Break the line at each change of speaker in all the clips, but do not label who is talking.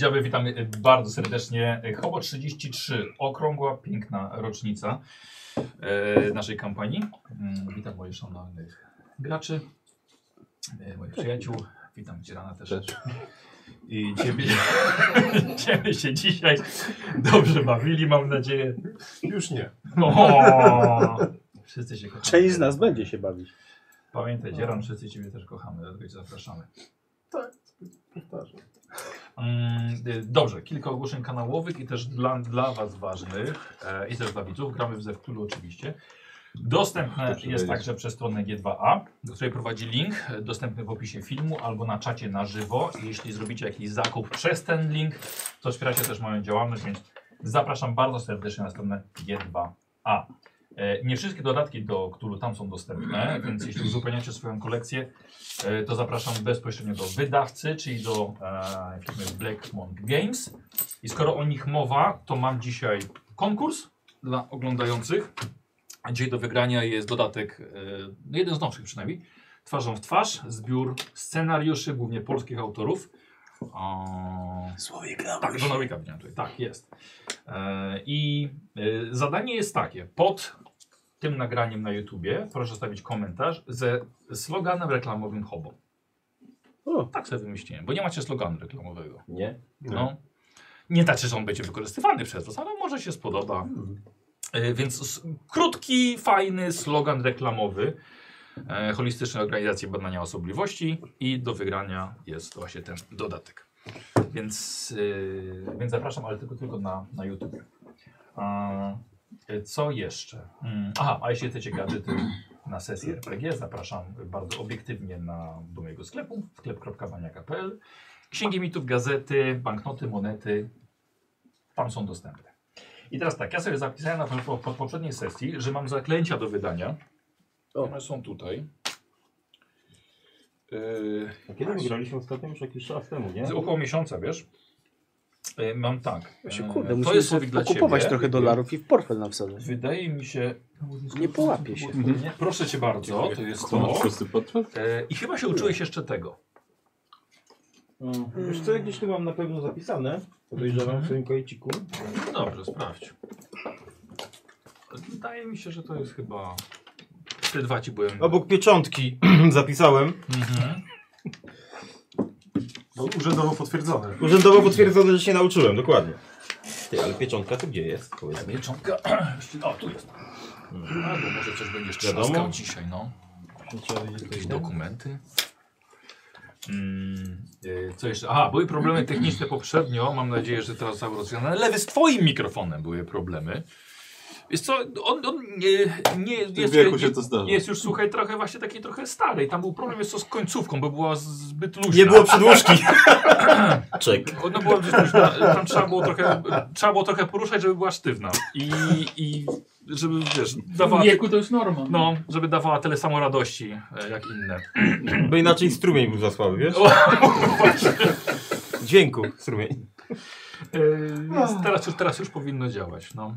Dzień dobry, witam e, bardzo serdecznie. E, Hobo 33, okrągła, piękna rocznica e, naszej kampanii. Mm, Witam moich szanownych graczy, e, moich przyjaciół. Witam Cierana też. I ciebie, ciebie się dzisiaj dobrze bawili, mam nadzieję.
Już nie.
O, wszyscy się kochamy.
Część z nas będzie się bawić.
Pamiętaj, Dzieran, wszyscy ciebie też kochamy, dlatego cię zapraszamy.
Powtarzam.
Mm, y, Dobrze, kilka ogłoszeń kanałowych i też dla, dla Was ważnych e, i też dla widzów. Gramy w Zewktulu oczywiście. Dostępne
Dobrze
jest
wiedzieć.
także przez stronę G2A, do której prowadzi link, e, dostępny w opisie filmu albo na czacie na żywo. Jeśli zrobicie jakiś zakup przez ten link, to wspieracie też moją działalność, więc zapraszam bardzo serdecznie na stronę G2A. E, Nie wszystkie dodatki do Cthulhu tam są dostępne, więc jeśli uzupełniacie swoją kolekcję, e, to zapraszam bezpośrednio do wydawcy, czyli do e, firmy Blackmon Games. I skoro o nich mowa, to mam dzisiaj konkurs dla oglądających. Dzisiaj do wygrania jest dodatek, e, no jeden z nowszych przynajmniej, Twarzą w twarz, zbiór scenariuszy, głównie polskich autorów. O,
Słowik na
tak, żona Wicka widziałem tutaj. Tak, jest. E, I e, zadanie jest takie. Pod tym nagraniem na YouTubie proszę zostawić komentarz ze sloganem reklamowym Hobo.
O.
Tak sobie wymyśliłem, bo nie macie sloganu reklamowego.
Nie?
No. Nie znaczy, że on będzie wykorzystywany przez was, ale może się spodoba. E, Więc s- krótki, fajny slogan reklamowy e, holistycznej organizacji badania osobliwości i do wygrania jest właśnie ten dodatek. Więc, e, więc zapraszam, ale tylko, tylko na, na YouTube. A, e, co jeszcze? Mm, Aha, a jeśli chcecie gadżety na sesję RPG, zapraszam bardzo obiektywnie na, do mojego sklepu, sklep.baniaka.pl. Księgi mitów, gazety, banknoty, monety, tam są dostępne. I teraz tak, ja sobie zapisałem na po, po, po poprzedniej sesji, że mam zaklęcia do wydania.
O.
One są tutaj. Yy,
A kiedy my graliśmy ostatnio? Już jakiś czas temu, nie?
z około miesiąca, wiesz? Yy, mam tak.
Właśnie,
yy,
kurde,
to
musimy
jest
sobie
słowik dla
pokupować
ciebie.
trochę dolarów i w portfel nam wsadzać.
Wydaje mi się...
Nie połapie się.
Mhm. Proszę cię bardzo, to jest
To
No.
masz
to.
wszyscy podczas?
Yy, I chyba się uczyłeś jeszcze tego.
Wiesz co, ja gdzieś tu mam na pewno zapisane. Podejrzewam
Mhm.
w swoim kojeciku.
No dobrze, sprawdź. Wydaje mi się, że to jest chyba... Te dwa ci byłem...
Obok pieczątki zapisałem.
Mhm.
No, urzędowo potwierdzone.
Urzędowo potwierdzone, że się nauczyłem, dokładnie. Ty, ale pieczątka to gdzie jest? Powiedz mi.
Pieczątka. O, tu jest.
Mhm.
Albo może coś będziesz
Wiadomo.
trzaskał dzisiaj, no. Jakieś dokumenty. Mm, y, co jeszcze? Aha, były problemy techniczne poprzednio. Mam nadzieję, że teraz zostały rozwiązane. Lewy z twoim mikrofonem były problemy. Jest co, on, on nie, nie
W tym
jest,
wieku się
jest,
to zdarza.
jest już, słuchaj, trochę właśnie taki trochę stary. Tam był problem jest co z końcówką, bo była zbyt luźna.
Nie było przedłużki. Czek.
Ona była gdzieś tam, na- tam trzeba było, trochę, trzeba było trochę poruszać, żeby była sztywna. I, i żeby, wiesz, dawała,
wieku to już norma.
no, żeby dawała tyle samo radości e, jak inne.
Bo inaczej strumień był za słaby, wiesz? Dźwięku strumień.
E, więc teraz, już- teraz już powinno działać. No.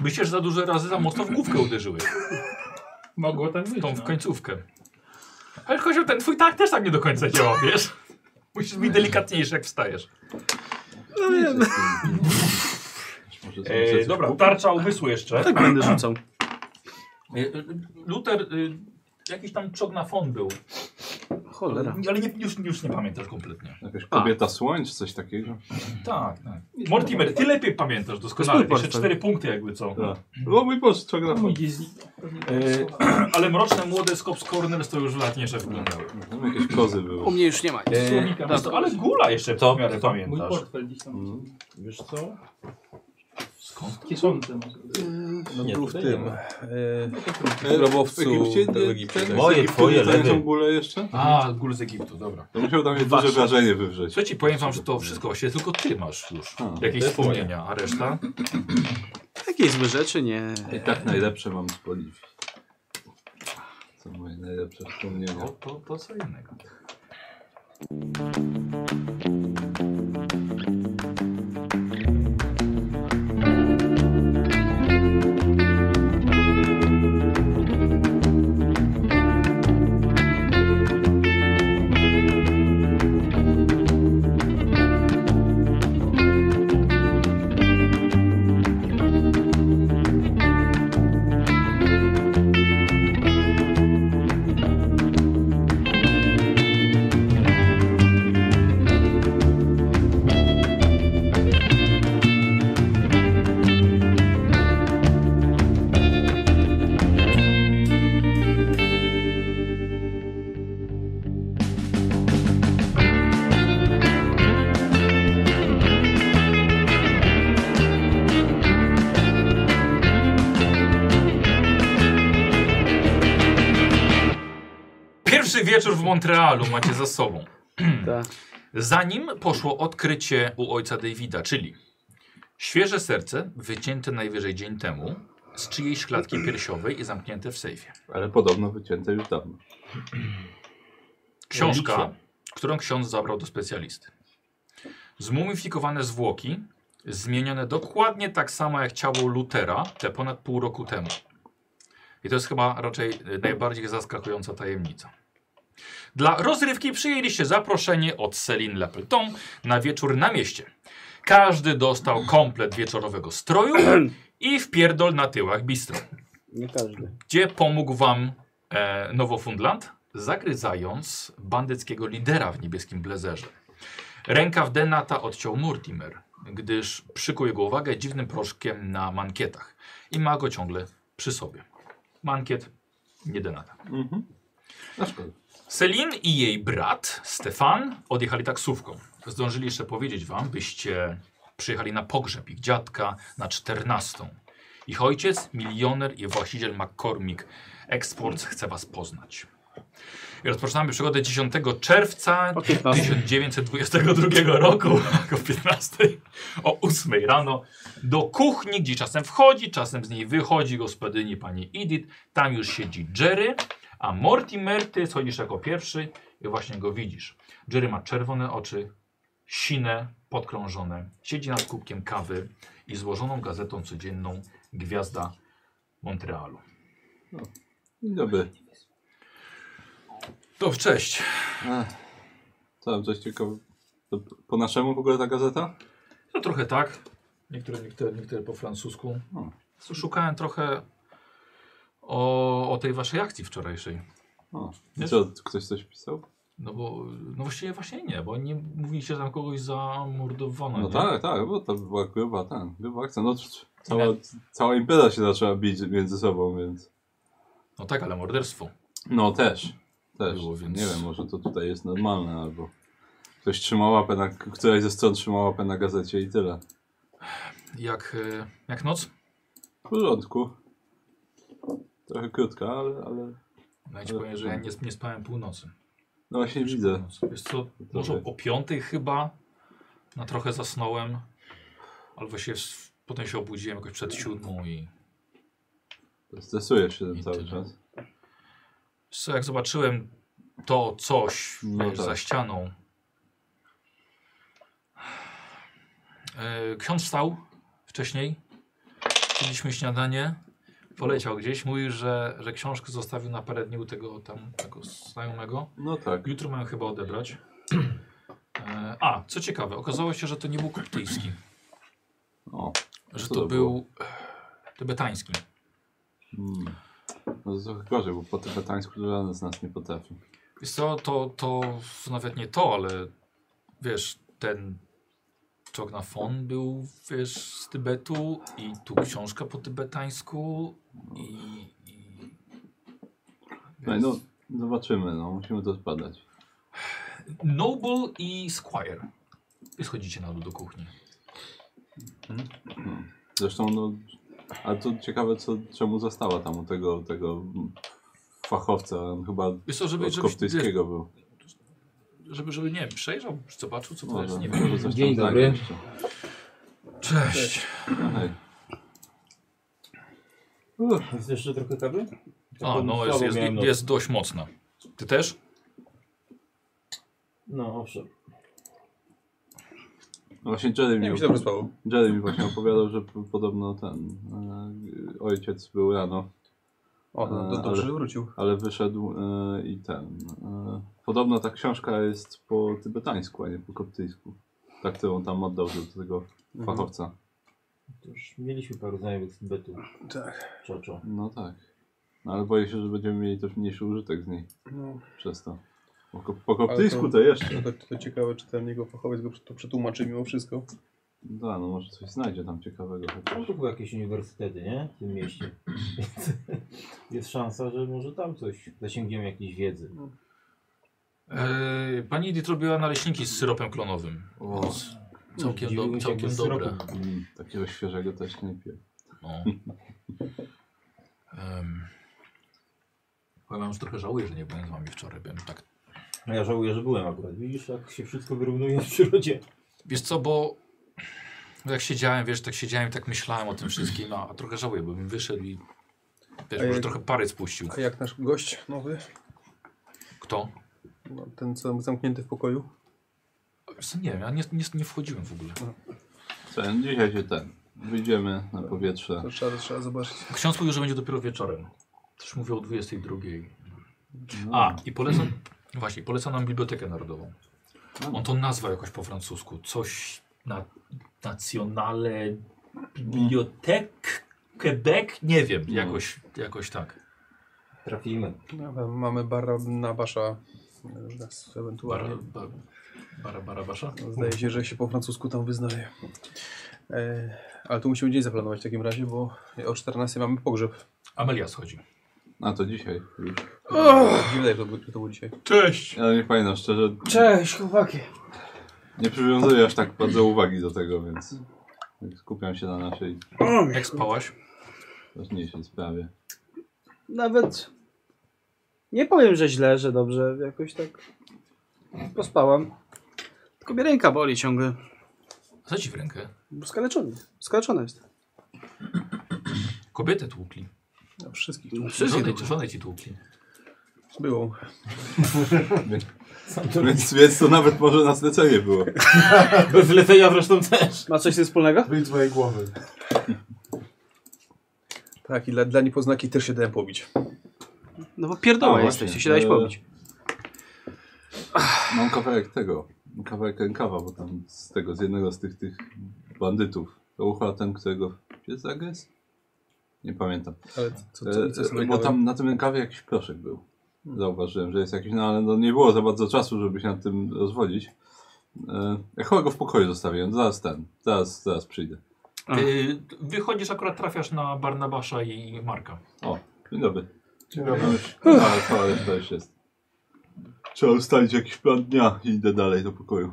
Myślisz, że za dużo razy za mocno w główkę uderzyłeś,
Mogło tak
w
być.
tą w
no.
końcówkę. Ale kozioł, ten twój tak też tak nie do końca działa, wiesz? Musisz być delikatniejszy, jak wstajesz.
Może są
E,
coś-
dobra, tarcza umysłu jeszcze.
Tak będę rzucał.
E, e, Luther, e, jakiś tam czognafon był.
Cholera.
Ale nie, już, już nie pamiętasz kompletnie.
Tak.
Jakaś kobieta słońc, coś takiego.
Tak, tak. Mortimer, ty lepiej pamiętasz
To
doskonale.
jest mój
Jeszcze
portfel.
cztery punkty jakby co.
Tak. No mój Boże, czego na
Pójdzie z nim.
E, ale mroczne młode Scops Corners to już latniejsze wyglądały.
Tam jakieś kozy
U
były.
mnie już nie ma.
Słowika
No
masz.
to, ale Gula jeszcze to w miarę
Mój
pamiętasz.
portfel gdzieś tam.
Mm.
Mhm.
Wiesz co?
Skąd?
W kieszonce masz.
No nie,
był w
tutaj
tym.
nie ma.
E, robowcu
Egipcie,
w Egipcie.
ten-
tak.
Moje,
Egiptu
twoje,
nie
lewy.
tańczą bóle jeszcze?
A, Gul z Egiptu, dobra.
To musiał tam mieć duże wrażenie wywrzeć.
Słuchajcie, powiem wam, że to wszystko właśnie tylko ty masz już
A,
jakieś
to jest moje.
wspomnienia, a reszta?
Jakieś złe rzeczy? Nie.
I tak najlepsze mam z Boliwii. Co moje najlepsze wspomnienia.
To, to, to co innego. Piękny wieczór w Montrealu macie za sobą.
Tak.
Zanim poszło odkrycie u ojca Davida, czyli świeże serce, wycięte najwyżej dzień temu, z czyjejś szklatki piersiowej i zamknięte w sejfie.
Ale podobno wycięte już dawno.
Książka, którą ksiądz zabrał do specjalisty. Zmumifikowane zwłoki, zmienione dokładnie tak samo jak ciało Lutera te ponad pół roku temu. I to jest chyba raczej y, najbardziej zaskakująca tajemnica. Dla rozrywki przyjęliście zaproszenie od Céline Lapleton na wieczór na mieście. Każdy dostał komplet wieczorowego stroju i wpierdol na tyłach bistro
Nie każdy.
gdzie pomógł wam e, Nowofundland, zagryzając bandyckiego lidera w niebieskim blezerze. Rękaw Denata odciął Mortimer, gdyż przykuł jego uwagę dziwnym proszkiem na mankietach i ma go ciągle przy sobie. Mankiet, nie Denata.
Na szkoda.
Selin i jej brat, Stefan, odjechali taksówką. Zdążyli jeszcze powiedzieć wam, byście przyjechali na pogrzeb ich dziadka na 14. Ich ojciec, milioner i właściciel McCormick Exports chce was poznać. I rozpoczynamy przygodę 10 czerwca
O 15.
1922 roku, o 15, o 8 rano, do kuchni, gdzie czasem wchodzi, czasem z niej wychodzi gospodyni pani Edith. Tam już siedzi Jerry, a Mortimer, ty schodzisz jako pierwszy i właśnie go widzisz. Jerry ma czerwone oczy, sine, podkrążone, siedzi nad kubkiem kawy i złożoną gazetą codzienną Gwiazda Montrealu.
Dzień dobry.
To cześć.
Ech. Co, coś ciekawego? To Po naszemu w ogóle ta gazeta?
No trochę tak. Niektóre, niektóre, niektóre po francusku.
No.
Szukałem trochę o, o tej waszej akcji wczorajszej.
O. I
Jest.
co, ktoś coś pisał?
No bo, no właściwie właśnie nie, bo nie mówiliście że tam kogoś zamordowano.
No,
nie?
tak, tak, bo to była gruba, ten, gruba akcja. No, c- c- cała, cała impera się zaczęła bić między sobą, więc...
No tak, ale morderstwo.
No też, też.
Było, więc-
Nie wiem, może to tutaj jest normalne, albo... Ktoś trzyma łapę na... Któraś ze stron trzyma łapę na gazecie i tyle.
Jak, e, jak noc?
W porządku. Trochę krótka, ale... ale...
No ja ci powiem, że ja nie, nie spałem północy.
No właśnie widzę.
Północy. Wiesz co, może o piątej chyba na trochę zasnąłem. Albo się, w- potem się obudziłem jakoś przed siódmą i
Stresujesz się tym
I
cały
tyle.
czas.
Wiesz Co, jak zobaczyłem to coś
No
wiesz,
tak.
za ścianą. Yy, Ksiądz wstał wcześniej. Jedliśmy śniadanie. Poleciał gdzieś. Mówił, że, że książkę zostawił na parę dni u tego tam tego znajomego.
No tak.
Jutro mają chyba odebrać. E, a, co ciekawe, okazało się, że to nie był koptyjski.
O.
Że
Co
to
to było?
był e, tybetański.
Mm. No to trochę gorzej, bo po tybetańsku żaden z nas nie potrafi.
Wiesz co, to, to nawet nie to, ale wiesz, ten Czognafon był, wiesz, z Tybetu i tu książka po tybetańsku i... i
No, i no zobaczymy, no musimy to spadać.
Noble i Squire. Wy schodzicie na dół do kuchni.
Zresztą no, a to ciekawe co, czemu została tam u tego, tego fachowca, on chyba
Wiesz co, żeby,
od
żebyś, wiesz,
koptyjskiego był.
żeby, żeby, nie wiem, przejrzał, zobaczył, co to jest, nie
Może,
wiem.
może coś
No tak. Dzień
tam
dobry.
znajdzie jeszcze.
Cześć.
No, hej.
Jest jeszcze trochę kawy?
A,
Taką
no,
słabą
jest, jest,
miałem noc.
jest dość mocna. Ty też?
No, owszem.
No właśnie Jerry mi,
Nie mi się dobrze spało.
Jerry mi właśnie opowiadał, że p- podobno ten e, ojciec był rano
O, no,
Ale-
to dobrze, że wrócił.
Ale wyszedł e, i ten. e, podobno ta książka jest po tybetańsku, a nie po koptyjsku. Tak, którą tam oddał do, do tego
Mhm.
Mhm.
fachowca.
To już mieliśmy paru znajomych z Betu. Tak. Czoczo.
No tak. No, ale boję się, że będziemy mieli też mniejszy użytek z niej
No,
przez to. Po, ko- po koptyjsku
Ale
to...
to-
jeszcze.
no to, to ciekawe, czy ten jego fachowiec go to przetłumaczy mimo wszystko.
Da, no może coś znajdzie tam ciekawego.
No
Chociaż.
to były jakieś uniwersytety, nie? W tym mieście. Więc jest szansa, że może tam coś zasięgniemy jakiejś wiedzy.
No, Eee, pani Edith robiła naleśniki z syropem klonowym.
O.
Więc Całkiem,
Dziwiłem
do,
się,
całkiem
jakby
dobre.
syropu.
Mm, takiego świeżego też nie piję.
No. Em, Powiem wam, że trochę żałuję, że nie byłem z wami wczoraj. Byłem tak.
No ja żałuję, że byłem akurat. Widzisz, jak się wszystko wyrównuje w przyrodzie.
Wiesz co, bo jak siedziałem, wiesz, tak siedziałem i tak myślałem o tym wszystkim, a, a trochę żałuję, bo bym wyszedł i wiesz,
A
może
jak-
trochę pary spuścił.
A jak nasz gość nowy?
Kto?
No, Ten, co zamknięty w pokoju?
Wiesz co, nie wiem, ja nie, nie, nie wchodziłem w ogóle.
Ten, dzisiaj się ten. Wyjdziemy na powietrze.
To trzeba, trzeba zobaczyć.
Ksiądz mówił, że będzie dopiero wieczorem. Też mówił o 22.00.
No,
A, i polecam, właśnie, polecam nam Bibliotekę Narodową. On to nazwał jakoś po francusku. Coś na nacjonale bibliotek Quebec? Nie wiem,
No.
jakoś, jakoś tak.
Trafimy.
No, tam mamy bara na basza. e, nas
Bara,
Ewentualnie.
ba, bara, bara, basza?
No, Zdaje się, że się po francusku tam wyznaje. E, ale tu musimy dzień zaplanować w takim razie, bo o 14 mamy pogrzeb.
Amelia schodzi.
A to dzisiaj już.
Nie wydaje, że to, by- to było dzisiaj.
Cześć!
Ja nie pamiętam szczerze.
Cześć, chłopaki.
Nie przywiązuję aż tak bardzo uwagi do tego, więc tak skupiam się na naszej
Mm, Jak spałaś?
ważniejszej sprawie.
Nawet nie powiem, że źle, że dobrze. Jakoś tak pospałam. Tylko mnie ręka boli ciągle.
Zadzi w rękę.
Bo skaleczony. Skaleczona jest.
Kobietę tłukli.
No, wszystkich.
Wszystkie
Żonę,
dobrze.
żonę ci tłukli.
Było.
Sam to
Więc, więc to nawet może na zlecenie było.
Bez lecenia zresztą też.
Ma coś z tym wspólnego?
Wyjdź z mojej głowy.
Tak, i dla, dla niepoznaki też się dałem pobić.
No bo pierdoła
A,
jesteś,
właśnie.
ty się
No,
dałeś
E,
pobić.
Mam kawałek tego. Kawałek rękawa, bo tam z tego, z jednego z tych, tych bandytów. To ucha ten, którego jest agres? Nie pamiętam.
Ale co, co,
E,
co, co
e, bo tam na tym rękawie jakiś proszek był. Zauważyłem, że jest jakiś, no ale no, nie było za bardzo czasu, żeby się nad tym rozwodzić. E, ja chyba go w pokoju zostawiłem, zaraz ten, zaraz, zaraz przyjdę.
A.
Ty wychodzisz, akurat trafiasz na Barnabasza i Marka.
O, dzień dobry.
Dzień
No,
dobry.
już- no, ale to, ale to już jest. Trzeba ustalić jakiś plan dnia i idę dalej do pokoju.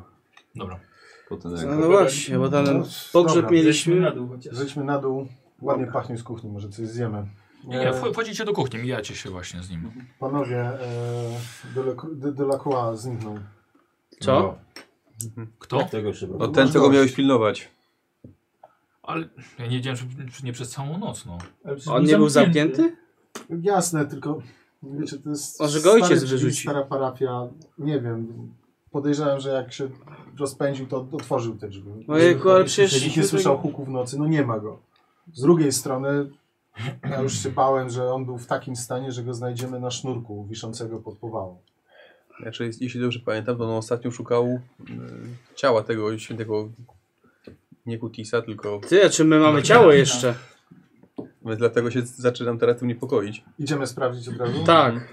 Dobra.
Potem
tak.
No,
rękaw.
no właśnie, bo ten pogrzeb
dobra,
Zejdźmy na
mieliśmy.
dół chociaż.
Zejdźmy na dół. Ładnie pachnie z kuchni, może coś zjemy. E,
Nie, nie, wch- wchodzicie do kuchni, mijacie się właśnie z nim.
Panowie, e, Delacroix de, Delacroix zniknął. No.
Co?
Kto?
Tego jeszcze
No
brakuje.
ten, czego miałeś pilnować.
Ale ja nie wiedziałem, że czy nie przez całą noc, no.
Ale przecież
On nie był zamknięty?
Jasne, tylko wiecie, to jest
Może go ojciec
stare drzwi,
wyrzuci.
stara parafia, nie wiem. Podejrzewam, że jak się rozpędził, to otworzył te drzwi.
Ojejku, No ale przecież...
Nikt nie słyszał huku w nocy, no nie ma go. Z drugiej strony, ja już się bałem, że on był w takim stanie, że go znajdziemy na sznurku wiszącego pod powałą.
Znaczy, jest- jeśli dobrze pamiętam, to on ostatnio szukał e, ciała tego świętego nie Kutisa, tylko
Ty, a czy my mamy ciało jeszcze?
więc dlatego się z- zaczynam teraz tym niepokoić.
Idziemy sprawdzić od razu?
Tak.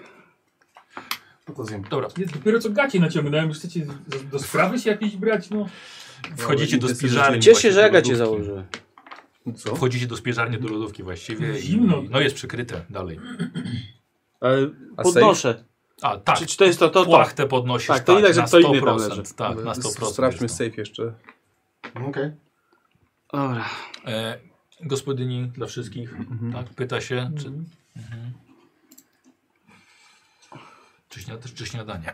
No to zjem.
Dobra,
Nie, dopiero co gaci naciągnąłem, już chcecie do, do sprawy się jakieś brać, no.
wchodzicie do
intensywne
spiżarni.
Cieszę się,
właśnie,
że
do
Aga cię
lodówki.
założyła.
Co?
Wchodzicie do spieżarni, do lodówki właściwie.
Zimno.
I, no jest przykryte dalej.
Ale
A
podnoszę.
A, tak.
Czy, czy to jest to, to, to?
Płachtę podnosisz,
Tak,
tak,
to ile, że
na
to inny tam
100%. Tak, na 100%.
Sprawdźmy
jest to.
safe jeszcze.
No Okej.
Dobra.
E, gospodyni dla wszystkich, tak, pyta się, czy... Mhm. Czy, śniad- czy śniadanie.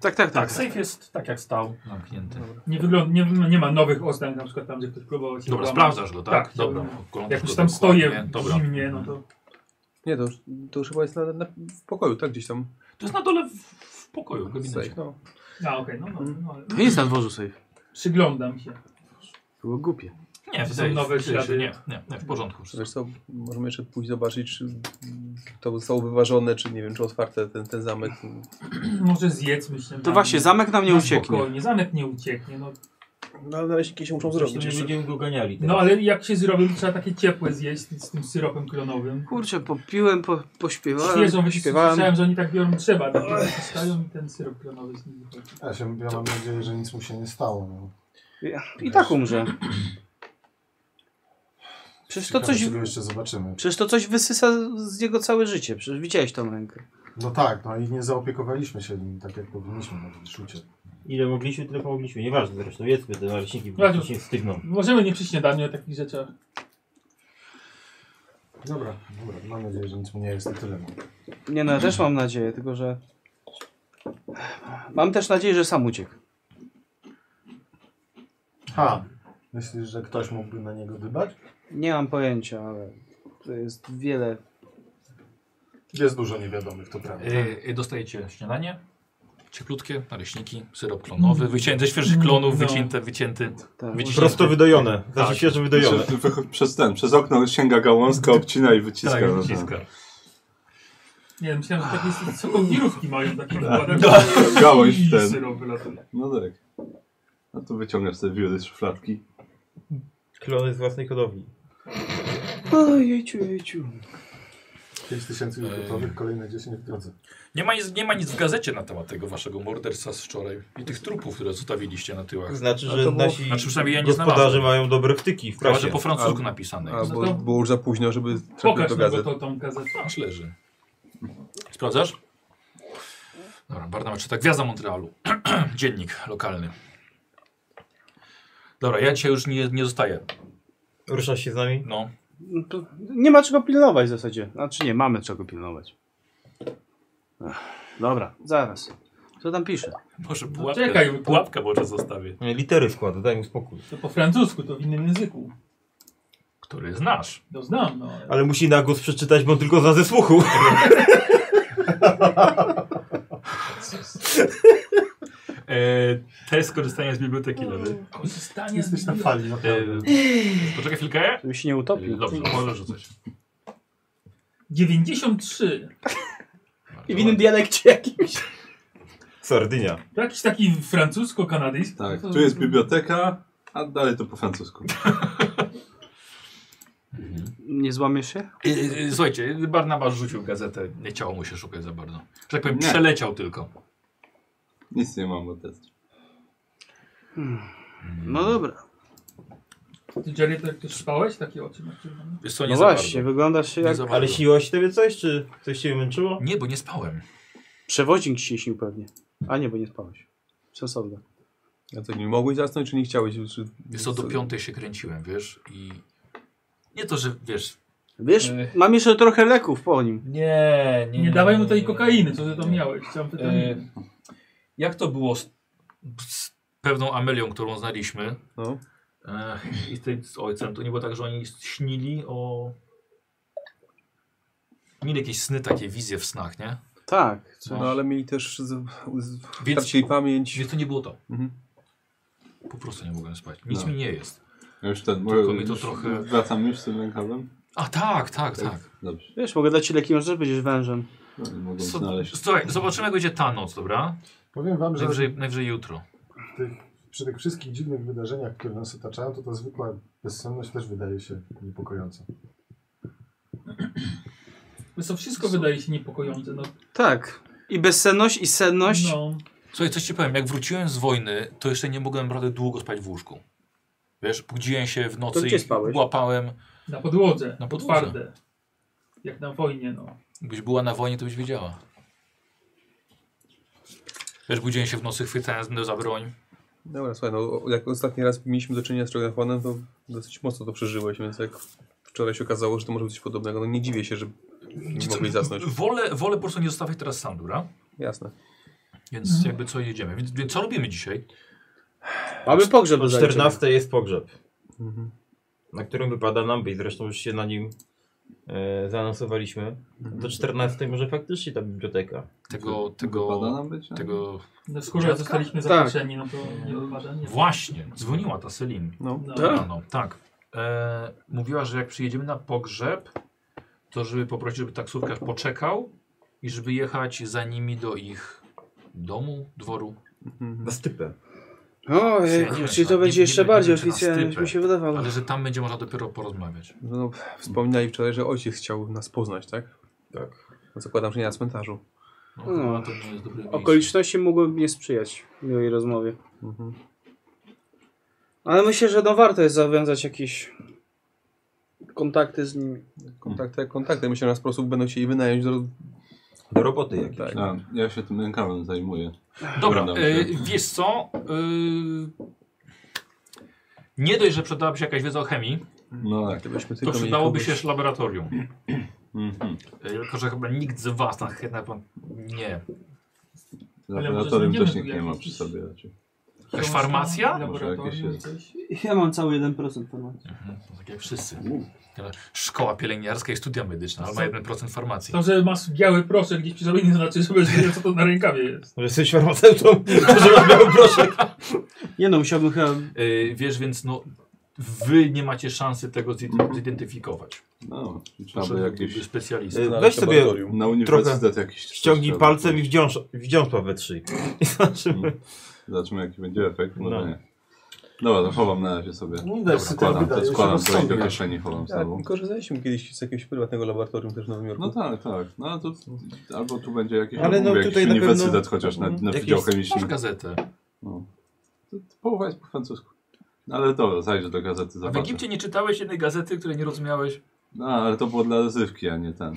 Tak, tak,
Tak,
tak.
sejf jest tak jak stał, zamknięty.
Nie, wygląd, nie, no nie ma nowych oznak, na przykład tam, gdzie ktoś próbował się
Dobra,
włamać.
sprawdzasz go, tak?
Tak,
dobra.
chciałbym-
oglądasz
Jak
go
już tam
dokładnie,
stoję
Dobra.
zimnie, no to...
Nie, to, już- to już chyba jest na, na, w pokoju, tak? Gdzieś tam.
To jest na dole w, w pokoju, w
Safe.
gabinecie.
No.
A, okej, no, no, no, ale
To jest na dworzu safe.
Przyglądam się.
Było głupie.
Nie,
są
wydaje,
nowe
wydaje się,
ślady.
nie, nie, nie, w porządku. wszystko.
Wiesz co, możemy jeszcze pójść zobaczyć, czy to zostało wyważone, czy nie wiem, czy otwarte ten, ten zamek.
Może zjedz, myślę.
To właśnie, zamek nam nie
na
ucieknie.
Spokojnie, zamek nie ucieknie, no.
No ale naleśniki się muszą
Zresztą nie będziemy go ganiali teraz.
no ale jak się zrobi, to trzeba takie ciepłe zjeść z tym syropem klonowym.
Kurczę, popiłem, po, pośpiewałem,
Świeżą
pośpiewałem.
wyśpiewałem, że oni tak biorą trzeba, tak wyciskają i ten syrop klonowy z nich wychodzi.
Ja, się, ja mam nadzieję, że nic mu się nie stało. No.
Ja- I tak umrze. Przecież to
Ciekawe,
coś,
czego jeszcze zobaczymy.
przecież to coś wysysa z niego całe życie. Przecież widziałeś tą rękę.
No tak, no i nie zaopiekowaliśmy się nim tak, jak powinniśmy na tym szucie.
Ile mogliśmy, tyle pomogliśmy. Nieważne zresztą, jedzmy te naleśniki, bo
Radziu.
się stygną.
Możemy nie przy śniadaniu o takich rzeczach.
Dobra, dobra, mam nadzieję, że nic mu nie jest to tyle.
Nie no, ja też mam nadzieję, tylko że... Mam też nadzieję, że sam uciekł.
Ha, myślisz, że ktoś mógłby na niego dbać?
Nie mam pojęcia, ale to jest wiele...
Jest dużo niewiadomych, to prawda.
Y, y, dostajecie śniadanie, cieplutkie, naleśniki, syrop klonowy, wycięte, świeżych klonów,
Mm. No.
wycięte, wycięty.
Tak.
Widzicie-
Prosto wydojone. Znaczy
Tak.
świeżo
no,
wydojone.
Przez, wych- przez ten, przez okno sięga gałązka, obcina i wyciska.
Tak,
no tak.
wyciska.
Nie, myślałem, że takie sokowirówki mają taki układem.
Gałąź
i
ten.
syrop wylatuje.
No tak. A tu wyciągasz te wióry z szufladki.
Klony z własnej hodowli.
Oj, jejciu, jejciu.
5 tysięcy już gotowych, kolejne 10 w drodze.
Nie ma, nic, nie ma nic w gazecie na temat tego waszego morderstwa z wczoraj i tych trupów, które zostawiliście na tyłach.
Znaczy,
A to
że
było-
nasi
Znaczy, przynajmniej ja nie
gospodarze
znalazłem.
mają dobre wtyki w
Chyba, że
prasie.
po francusku napisane jest.
No
Albo
to-
było już za późno, żeby trafić
Pokaż
do
mi
gazet.
to, tą gazetę.
Aż leży. Sprawdzasz? Dobra, Barnaba czyta Gwiazda Montrealu. Dziennik lokalny. Dobra, ja cię już nie, nie zostaję.
Ruszasz się z nami?
No.
No to nie ma czego pilnować w zasadzie. Znaczy nie, mamy czego pilnować. Ach, dobra, zaraz. Co tam pisze?
Może
No
pułapkę,
czekaj, bo-
pułapkę może zostawię.
Nie, Litery składa, daj mu spokój.
To po francusku, to w innym języku.
Który znasz.
No znam, no. ale-
Ale musi na głos przeczytać, bo on tylko zna ze słuchu.
E, te skorzystanie z biblioteki
Mm.
lewy.
Korzystanie
Jesteś
z
na fali,
E,
naprawdę.
poczekaj chwilkę.
Żeby się nie
E,
utopił.
Dobrze, może rzucać.
93.
I w innym dialekcie jakimś.
Sardynia.
To Jakiś taki francusko-kanadyjski.
Tak,
No to-
tu jest biblioteka, a dalej to po francusku.
Nie złamiesz się?
E, e, Słuchajcie, Barnabasz rzucił gazetę. Nie chciało mu się szukać za bardzo. Że tak powiem,
Nie.
przeleciał tylko.
Nic nie mam od testu.
No
Hmm.
dobra.
Ty Jerry to też spałeś? Takie oczy masz czerwone?
Wiesz co, nie
No
za
właśnie,
bardzo.
wyglądasz się
Nie
jak...
za bardzo.
Ale siła się tobie coś, czy coś cię męczyło?
Nie, bo nie spałem.
Przewoźnik ci się śnił pewnie. A nie, bo nie spałeś. Sensowne.
A co, nie mogłeś zasnąć, czy nie chciałeś? Czy...
Wiesz co, do piątej się kręciłem, wiesz, i... Nie to, że, wiesz...
Wiesz,
Yy.
mam jeszcze trochę leków po nim.
Nie,
Nie dawaj mu tej kokainy, co ty tam miałeś. Chciałem pytać.
E, jak to było z, z pewną Amelią, którą znaliśmy
No.
e, i z, tej, z ojcem, to nie było tak, że oni śnili o... Mieli jakieś sny, takie wizje w snach, nie?
Tak.
Co, no ale mieli też z, z,
Więc-
stracili pamięć.
Więc to nie było to.
Mhm.
Po prostu nie mogłem spać. Nic
No.
mi nie jest.
Ja już ten,
Tylko mi to
już
trochę-
Wracam już z tym rękawem?
A tak, tak, tak.
Dobrze.
Wiesz, mogę dać ci leki, może też będziesz wężem.
No, nie mogą
So,
znaleźć.
słuchaj, zobaczymy jak będzie ta noc, dobra?
Powiem wam, że
Najwyżej, najwyżej jutro.
tych, przy tych wszystkich dziwnych wydarzeniach, które nas otaczają, to ta zwykła bezsenność też wydaje się niepokojąca.
Wiesz co, wszystko wydaje się niepokojące. No,
Tak. I bezsenność, i senność.
no.
Słuchaj, coś ci powiem, jak wróciłem z wojny, to jeszcze nie mogłem naprawdę długo spać w łóżku. Wiesz, budziłem się w nocy
To gdzie spałeś?
i łapałem.
Na podłodze.
Na
Na
podłodze.
podłodze. Twarde. Jak na wojnie, no.
Gdybyś była na wojnie, to byś wiedziała. Wiesz, budziłem się w nocy, chwytając za broń.
Dobra, słuchaj, no, jak ostatni raz mieliśmy do czynienia z Dragonafonem, to dosyć mocno to przeżyłeś, więc jak wczoraj się okazało, że to może być coś podobnego, no nie dziwię się, że nie
Co,
mogli zasnąć.
Wolę, wolę po prostu nie zostawiać teraz sam, dobra?
Jasne.
Więc
Mhm.
jakby co jedziemy. Więc, więc co robimy dzisiaj?
Mamy pogrzeb
O
do zaliczenia.
14 jest pogrzeb,
Mhm.
na którym wypada nam być. Zresztą już się na nim e, zaanonsowaliśmy. Do 14 może faktycznie ta biblioteka.
Tego,
Wypada
tego,
nam być? a?
tego...
No skoro
Dziadka?
zostaliśmy
Tak.
zaproszeni, no to nie odpada. Nie.
Właśnie, dzwoniła ta Selin.
No.
No.
Tak?
Rano, tak. E, mówiła, że jak przyjedziemy na pogrzeb, to żeby poprosić, żeby taksówkarz poczekał i żeby jechać za nimi do ich domu, dworu.
Mhm.
Na stypę.
Ojej,
Sędzia,
czyli to
tak.
będzie
Nie-
jeszcze
nie-
bardziej
nie- nie- nie-
oficjalnie,
na
niż mi
stypę.
się wydawało.
Ale że tam będzie można dopiero porozmawiać.
No, no, wspominali wczoraj, że ojciec chciał nas poznać, tak?
Tak.
No, zakładam, że nie na cmentarzu.
No,
Hmm.
chyba to nie jest dobre miejsce.
Okoliczności mogłyby nie sprzyjać miłej rozmowie.
Mhm.
Ale myślę, że no warto jest zawiązać jakieś kontakty z nimi.
Kontakty, kontakty. Myślę, że nas po prostu będą chcieli wynająć do...
Do roboty jakiejś.
Tak.
A, ja się tym rękawem zajmuję.
Dobra,
Dobra.
e, wiesz co? E, nie dość, że przydałaby się jakaś wiedza o chemii,
Mm.
No tak.
Gdybyśmy
To
tylko mieli
przydałoby się
kogoś-
jeszcze laboratorium.
Mhm.
E, Tylko, że chyba nikt z was na chyba nie.
Laboratorium
może
też
znajdziemy
nikt nie
tu
ma
jakiś-
przy sobie raczej.
Jakaś farmacja?
Laboratorium,
Może
coś.
Ja mam cały 1% formacji.
Mhm, to tak jak wszyscy. Szkoła pielęgniarska i studia
No
medyczne, ale ma 1% farmacji.
To, że masz biały proszek gdzieś przy sobie, nie znaczy, że będziesz wiedział, co to na rękawie jest.
Że jesteś farmaceutą, że masz biały proszek.
Nie no, musiałbym chyba...
E, Wiesz, więc no, wy nie macie szansy tego zid- zidentyfikować.
No, czy trzeba by
Potrzebny byłby
jakieś... no,
specjalista.
Y,
znaleźć
Weź sobie
laboratorium.
Na uniwersytet jakiś...
Ściągnij
trzeba by
palcem i
pójść.
wdziąż, wdziąsła we trzy. I zobaczymy.
Mm. Zobaczymy jaki będzie efekt, może
No.
nie. Dobra, to chowam na razie
No,
sobie.
Uniwersytet
Składam to,
wydaje się
składam to i do
rozsądny.
kieszeni chowam
Tak,
znowu.
korzystaliśmy kiedyś z jakiegoś prywatnego laboratorium też w Nowym Jorku.
No tak, tak. No ale to albo tu będzie jakiś,
Ale
albo
no
jakiś
tutaj na pewno- Mhm.
uniwersytet chociaż na, na
Jakiś-
Wydział
Masz
Chemiczny.
gazetę.
No. To, to połowa jest po francusku. No, ale dobra, zajrzę do gazety,
A w
zobaczę.
Egipcie nie czytałeś jednej gazety, której nie rozumiałeś?
No, ale to było dla rozrywki, a nie ten.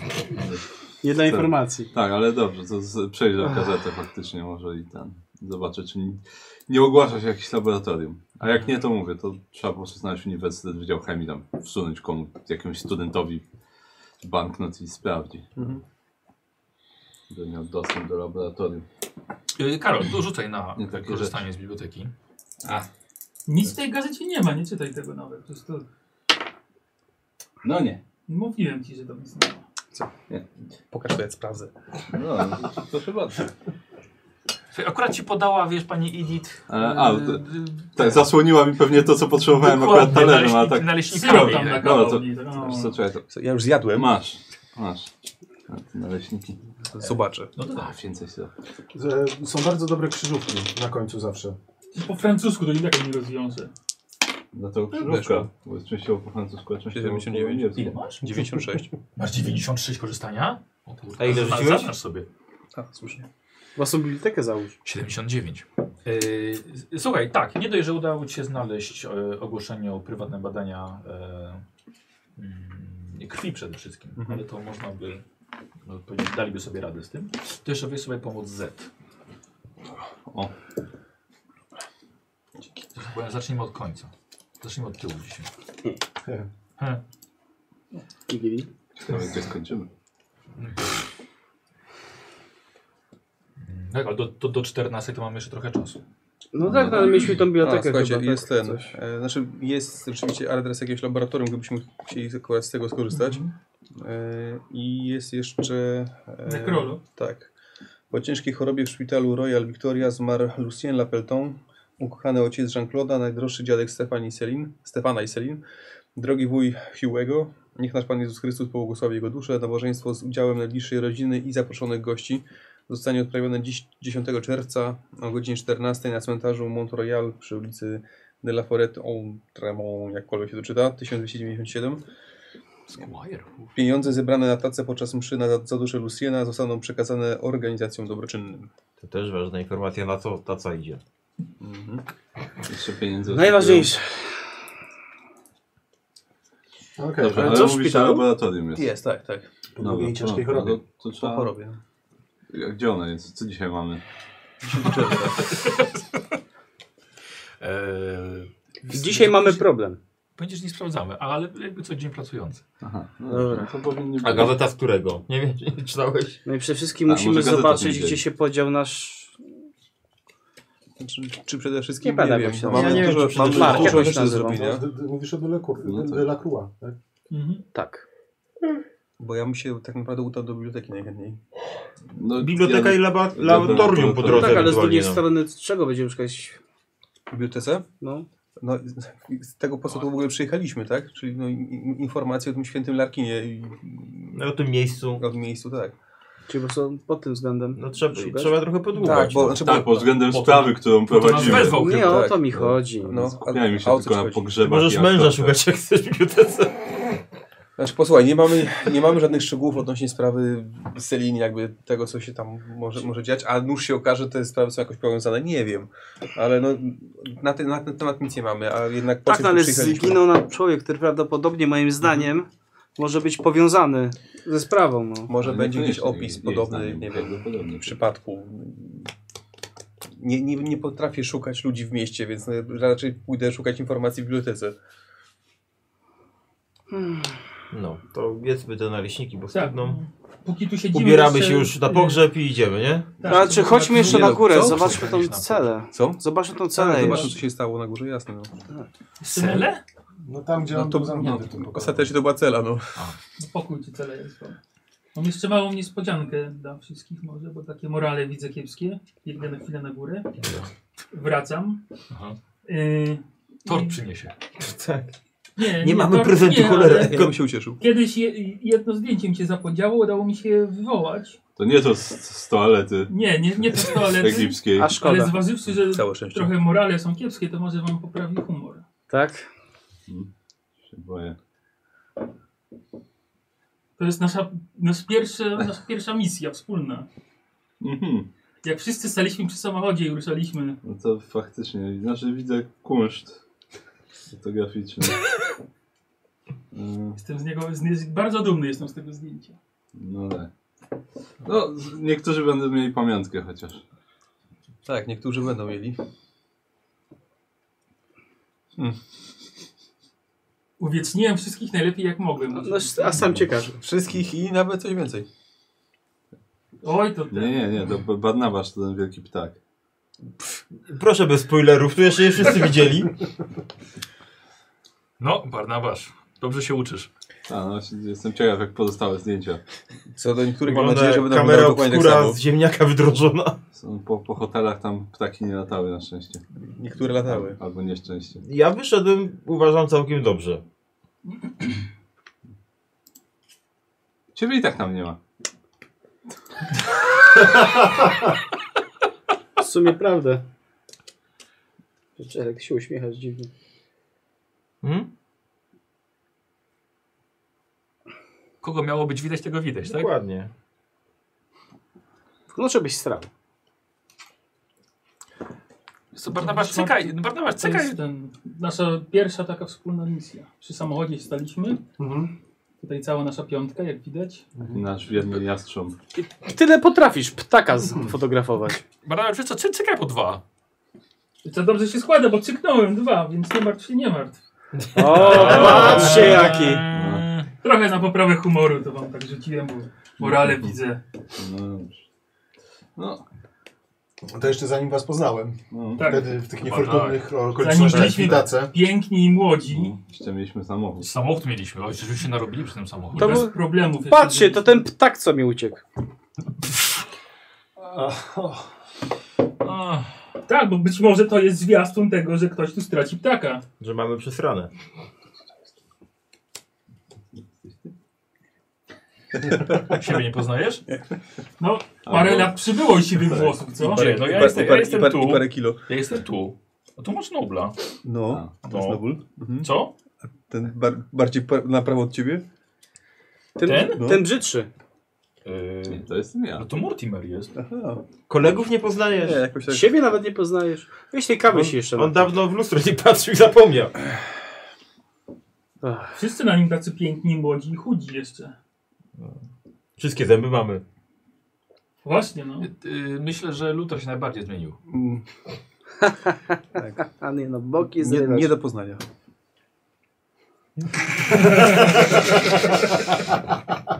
Jedna
Tak.
informacji.
Tak, ale dobrze, to z, przejrzę gazetę faktycznie może i ten. Zobaczę, czy nie, nie ogłasza się jakieś laboratorium. A jak nie, to mówię, to trzeba po prostu znaleźć uniwersytet Wydział Chemii, tam wsunąć komu, jakiemuś studentowi banknot i sprawdzi.
Mhm.
Będę miał dostęp do laboratorium.
Yy, Karol, to rzucaj na
Nie takie
korzystanie z biblioteki.
Nic w tej gazecie nie ma, nie czytaj tego nawet. To jest to...
No nie.
Mówiłem ci, że tam nic nie ma.
Pokaż to, ja sprawdzę.
No, tak. proszę bardzo.
Słuchaj, Akurat ci podała, wiesz, pani Edith.
E, a,
yy,
d-
yy,
Tak, zasłoniła mi pewnie to, co potrzebowałem akurat
dokładnie,
talerzem, a
naleśniki-
tak...
Syrop
Naleśnikami.
tam na
tak.
Dobra, to-
kawał. nie, tak, no.
Wiesz co, czekaj, to...
Ja już zjadłem,
Masz, masz. A, te Naleśniki.
zobaczę.
No to
A,
tak.
więcej syropu.
Że Są bardzo dobre krzyżówki na końcu zawsze.
No. Po francusku to i tak nie rozwiąże.
No to
weszło.
krzyżówka, bo jest częściowo po francusku, a częściowo
79.
po angielsku.
Ile?
Masz?
96.
Masz 96 korzystania? O kurde.
A ile
Zna-
rzuciłeś?
Zaznacz sobie.
A, słusznie.
Własną bibliotekę załóż.
79. Yy, słuchaj, tak, nie dość, że udało Ci się znaleźć e, ogłoszenie o prywatne badania e, mm, krwi przede wszystkim,
Mhm.
ale to można by, no, powiedzieć, daliby sobie radę z tym. To jeszcze weź sobie pomoc Z.
O.
Bo Zacznijmy od końca. Zacznijmy od tyłu dzisiaj.
Hmm.
He.
He.
Kigili.
Ciekawe, gdzie skończymy.
Tak, ale do, do, do 14 to mamy jeszcze trochę czasu.
No tak, ale mieliśmy tą
A,
bibliotekę
słuchajcie,
chyba,
jest
tak,
ten. E, znaczy, jest rzeczywiście adres jakiegoś laboratorium, gdybyśmy chcieli akurat z tego skorzystać.
Mhm.
E, I jest jeszcze. e,
Nekrolog.
Tak. Po ciężkiej chorobie w szpitalu Royal Victoria zmarł Lucien Lapelton, ukochany ojciec Jean-Claude'a, najdroższy dziadek Stefani Selin, Stefana i Selin, drogi wuj Hughego. Niech nasz Pan Jezus Chrystus pobłogosławi jego duszę. Nabożeństwo z udziałem najbliższej rodziny i zaproszonych gości zostanie odprawione dziś 10 czerwca o godzinie 14 na cmentarzu Mont Royal przy ulicy de la Forêt en Tremont, jakkolwiek się to czyta, 1297.
Squire.
Pieniądze zebrane na tacę podczas mszy na za duszę Luciana zostaną przekazane organizacjom dobroczynnym.
To też ważna informacja, na co ta co idzie.
Mhm.
Jeszcze pieniędzy.
Najważniejsze.
Okej,
oczekują. Dobrze,
Ale
ale
co w
mówisz, że
szpitalu?
laboratorium jest.
Jest, tak, tak.
po drugiej
Dobra,
ciężkiej
no,
chorobie.
To, to
Po
trzeba...
chorobie.
A Gdzie ona jest? Co dzisiaj mamy?
Dzisiaj mamy problem.
Będziesz nie sprawdzamy, ale jakby co dzień pracujący.
Aha, no
Dobra.
dobrze, To powinni
A
być.
gazeta z którego? Nie wiem, czy nie czytałeś.
No i przede wszystkim
A,
musimy
może gazeta
zobaczyć,
pójdzie.
gdzie się podział nasz...
Czy, Znaczy, czy przede wszystkim,
Nie będę
wiem,
myślał.
mamy
Ja nie wiem,
dużo,
czy
mamy
przede wszystkim.
dużo
Jakoś
rzeczy do
nazywa.
zrobienia,
No, D- d- Mówisz o Delacroix,
No tak.
Delacroix, tak?
Mhm.
Tak.
bo ja bym się tak naprawdę udał do biblioteki najchętniej.
No,
Biblioteka
ja-
i laba- laboratorium po
No
drodze.
tak, ale z drugiej
ewentualnie, no.
strony z czego będziemy szukać?
W bibliotece?
No.
No, i z tego po co tu w ogóle przyjechaliśmy, tak? Czyli no, i- i- informacje o tym świętym Larkinie i
No, o tym miejscu.
o tym miejscu, tak.
Czyli po prostu pod tym względem.
No trzeba,
Szukać?
trzeba trochę podłubać.
Tak, bo,
no.
znaczy,
Tak,
bo,
pod względem
Bo to-
sprawy, którą
to nas
prowadzimy.
wezwał.
Nie
chyba,
o
tak.
to mi chodzi. Tak,
no,
Skupiajmy
a
się
o co
tylko
ci
na
chodzi?
Ty
pogrzebach. i
Możesz męża
aktorstwie.
szukać, jak chcesz w bibliotece.
Znaczy, posłuchaj, nie mamy, nie mamy żadnych szczegółów odnośnie sprawy Selin, jakby tego, co się tam może, może dziać, a nóż się okaże, te sprawy są jakoś powiązane, nie wiem. Ale no, na, ten, na ten temat nic nie mamy, a jednak po
Tak,
co
no,
tu
ale
przyjechaliśmy?
zginął nam człowiek, który prawdopodobnie moim zdaniem może być powiązany ze sprawą. No.
Może
Ale
będzie gdzieś
niekoniecznie,
opis
nie-
podobny,
jest
nie
tam,
wiem,
Podobnie.
w przypadku. Nie, nie, nie potrafię szukać ludzi w mieście, więc no, raczej pójdę szukać informacji w bibliotece.
No, to jedzmy te naleśniki, bo
Tak.
stygną.
Póki tu siedzimy...
Ubieramy
jeszcze-
się już na pogrzeb i idziemy, nie?
Tak,
A czy chodźmy jeszcze
Nie
na
no,
górę,
co?
zobaczmy tą
Czekaj, na-
celę.
Co?
Zobaczmy tą
Tak,
celę
zobaczmy,
jeszcze.
co się stało na górze, jasne. No.
Cele?
No tam, gdzie
No
on
to,
był
no,
zamknięty. No,
ostatecznie to była cela, no.
No Pokój czy cele jest. bo- Mam jeszcze małą niespodziankę dla wszystkich może, bo takie morale widzę kiepskie. Biegnę na chwilę na górę. Wracam.
Aha.
Yy,
Tort
i-
przyniesie.
Tak.
nie,
Nie mamy
tort
prezentu,
nie,
cholera.
ale
Ja bym się ucieszył.
Kiedyś je, jedno zdjęcie mi się zapodziało, udało mi się je wywołać.
To nie to z, z toalety
Nie, nie, nie to z toalety,
egipskiej.
A
ale
szkoda.
zważywszy, że
Całe szczęście.
trochę morale są kiepskie, to może wam poprawi humor.
Tak?
Się boję.
To jest nasza, nasz pierwszy, nasza pierwsza misja wspólna.
Mhm.
Jak wszyscy staliśmy przy samochodzie i ruszaliśmy.
No to faktycznie, znaczy widzę kunszt fotograficzny. Mm,
Jestem z niego z, z, bardzo dumny jestem z tego zdjęcia.
No tak. No, z- niektórzy będą mieli pamiątkę chociaż.
Tak, niektórzy będą mieli.
Uwieczniłem wszystkich najlepiej jak mogłem.
No, a sam ciekawy.
Wszystkich i nawet coś więcej.
Oj, to
Nie, nie, nie, to B- Barnabasz to ten wielki ptak.
Proszę bez spoilerów, tu jeszcze nie wszyscy widzieli.
No, Barnabasz, dobrze się uczysz.
A, no właśnie jestem ciekaw jak pozostałe zdjęcia.
Co do niektórych mam
Wygląda
nadzieję, że będą
kamera
wyglądały dokładnie tak
obskura
samo.
z ziemniaka wydrożona.
Są po, po hotelach tam ptaki nie latały na szczęście.
Niektóre latały.
Albo nieszczęście.
Ja wyszedłem, uważam, całkiem dobrze.
Ciebie i tak tam nie ma.
W sumie prawda. Czekaj, się uśmiechasz dziwnie.
Hmm?
Kogo miało być widać, tego widać, tak?
Dokładnie.
Wkrótce byś strał.
Co, Barnabasz, cykaj, Barnabasz,
To
cykaj.
jest ten, nasza pierwsza taka wspólna misja. Przy samochodzie staliśmy.
Mhm.
Tutaj cała nasza piątka, jak widać.
Nasz wierny jastrząb.
Tyle potrafisz ptaka fotografować.
Barnabasz, wiesz co, cy, cykaj po dwa.
To dobrze się składa, bo cyknąłem dwa, więc nie martw się, nie martw.
O,
Eee.
no. patrzcie jaki.
Mm,
Trochę na poprawę humoru to wam tak rzuciłem, bo morale widzę.
No dobrze. No,
To jeszcze zanim was poznałem.
no.
Tak.
Wtedy w tych
Chyba tak.
niefortunnych
Zanim
okolicznościach
byliśmy-
witace.
Piękni i młodzi.
no. Jeszcze mieliśmy samochód.
Samochód mieliśmy, oj, żeśmy się narobili przy tym samochodzie.
To
To bez
był-
problemów. jeszcze
Patrzcie, to
byliśmy.
ten ptak, co mi uciekł.
Ach,
Tak, bo być może to jest zwiastun tego, że ktoś tu straci ptaka.
Że mamy przesrane.
siebie nie poznajesz?
No, parę
Albo-
lat przybyło siwych włosów, co?
Tak.
Gdzie? No ja jestem,
i
ja
parę,
jestem
i parę,
tu.
I parę kilo.
Ja jestem tu. A tu masz Nobla.
No,
A.
to jest Nobul. Mhm.
Co?
Ten bar, bardziej par, na prawo od ciebie?
Ten,
Ten?
No.
ten brzydszy.
Nie,
Yy,
to jestem
no
ja.
to Mortimer jest.
Aha.
Kolegów nie
Nie,
poznajesz.
jakoś tak.
Siebie nawet nie poznajesz. Weź tej kawy się jeszcze.
On dawno w lustro nie patrzył i zapomniał.
Ach,
Wszyscy na nim tacy piękni, młodzi i chudzi jeszcze.
Wszystkie zęby mamy.
Właśnie, no.
Yy, yy, myślę, że Luther się najbardziej zmienił.
Mm,
A nie no, boki
Nie,
zrywasz.
nie do poznania.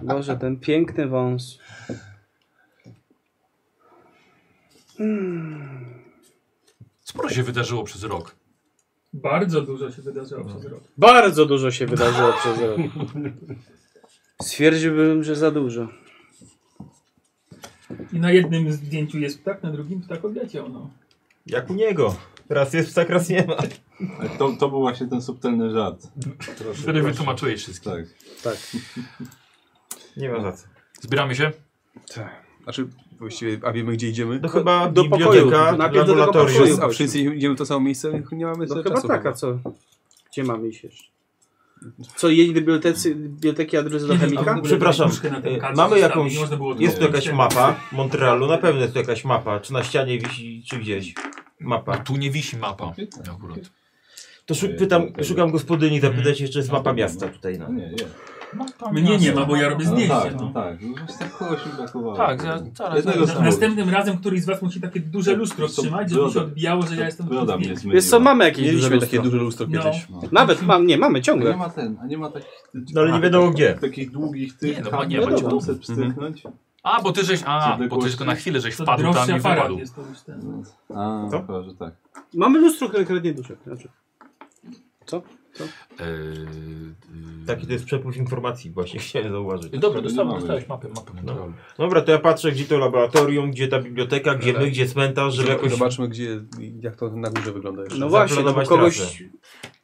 Boże, ten piękny wąs.
Sporo się wydarzyło przez rok.
Bardzo dużo się wydarzyło
No.
przez rok.
Bardzo dużo się wydarzyło przez rok. Stwierdziłbym, że za dużo.
I na jednym zdjęciu jest ptak, na drugim ptak odleciał, no.
Jak u niego. Raz jest ptak, raz nie ma.
Ale To, to był właśnie ten subtelny żart.
Wtedy wytłumaczyłeś wszystkim.
Tak.
Nie ma za co.
Zbieramy się?
Tak. Znaczy, właściwie, a wiemy gdzie idziemy?
To chyba
do
do
pokoju.
biblioteka,
Najpierw do tego
A
laboratorium.
pokoju.
wszyscy, a wszyscy idziemy w to samo miejsce? Nie mamy
No
tyle
chyba
czasu.
tak, a co? Gdzie mamy iść jeszcze? Co, jedni do biblioteki, biblioteki, a drudzy do
Nie wiem,
chemika?
a-
Przepraszam,
Puszkę na ten
e,
kac
mamy
zostawić,
jakąś,
nie można było
jest tu
odłożyć.
jakaś mapa Montrealu, na pewno jest tu jakaś mapa, czy na ścianie wisi, czy gdzieś.
A
Mapa.
tu nie wisi mapa. Akurat.
Y, Mhm.
To szu pytam, szukam gospodyni, zapytać się, czy jest mapa miasta tutaj. No.
No nie, nie.
No, tam
Mnie nie
miasto.
ma, bo ja robię
No
zdjęcie.
tak,
no.
no tak. No właśnie tak kogoś mi brakowało.
Tak, za- zaraz.
Jednego
zaraz.
samochodu.
Następnym razem któryś z was musi takie duże lustro
Tak, To
trzymać, żeby
broda-
się odbijało, że ja jestem
Broda mnie
zdjęcie.
zmyliła.
Wiesz co, mamy jakieś duże
Mieliśmy takie
lustro.
duże lustro
No.
kiedyś.
No.
Nawet mam, nie, mamy
A nie
ciągle.
ma ten, a nie ma takich...
No ale nie
a,
wiadomo
tak-
gdzie.
Takich długich tych
Nie, no,
kabli,
nie ma
tam
ciągu.
sobie pstryknąć.
A, bo ty żeś. A, bo ty tylko na chwilę żeś
To
wpadł tam
droższy
i
aparat
wypadł.
jest to już ten.
Mhm. A,
Co?
chyba, że tak.
Mamy lustro, które kradnie duszę. Znaczy,
Yy, yy.
Taki to jest przepływ informacji, właśnie chciałem zauważyć.
Dobra, dostałem,
mamy.
dostałeś mapę, mapę no.
Dobra, to ja patrzę, gdzie to laboratorium, gdzie ta biblioteka, gdzie my, gdzie cmentarz, żeby jakoś...
Zobaczmy, gdzie, jak to na górze wygląda jeszcze.
no właśnie, no, bo
zaplanować
kogoś
trasę.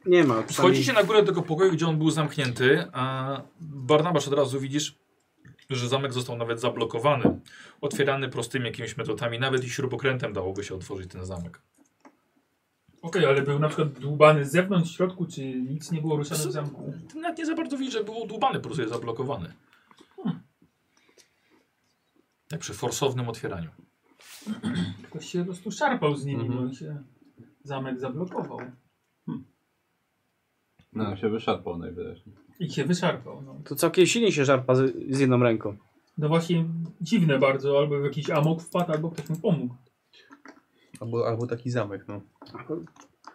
nie ma. przynajmniej-
Wchodzicie na górę tego pokoju, gdzie on był zamknięty, a Barnabasz od razu widzisz, że zamek został nawet zablokowany. Otwierany prostymi jakimiś metodami, nawet i śrubokrętem dałoby się otworzyć ten zamek.
Okej, ale był na przykład dłubany z zewnątrz, w środku, czy nic nie było ruszane w zamku?
Ty Nawet nie za bardzo widzisz, że był dłubany, po prostu jest zablokowany.
Hmm.
Jak Tak przy forsownym otwieraniu.
Ktoś się po prostu szarpał z nimi,
Mhm.
no i się zamek zablokował.
No, się wyszarpał najwyraźniej.
I się wyszarpał. No,
To całkiem silnie się żarpa z, z jedną ręką.
no właśnie dziwne bardzo, albo w jakiś amok wpadł, albo ktoś mu pomógł.
Albo, albo taki zamek, no.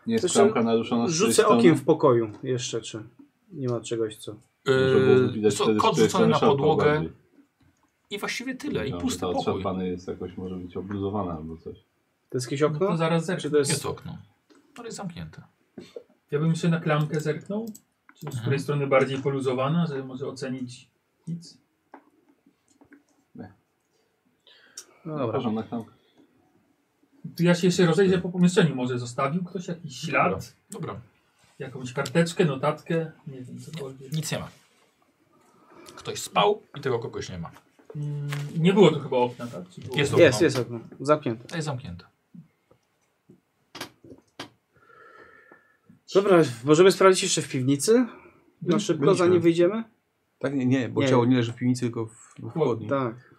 Nie jest
Zresztą
klamka naruszona No, z tej
Rzucę
strony?
okiem w pokoju jeszcze, czy nie ma czegoś, co...
Może było
Yy,
widać
co,
wtedy,
kot
że
rzucony
jest
na
szarpał
podłogę
bardziej.
i właściwie tyle, i
No,
pusty
ta
pokój.
otrzepany jest jakoś, może być obluzowana albo coś.
To jest jakieś
No to
okno?
zaraz
Czy
zerknę.
to jest...
Jest okno. To jest zamknięte.
Ja bym się na klamkę zerknął. Czy z
Mhm.
której strony bardziej poluzowana, żeby może ocenić nic?
No dobra.
Proszę, na klamkę.
To ja się jeszcze rozejrzę po pomieszczeniu. Może zostawił ktoś jakiś ślad,
Dobra,
jakąś karteczkę, notatkę, nie wiem, cokolwiek.
nic nie ma. Ktoś spał i tego kogoś nie ma.
Mm, nie było to chyba okna, tak? Czy było?
Jest okno.
Jest, jest okno. Zamknięte.
To jest zamknięte.
Dobra, możemy sprawdzić jeszcze w piwnicy? Na szybko,
byliśmy.
zanim wyjdziemy?
Tak, nie, nie bo
Nie.
ciało nie leży w piwnicy, tylko w, w chłodni.
Tak.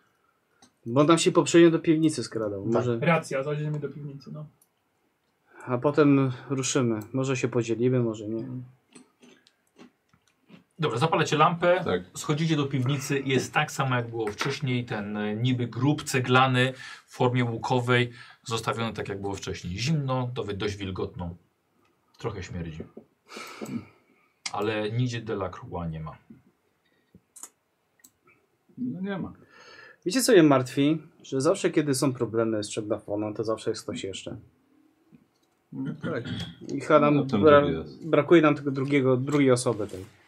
Bo nam się poprzednio do piwnicy skradał.
Tak.
Może...
Racja, zajdziemy do piwnicy, no.
A potem ruszymy. Może się podzielimy, może nie.
Dobra, zapalacie lampę,
Tak.
schodzicie do piwnicy, jest tak samo jak było wcześniej, ten e, niby grób ceglany w formie łukowej, zostawiony tak jak było wcześniej. Zimno, dowy- dość wilgotną, trochę śmierdzi. Ale nigdzie Delacroix nie ma.
No nie ma.
Wiecie co mnie martwi? Że zawsze kiedy są problemy z Czegdafonem, to zawsze jest ktoś jeszcze.
Tak.
I chyba nam
No, tam
bra
drugi raz.
brakuje nam tego drugiego, drugiej osoby tej.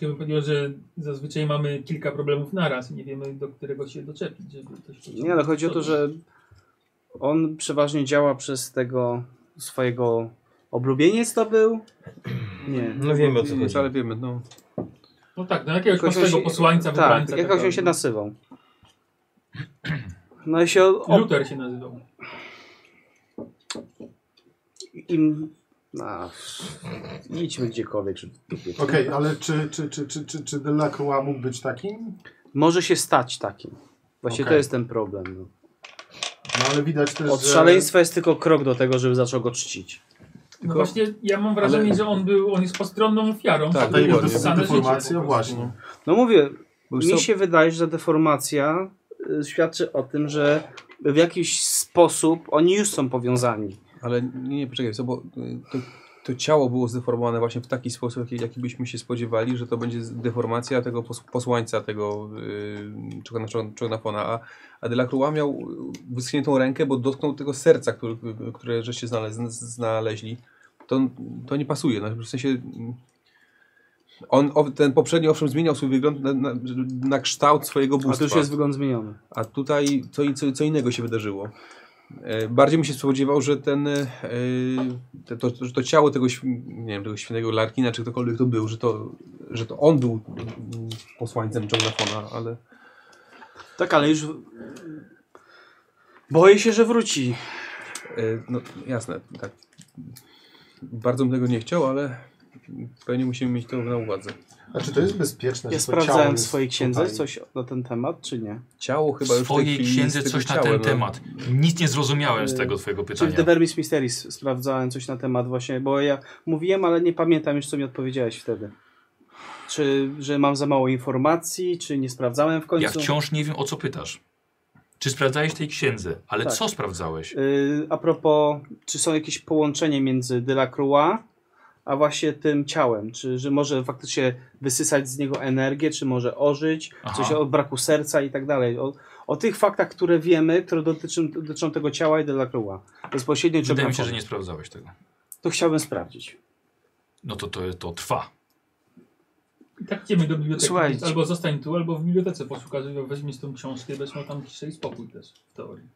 Ja bym powiedział, że zazwyczaj mamy kilka problemów naraz i nie wiemy, do którego się doczepić, żeby ktoś pociągnął.
Nie, ale chodzi o to, że on przeważnie działa przez tego swojego oblubieniec to był? Nie.
No wiemy o co
Mm,
Więc,
chodzi.
ale wiemy, no.
No tak, do jakiegoś
Jakoś on
prostego
się-
posłańca,
Tak,
wybrańca.
jakoś on
tego-
się nasywał. No i się o, o,
Luther się nazywał.
im... A, idźmy gdziekolwiek, żeby w dupie.
Okej, ale czy, czy, czy, czy, czy, czy Delacroix mógł być takim?
Może się stać takim. Właśnie
Okej.
to jest ten problem. No.
No ale widać też,
Od
że...
szaleństwa jest tylko krok do tego, żeby zaczął go czcić.
No właśnie, ja mam wrażenie, że on był, on jest postronną ofiarą.
Tak,
To
Ta jego
było
dokładnie.
wyssane życie po
deformacja,
prostu.
właśnie.
No mówię,
Bo
mi się wydaje, że deformacja y, świadczy o tym, że w jakiś sposób oni już są powiązani.
Ale nie, nie poczekaj, co, bo y, to, to ciało było zdeformowane właśnie w taki sposób, jaki, jaki byśmy się spodziewali, że to będzie z- deformacja tego pos, posłańca, tego y, czogna- czog- czognafona, a, a Delacroix miał y, wyschniętą rękę, bo dotknął tego serca, który, które żeście znale, zn- znaleźli. To, to nie pasuje, no, w sensie... mm, On, o, ten poprzedni owszem zmieniał swój wygląd na, na, na kształt swojego
A tu
bóstwa.
już jest wygląd zmieniony.
A tutaj co, i- co, co innego się wydarzyło. E, Bardziej mi się spodziewał, że ten, e, te, to, że to ciało tego, św- nie wiem, tego świętego Larkina, czy ktokolwiek to był, że to, że to on był mm, posłańcem Johnafona, ale
Tak, ale już... Boję się, że wróci.
e, no jasne, tak. Bardzo bym tego nie chciał, ale pewnie musimy mieć to na uwadze.
no.
A czy to jest bezpieczne,
Ja
że to ciało
sprawdzałem w
jest
swojej księdze
tutaj?
coś na ten temat, czy nie?
Ciało
W
chyba już w tej
swojej
chwili
księdze
jest tylko
coś na ten
ciałem, no.
temat. Nic nie zrozumiałem z
Yy,
tego twojego
Czy w
pytania.
The Vermis Mysteries sprawdzałem coś na temat właśnie, bo ja mówiłem, ale nie pamiętam już, co mi odpowiedziałeś wtedy. Czy że mam za mało informacji, czy nie sprawdzałem w końcu?
Ja wciąż nie wiem, o co pytasz. Czy sprawdzałeś tej księdze? Ale
Tak.
co sprawdzałeś?
Y, a propos, czy są jakieś połączenie między Delacroix a właśnie tym ciałem? Czy że może faktycznie wysysać z niego energię, czy może ożyć,
Aha.
coś o braku serca i tak dalej? O, o tych faktach, które wiemy, które dotyczą, dotyczą tego ciała i Delacroix. Bezpośrednio czy
Wydaje mi się, że
obrazowo.
nie sprawdzałeś tego.
To chciałbym sprawdzić.
No to to, to trwa.
I tak idziemy do biblioteki.
Słuchajcie.
Albo zostań tu, albo w bibliotece posłuchaj, weźmiesz tą książkę i wezmą tam ciszę i spokój też, w teorii.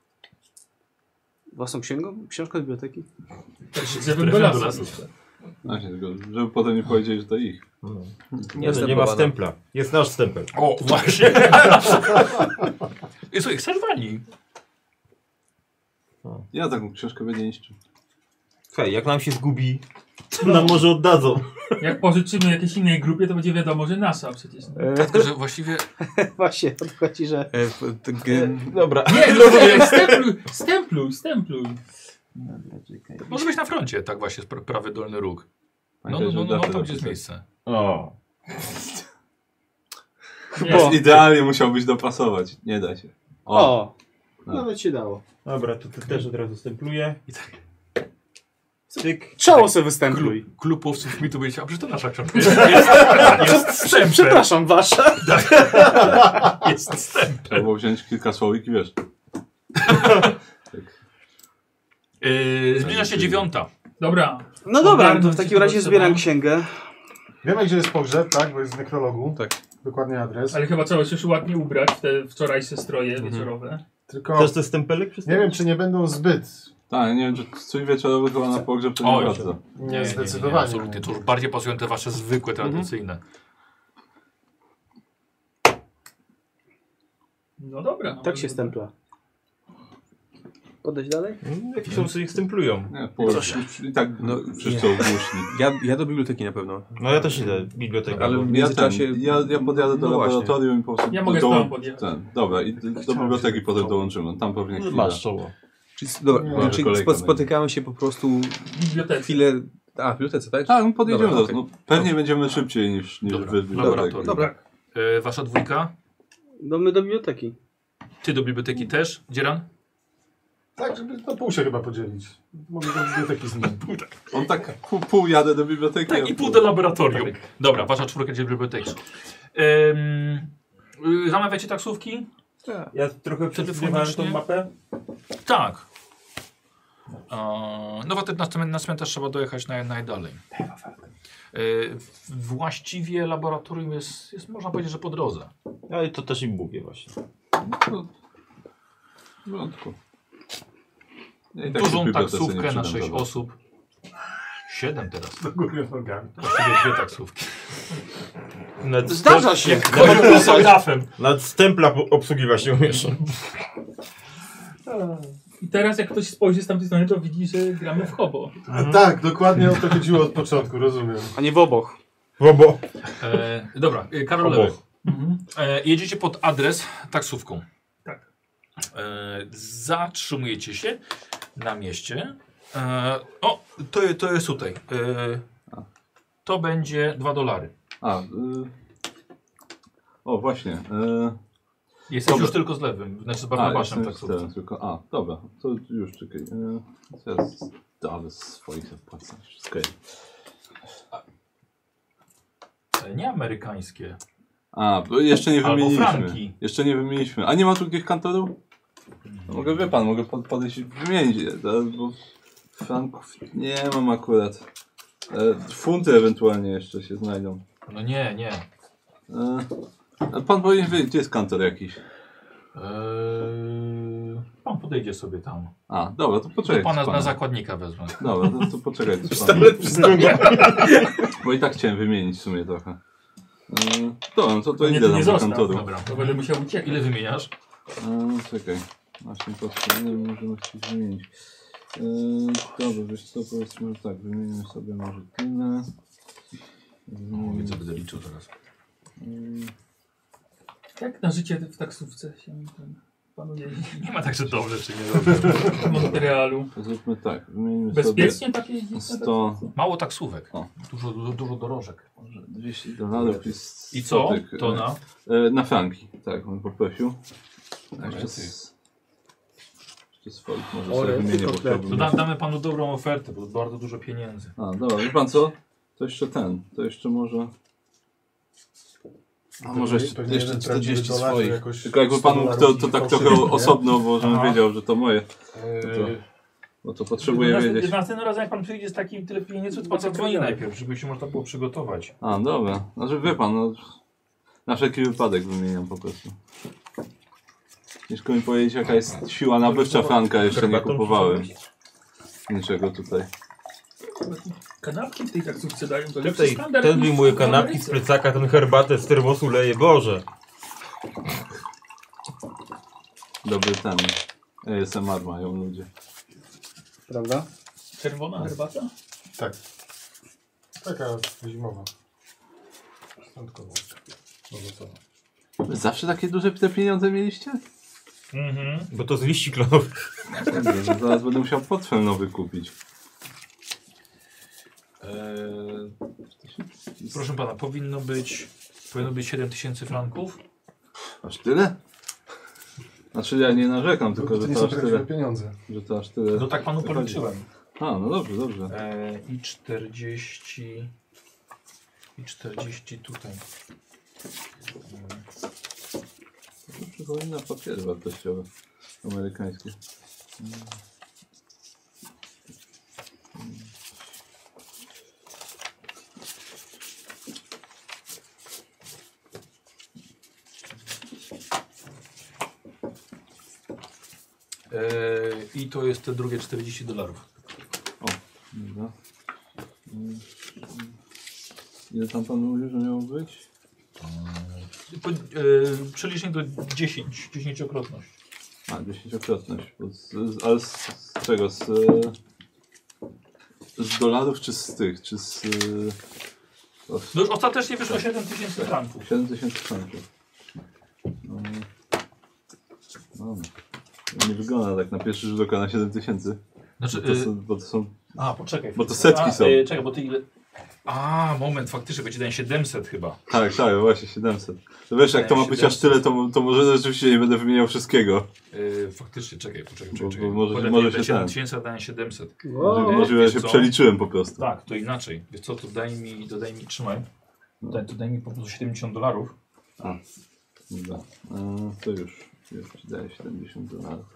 Własną księgą? Książkę biblioteki?
Tak, żeby
Trafiam do
do lasu.
lasu.
jeszcze.
Właśnie, No tylko żeby potem nie powiedzieli, że to ich.
No.
Nie
Nie,
jest
no, nie ma
tempowana.
stempla. Jest nasz stempel.
O, właśnie. I Słuchaj, chcesz wani?
Ja taką książkę będę niszczył.
Okej, jak nam się zgubi, to nam może oddadzą.
Jak pożyczymy jakiejś innej grupie, to będzie wiadomo, że nasza przecież. nie?
Tylko, że właściwie
Właśnie, o to chodzi, że
E, w- t- g-
Dobra.
Nie, rozumiem. Stempluj, stempluj, stempluj.
może być na froncie, tak właśnie, spra- prawy dolny róg. No,
Pamiętaj,
no, no,
żeby
no, no
datę
tam gdzie jest
napisać.
miejsce.
O.
Jest.
Idealnie musiałbyś dopasować. Nie da się. O,
O!
No.
No, Nawet się dało.
Dobra, to ty też od razu stempluję.
I tak.
Styk.
Czoło se występuj.
Klub, klub łowców mi tu będzie, a przecież to nasza książka jest, jest, jest wstępem.
Przepraszam, wasza.
Jest wstępem.
Albo wziąć kilka słowik i wiesz.
Yy, zbliża się dziewiąta.
Dobra,
No dobra, to
Ogarnąć
w takim
się
razie
potrzeba.
zbieram księgę.
Wiemy, gdzie jest pogrzeb, tak? Bo jest w nekrologu.
Tak.
Dokładnie adres.
ale chyba trzeba się już ładnie ubrać w te wczorajsze stroje wieczorowe.
Tylko
Też te stempelek
No. nie
przystawić?
wiem, czy nie będą zbyt
Tak, nie wiem, czy coś wieczorowy chyba na pogrzeb to
O,
nie
już.
bardzo.
Nie, nie, nie, nie, Mhm.
niezdecydowanie.
absolutnie. To już bardziej pasują te wasze zwykłe, tradycyjne.
No dobra.
Tak się stempla. Podejść dalej?
Mm, Jakieś osoby ich stemplują.
Nie, pół, I tak
No,
no, wszyscy ogłuszli.
ja, ja do biblioteki na pewno.
No ja też idę w bibliotekę.
Ale
bo-
w
Ja, ten,
międzyczasie-
ja, ja podjadę do
No właśnie.
laboratorium i po prostu
Ja
do-
mogę z
do,
tobą podjechać.
ten, Dobra, i do, do biblioteki potem dołączymy. Tam pewnie chwilę.
Masz czoło.
Czyli, s- dobra,
Nie,
czyli
kolejka
spo,
będzie.
spotykamy się po prostu
W bibliotece.
chwilę... A, w bibliotece, tak?
Tak, no podjedziemy
Dobra,
do no, Pewnie będziemy szybciej niż, niż
Dobra,
wy w biblioteki.
laboratorium.
Dobra.
Yy, wasza dwójka.
No my do biblioteki.
Ty do biblioteki też, Dzieran?
Tak, żeby to pół się chyba podzielić. Mogę do biblioteki z nim.
On tak pół, pół jadę do biblioteki.
Tak,
a
i pół do laboratorium. Dobra, wasza czwórka idzie do biblioteki. Ym, yy, zamawiacie taksówki?
Ja trochę przesuwałem tą mapę.
Tak. Eee, No bo ten na, cmen- na cmentarz trzeba dojechać naj, najdalej. Eee, w- właściwie laboratorium jest, jest, można powiedzieć, że po drodze.
Ale to też im mówię właśnie.
No, W porządku. Ja i tak w
Dużą
bibliotece nie
taksówkę na
przydam
6
za bardzo.
osób. 7 teraz.
Do góry nogami.
Właściwie dwie taksówki.
Nad,
Zdarza się!
Dafem.
nad stempla po- obsługiwać nie umiesz.
I teraz jak ktoś spojrzy z tamtej strony, to widzi, że gramy w hobo.
Mhm.
A tak, dokładnie o to chodziło od początku, rozumiem.
A nie w oboch.
Bobo.
Eee, dobra, e, Karol
Obok.
Lewek. E, jedziecie pod adres taksówką.
Mhm. Tak.
E, zatrzymujecie się na mieście. E, o, to, je- to jest tutaj. E, to będzie 2 dolary.
A, y... O, właśnie. Y...
Jest już tylko z lewym, znaczy z Barnabaszem
jestem
tak sobie.
teraz tylko. A, dobra, to już czekaj. Yy, teraz dawę swoich zapłacę. Wszystko jest.
E, Nie amerykańskie.
A, bo jeszcze nie
Albo
wymieniliśmy.
franki.
Jeszcze nie wymieniliśmy. A nie ma tu gdzieś kantorów? Mogę, wie pan, mogę pod, podejść i wymienić, je, da- bo franków nie mam akurat. E, funty ewentualnie jeszcze się znajdą.
No nie, nie.
E, a pan powinien wiedzieć, gdzie jest kantor jakiś.
Eee, E, pan podejdzie sobie tam.
A, dobra, to
To
poczekaj.
pana
z
na
panem.
zakładnika wezmę.
Dobra, to, to poczekaj. z panem.
Pistolet przystawiam.
Bo i tak chciałem wymienić w sumie trochę. Yy, dobra, no to, to
nie,
idę
nie
tam do
zostaw.
kantoru.
Dobra.
To będę musiał uciekać.
Ile wymieniasz?
Yy, czekaj. Właśnie potrzebujemy, możemy chcieć wymienić. Yy, dobra, wiesz co, powiedzmy, że tak, wymienimy sobie może tyle.
No,
Yy,
widzę, będę liczył teraz.
yy,
Jak na życie w taksówce się ten panuje
Nie ma tak, że dobrze czy nie dobrze.
w Montrealu? tak
to zróbmy tak, wymienimy sobie
Bezpiecznie takie jeździć? na
100,
Mało taksówek.
O.
Dużo, dużo, dużo dorożek.
może 40 dolarów jest
I co?
spotyk,
To
e,
na.
E, na franki, tak, on poprosił. A jeszcze z... Jeszcze z folk może
Orety,
sobie wymienię, bo
kotlety.
To
chciałbym...
da, damy panu dobrą ofertę, bo bardzo dużo pieniędzy.
A, dobra, wie pan co? To jeszcze ten, to jeszcze może... A może jeszcze,
Pewnie
jeszcze
jeden prawdziwy
40
dolarz,
swoich.
jakoś
Tylko jakby
100
panu
dolarów
to,
i
to tak
fałszywych,
trochę
nie?
osobno, bo żebym
Aha.
wiedział, że to moje, E,
Eee,
bo to potrzebuję
następnym-
wiedzieć.
Następnym razem jak pan przyjdzie z takim tyle pieniędzy, No to pan zadzwoni najpierw, żeby się można było przygotować.
A, dobra, znaczy wie pan, no... Na wszelki wypadek wymieniam po prostu. Ciężko mi powiedzieć jaka jest siła nabywcza franka, jeszcze nie
Herbatą czy
kupowałem
czymś?
niczego tutaj.
tak. Kanapki w tej taksówce dają to lepszy
Tutaj
standard.
ten
niż
wyjmuje
w
kanapki
Ameryce.
z plecaka, ten herbatę z termosu leje, Boże.
Dobry ten. ASMR mają ludzie.
prawda?
Czerwona herbata?
Tak. Taka zimowa. Piątkowa. Owocowa.
Wy zawsze takie duże te pieniądze mieliście?
Mhm.
Bo to z liści klonowych.
Kurde, że no, Zaraz będę musiał portfel nowy kupić.
Eee, proszę pana, powinno być, powinno być 7 tysięcy franków.
Aż tyle? Znaczy ja nie narzekam, tylko
to
że
nie
to
są
aż
prawdziwe
tyle.
pieniądze.
Że to aż tyle.
No tak panu
wychodzi.
policzyłem.
A, no dobrze, dobrze.
Eee, I 40. I 40 tutaj.
To Przypomina papiery wartościowe. Amerykańskie.
Eee, I to jest te drugie 40 dolarów.
Dobra. Mm. Ile tam pan mówił, że miało być?
Po- eee, Przeliczenie to 10, 10-krotność.
A, dziesięciokrotność. Bo z, z, ale z, z czego? Z, e, z dolarów czy z tych? Czy z... e, o,
No już ostatecznie wyszło 7 tysięcy franków.
7 tysięcy franków. No, no. No Nie wygląda tak na pierwszy rzut oka na 7 tysięcy.
Znaczy,
To
eee,
są, bo to są...
a poczekaj.
bo to setki
a,
są.
eee, czekaj, bo ty ile. A, moment, faktycznie będzie ten 700 chyba.
Tak, tak, właśnie 700. To wiesz, jak to ma być aż tyle, to, to może rzeczywiście nie będę wymieniał wszystkiego.
Yy, faktycznie, czekaj, poczekaj,
Bo-
czekaj.
bo
czekaj.
może-
Podaję
może
te
się
7
ten.
tysięcy, a dałem 700.
O,
Może ja
wiesz
się
co?
przeliczyłem po prostu.
Tak, to inaczej. Wiesz co, to daj mi, to daj mi, trzymaj. To daj, to daj mi po prostu 70 dolarów.
Dobra, e, to już, już ci daję 70 dolarów.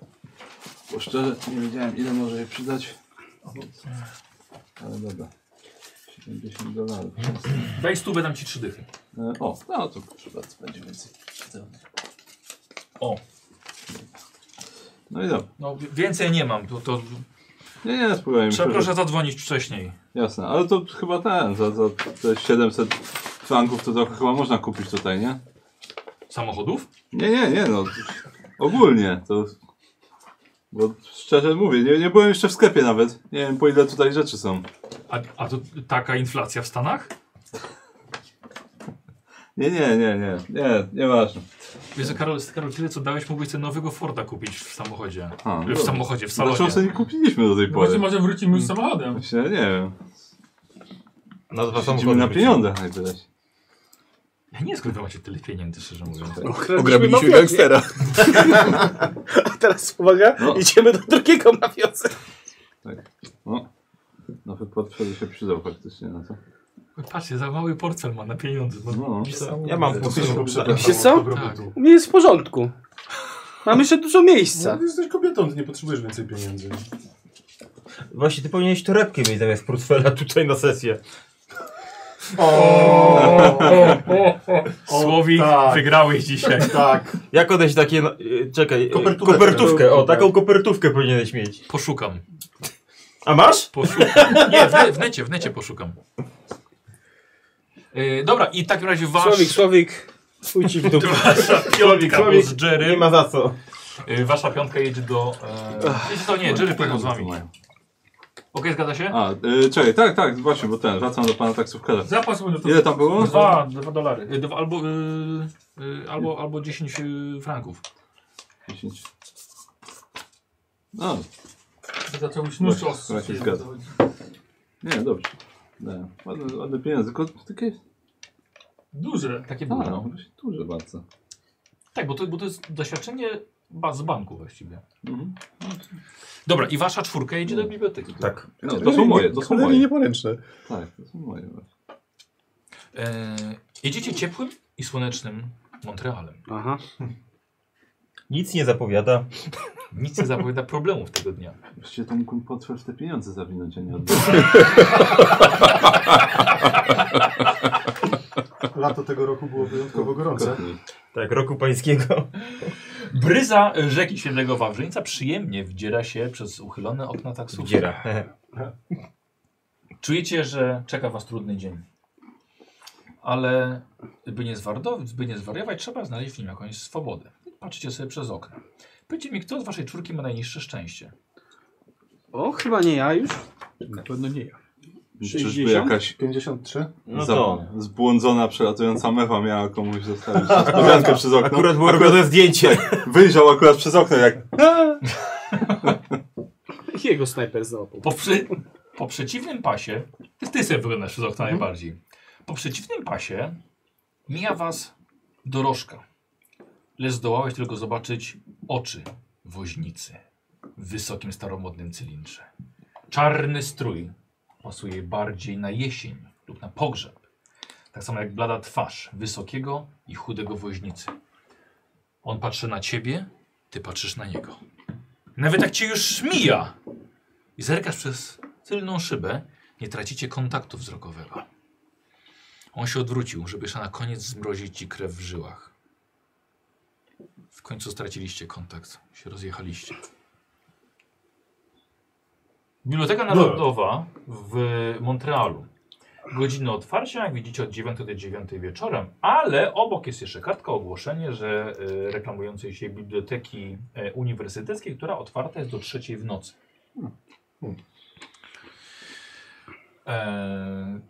Bo szczerze, nie wiedziałem ile może się przydać. Ale dobra. 70 dolarów.
Daj stówę, dam ci trzy dychy.
E, o, no to proszę bardzo, będzie więcej.
O,
No i dobra.
no wi- więcej nie mam, to, to
Nie, nie, spokojnie.
trzeba
myślę, że-
proszę zadzwonić wcześniej.
Jasne, ale to chyba ten, za, za te 700 franków to trochę chyba można kupić tutaj, nie?
Samochodów?
Nie, nie, nie, no. Ogólnie to. Bo szczerze mówię, nie, nie byłem jeszcze w sklepie nawet. Nie wiem po ile tutaj rzeczy są.
A, a to taka inflacja w Stanach?
Nie, nie, nie, nie, nie, nieważne.
Wiesz, co, Karol, Karol, tyle co dałeś, mógłbyś sobie nowego Forda kupić w samochodzie.
A,
w samochodzie, w salonie.
Dlaczego Znaczy, sobie nie kupiliśmy do tej
No
pory?
właśnie może wrócimy już samochodem.
Właśnie, nie wiem.
Na dwa
Siedzimy
samochody.
na
wrócimy.
pieniądzach najpierw.
Ja nie skąd wy macie tyle pieniędzy, szczerze mówiąc.
No.
Ograbiliśmy gangstera.
A teraz uwaga,
No.
idziemy do drugiego mafiosy.
No. Nowy portfel się przydał faktycznie na to.
Patrzcie, za mały portfel ma na pieniądze. No,
No.
Ja mam
To
pół
ty się
samochodu.
poprzedzasz.
Wiecie co?
tak.
U mnie jest w porządku. Mam jeszcze dużo
No,
miejsca.
ty jesteś kobietą, ty nie potrzebujesz więcej pieniędzy.
Właśnie ty powinieneś torebkę mieć zamiast portfela tutaj na sesję.
Słowik,
tak.
wygrałeś dzisiaj.
Tak.
Jak odejść takie... no, y, Czekaj. y,
Kopertówkę.
Kopertówkę. O, taką kopertówkę powinieneś mieć.
Poszukam.
A masz?
Poszukam. Nie, w, ne, w necie, w necie poszukam. Yy, dobra, i w takim razie wasz...
Słowik, Słowik. Chuj ci w dupę.
Wasza piątka, bo
Słowik.
z
Nie
Jerry.
ma za co.
Yy, wasza piątka jedzie do... E, jedzie to nie, Jerry pojechał z wami. Okej, zgadza się?
A, y, czekaj, tak, tak, właśnie, bo ten, wracam do pana taksówkarza.
Zapas może to
Ile tam było?
Dwa, dwa dolary. Yy, dwa, albo, yy, yy, albo, albo 10 yy, franków.
10. No,
zaczął już nóż
Właśnie,
ostrzy.
właśnie zgadza. nie, dobrze. Nie, ładne, ładne pieniądze, tylko takie
Duże.
Takie
duże.
A, no, właśnie duże bardzo.
Tak, bo to, bo to jest doświadczenie ba- z banku właściwie.
Mhm.
Dobra, i wasza czwórka jedzie do biblioteki.
Tak.
No, to są moje, to są
Cholernie
moje.
nieporęczne.
Tak, to są moje właśnie.
E, jedziecie ciepłym i słonecznym Montrealem.
Aha.
Nic nie zapowiada.
Nic nie zapowiada problemów tego dnia.
Właściwie to mógłbym potwór w te pieniądze zawinąć, a nie oddać.
Lato tego roku było wyjątkowo gorące.
Tak, roku pańskiego.
Bryza rzeki Świętego Wawrzyńca przyjemnie wdziera się przez uchylone okna taksówki.
Dziera.
Czujecie, że czeka was trudny dzień. Ale by nie, zwardo- by nie zwariować, trzeba znaleźć w nim jakąś swobodę. Patrzycie sobie przez okno. Powiedzcie mi, kto z waszej czwórki ma najniższe szczęście?
O, chyba nie ja już.
Na pewno nie ja.
Czyżby
60?
jakaś
53?
No
za-
to.
zbłądzona, przelatująca mewa miała komuś zostawić niespodziankę przez okno.
Akurat było robione zdjęcie.
Wyjrzał akurat przez okno, jak
Jego snajper załapał.
Po, przy, po przeciwnym pasie, ty, ty sobie wyglądasz przez okno najbardziej. Po przeciwnym pasie mija was dorożka, lecz zdołałeś tylko zobaczyć oczy woźnicy w wysokim staromodnym cylindrze. Czarny strój pasuje bardziej na jesień lub na pogrzeb. Tak samo jak blada twarz wysokiego i chudego woźnicy. On patrzy na ciebie, ty patrzysz na niego. Nawet jak cię już mija, i zerkasz przez tylną szybę, nie tracicie kontaktu wzrokowego. On się odwrócił, żeby jeszcze na koniec zmrozić ci krew w żyłach. W końcu straciliście kontakt, się rozjechaliście. Biblioteka Narodowa w Montrealu. Godziny otwarcia, jak widzicie, od 9 do 9 wieczorem, ale obok jest jeszcze kartka ogłoszenie, że y, reklamującej się biblioteki y, uniwersyteckiej, która otwarta jest do 3 w nocy. E,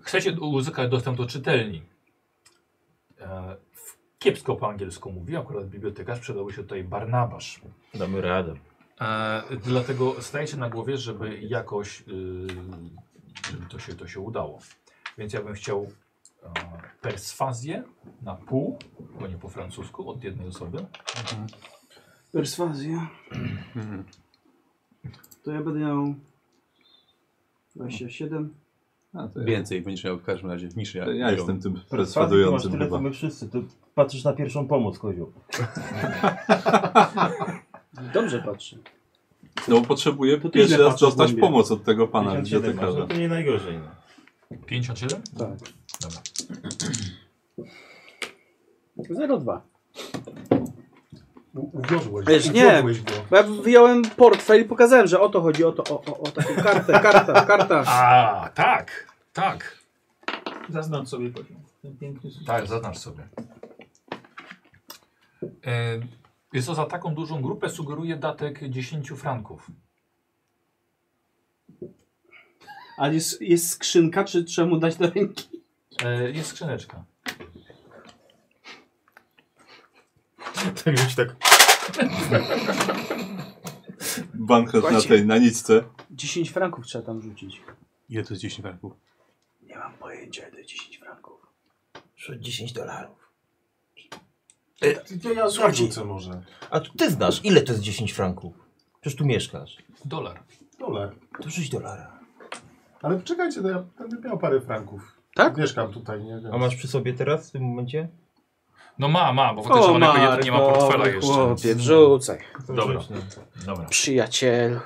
chcecie uzyskać dostęp do czytelni. E, w- kiepsko po angielsku mówi, akurat bibliotekarz przydałby się tutaj Barnabasz.
Damy radę.
E, dlatego stajecie na głowie, żeby jakoś y, żeby to, się, to się udało. Więc ja bym chciał e, perswazję na pół, bo nie po francusku, od jednej osoby.
Perswazja. Mhm. To ja będę miał 27.
A, to ja,
Więcej będziesz miał w każdym razie niż ja.
ja, ja jestem tym
Ty masz
perswadującym
tyle, co
chyba.
my wszyscy. Ty patrzysz na pierwszą pomoc, kozioł.
Dobrze patrzy.
No bo potrzebuję
To ty
pierwszy
źle
raz
patrzysz,
dostać
głębiej.
pomoc od tego pana
57 masz, no
bibliotekarza.
to nie najgorzej. No.
57?
Tak.
Dobra.
02.
U- Uwiodłeś,
Wiesz, nie.
uwiodłeś go.
Bo ja wyjąłem portfel i pokazałem, że o to chodzi, o to, o, o, o taką kartę, karta, karta.
A, tak, tak,
Zaznacz sobie poziom. Ten piękny system.
tak, zaznacz sobie. E, jest to za taką dużą grupę, sugeruje datek 10 franków.
A jest, jest skrzynka, czy trzeba mu dać do ręki?
E, jest skrzyneczka.
Tak już tak.
Banknot na
Słuchajcie.
tej, na nicce.
10 franków trzeba tam rzucić.
Ile to jest 10 franków?
Nie mam pojęcia, ile 10 franków.
10 dolarów.
To ja zrzucę może.
A tu ty znasz, ile to jest 10 franków? Przecież tu mieszkasz.
Dolar.
Dole.
To 6 dolara.
Ale czekajcie, no ja będę miał parę franków.
Tak?
Mieszkam tutaj, nie wiem.
A masz przy sobie teraz w tym momencie?
No ma, ma, bo faktycznie ona jako jeden nie ma portfela jeszcze.
Chłopie, wrzucaj.
To
Dobra.
rzuć, no.
Dobra.
Przyjaciel.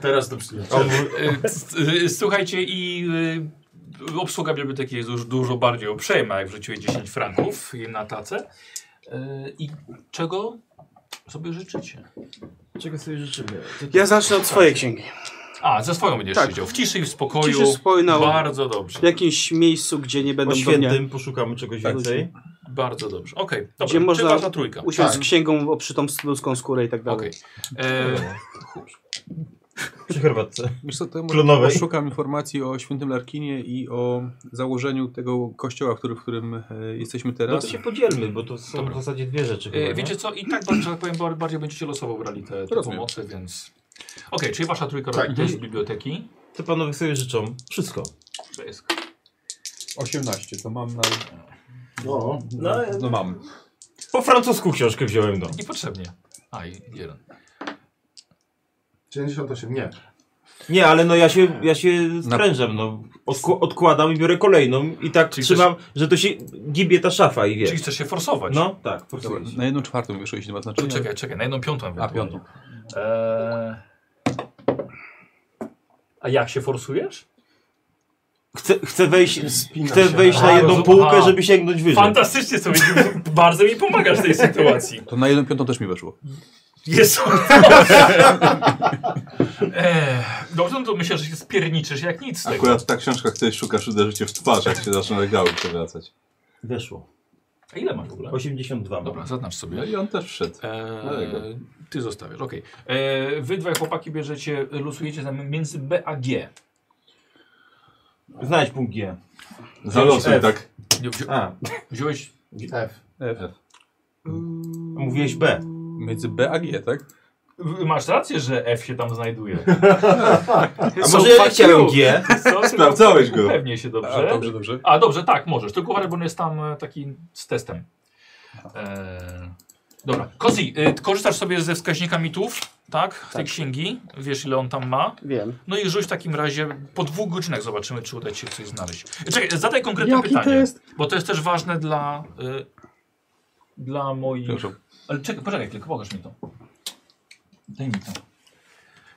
Teraz to przyjaciół.
E, s- e, Słuchajcie i e, obsługa biblioteki jest już dużo bardziej uprzejma, jak wrzuciłeś 10 franków jej na tacę. E, I czego sobie życzycie?
Czego sobie życzymy? Co ty-
Ja zacznę od swojej księgi.
A, ze swoją będziesz
Tak.
siedział. W ciszy i w spokoju. no.
Ciszy spojna o-
Bardzo dobrze.
w jakimś miejscu, gdzie nie
Po
będą do mnie
świętym poszukamy czegoś więcej.
Bardzo dobrze. Okej, dobra.
Gdzie
Czy
można-
ważna trójka?
usiąść z
Tak.
księgą o przytomstwską skórę i tak dalej.
Okej. E,
Przy herbatce.
Wiesz co, to ja może
Klonowej.
poszukam informacji o świętym Larkinie i o założeniu tego kościoła, który, w którym e, jesteśmy
No
teraz.
to się podzielmy, bo to są
Dobra.
w zasadzie dwie rzeczy. Chyba,
e,
nie?
wiecie co, i tak bardzo, że tak powiem, bar- bardziej będziecie losowo brali te, te
Rozumiem.
pomocy, więc... Okej, czyli wasza trójka
Tak.
robi też z biblioteki.
Co panowie sobie życzą? Wszystko.
To jest
18, to mam na...
O,
No,
E,
No mam.
po francusku książkę wziąłem, no.
Niepotrzebnie. A, i jeden.
98, nie.
Nie, ale no ja się, ja się sprężam, no. Odku odkładam i biorę kolejną i tak
Czyli
trzymam, że to się gibie ta szafa i
Czyli
wiesz.
chcesz się forsować.
No, tak, po
Dobra,
prostu.
na jedną czwartą już 62
To
znaczenia.
czekaj, czekaj, na jedną piątą
A,
ewentualnie.
piątą.
Eee... A jak się forsujesz?
Chcę, chcę wejść,
Spina
chcę
się.
wejść
A,
na jedną
rozum-
półkę,
aha.
żeby sięgnąć wyżej.
Fantastycznie sobie, bardzo mi pomagasz w tej sytuacji.
To na jedną piątą też mi weszło.
Jest eee, Dobrze, no to myślę, że się spierniczysz jak nic z tego.
Akurat ta książka, której szukasz, uderzy cię w twarz, jak się zaczną regały przewracać.
Weszło.
A ile masz w ogóle?
82 mam.
Dobra, zaznacz sobie.
No i on też wszedł.
Eee,
Dlatego.
ty zostawiasz, okej. Eee, wy dwaj chłopaki bierzecie, losujecie tam między B a G.
Znajdź punkt G.
Zalosuj,
F.
tak.
Nie, wzi
A,
wziąłeś
F.
mówiłeś B.
Między B a G, tak?
W- Masz rację, że F się tam znajduje.
A może ja nie chciałem G?
Co?
Znaczy, Sprawdzałeś go.
Pewnie się dobrze.
A, dobrze, dobrze.
A dobrze, tak, możesz. Tylko uważaj, bo on jest tam e, taki z testem. E, dobra. Kozi, y, korzystasz sobie ze wskaźnika mitów, tak? Z tej księgi. Wiesz, ile on tam ma.
Wiem.
No i rzuć w takim razie po dwóch godzinach zobaczymy, czy uda ci się coś znaleźć. Czekaj, zadaj konkretne
Jaki
pytanie.
test?
Bo to jest też ważne dla. Y, dla moich.
Przepraszam.
Ale czekaj, poczekaj, tylko pokaż mi to. Daj mi to.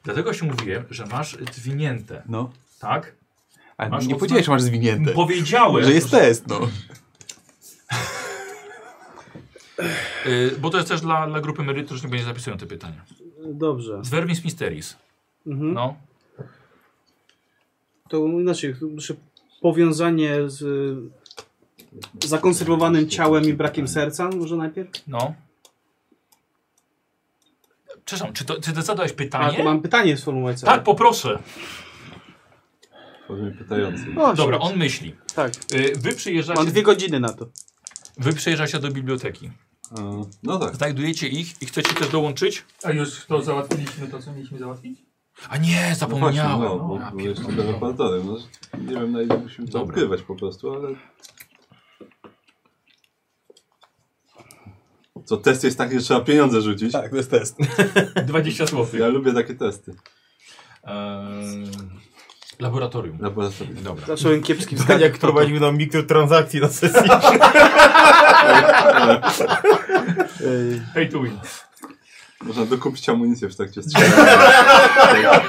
Dlatego się mówiłem, że masz zwinięte,
No.
tak?
A
Masz
nie
odznak-
powiedziałeś, że masz zwinięte.
Powiedziałem,
Że jest test, no.
Y, bo to jest też dla, dla grupy merytorycznej, będzie zapisują te pytania.
Dobrze.
Z Vermis Misteris.
Mhm.
No.
To inaczej, to muszę powiązanie z y, zakonserwowanym ciałem i brakiem serca, może najpierw?
No. Przepraszam, czy, to, czy ty zadałeś
A,
pytanie?
to mam pytanie sformułować sobie.
Tak, poproszę.
Powiem pytający.
Właśnie.
Dobra, on myśli.
Tak,
Y, Wy
mam
przyjeżdżacie,
dwie godziny na to.
wy przyjeżdżacie do biblioteki.
E, No tak.
Znajdujecie ich i chcecie też dołączyć?
A już to załatwiliśmy, to co mieliśmy załatwić?
A nie,
No właśnie,
zapomniałem.
no, bo
Ja
bo
pierdolę.
jeszcze ten reporterem. No, nie wiem, na ile musimy to
Dobra.
odkrywać po prostu, ale... Co, test jest taki, że trzeba pieniądze rzucić?
Tak, to jest test.
20 zł.
Ja lubię takie testy.
Eee, laboratorium.
Laboratorium.
Dobra.
Zacząłem kiepski wskazać.
Jak prowadził nam mikrotransakcje na sesji.
Pay to win.
Można dokupić amunicję w trakcie strzelania.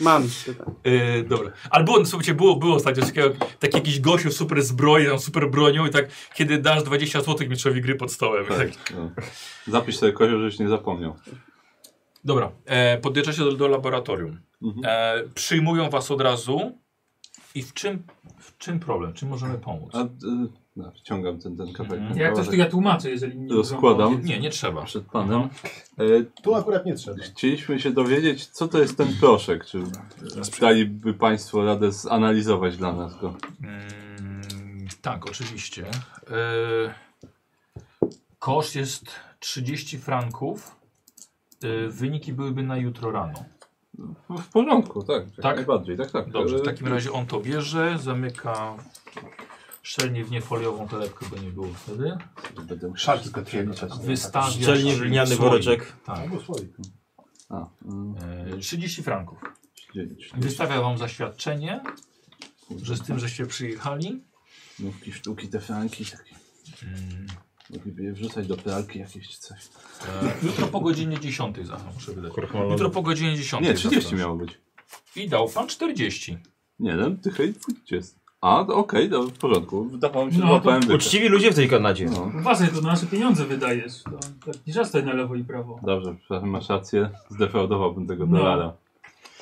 Mam tak. pytanie.
Yy, dobra. Ale było, słuchajcie, było, było ostatnio takiego, taki jakiś gościu super zbroi, tam super bronią i tak, kiedy dasz 20 zł mistrzowi gry pod stołem. I tak.
No. Zapisz sobie kozioł, żebyś nie zapomniał.
Dobra. E, podjeżdżacie do, do laboratorium.
Mhm.
E, przyjmują was od razu i w czym, w czym problem? Czym możemy pomóc?
A, y, no, wciągam ten, ten kawałek.
Mhm.
Jak coś to ja tłumaczę, jeżeli nie
Rozkładam.
Nie, nie trzeba.
Przed panem. E,
Tu akurat nie trzeba.
Chcieliśmy się dowiedzieć, co to jest ten proszek. Czy daliby Państwo radę zanalizować dla nas go?
Mm, tak, oczywiście. Yy, koszt jest 30 franków. Yy, wyniki byłyby na jutro rano.
W porządku, tak. jak
Tak?
Najbardziej, tak, tak.
Dobrze,
E,
w takim razie on to bierze, zamyka szczelnie w niefoliową torebkę, bo nie było wtedy.
E, Będę musiał-
Szarki tylko przeliczać.
Wystawia
Szczelnie
się
gliniany
słoik.
woreczek.
Tak.
Albo słoik.
A, mm,
Yy, 30 franków.
dziewięć.
Wystawia wam zaświadczenie, że z tym, żeście przyjechali.
Nówki, sztuki, te franki takie.
Mm,
Mogliby je wrzucać do pralki jakieś czy coś.
e, jutro po godzinie 10 zawsze muszę wydać. Jutro po godzinie
No,
10.
Nie, 30
zawsze.
miało być.
I dał pan 40.
Nie wiem, tych i pójdźcie. A, to okej, okay, w porządku. Wydawało mi się,
No,
że
to
łapałem wypę.
Uczciwi ludzie w tej Kanadzie.
No,
Uważaj, to na nasze pieniądze wydajesz. To tak nie żastaj na lewo i prawo.
Dobrze, przepraszam, masz rację. Zdefraudowałbym tego
No.
dolara.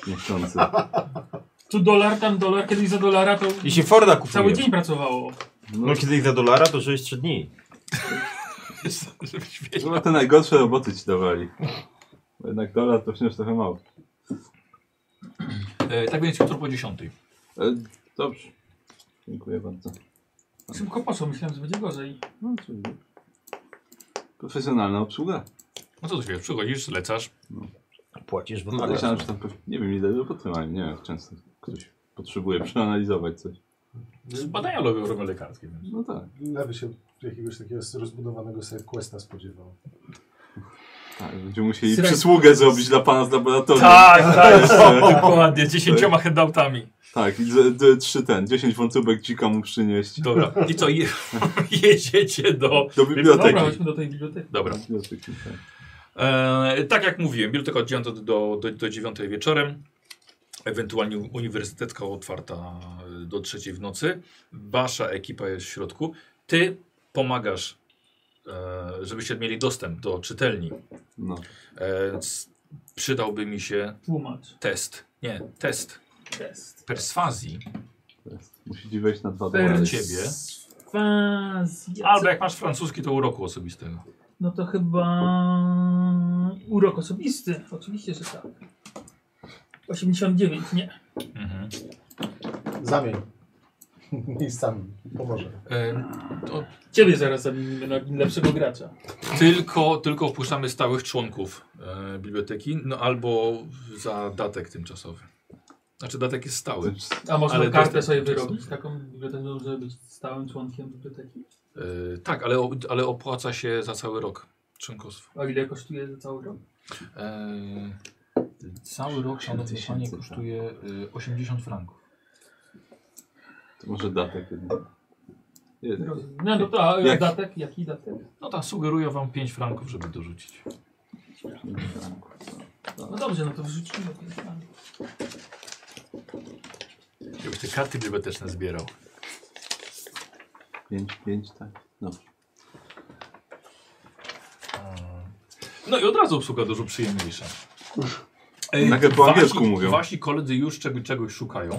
Niechcący.
Tu dolar, tam dolar, kiedyś za dolara to
Jeśli Forda
cały
kupujesz,
dzień pracowało.
no kiedyś za dolara to 6-3 dni.
Tak,
Żebyś wiedział.
Chyba te najgorsze roboty ci dawali. Bo jednak dolar to wciąż trochę mało.
E, tak więc jutro po 10.
E, dobrze. Dziękuję bardzo.
Szybko poszło, myślałem, że będzie gorzej.
No, czyli profesjonalna obsługa.
No co tu wiesz, przychodzisz, lecasz.
Płacisz w
Tak,
No.
myślałem, że tam, pe- nie wiem ile roboty mają, nie wiem, jak często ktoś potrzebuje przeanalizować coś.
Z badania robią, robią lekarskie. Więc.
No tak,
Ja by się jakiegoś takiego rozbudowanego sidequesta spodziewał.
tak. Będziemy musieli
Syrek-
przysługę zrobić dla pana z laboratorium.
Tak, tak, dokładnie, dziesięcioma handoutami.
Tak, i d- d- trzy ten, 10 wątróbek dzika mu przynieść.
Dobra, i co, je, jedziecie do...
Do biblioteki.
Dobra, chodźmy do tej biblioteki.
Dobra.
Biblioteki, tak.
E, tak jak mówiłem, biblioteka od 9 do, do, do 9 wieczorem. Ewentualnie uniwersytecka otwarta e, do 3 w nocy. Wasza ekipa jest w środku. Ty pomagasz, e, żebyście mieli dostęp do czytelni.
No.
E, s- przydałby mi się
Tłumacz.
test. Nie, test
Test.
perswazji.
Musicie wejść na dwa dolary.
Per ciebie.
Fazja.
Albo jak masz francuski, to uroku osobistego.
No to chyba urok osobisty. Oczywiście, że tak. 89, nie.
Mhm.
Zamień. Miejscami. Pomoże.
E,
Ciebie zaraz zamienimy na lepszego gracza.
Tylko, tylko wpuszczamy stałych członków e, biblioteki, no albo za datek tymczasowy. Znaczy datek jest stały.
A można
Ale
kartę
dostęp
sobie
tymczasowy.
wyrobić, taką biblioteką, żeby być stałym członkiem biblioteki?
E, tak, ale, o- ale opłaca się za cały rok członkostwo.
A ile kosztuje za cały rok?
E, cały rok, szanowny panie, kosztuje e, 80 franków.
To może datek jednak. Jeden.
Rozumiem. No, no to a
Jak-
datek, jaki datek?
No tak, sugeruję wam 5 franków, żeby dorzucić.
No dobrze, no to wrzucimy.
Żebyś te karty biblioteczne zbierał.
Pięć, pięć, tak. No.
No i od razu obsługa dużo przyjemniejsza. E,
Nagle Tak po angielsku mówią.
Wasi koledzy już czego, czegoś szukają.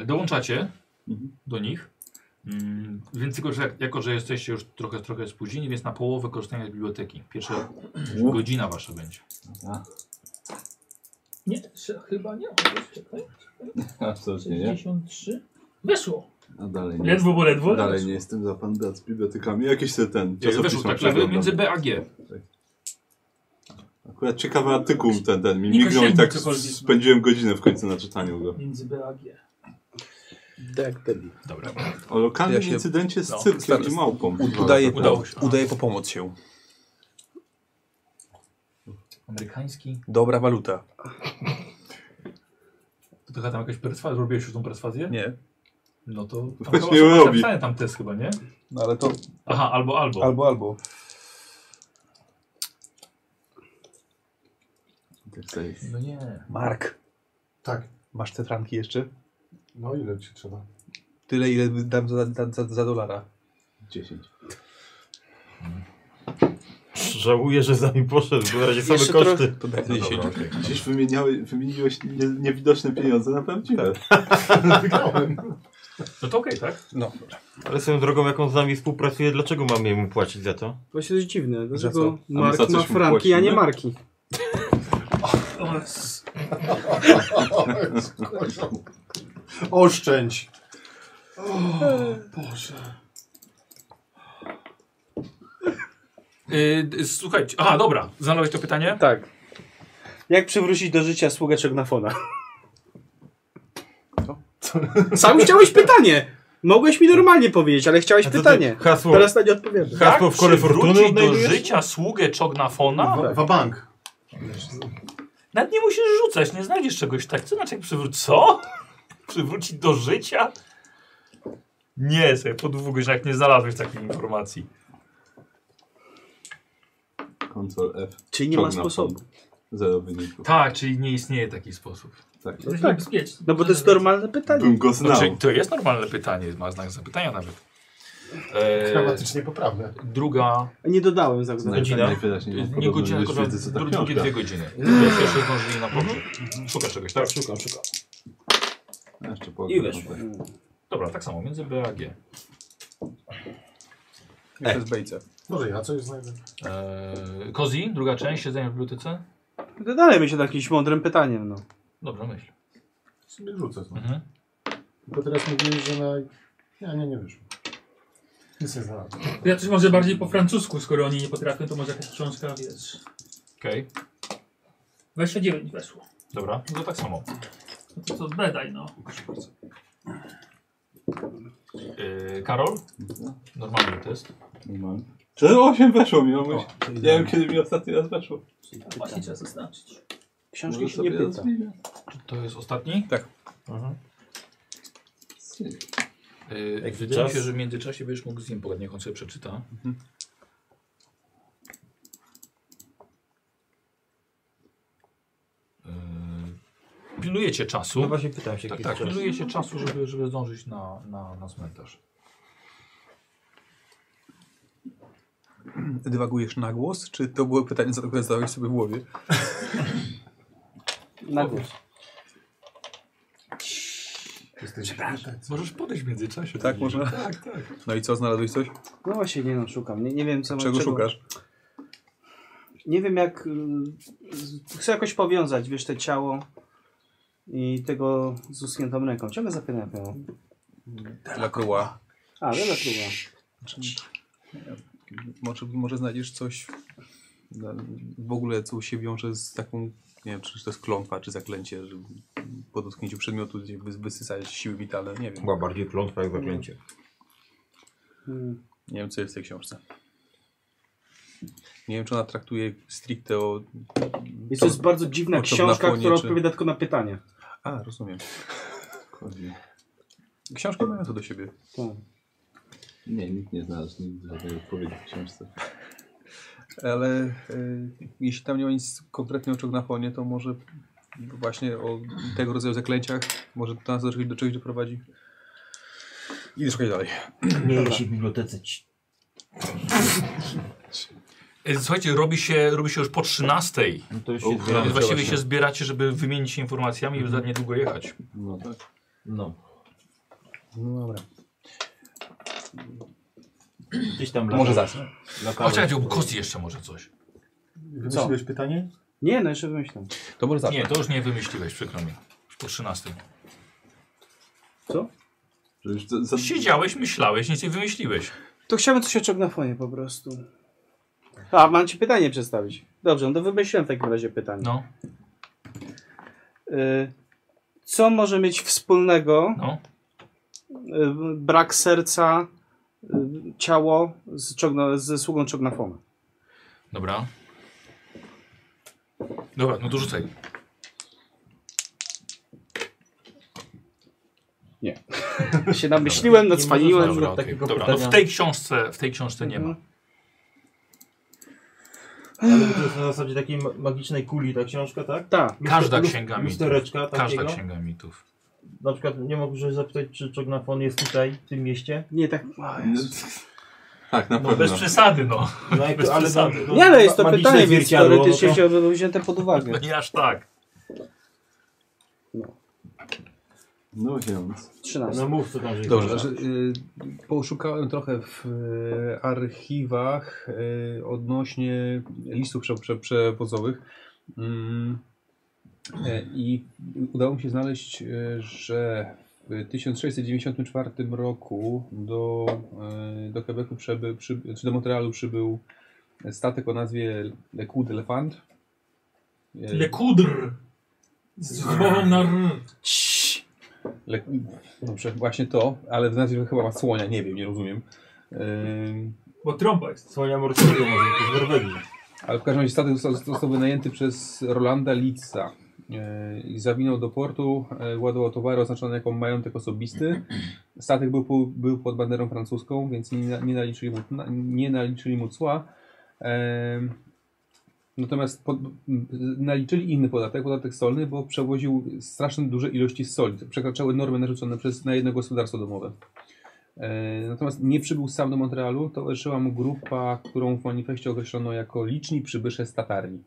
E, dołączacie
Mhm.
do nich. Mm, więc tylko, że jako, że jesteście już trochę, trochę spóźnieni, więc na połowę korzystania z biblioteki. Pierwsza godzina wasza będzie.
Nie, sze- chyba nie. Chociaż Czekaj,
Absolutnie nie.
63. Weszło.
A No dalej nie. no
Ledwo, bo ledwo.
Dalej nie jestem za pandat z bibliotekami. Jakieś te ten.
Weszło
Czasopisma
tak lewy
przeglądam.
między B a G.
Akurat ciekawy artykuł ten, ten mi
Nie
mignął i
kościół,
tak
cokolwiek.
spędziłem godzinę w końcu na czytaniu go.
Między B a G.
Tak, debil.
Dobra.
O lokalnym
Ja się-
incydencie z
no,
cyrkiem
staram-
i małpą.
Udaje,
Udało
po,
się.
udaje po pomoc się.
Amerykański.
Dobra waluta.
To chyba tam jakaś perswazja. Robiłeś już tą perswazję?
Nie.
No to tam
Właśnie
chyba są
robi.
napisane tam test chyba, nie?
No ale to
Aha, albo, albo.
albo, albo.
Tak sobie-
No nie.
Mark,
Tak.
masz te franki jeszcze?
No ile ci trzeba?
Tyle, ile dam za, za, za, za dolara.
10.
Żałuję, że za mi poszedł, bo na razie same
Jeszcze
koszty.
To tak no
Dobra, okej.
Gdzieś wymieniały, wymieniłeś nie, niewidoczne pieniądze na prawdziwe.
Wygrałem.
No to okej, tak?
No,
Ale swoją drogą, jak on z nami współpracuje, dlaczego mam jemu płacić za to?
Właśnie dość dziwne,
co?
dlaczego
my
Mark
za
ma
coś mu
franki, a nie
płacimy?
marki.
O, s-
Oszczędź. O, Boże.
Yy, d- słuchajcie, aha, dobra. Znalazłeś to pytanie?
Tak. Jak przywrócić do życia sługę Czegnafona? Sam chciałeś pytanie! Mogłeś mi normalnie powiedzieć, ale chciałeś
A co ty-
pytanie.
Hasło,
Teraz na nie odpowiadam.
hasło w kole fortuny
przywrócić Tak? do
odnajdujesz?
życia sługę Czognafona?
Wa- Wabank.
Nawet nie musisz rzucać, nie znajdziesz czegoś tak. Co znaczy jak przywróć? Co? Przywrócić do życia? Nie, sobie po dwóch godzinach nie znalazłeś takiej informacji.
Ctrl F.
Czyli nie ma
Ciągnął.
sposobu.
Zero wyników.
Tak, czyli nie istnieje taki sposób.
Tak.
to jest
tak.
niebezpieczne.
No bo to jest normalne pytanie.
Bym go
No,
znał.
czyli to jest normalne pytanie, ma znak zapytania nawet. E,
Gramatycznie poprawne.
druga,
Nie dodałem za
Znaj-
Godzina?
najwyraźniej mam
nie
podobny
godzina,
do
tylko że
Świecy, co ta
dru-
książka.
drugie dwie godziny. To Jeszcze zdążyli na pogrzeb. Szuka czegoś, tak?
Szukam, szukam.
A, No, Jeszcze po
I weszło.
Dobra, tak samo, między B a G.
jeszcze z bejce.
Może ja coś znajdę.
E, Kozi, druga część, siedzenie w bibliotece?
To dalej myślę nad jakimś mądrym pytaniem, no.
Dobra, myśl.
Sobie rzucę. No.
Mhm.
Tylko teraz mówiłeś, że na... Nie, nie, nie wyszło. Nic nie znalazłem.
To ja coś może bardziej po francusku, skoro oni nie potrafią, to może jakaś książka, wiesz.
Okej,
29 weszło.
dobra, no to tak samo.
No to, to bedaj, no.
E, Karol? Normalny test.
Normalnie. Czy 8 weszło mi, o, Nie wiem kiedy mi ostatni raz weszło.
A Właśnie trzeba zaznaczyć.
Książki
Może
się nie
sobie
pyta.
rozwinę.
Czy to jest ostatni? Mhm. E, wydaje
Jak
mi
czas? Mhm.
się, że w międzyczasie będziesz mógł z nim pogadać, niech on sobie przeczyta. E, Pilnujecie czasu.
No właśnie pytałem się,
Tak,
jaki
tak,
jest czas.
pilnuje się czasu, żeby, żeby zdążyć na, na, na cmentarz.
Dywagujesz na głos, czy to było pytanie, za które zadałeś sobie w głowie?
Na głos.
Możesz podejść w międzyczasie.
Tak, można?
Tak, tak.
No i co, znalazłeś coś?
No właśnie, nie no, szukam. Nie, nie wiem, co
Czego szukasz?
Nie wiem, jak. y, z- Chcę jakoś powiązać, wiesz, te ciało i tego z uschniętą ręką. Ciągle zapinam ją.
Delacroix.
A, dobra, próba.
Może, może znajdziesz coś na- w ogóle, co się wiąże z taką, nie wiem, czy to jest klątwa, czy zaklęcie, że po dotknięciu przedmiotu wys- wysysa siły witalne, nie wiem.
Chyba bardziej klątwa jak zaklęcie.
Mm,
Nie wiem, co jest w tej książce. Nie wiem, czy ona traktuje stricte o...
Jest to jest bardzo dziwna
o, to w
książka,
Laponie,
która
czy-
odpowiada tylko na pytania.
A, rozumiem. Książki mają to do siebie.
Tak.
Nie, nikt nie znalazł nigdy żadnej odpowiedzi w książce.
Ale y, jeśli tam nie ma nic konkretnie o Czognafonie, to może właśnie o tego rodzaju zaklęciach może to nas do czegoś, do czegoś doprowadzi. I szukaj dalej.
Nie się w bibliotece.
E, Słuchajcie, robi się, robi się już po 13.
No to już
O,
się
ja
Więc
zbieramy.
właściwie się zbieracie, żeby wymienić się informacjami i już za niedługo jechać.
No tak.
No.
No dobra.
Gdzieś tam
Może
latasz.
zacznę.
Latałeś.
Poczekajcie, bo Kosti jeszcze może coś.
Wymyśliłeś pytanie?
Nie, no jeszcze wymyślam.
To może zacznę.
Nie, to już nie wymyśliłeś, przykro mi. Już po 13.
Że już za, za,
Siedziałeś, myślałeś, nic nie wymyśliłeś.
To chciałbym coś o czognafonie po prostu. A, mam ci pytanie przedstawić. Dobrze, no to wymyśliłem w takim razie pytanie.
No,
Y, co może mieć wspólnego
no.
y, brak serca, y, ciało z, czogna, ze sługą czognafona?
Dobra. Dobra, no to rzucaj.
się namyśliłem, tak-
Dobra. Nie
nacwaniłem.
można
Dobra,
Dobra,
okej.
takiego
Dobra, no
pytania-
w tej książce, w tej książce nie ma.
Mhm.
Ale to jest na zasadzie takiej ma- magicznej kuli ta książka, tak?
Tak.
Każda
Lust-
księga mitów.
Lustereczka
Każda
takiego.
księga mitów.
Na przykład nie mogę zapytać, czy Czognafon jest tutaj, w tym mieście?
Nie tak.
tak, na
No
pewno.
bez przesady, no.
No, jak-
Bez przesady.
no,
Nie, ale jest to
magiczne
pytanie, więc
zwierciadło,
teoretycznie
no to-
chciałbym wzięte pod uwagę.
No nie aż tak.
No więc.
13.
No mów co tam, że
Dobrze, że, y, poszukałem trochę w y, archiwach y, odnośnie listów prze, prze, przewozowych Mm, y, i udało mi się znaleźć, y, że w 1694 roku do, y, do Quebecu przyby, przy, czy do Montrealu przybył statek o nazwie Le Coup d'Elefant. Y,
Le coudre. Z głową na r.
Le... Dobrze, właśnie to, ale w nazwie chyba ma słonia, nie wiem, nie rozumiem. Y, Ym,
Bo trąba jest.
Słonia morskiego może, to z Norwegii.
ale w każdym razie statek został, został wynajęty przez Rolanda Litza. Yy, i zawinął do portu, yy, ładował towary oznaczone jako majątek osobisty. Statek był, po, był pod banderą francuską, więc nie, na- nie, naliczyli, mu, na- nie naliczyli mu cła. Em, Natomiast pod, m, naliczyli inny podatek, podatek solny, bo przewoził strasznie duże ilości soli. Przekraczały normy narzucone przez, na jedno gospodarstwo domowe. E, Natomiast nie przybył sam do Montrealu, towarzyszyła mu grupa, którą w manifestie określono jako liczni przybysze z Tatarni.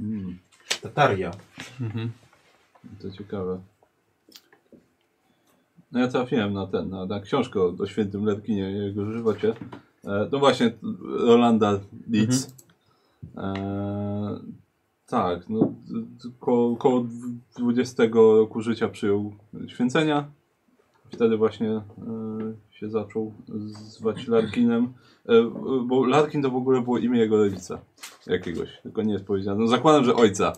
Mm,
Tataria.
to ciekawe. No ja trafiłem na ten, na, na książkę o, o świętym Lerkinie, jak go używacie. E, no właśnie, Rolanda Leeds. E, tak, no d- d- ko, koło 20 roku życia przyjął święcenia. Wtedy właśnie e, się zaczął zwać Larkinem. E, bo Larkin to w ogóle było imię jego rodzica jakiegoś, tylko nie jest powiedziane. No zakładam, że ojca.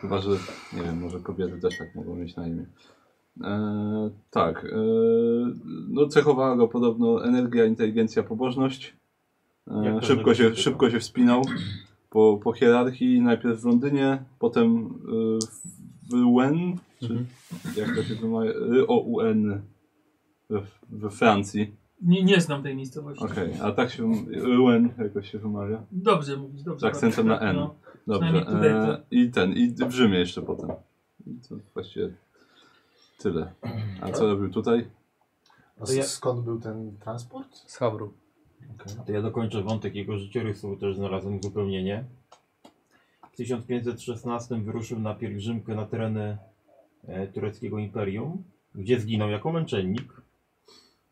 Chyba, że nie wiem, może kobiety też tak mogą mieć na imię. E, tak. E, no cechowała go podobno energia, inteligencja, pobożność.
Jak
E,
to
szybko, się,
zrobiłeś?
szybko się wspinał po, po hierarchii, najpierw w Londynie, potem e, w UN, czy jak to się Y, wymawia, OUN we, we Francji.
Nie, nie znam tej miejscowości.
Okej, a tak się, UN jakoś się wymawia.
Dobrze mówisz, dobrze.
Tak, Z akcentem
bardzo,
na N.
no.
Dobrze.
Przynajmniej tutaj to-
E, I ten, i w Rzymie jeszcze potem. I to właściwie tyle. A co robił tutaj?
A
To ja-
skąd był ten transport?
Z Hawru.
To ja dokończę wątek jego życiorysu, bo też znalazłem uzupełnienie. W 1516 wyruszył na pielgrzymkę na tereny e, tureckiego imperium, gdzie zginął jako męczennik.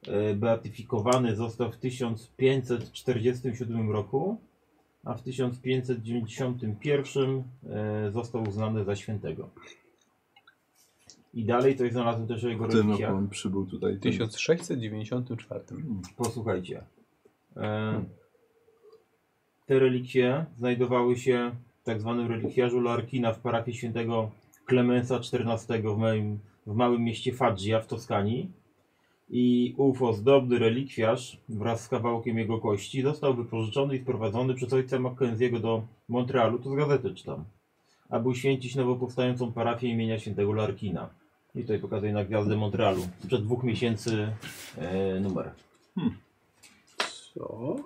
E, beatyfikowany został w 1547 roku, a w 1591 e, został uznany za świętego. I dalej to znalazłem też o jego
W tym roku
relikiach.
no, on przybył tutaj.
W
Ten-
1694.
Posłuchajcie. E, te relikwie znajdowały się w tak zwanym relikwiarzu Larkina w parafii świętego Klemensa XIV w małym, w małym mieście Faggia w Toskanii. I ów ozdobny relikwiarz wraz z kawałkiem jego kości został wypożyczony i sprowadzony przez ojca Mackenzie'ego do Montrealu, to z gazety czytam, aby uświęcić nowo powstającą parafię imienia świętego Larkina. I tutaj pokazuje na gwiazdę Montrealu. Sprzed dwóch miesięcy e, numer.
Co?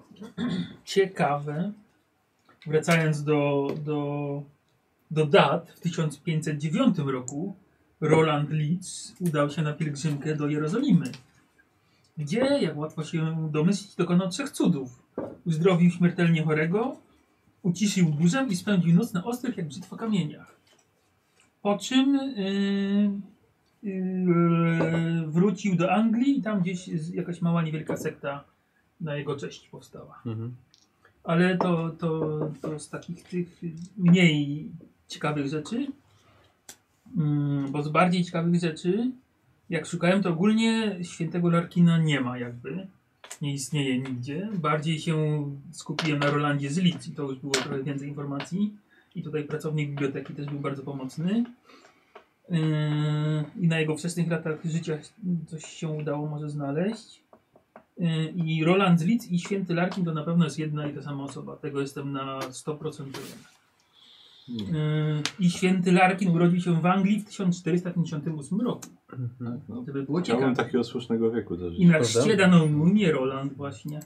Ciekawe, wracając do, do, do dat, w 1509 roku Roland Leeds udał się na pielgrzymkę do Jerozolimy, gdzie, jak łatwo się domyślić, dokonał trzech cudów. Uzdrowił śmiertelnie chorego, uciszył burzę i spędził noc na ostrych jak brzytwa kamieniach. Po czym yy, yy, wrócił do Anglii i tam gdzieś z- jakaś mała, niewielka sekta na jego cześć powstała.
Mhm.
Ale to, to, to z takich tych mniej ciekawych rzeczy. Mm, Bo z bardziej ciekawych rzeczy, jak szukałem, to ogólnie świętego Larkina nie ma jakby. Nie istnieje nigdzie. Bardziej się skupiłem na Rolandzie z Lidz i to już było trochę więcej informacji. I tutaj pracownik biblioteki też był bardzo pomocny. Yy, I na jego wczesnych latach życia coś się udało może znaleźć. Y, I Roland z Lidz i Święty Larkin to na pewno jest jedna i ta sama osoba. Tego jestem na 100% pewien. Y, I Święty Larkin urodził się w Anglii w 1458 roku.
Tak, no.
Żeby było ciekawe.
Chciałbym takiego słusznego wieku też.
I na
Prawda?
chrzcie dano mu imię Roland właśnie.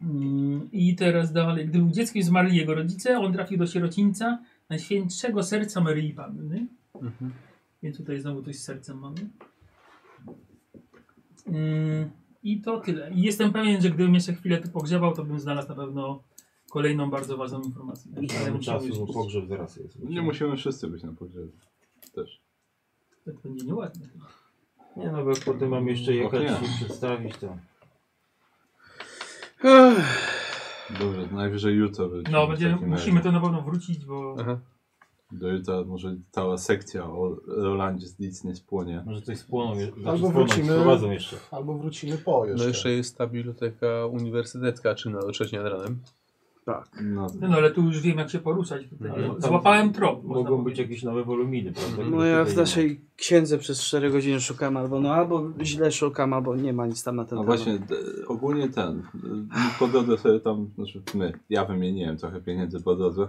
Mm, I teraz dalej. Gdy był dzieckiem zmarli jego rodzice, on trafił do sierocińca Najświętszego Serca Maryi Panny.
Mhm.
Więc tutaj znowu coś z sercem mamy. Mm, I to tyle. I jestem pewien, że gdybym jeszcze chwilę tu pogrzebał, to bym znalazł na pewno kolejną bardzo ważną informację. Ale
Mamy
musiałem
czasu, bo
już-
pogrzeb zaraz jest.
Nie musimy wszyscy być na pogrzebie. Też.
To będzie nieładne.
Nie no, bo jak potem mam jeszcze
Och,
jechać
nie.
i przedstawić to.
Dobrze, to najwyżej jutro wrócimy
No,
w
będziemy,
takim razie.
musimy to na pewno wrócić, bo
Aha.
Do jutra może cała sekcja o Rolandzie z Leeds nie spłonie.
Może coś spłoną, je- znaczy
Albo
spłoną,
wrócimy-
sprowadzą jeszcze.
Albo wrócimy po jeszcze.
No jeszcze jest ta biblioteka uniwersytecka, czym na trzeciej nad ranem.
No,
no, no, ale tu już wiem jak się poruszać. Tutaj.
No, Ale tam
Tak, Złapałem trop. można
Mogą być
powiedzieć. Mhm.
jakieś nowe woluminy, prawda?
No ja w naszej księdze przez 4 godziny szukam albo no albo źle szukam, albo nie ma nic tam na ten
no
temat.
właśnie, d- ogólnie ten. y, Po drodze sobie tam, znaczy my, ja wymieniłem trochę pieniędzy po drodze.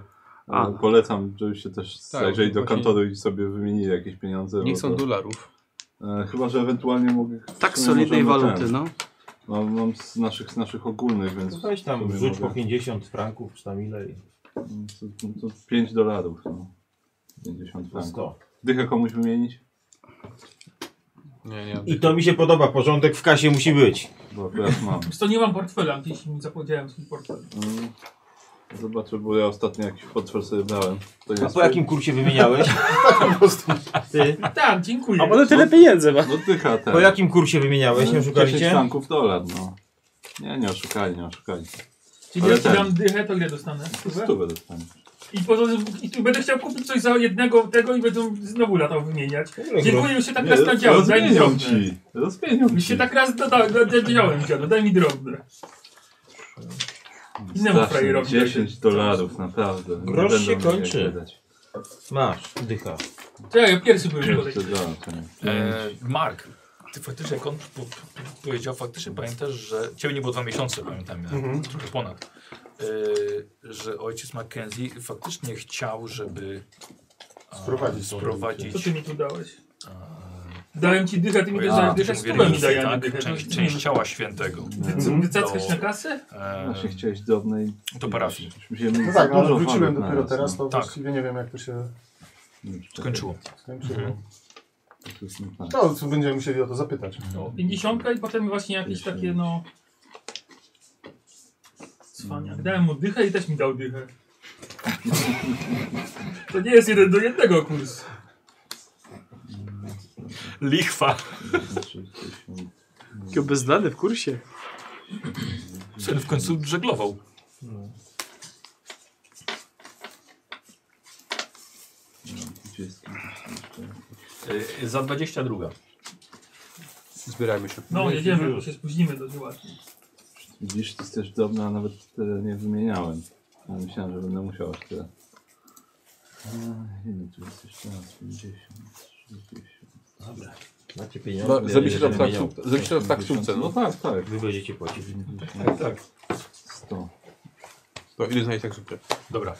A.
A. Polecam, żebyście też
Tak,
zajrzeli do
właśnie-
kantoru i sobie wymienili jakieś pieniądze.
Niech
bo
są
to-
dolarów.
E, chyba, że ewentualnie mogę.
Tak
w sumie
solidnej
możemy
waluty,
ten-
no.
Mam, mam z naszych, z naszych ogólnych, więc.
To Weź tam,
Sobie
wrzuć
mogę.
po 50 franków, czy tam ile i
mm, To, to, to 5 dolarów. No. 50
Tak.
po
franków.
100.
Dychę komuś wymienić?
Nie, nie.
I to mi się podoba, porządek w kasie musi być.
Bo akurat mam.
Wiesz co, nie mam portfela, gdzieś mi zapowiedziałem swój portfel.
Mm. Zobaczę, bo ja ostatnio jakiś potwór sobie brałem. To
A po jakim kursie wymieniałeś? Ty?
Tak, dziękuję.
A potem tyle pieniędzy ma.
No dycha ten.
Tak.
Po jakim kursie wymieniałeś,
Mhm.
nie
10
szukaliście?
franków dolar, no. Nie, nie oszukali, nie oszukali.
Czyli
ale
jak ci
ten-
dam dychę, to ile dostanę? Stówę?
Stówę dostaniesz.
I, poza, I tu będę chciał kupić coś za jednego tego i będą znowu latał wymieniać.
No,
Dziękuję, już się tak
Nie,
raz nadziałem. Daj mi
Rozmienią
drobne.
ci. Rozmienią
Już
ci.
się tak raz doda- do- nadziałem, dziadu. Daj mi drobne. Innemu
Strasznie,
frajerowi.
10 dolarów, naprawdę. Nie
Grosz
będą
się
mieli jak
kończy.
wydać.
Masz, dycha.
To ja pierwszy byłem kolej.
Jeszcze dwa, to
Eee,
nie.
E, Mark, ty faktycznie jak on po, po, powiedział, faktycznie pamiętasz, że ciebie nie było dwa miesiące, pamiętam, ja, trochę ponad, e, że ojciec Mackenzie faktycznie chciał, żeby a,
Sprowadzić tą
sprowadzić
Co ty mi tu dałeś?
a,
Dałem ci dycha, ty mi
bo
też
ja
dałeś
też
dycha,
mówię,
stówę mi
że
daj, a nie
tak,
dycha.
część, część ciała świętego.
Wycackać
Do-
na kasę?
E,
Właśnie chciałeś do obnej.
do parafii.
Musimy
No tak, no, ale
dużo
wróciłem
fanów
dopiero
naraz,
teraz, to
Tak.
właściwie nie wiem jak to się
no.
Skończyło.
skończyło.
Mhm.
To jest- no tak.
To będziemy musieli o to zapytać.
No, 50 i potem właśnie jakieś takie no... Cwaniak. Dałem mu dychę i też mi dał dychę. To nie jest jeden do jednego kurs.
Lichwa.
Jakiego bezdany w kursie.
Syn w końcu żeglował. E, za 22.
Zbierajmy się.
No, jedziemy, bo się spóźnimy do niełatwo.
Widzisz, to jest też drobne, a nawet tyle nie wymieniałem. Ale myślałem, że będę musiał aż tyle. A, ile tu jest jeszcze raz? 50, 60.
Macie
No,
pieniądze. ja
Zrobi się to
będę
w
miał.
taksówce- zrobi się to w taksówce,
No
no.
tak, tak.
Wy będziecie płacić.
100.
To ile znajdzie taksówkę?
Dobra.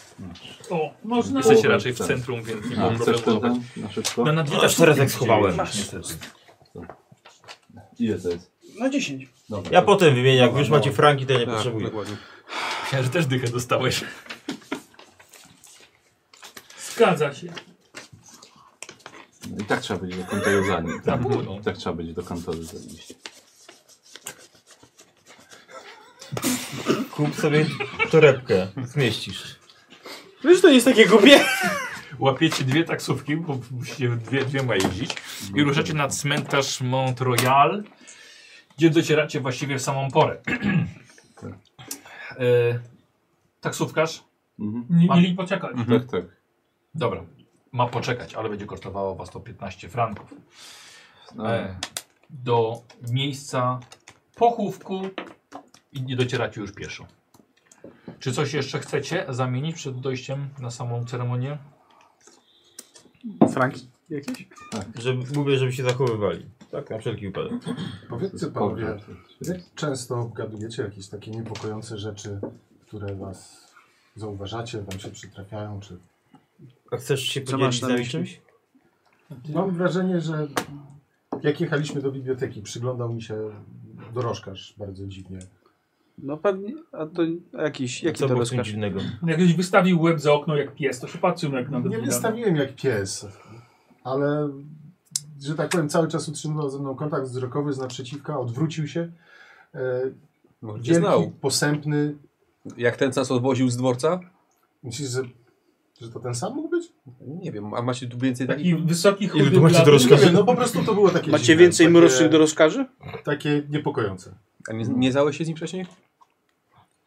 O, można.
Jesteście raczej w
Tak.
centrum, więc nie
A,
mam
chcesz ten,
problemu.
ten na szybko?
na dwie
No, teraz jak schowałem.
Ile to jest?
No 10.
Dobra.
Ja
to-
potem wymienię, jak już macie franki, to ja nie
Tak,
potrzebuję.
dokładnie.
Myślałem, że też dychę dostałeś.
Zgadza się.
No I tak trzeba będzie do kantoru zanieść.
Na
Tak,
pół,
tak trzeba będzie do kantoru zanieść.
Kup sobie torebkę, zmieścisz.
Wiesz, to nie jest takie głupie.
Łapiecie dwie taksówki, bo musicie dwie, dwiema jeździć i ruszacie na cmentarz Mont Royal, gdzie docieracie właściwie w samą porę. e, taksówkarz?
Mhm.
Nie
Mam-
mieli poczekać.
Tak, tak.
Dobra, ma poczekać, ale będzie kosztowało was to 15 franków.
No,
E, do miejsca pochówku i nie docieracie już pieszo. Czy coś jeszcze chcecie zamienić przed dojściem na samą ceremonię?
Franki jakieś?
Żeby, mówię, żeby się zachowywali. Tak, na wszelki wypadek.
Powiedzcie
Dobra.
panowie, jak często obgadujecie jakieś takie niepokojące rzeczy, które was zauważacie, wam się przytrafiają, czy...
A chcesz się
Co masz
podzielić
na
z nami
myśli?
czymś?
Mam wrażenie, że jak jechaliśmy do biblioteki, przyglądał mi się dorożkarz bardzo dziwnie.
No pewnie. A to a jakiś, jaki
Co
to
było
rozkaz?
dziwnego?
Jak ktoś No, wystawił łeb za okno jak pies, to się patrzył jak na
No, Nie
debila.
wystawiłem jak pies, ale że tak powiem, cały czas utrzymywał ze mną kontakt wzrokowy z naprzeciwka, odwrócił się. E,
Może cię
wielki,
znał.
posępny.
Jak ten co nas odwoził z dworca?
Myślisz, że, że to ten sam mógł być?
Nie wiem, a macie tu więcej takich?
Taki wysoki chudy
tu macie
blady-
dorożka?
Nie wiem, no po prostu to było takie
Macie
dziwne,
więcej
takie,
mrocznych dorożkarzy?
Takie niepokojące.
A nie, nie znałeś się z nim wcześniej?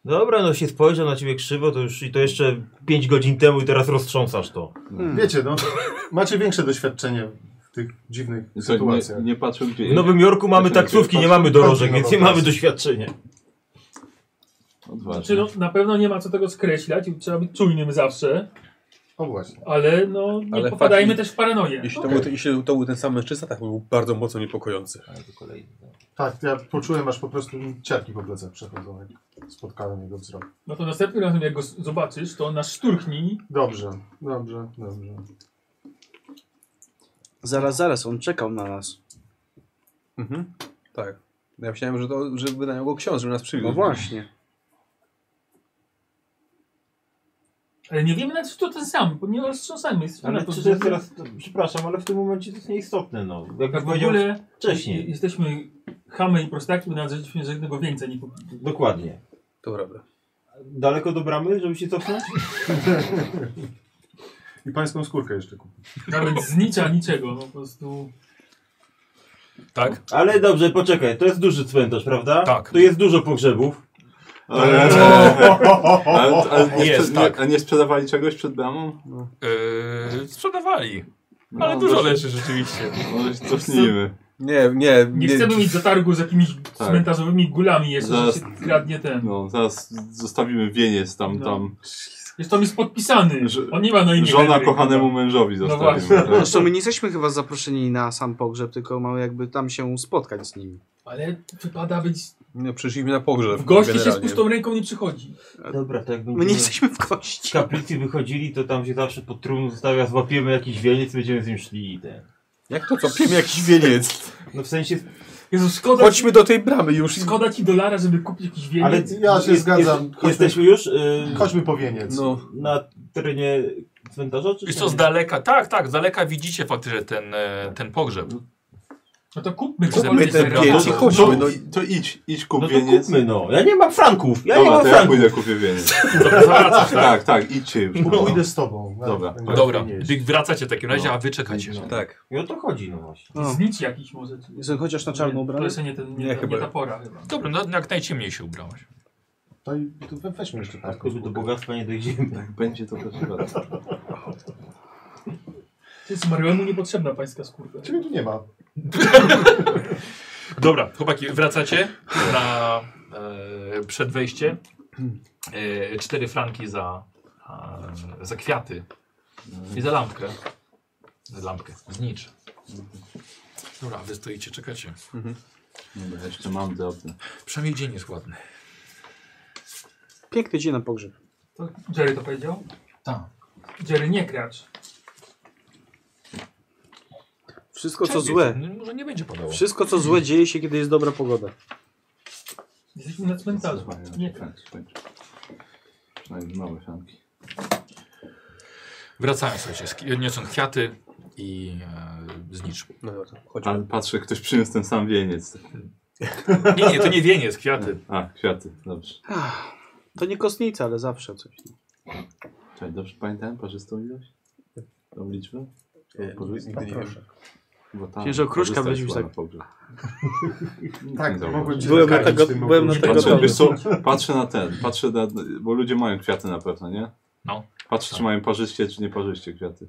Dobra, no się spojrzał na ciebie krzywo, to już i to jeszcze 5 godzin temu i teraz roztrząsasz to.
Hmm.
Wiecie, no, macie większe doświadczenie w tych dziwnych
Słuchaj,
sytuacjach.
nie, nie patrzę gdzie
W Nowym Jorku mamy
Czekaj,
taksówki, nie
patrz-
mamy dorożek, więc nie
kontynuował
mamy
pas.
doświadczenia.
Odważnie.
Znaczy, no, na pewno nie ma co tego skreślać, trzeba być czujnym zawsze,
O właśnie.
ale no nie
Ale
popadajmy
fakt-
też w paranoję.
Jeśli, to był, ten- jeśli to był ten sam mężczyzna, tak był bardzo mocno niepokojący.
Tak, ja poczułem aż po prostu ciarki po plecach przechodzą, jak spotkałem jego wzrok.
No to następnym razem jak go s- zobaczysz, to nas szturchnij.
Dobrze, dobrze, dobrze.
Zaraz, zaraz, on czekał na nas.
Mhm. Tak. Ja myślałem, że, to, że wydają go ksiądz, żeby nas przywiózł.
No właśnie.
Ale nie wiemy nawet, czy to ten sam, bo nie roztrząsajmy. Jesteśmy
Ale
na to
czy to jest
zdrowi.
teraz, to, przepraszam, ale w tym momencie to jest nieistotne, no. Jak
Tak w
powiedział
ogóle
wcześniej.
jesteśmy chamy i prostaki, bo nawet żeśmy żadnego więca nie kupili.
Dokładnie.
To prawda.
Daleko do bramy, żeby się cofnąć?
I pańską skórkę jeszcze kupię.
Nawet znicza niczego, no po prostu...
Tak?
Ale dobrze, poczekaj, to jest duży cmentarz, prawda?
Tak.
To jest dużo pogrzebów.
Ale, ale, ale nie,
Jest,
sprze-
tak.
nie, a nie sprzedawali czegoś przed bramą?
Yy, sprzedawali.
No,
Ale dużo
może-
leży rzeczywiście.
Może się cofnijmy.
Nie, nie.
Nie chcemy mieć zatargu z jakimiś cmentarzowymi gulami jeszcze,
Zaraz-
że się kradnie ten.
No, zaraz zostawimy wieniec tam,
No.
tam.
Jest to jest podpisany.
Że-
On nie ma na imię.
Żona
Henryk.
kochanemu mężowi
właśnie.
zostawiła. tak?
No Zresztą my nie jesteśmy chyba zaproszeni na sam pogrzeb, tylko mamy jakby tam się spotkać z nimi.
Ale wypada być...
No, przyszliśmy na pogrzeb.
W gości się z
generalnie.
pustą ręką nie przychodzi.
Dobra, to jak
My
będziemy
nie jesteśmy w
z
kości.
kaplicy wychodzili, to tam się zawsze pod trumną zostawia, złapiemy jakiś wieniec, będziemy z nim szli i te.
Jak to co? Pijemy jakiś wieniec.
No w sensie,
Jezu, szkoda,
Chodźmy do tej bramy już. i-
szkoda ci dolara, żeby kupić jakiś wieniec.
ale...
ja się zgadzam. Chodźmy.
jesteśmy już y,
Mm.
Chodźmy po wieniec.
No,
na terenie cmentarza, czy
Wiesz
nie? No
co, z daleka, tak, tak, z daleka widzicie faktycznie ten, e, ten pogrzeb.
No to kupmy go.
Kupmy
bo
ten
jest-
wieniec i
To,
chodźmy. No,
to idź, idź kup
No to
wieniec.
kupmy no, ja nie mam franków, ja nie
Dobra,
mam
to ja
franków.
pójdę kupię wieniec.
Dobra, Zawracasz, tak?
Tak, tak, idźcie już.
Pół-
no.
Pójdę z tobą.
Dobra.
Będę
Dobra,
wieniec.
wy wracacie w takim razie, a wy czekacie.
No.
tak.
I o to chodzi no właśnie.
No.
Znicz jakiś może. czy-
Jestem chociaż na czarno
To
ubrany.
jest nie, ten, nie,
Nie,
ta,
chyba.
nie ta pora chyba.
Dobra, no jak najciemniej się ubrałeś.
To i to we- weźmy jeszcze
Tak,
taką.
żeby do bogactwa nie dojdziemy.
Tak, będzie to też
To jest Marionu niepotrzebna pańska skórka.
Ciebie tu nie ma.
Dobra, chłopaki, wracacie na e, przed wejście. E, cztery franki za, e, za kwiaty i za lampkę. Za lampkę, znicz. Dobra, wy stoicie, czekacie.
Dobra, jeszcze mam te opcje.
Przynajmniej dzień jest ładny.
Piękny dzień na pogrzeb.
To Jerry to powiedział?
Tak.
Jerry nie kracz.
Wszystko co złe.
Może nie będzie padało.
Wszystko co złe dzieje się, kiedy jest dobra pogoda.
Jesteśmy na cmentarzu. Nie kracz.
tak, skończę. Przynajmniej małe fianki.
Wracają, słuchajcie, sk- niosą kwiaty i e, znicz.
No dobra, chodźmy.
Ale patrzę, ktoś przyniósł ten sam wieniec.
Nie, nie, to nie wieniec, kwiaty.
A, kwiaty, dobrze.
Ach, To nie kostnica, ale zawsze coś.
Czekaj, dobrze pamiętałem parzystą ilość? Tą liczbę?
Nie,
Parzystą?
nigdy nie wiem.
Bo tam
Księżo Kruszka
parzysta
weźmiesz
szła
tak.
na pogrzeb.
Tak, to
Dobra.
mogłem cię
Byłem na
zakarmić
tego-
tym
byłem na
ogórkiem.
tego-
Patrzę,
Gotowy.
wiesz co, patrzę na ten, patrzę na, bo ludzie mają kwiaty na pewno, nie?
No.
Patrzę, czy mają parzyście, czy nie parzyście kwiaty.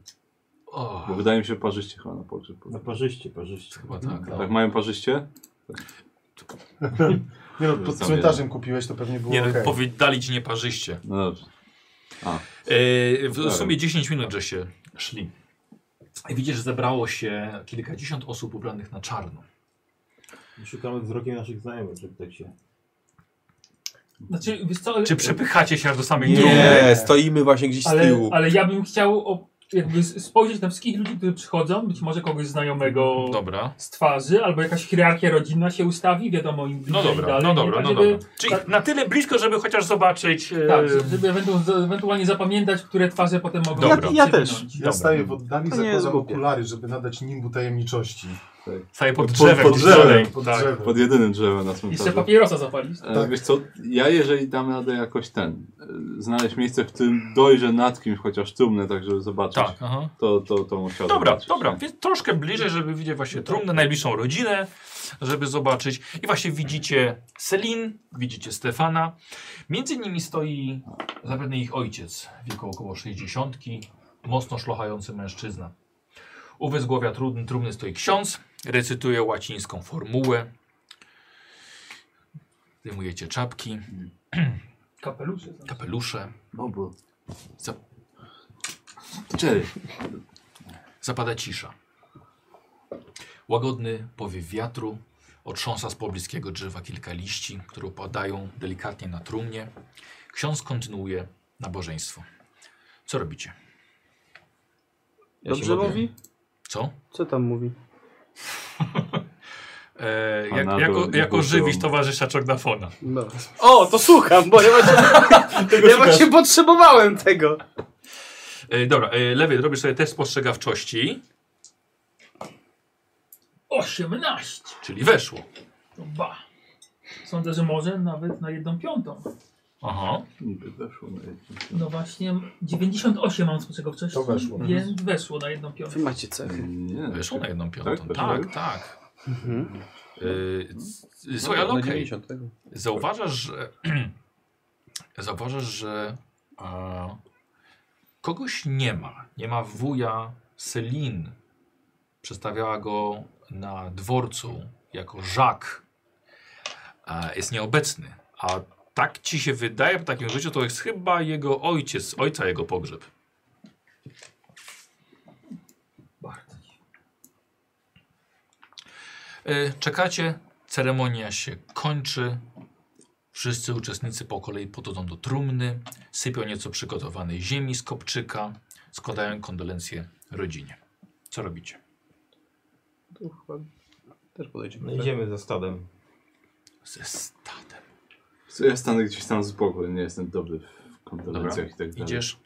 O,
Bo wydaje mi się parzyście chyba na pogrzeb.
No parzyście, parzyście.
chyba tak. No.
Tak, mają parzyście?
Nie no, pod cmentarzem kupiłeś, to pewnie było
Nie, no,
okej.
powie, dali ci nieparzyście. E,
No dobrze.
w sumie 10 minut, że się szli. I widzisz, że zebrało się kilkadziesiąt osób ubranych na czarno.
Szukamy wzrokiem naszych znajomych, żeby tak się...
Znaczy, wiesz co, ale,
Czy przepychacie się aż do samej trumny?
Nie, stoimy właśnie gdzieś z
ale,
tyłu.
ale ja bym chciał o, jakby s- spojrzeć na wszystkich ludzi, którzy przychodzą, być może kogoś znajomego
Dobra.
z twarzy, albo jakaś hierarchia rodzinna się ustawi, wiadomo im
No
bliżej i
dobra,
dalej,
no
nie?
dobra,
tak,
no
żeby,
dobra. Czyli na tyle blisko, żeby chociaż zobaczyć. e,
Tak, żeby ewentu- ewentualnie zapamiętać, które twarze potem mogą
Dobra.
się
Ja- ja
wynąć.
też.
Ja
Dobra.
staję w oddali,
To nie jest
zakładam
głupie.
okulary, żeby nadać nimbu tajemniczości.
Staje pod drzewem.
pod
gdzieś
drzewem,
dalej.
pod
tak.
drzewem.
Pod jedynym drzewem na
Jeszcze
cmentarzu.
papierosa zapalić.
E,
Tak.
Wiesz co, ja jeżeli dam radę jakoś ten, e, znaleźć miejsce, w którym dojrzę nad kimś chociaż trumnę, tak żeby zobaczyć,
Tak, aha.
to, to, to musiałbym
Dobra,
zobaczyć,
dobra,
nie?
więc troszkę bliżej, żeby widzieć właśnie trumnę, najbliższą rodzinę, żeby zobaczyć. I właśnie widzicie Selin, widzicie Stefana. Między nimi stoi zapewne ich ojciec, wieku około 60, mocno szlochający mężczyzna. U wezgłowia trumny, trumny stoi ksiądz, recytuje łacińską formułę. Zdejmujecie czapki,
Kapelusze.
kapelusze,
No bo...
Za-
Jerry,
zapada cisza. Łagodny powiew wiatru otrząsa z pobliskiego drzewa kilka liści, które opadają delikatnie na trumnie. Ksiądz kontynuuje nabożeństwo. Co robicie?
Ja się
Dobrze
modlę.
mówi?
Co?
Co tam mówi?
E,
A
jak,
na
jako
dół-
jako
na
żywisz
dół.
towarzysza Czognafona.
No. O, to słucham, bo ja właśnie, ja właśnie potrzebowałem tego.
E, dobra, e, Lewy, robisz sobie test spostrzegawczości,
18!
czyli weszło.
To ba. Sądzę, że może nawet na jedną piątą.
Aha.
niby weszło na jedno.
No właśnie, 98 mam z czego wcześniej.
To weszło.
Więc weszło na jedną piątą.
Wy macie cechy.
Nie,
Weszło na jedną piątą. Tak,
Tak? Weszło na
tak.
jedną?
tak.
Mhm.
E, c- c- Słuchaj,
No,
ale
na
okej.
90 tego.
Zauważasz, że. zauważasz, że. E, kogoś nie ma. Nie ma wuja Selin. Przestawiała go na dworcu jako Żak. E, jest nieobecny. A Tak ci się wydaje po takim życiu, to jest chyba jego ojciec, ojca jego pogrzeb. Y, Czekacie, ceremonia się kończy. Wszyscy uczestnicy po kolei podchodzą do trumny, sypią nieco przygotowanej ziemi z kopczyka, składają kondolencje rodzinie. Co robicie?
To chyba też podejdziemy.
No idziemy za stadem.
Ze stadem.
Co ja stanę gdzieś tam z boku, nie jestem dobry w konferencjach i tak dalej.
Idziesz?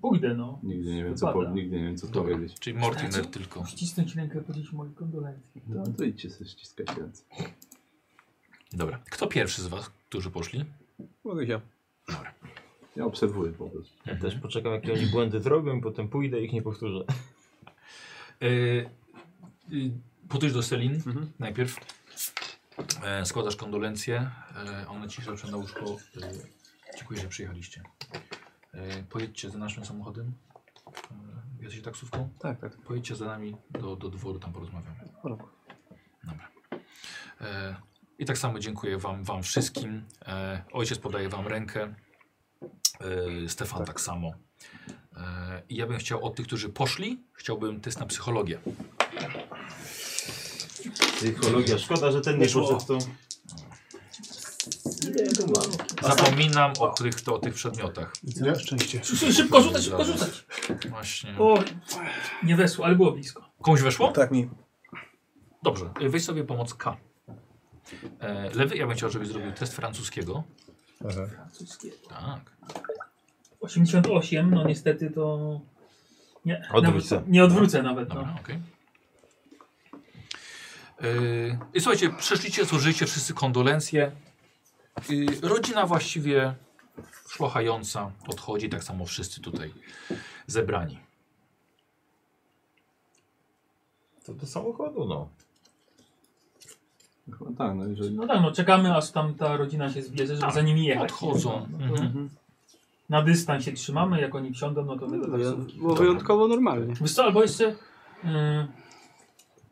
Pójdę, no.
Nigdy nie wiem co, po,
Wypada.
nigdy nie wiem, co
Dobra.
powiedzieć.
Czyli Mortimer tylko.
Ścisnąć rękę, powiedzieć moje kondolencje.
No to idźcie sobie ściskać ręce.
Dobra. Kto pierwszy z was, którzy poszli?
Tak, Mogę się.
Ja obserwuję po prostu.
Ja też poczekam, jakie oni błędy zrobią, i potem pójdę i ich nie powtórzę.
Yy, Podejdź do Selin najpierw. E, składasz kondolencje. E, ona ci zaczyna na łóżko. E, dziękuję, że przyjechaliście. E, pojedźcie za naszym samochodem. E, jesteś taksówką?
Tak, tak.
Pojedźcie za nami do, do dworu, tam porozmawiamy.
Dobra.
Dobra. E, I tak samo dziękuję wam, wam wszystkim. E, ojciec podaje wam rękę. E, Stefan tak, samo. E, I ja bym chciał od tych, którzy poszli, chciałbym test na psychologię.
Psychologia. Szkoda, że ten nie poszedł to.
Zapominam o tych, to, o tych przedmiotach.
Nie?
Szczęście.
Szy- szy- Szybko rzucać, szybko rzucać.
Właśnie.
O, nie wesło, ale było blisko.
Komuś weszło?
Tak mi.
Dobrze. Y, Weź sobie pomoc K. E, lewy, ja bym chciał, żebyś zrobił test francuskiego.
Francuskie.
Tak.
88, no niestety to... Nie,
Odwrócę.
Nawet, nie odwrócę nawet, no.
Dobra, okej. Y, I słuchajcie, przeszliście, złożyliście wszyscy kondolencje. Y, rodzina właściwie szlochająca odchodzi, tak samo wszyscy tutaj zebrani.
To do samochodu, no.
Chyba tak, no jeżeli...
No tak, no czekamy aż tam ta rodzina się zbierze, żeby
Tak,
za nimi jechać.
Odchodzą.
No, no to
Mhm.
Na dystans się trzymamy, jak oni wsiądą, no to my do taksówki.
Było wyjątkowo normalnie.
Wiesz co, albo jeszcze y,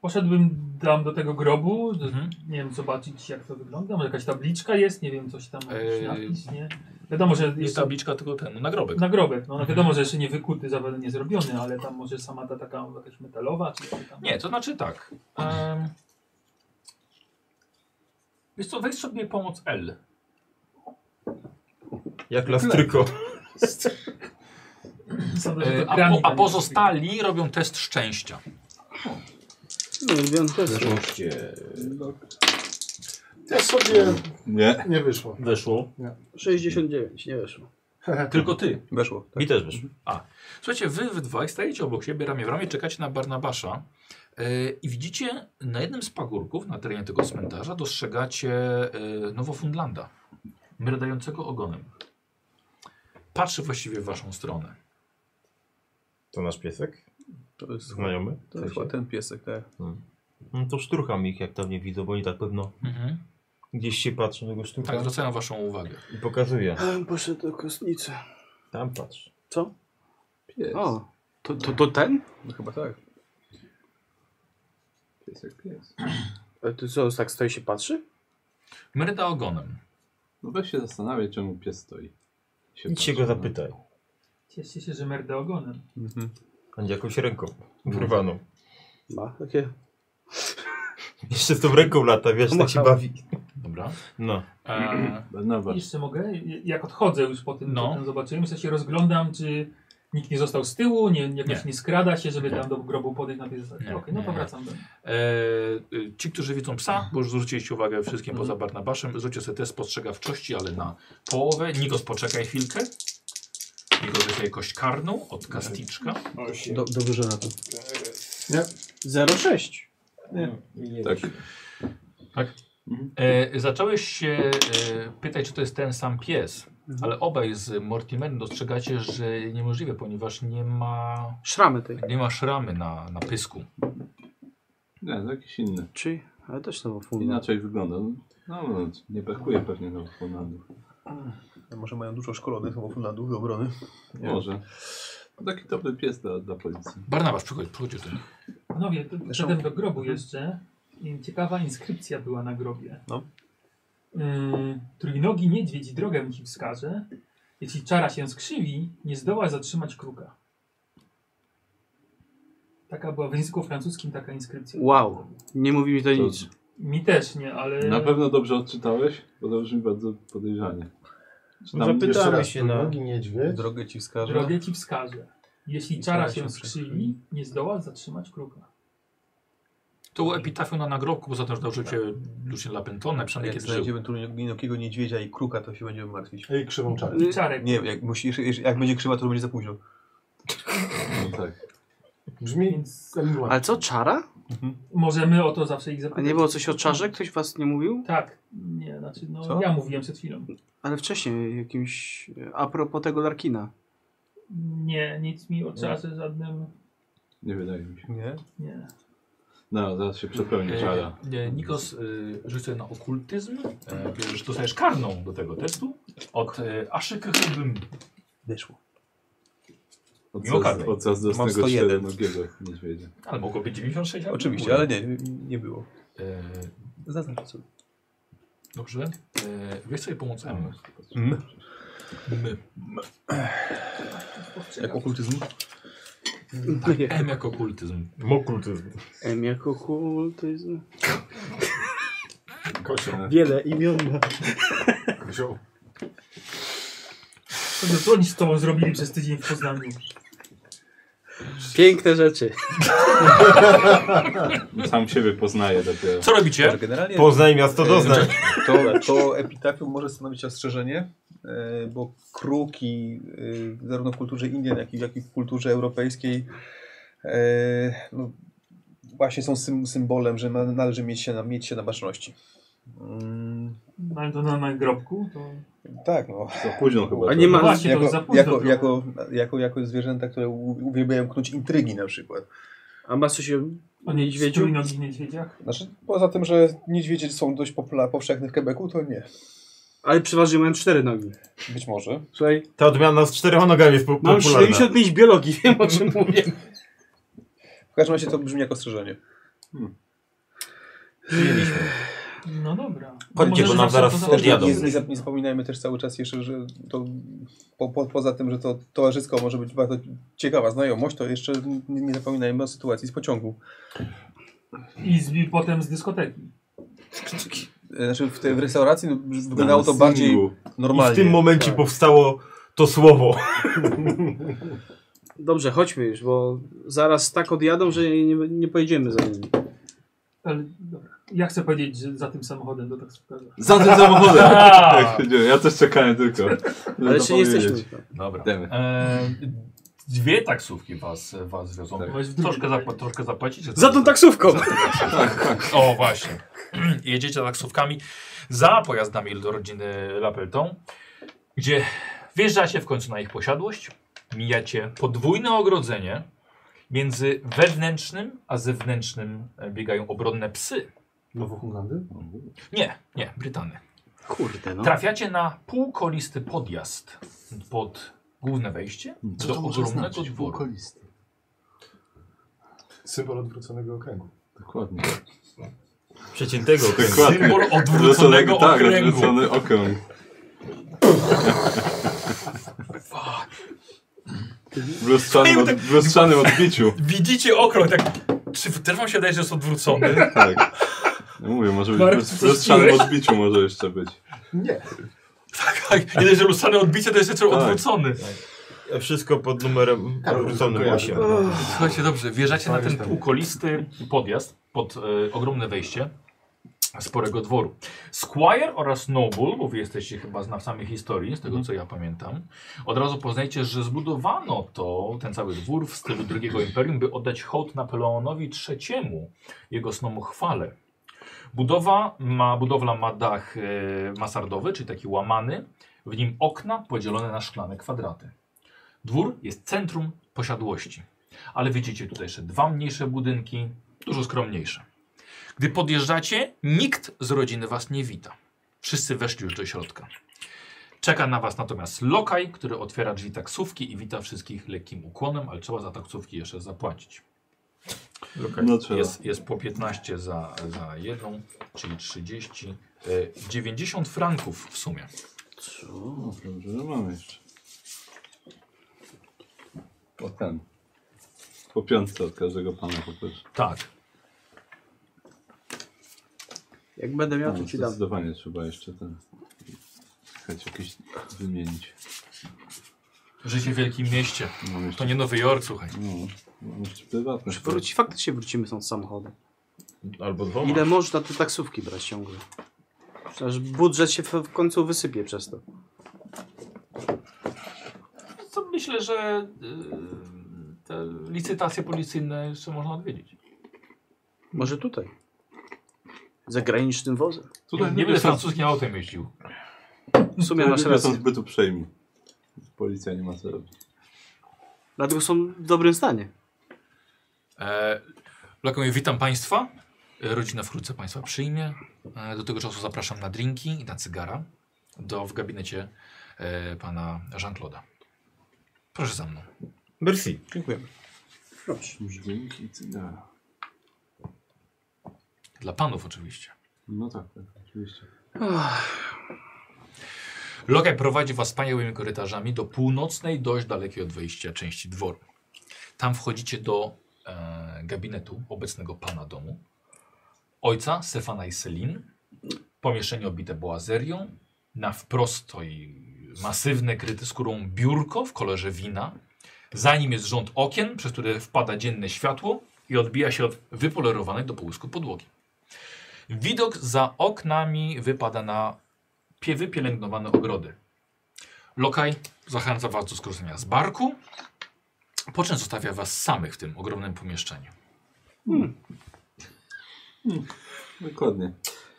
poszedłbym tam do tego grobu, do,
Mhm.
nie wiem, zobaczyć jak to wygląda, może jakaś tabliczka jest, nie wiem, coś tam, jakiś
Eee.
napis, nie? Wiadomo, że
Jest
jest
tabliczka, tylko ten nagrobek.
nagrobek,
Mhm.
no, no wiadomo, że jeszcze nie wykuty, zawal nie zrobiony, ale tam może sama ta taka jakaś metalowa, czy czy tam.
Nie, to znaczy tak. Um, wiesz co, weź sobie pomoc L.
Jak lastryko.
Sądzę, że
E,
to
a,
piramida
po, a
nie-
pozostali robią test szczęścia.
No, lubiąc też.
Weszłoście.
Ja sobie
Nie.
nie wyszło.
Weszło.
69, nie weszło.
Tylko ty.
Weszło. Tak.
I też weszło.
Słuchajcie, wy we dwaj stajecie obok siebie, ramię w ramię, czekacie na Barnabasza e, i widzicie na jednym z pagórków na terenie tego cmentarza dostrzegacie e, Nowofundlanda, mrdającego ogonem. Patrzy właściwie w waszą stronę.
To nasz piesek?
To
No,
jest,
Znajomy?
to jest chyba ten piesek, tak.
No to szturcham ich, jak tam nie widzą, bo oni tak pewno gdzieś się patrzą, tego szturcha
Tak, zwracają waszą uwagę.
i pokazuję.
Ja bym poszedł do kostnicy.
Tam patrz.
Co?
Pies.
O, to, to, to ten?
No chyba tak.
Pies jak pies.
Ale ty co, tak stoi się patrzy?
Mryda ogonem.
No weź się zastanawiaj, czemu pies stoi. Się
Idź
patrzy,
się go
no.
zapytaj.
Cieszcie się, że merdę ogonem.
Mhm.
Będzie jakąś ręką wyrwaną.
Ma takie...
Jeszcze z tą ręką lata, wiesz, tak się
Machał.
bawi.
Dobra.
No.
E,
Barnabasz.
Jeszcze mogę? J- Jak odchodzę już po tym,
No.
co tam zobaczyłem, to się rozglądam, czy nikt nie został z tyłu, nie, jakoś
Nie.
nie. skrada się, żeby
Nie.
tam do grobu podejść na tej zasadzie.
Nie.
Okej, no to
Nie.
wracam do
E, y, ci, którzy widzą psa, bo już zwróciliście uwagę wszystkim poza Barnabaszem, rzućcie sobie test spostrzegawczości, ale na połowę. Nikos, poczekaj chwilkę. Nikos dostaje kość karną od kasticzka.
Do, dobrze, że na to.
06.
Tak.
E, zacząłeś się e, pytać, czy to jest ten sam pies, ale obaj z Mortimerem dostrzegacie, że niemożliwe, ponieważ nie ma,
Szramy tej.
nie ma szramy na, na pysku.
Nie, to jakiś inny.
Czy? Ale też to było funda.
Inaczej wygląda. No, no nie brakuje pewnie na Holandów.
Może mają dużo szkolonych nowofundlandów do obrony.
Nie. Może. No, taki dobry pies dla, dla policji.
Barnabasz, przychodź, przychodź do nich.
Panowie, to
Zresztą-
wszedłem do grobu jeszcze i ciekawa inskrypcja była na grobie.
No.
Yy, trójnogi niedźwiedź drogę ci wskaże. Jeśli czara się skrzywi, nie zdoła zatrzymać kruka. Taka była w języku francuskim taka inskrypcja.
Wow, nie mówi mi to
To-
nic.
Mi też nie, ale...
Na pewno dobrze odczytałeś, bo to brzmi bardzo podejrzanie. Czy tam
Jeszcze
Zapytamy
raz, no.
się no. na...
nogi niedźwiedź.
Drogę ci wskażę.
Drogę ci wskaże. Jeśli czara się skrzywi, nie zdoła zatrzymać kruka.
To był epitafium na nagrobku, za to, że dobrze cię Lucien Lapentone,
Ale
przynajmniej
jak
kiedy żył.
znajdziemy tu jakiego niedźwiedzia i kruka, to się będziemy martwić.
I krzywą czarę.
I czarek.
Nie, jak, musi, jak będzie krzywa, to będzie za późno.
No tak.
Brzmi
Więc
Elingua.
Ale co, czara?
możemy o to zawsze ich
A
zapytać.
nie było coś o czarze? Ktoś was nie mówił?
Tak. Nie, znaczy no
Co?
ja mówiłem przed chwilą.
Ale wcześniej jakimś... A propos tego Larkina.
Nie, nic mi o czarze żadnym...
Nie wydaje mi się.
Nie?
Nie.
No, zaraz się przepełni czara.
E, e, Nikos, e, rzuć sobie na okultyzm. E, bierzesz, dostajesz karną do tego testu. Od e, Aszyk Hybym.
Wyszło.
Mimo karnej.
Od coraz
Mam
dostnego
101.
czternogiego niedźwiedzia.
Ale mogło być 96. albo
Oczywiście,
górę.
ale nie, nie było.
E,
Zaznaczę sobie.
dobrze. E, wiesz sobie pomóc M.
Mm.
M.
Jak okultyzm?
M jako okultyzm.
Mokultyzm.
M jako kultyzm.
Kosia.
Wiele imion.
Wziął.
Co to- co oni z tobą zrobili przez tydzień w Poznaniu?
Piękne rzeczy.
No, Sam siebie poznaje dopiero.
Co robicie?
Generalnie
Poznaj miasto
znaczy?
doznaj.
to, to epitafium może stanowić ostrzeżenie, e, bo kruki e, zarówno w kulturze Indian, jak i, jak i w kulturze europejskiej e, no, właśnie są sym, symbolem, że na- należy mieć się na, mieć się na baczności. Mm,
Mają to na moim grobku, to
tak, no.
Za późno chyba.
A
to.
nie
No
ma...
właśnie, to już za
Jako,
późno
jako,
było.
jako, jako, jako zwierzęta, które u- uwielbiają knuć intrygi na przykład.
A ma coś o niedźwiedziu?
o niedźwiedziu i nogi niedźwiedziach.
Znaczy, poza tym, że niedźwiedzie są dość popula- powszechne w Quebecu, to nie.
Ale przeważnie mam cztery nogi.
Być może.
Słuchaj,
Ta odmiana z czterema nogami jest po-
mam
popularna.
75 biologii, wiem o czym mówię.
W każdym razie to brzmi jako ostrzeżenie.
No dobra.
Chodźcie,
Może,
bo
że
nam
zawsze
zaraz
to
odjadą.
Nie,
zobaczymy.
nie, zap- nie zapominajmy też cały czas jeszcze, że to po, po, poza tym, że to towarzysko może być bardzo ciekawa znajomość, to jeszcze nie, nie zapominajmy o sytuacji z pociągu.
I z, i potem z dyskoteki.
E, Znaczy w, tej, w restauracji no, wyglądało to bardziej
Singlu.
normalnie.
I w tym momencie
Tak.
powstało to słowo.
Dobrze, chodźmy już, bo zaraz tak odjadą, że nie, nie pojedziemy za nimi.
Ale dobra. Ja chcę powiedzieć, że za tym samochodem tak do taksówkarza.
Za tym samochodem! tak się dzieje. Ja też czekałem tylko. żeby
Ale
No to
jeszcze nie
powiedzieć.
jesteśmy.
Dobra.
Demy.
E, dwie taksówki was, was wiozą.
Tak.
Weź w drugiej.
Troszkę, zapła troszkę zapłacicie.
Za tą taksówką!
O, właśnie. Jedziecie taksówkami za pojazdami do rodziny Lapelton, gdzie wjeżdżacie w końcu na ich posiadłość, mijacie podwójne ogrodzenie. Między wewnętrznym a zewnętrznym e, biegają obronne psy.
Nowohulandy?
Nie, nie, Brytany.
Kurde, no.
Trafiacie na półkolisty podjazd pod główne wejście do ogromnego dworu.
Wokalista.
Symbol odwróconego okręgu.
Dokładnie.
Przeciętego.
Dokładnie.
Symbol odwróconego
Odwrócony- tak,
okręgu.
odwrócony okrąg. W lustrzanym,
tak-
od, w lustrzanym odbiciu.
Widzicie okrąg, tak. Czy też wam się wydaje, że jest odwrócony?
Tak. No mówię, może być
Marek,
w lus-
coś
w lustrzanym
piłeś?
odbiciu może jeszcze być.
Nie.
Tak, tak. Jeden, że lustrzane odbicie, to jest jeszcze
Tak.
odwrócony.
Wszystko pod numerem
Karol,
odwróconym
kojarzę.
8.
Słuchajcie, dobrze, wjeżdżacie na ten
Fajnie.
półkolisty podjazd pod e, ogromne wejście sporego dworu. Squire oraz Noble, bo wy jesteście chyba znawcami historii, z tego co ja pamiętam, od razu poznajcie, że zbudowano to, ten cały dwór w stylu drugiego imperium, by oddać hołd Napoleonowi III, jego snomu chwale. Budowa ma, budowla ma dach e, masardowy, czyli taki łamany, w nim okna podzielone na szklane kwadraty. Dwór jest centrum posiadłości. Ale widzicie tutaj jeszcze dwa mniejsze budynki, dużo skromniejsze. Gdy podjeżdżacie, nikt z rodziny was nie wita. Wszyscy weszli już do środka. Czeka na was natomiast lokaj, który otwiera drzwi taksówki i wita wszystkich lekkim ukłonem, ale trzeba za taksówki jeszcze zapłacić. Okej.
No trzeba.
Jest, jest po 15 za, za jedną, czyli 30. E, 90 franków w sumie.
No, dobrze, że mamy jeszcze. Po ten. Po piątce od każdego pana po pierwsze.
Tak.
Jak będę miał,
No,
to ci dam.
Zdecydowanie trzeba jeszcze ten. Chać jakieś wymienić.
Życie w wielkim mieście.
Mam
To
jeszcze.
nie Nowy Jork, słuchaj.
No, mam jeszcze prywatne.
Wróci, faktycznie wrócimy stąd samochodem.
Albo dwoma.
Ile można te taksówki brać ciągle? Przecież budżet się w- w końcu wysypie przez to.
To myślę, że y, te licytacje policyjne jeszcze można odwiedzić.
Może tutaj. Zagranicznym wozem.
Nie,
Tutaj
nie będę
są-
francuskim autem jeździł.
W sumie masz
ludzie Tak, są
rację.
zbyt uprzejmi. Policja nie ma co robić.
Dlatego są w dobrym stanie.
E, Lako mówi, witam Państwa. E, Rodzina wkrótce Państwa przyjmie. E, do tego czasu zapraszam na drinki i na cygara do, w gabinecie e, pana Jean-Claude'a. Proszę za mną.
Merci.
Dziękuję.
Dzięki, cygara.
Dla panów oczywiście.
No tak, tak, oczywiście.
Lokaj prowadzi was wspaniałymi korytarzami do północnej, dość dalekiej od wejścia części dworu. Tam wchodzicie do e, gabinetu obecnego pana domu, ojca Stefana i Selin. Pomieszczenie obite boazerią, na wprost stoi masywne, kryte skórą biurko w kolorze wina. Za nim jest rząd okien, przez które wpada dzienne światło i odbija się od wypolerowanej do połysku podłogi. Widok za oknami wypada na pie- wypielęgnowane ogrody. Lokaj zachęca was do skorzystania z barku, po czym zostawia was samych w tym ogromnym pomieszczeniu.
Dokładnie.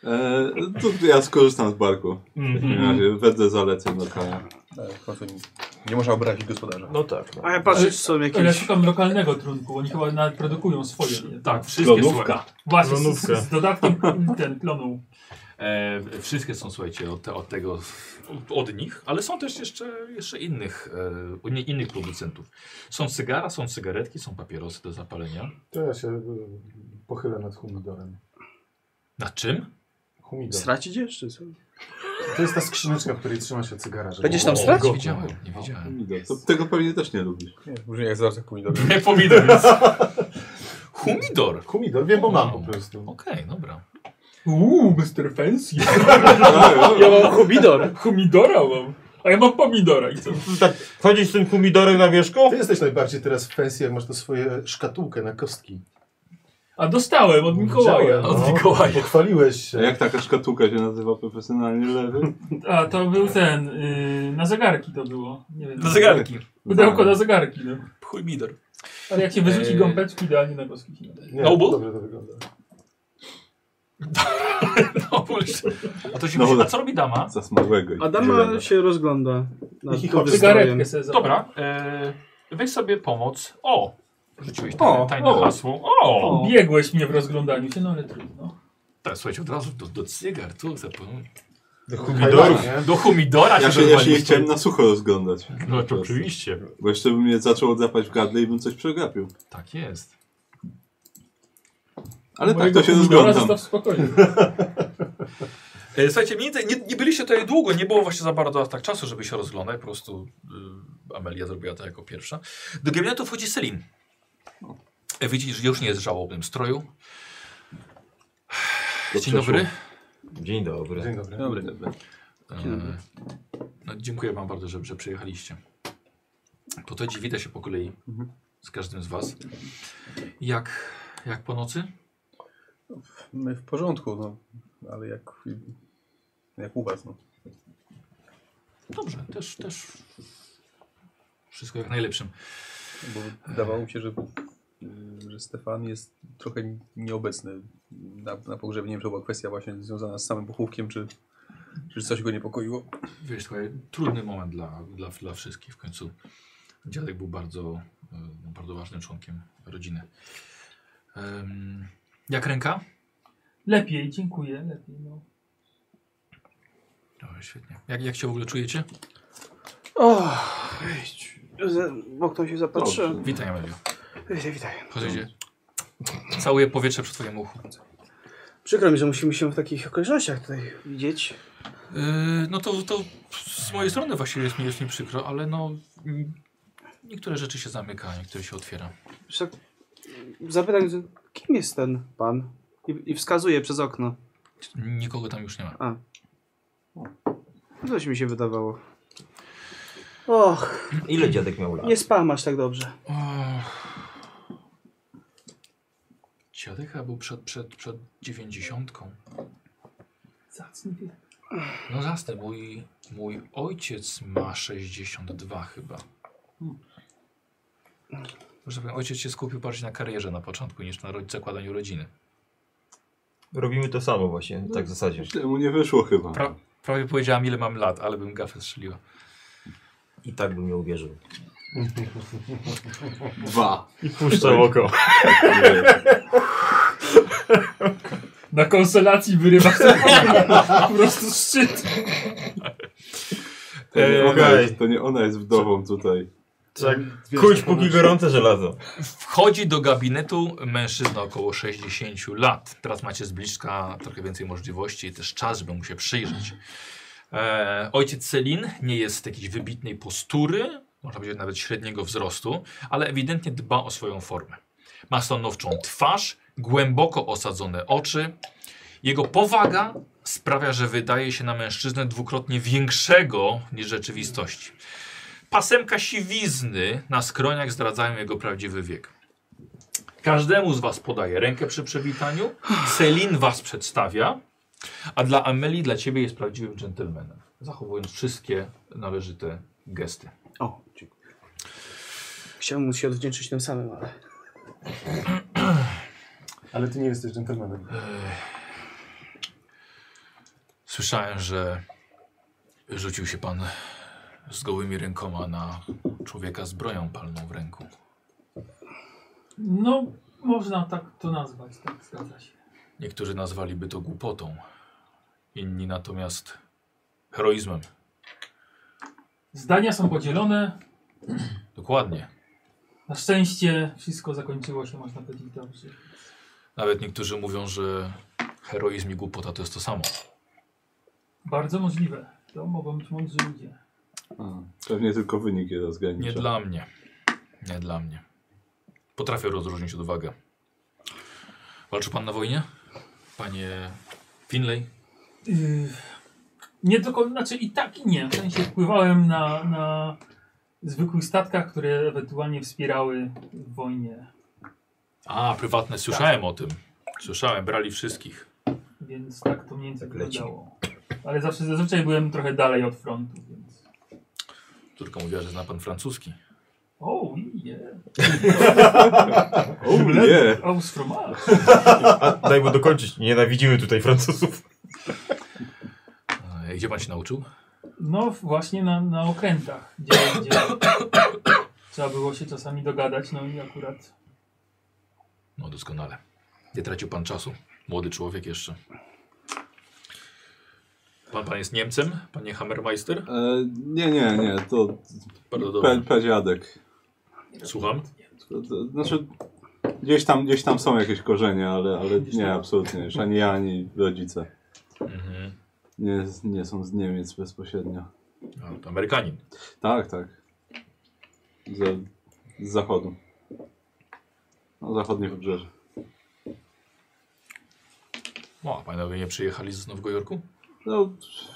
E, to ja skorzystam z barku. W takim
Mhm.
razie wedle zaleceń lokala.
Tak, w końcu nie- nie można obrazić gospodarza.
No tak. No.
A ja patrzę, czy są
Ale
jakieś...
szukam lokalnego trunku, oni chyba nawet produkują swoje.
Tak, wszystkie,
Klonówka.
słuchaj,
Właśnie, z,
Klonówkę.
z dodatkiem ten klonu.
e, wszystkie są, słuchajcie, od, te, od tego, od nich, ale są też jeszcze, jeszcze innych, e, u nie, innych producentów. Są cygara, są cygaretki, są papierosy do zapalenia.
To ja się y, pochylę nad humidorem.
Na czym?
Humidor.
Stracić jeszcze? Co?
To jest ta skrzyneczka, w której trzyma się cygara. Żeby...
Będziesz tam
O,
strać?
Nie wiedziałem, nie wiedziałem.
Pomidor. To, tego pewnie też nie lubisz.
Nie, Brzmi jak zaraz jak pomidor.
Jak pomidor jest. Humidor.
Humidor, wiem, bo mam
O.
No.
po prostu.
Okej, dobra.
Uuu, Mr. Fancy.
No,
Ja mam humidor.
Humidora mam. A ja mam pomidora i co?
Tak, chodzić z tym humidorem na wierzchu?
Ty jesteś najbardziej teraz w pensji, jak masz to swoje szkatułkę na kostki.
A dostałem od Mikołaja.
Widziałem, no.
Od Mikołaja.
Pochwaliłeś
A
się.
jak taka szkatułka się nazywa profesjonalnie lewy?
A to był ten, y, na zegarki to było. Nie wiem,
zegarki.
Pudełko na zegarki, no.
Humidor.
Ale jak się wyrzuci
Eee.
gąbeczki, idealnie na kostki się nadaje.
Nie,
No bo-
dobrze to wygląda.
No, proszę. a, to się
No,
musi, a
dobra.
co robi dama?
Zasmałego. i
Adama
zielonego.
się rozgląda. nad
Cicho,
pokojem.
Cygaretkę sobie zapal.
Dobra, e, weź sobie pomoc. O! Rzuciłeś
O,
tajne, tajne
o.
hasło. O!
O.
Biegłeś mnie w rozglądaniu się, no ale trudno.
Tak, słuchajcie, od razu do, do cygar, tu zapomniałem.
Humidorów.
Do humidora
Ja się, ja się nie
dorwaliście.
chciałem na sucho rozglądać.
No to oczywiście.
Bo jeszcze by mnie zaczął drapać w gardle i bym coś przegapił.
Tak jest.
Ale tak,
Mojego
to się
pomidora Zostaw
rozglądam.
w spokoju.
E, Słuchajcie, mniej więcej- nie, nie byliście tutaj długo, nie było właśnie za bardzo tak czasu, żeby się rozglądać. Po prostu y, Amelia zrobiła to jako pierwsza. Do gabinetu wchodzi Selin. E, Widzisz, że już nie jest w żałobnym stroju. Dzień
To przeszło.
dobry.
Dzień dobry.
Dzień dobry.
Dobry.
dobry.
E, No, dziękuję Wam bardzo, że, że przyjechaliście. Po to dziś się po kolei z każdym z Was. Jak, jak po nocy?
My w porządku, no. Ale jak, jak u was, no.
Dobrze, też, też. Wszystko jak najlepszym.
Bo wydawało mi się, że, y, że Stefan jest trochę nieobecny na, na pogrzebie. Nie wiem, czy to była kwestia właśnie związana z samym pochówkiem, czy, czy coś go niepokoiło.
Wiesz, słuchaj, trudny moment dla, dla, dla wszystkich. W końcu dziadek był bardzo, e, no, bardzo ważnym członkiem rodziny. Em, jak ręka?
Lepiej, dziękuję, lepiej, no.
O, świetnie. Jak, jak się w ogóle czujecie?
O, Bo ktoś się zapatrzy.
Dobrze.
Witaj, Amelio.
Witaj, witaj.
Chodźcie. Całuję powietrze przy twoim uchu.
Przykro mi, że musimy się w takich okolicznościach tutaj widzieć.
Yy, no to, to z mojej strony właściwie jest mi, jest mi przykro, ale no... mm, Niektóre rzeczy się zamyka, niektóre się otwiera.
Wszak zapytam, że kim jest ten pan? I, i wskazuje przez okno.
Nikogo tam już nie ma.
A. Coś mi się wydawało. Och,
Ile dziadek miał lat?
nie spam aż tak dobrze.
Och. Dziadek chyba był przed, przed, przed dziewięćdziesiątką.
Zacny pies.
No jasne, mój, mój ojciec ma 62 chyba. Może powiem, ojciec się skupił bardziej na karierze na początku niż na ro- zakładaniu rodziny.
Robimy to samo właśnie, tak w zasadzie.
Źle mu nie wyszło chyba.
Pra, prawie powiedziałam ile mam lat, ale bym gafę strzeliła.
I tak bym nie uwierzył.
Dwa.
I puszczę oko.
Nie.
Na konsolacji wyrywa sobie po prostu szczyt.
To nie, ona
Okej.
jest, to nie ona jest wdową tutaj.
Tak, kuć póki gorące żelazo.
Wchodzi do gabinetu mężczyzna około 60 lat. Teraz macie z bliska trochę więcej możliwości i też czas, żeby mu się przyjrzeć. E, ojciec Selin nie jest jakiejś wybitnej postury, można powiedzieć nawet średniego wzrostu, ale ewidentnie dba o swoją formę. Ma stanowczą twarz, głęboko osadzone oczy. Jego powaga sprawia, że wydaje się na mężczyznę dwukrotnie większego niż w rzeczywistości. Pasemka siwizny na skroniach zdradzają jego prawdziwy wiek. Każdemu z Was podaje rękę przy przywitaniu. Selin Was przedstawia. A dla Amelii, dla Ciebie jest prawdziwym dżentelmenem. Zachowując wszystkie należyte gesty.
O, dziękuję. Chciałbym mu się odwdzięczyć tym samym, ale...
Ale ty nie jesteś dżentelmenem.
Słyszałem, że rzucił się Pan z gołymi rękoma na człowieka z broją palną w ręku.
No, można tak to nazwać, tak zgadza się.
Niektórzy nazwaliby to głupotą, inni natomiast heroizmem.
Zdania są podzielone.
Dokładnie.
Na szczęście wszystko zakończyło się, można powiedzieć, dobrze.
Nawet niektórzy mówią, że heroizm i głupota to jest to samo.
Bardzo możliwe. To mogą być mądrzy ludzie.
A, Pewnie tylko wynik je rozgranicza.
Nie dla mnie. Nie dla mnie. Potrafię rozróżnić odwagę. Walczy pan na wojnie? Panie Finlay?
Yy, nie tylko, znaczy i tak i nie. W sensie wpływałem na, na zwykłych statkach, które ewentualnie wspierały w wojnie.
A, prywatne. Słyszałem o tym. Słyszałem, brali wszystkich.
Więc tak to mniej więcej
Tak leci.
wyglądało. Ale zawsze zazwyczaj byłem trochę dalej od frontu, więc.
Córka mówiła, że zna pan francuski.
O, je.
O nie!
Aus from us.
A daj mu dokończyć, nienawidzimy tutaj Francuzów.
E, Gdzie pan się nauczył?
No właśnie na, na okrętach, gdzie, gdzie trzeba było się czasami dogadać, no i akurat
No doskonale. Nie tracił pan czasu. Młody człowiek jeszcze. Pan, pan jest Niemcem? Panie Hammermeister?
E, nie, nie, nie, to
Bardzo
pe,
dobrze.
peziadek.
Słucham?
To, to, znaczy, gdzieś tam, gdzieś tam są jakieś korzenie, ale, ale nie, absolutnie. Już ani ja, ani rodzice
Mhm.
nie, nie są z Niemiec bezpośrednio.
A, No, to Amerykanin.
Tak, tak. Z, z zachodu. No, zachodnie wybrzeże.
O, a panowie nie przyjechali z Nowego Jorku?
No,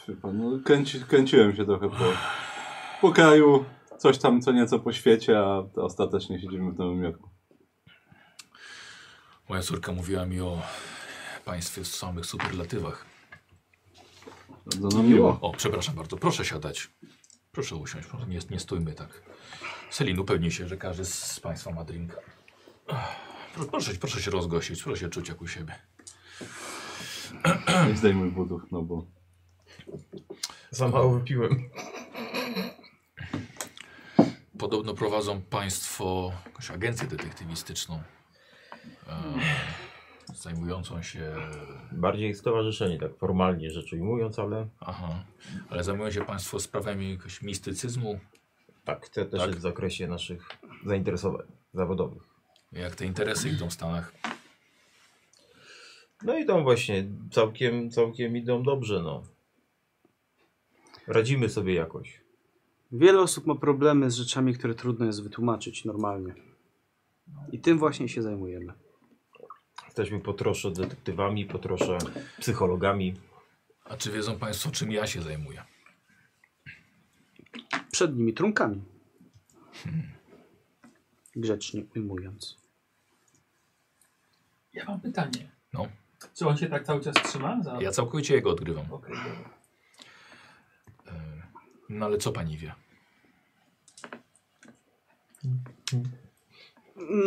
wie pan, no kręci, kręciłem się trochę po, po kraju, coś tam co nieco po świecie, a ostatecznie siedzimy w Nowym Jorku.
Moja córka mówiła mi o państwie w samych superlatywach.
Bardzo nam No, miło.
O, przepraszam bardzo, proszę siadać. Proszę usiąść, proszę, nie, nie stójmy tak. Selin, upewnij się, że każdy z państwa ma drink. Ach, pro- Proszę, proszę się rozgościć, proszę się czuć jak u siebie.
Nie zdejmuj butów, no bo
Za mało wypiłem.
Podobno prowadzą państwo jakąś agencję detektywistyczną. E, zajmującą się...
Bardziej stowarzyszenie, tak formalnie rzecz ujmując, ale
Aha, ale zajmują się państwo sprawami jakiegoś mistycyzmu.
tak, to też
Tak.
jest w zakresie naszych zainteresowań zawodowych.
Jak te interesy idą w Stanach.
No i tam właśnie całkiem, całkiem idą dobrze, no. Radzimy sobie jakoś.
Wiele osób ma problemy z rzeczami, które trudno jest wytłumaczyć normalnie. I tym właśnie się zajmujemy.
Jesteśmy po trosze detektywami, po trosze psychologami.
A czy wiedzą Państwo, czym ja się zajmuję?
Przed nimi trunkami. Grzecznie ujmując.
Ja mam pytanie.
No.
Czy on się tak cały czas trzyma? Za...
Ja całkowicie jego odgrywam.
Okej, dobra.
E, No ale co Pani wie?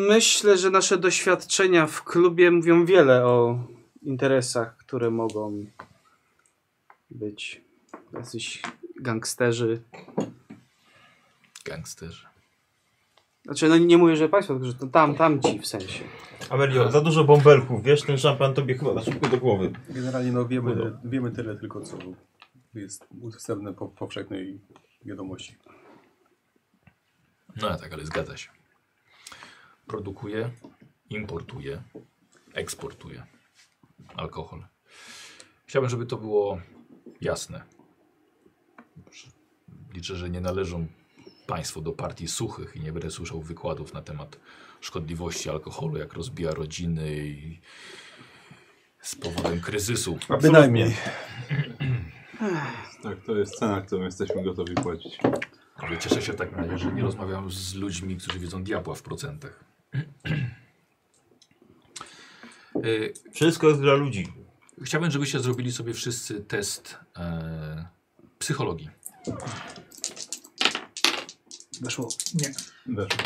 Myślę, że nasze doświadczenia w klubie mówią wiele o interesach, które mogą być. Jacyś gangsterzy.
Gangsterzy.
Znaczy, no nie mówię, że państwo, tylko że to tam, tamci w sensie.
Amelio, za dużo bąbelków, wiesz, ten szampan tobie chyba za szybko do głowy.
Generalnie no wiemy, wiemy tyle tylko, co jest dostępne po powszechnej wiadomości.
No tak, ale zgadza się. Produkuje, importuje, eksportuje alkohol. Chciałbym, żeby to było jasne. Liczę, że nie należą Państwo do partii suchych i nie będę słyszał wykładów na temat szkodliwości alkoholu, jak rozbija rodziny i z powodem kryzysu.
Bynajmniej.
Tak, to jest cena, którą jesteśmy gotowi płacić.
Ale cieszę się w takim razie, że nie rozmawiam z ludźmi, którzy wiedzą diabła w procentach. Y,
Wszystko jest dla ludzi.
Chciałbym, żebyście zrobili sobie wszyscy test e, psychologii.
Weszło.
Nie.
Weszło.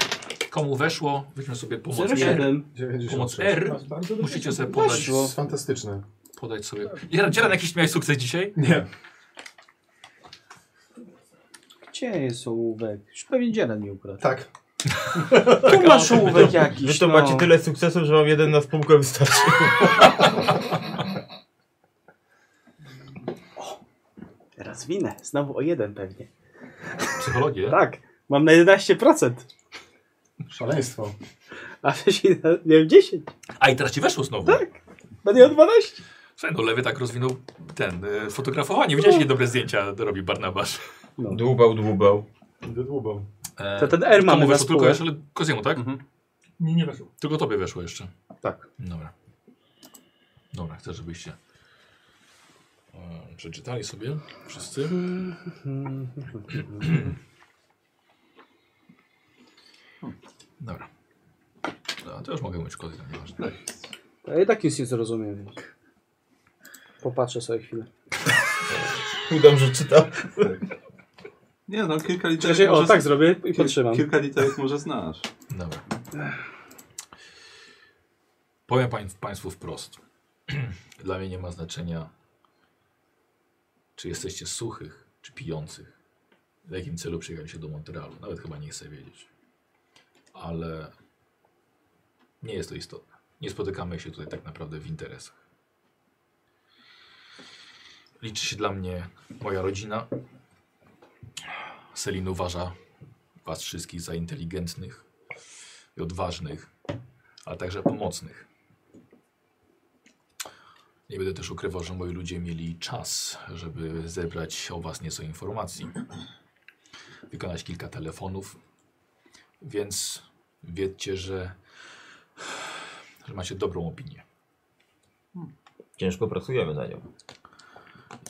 Komu weszło, weźmy sobie pomoc R.
07.
96.
Pomoc R.
Masz bardzo dobre
Musicie sobie
To
podać,
jest fantastyczne.
podać sobie. Dzieran, Dzieran, jakiś miałeś sukces dzisiaj?
Nie.
Gdzie jest ołówek? Już pewnie dzielę mi ukradł.
Tak.
Tu masz ołówek jakiś.
Tak, Wy to
no.
macie tyle sukcesów, że wam jeden na spółkę wystarczy.
Teraz winę. Znowu o jeden pewnie.
Psychologię.
Tak. Mam na 11%.
Szaleństwo.
A wcześniej na- miałem 10.
A i teraz ci weszło znowu.
Będę miał 12.
Słuchaj, no lewy tak rozwinął ten e, fotografowanie. Widziałeś, jakie dobre zdjęcia robi Barnabasz.
Dłubał, dłubał.
Dudłubą.
E,
To ten R
komu
mamy na
weszło tylko
spółkę.
jeszcze, ale Koziemu, tak?
Nie, nie weszło.
Tylko tobie weszło jeszcze.
Tak.
Dobra. Dobra, chcę, żebyście e, przeczytali sobie wszyscy. Dobra. A to już mogę mieć kody, tam nieważne.
Ja i tak nic nie zrozumiem, więc. Popatrzę sobie chwilę.
Udam, że czytał.
Nie no, kilka literek
Znaczy, o,
może-
tak zrobię i
kil-
podtrzymam.
Kilka literek może znasz.
Dobra. Powiem pań, Państwu wprost. Dla mnie nie ma znaczenia, czy jesteście suchych, czy pijących. W jakim celu przyjechaliście do Montrealu. Nawet chyba nie chcę wiedzieć. Ale nie jest to istotne. Nie spotykamy się tutaj tak naprawdę w interesach. Liczy się dla mnie moja rodzina. Selin uważa Was wszystkich za inteligentnych i odważnych, ale także pomocnych. Nie będę też ukrywał, że moi ludzie mieli czas, żeby zebrać o Was nieco informacji, wykonać kilka telefonów, więc wiedzcie, że, że macie dobrą opinię.
Ciężko pracujemy na nią.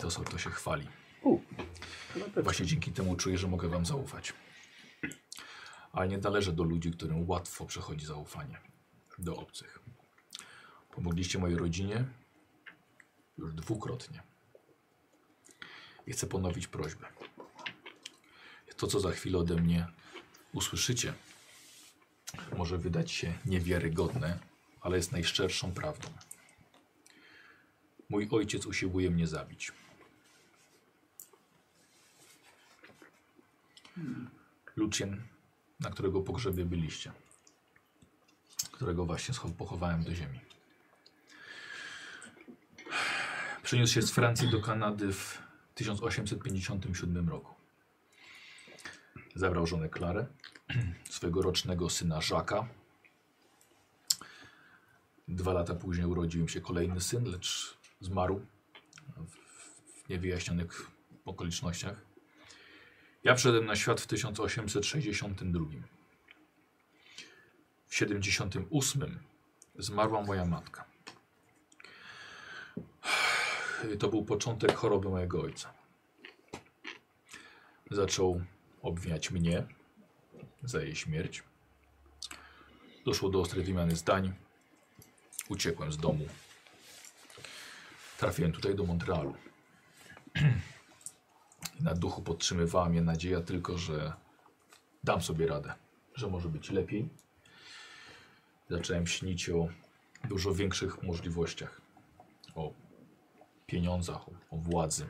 To, są- to się chwali.
No to-
Właśnie dzięki temu czuję, że mogę Wam zaufać. Ale nie należę do ludzi, którym łatwo przechodzi zaufanie do obcych. Pomogliście mojej rodzinie już dwukrotnie. I chcę ponowić prośbę. To, co za chwilę ode mnie usłyszycie, może wydać się niewiarygodne, ale jest najszczerszą prawdą. Mój ojciec usiłuje mnie zabić. Lucien, na którego pogrzebie byliście, którego właśnie scho- pochowałem do ziemi. Przeniósł się z Francji do Kanady w 1857 roku. Zabrał żonę Klarę, swojego rocznego syna Żaka, Dwa lata później urodził im się kolejny syn, lecz zmarł w, w niewyjaśnionych okolicznościach. Ja przyszedłem na świat w 1862. W 78 zmarła moja matka. To był początek choroby mojego ojca. Zaczął obwiniać mnie za jej śmierć. Doszło do ostrej wymiany zdań. Uciekłem z domu. Trafiłem tutaj do Montrealu. I Na duchu podtrzymywała mnie nadzieja tylko, że dam sobie radę, że może być lepiej. Zacząłem śnić o dużo większych możliwościach, o pieniądzach, o, o władzy.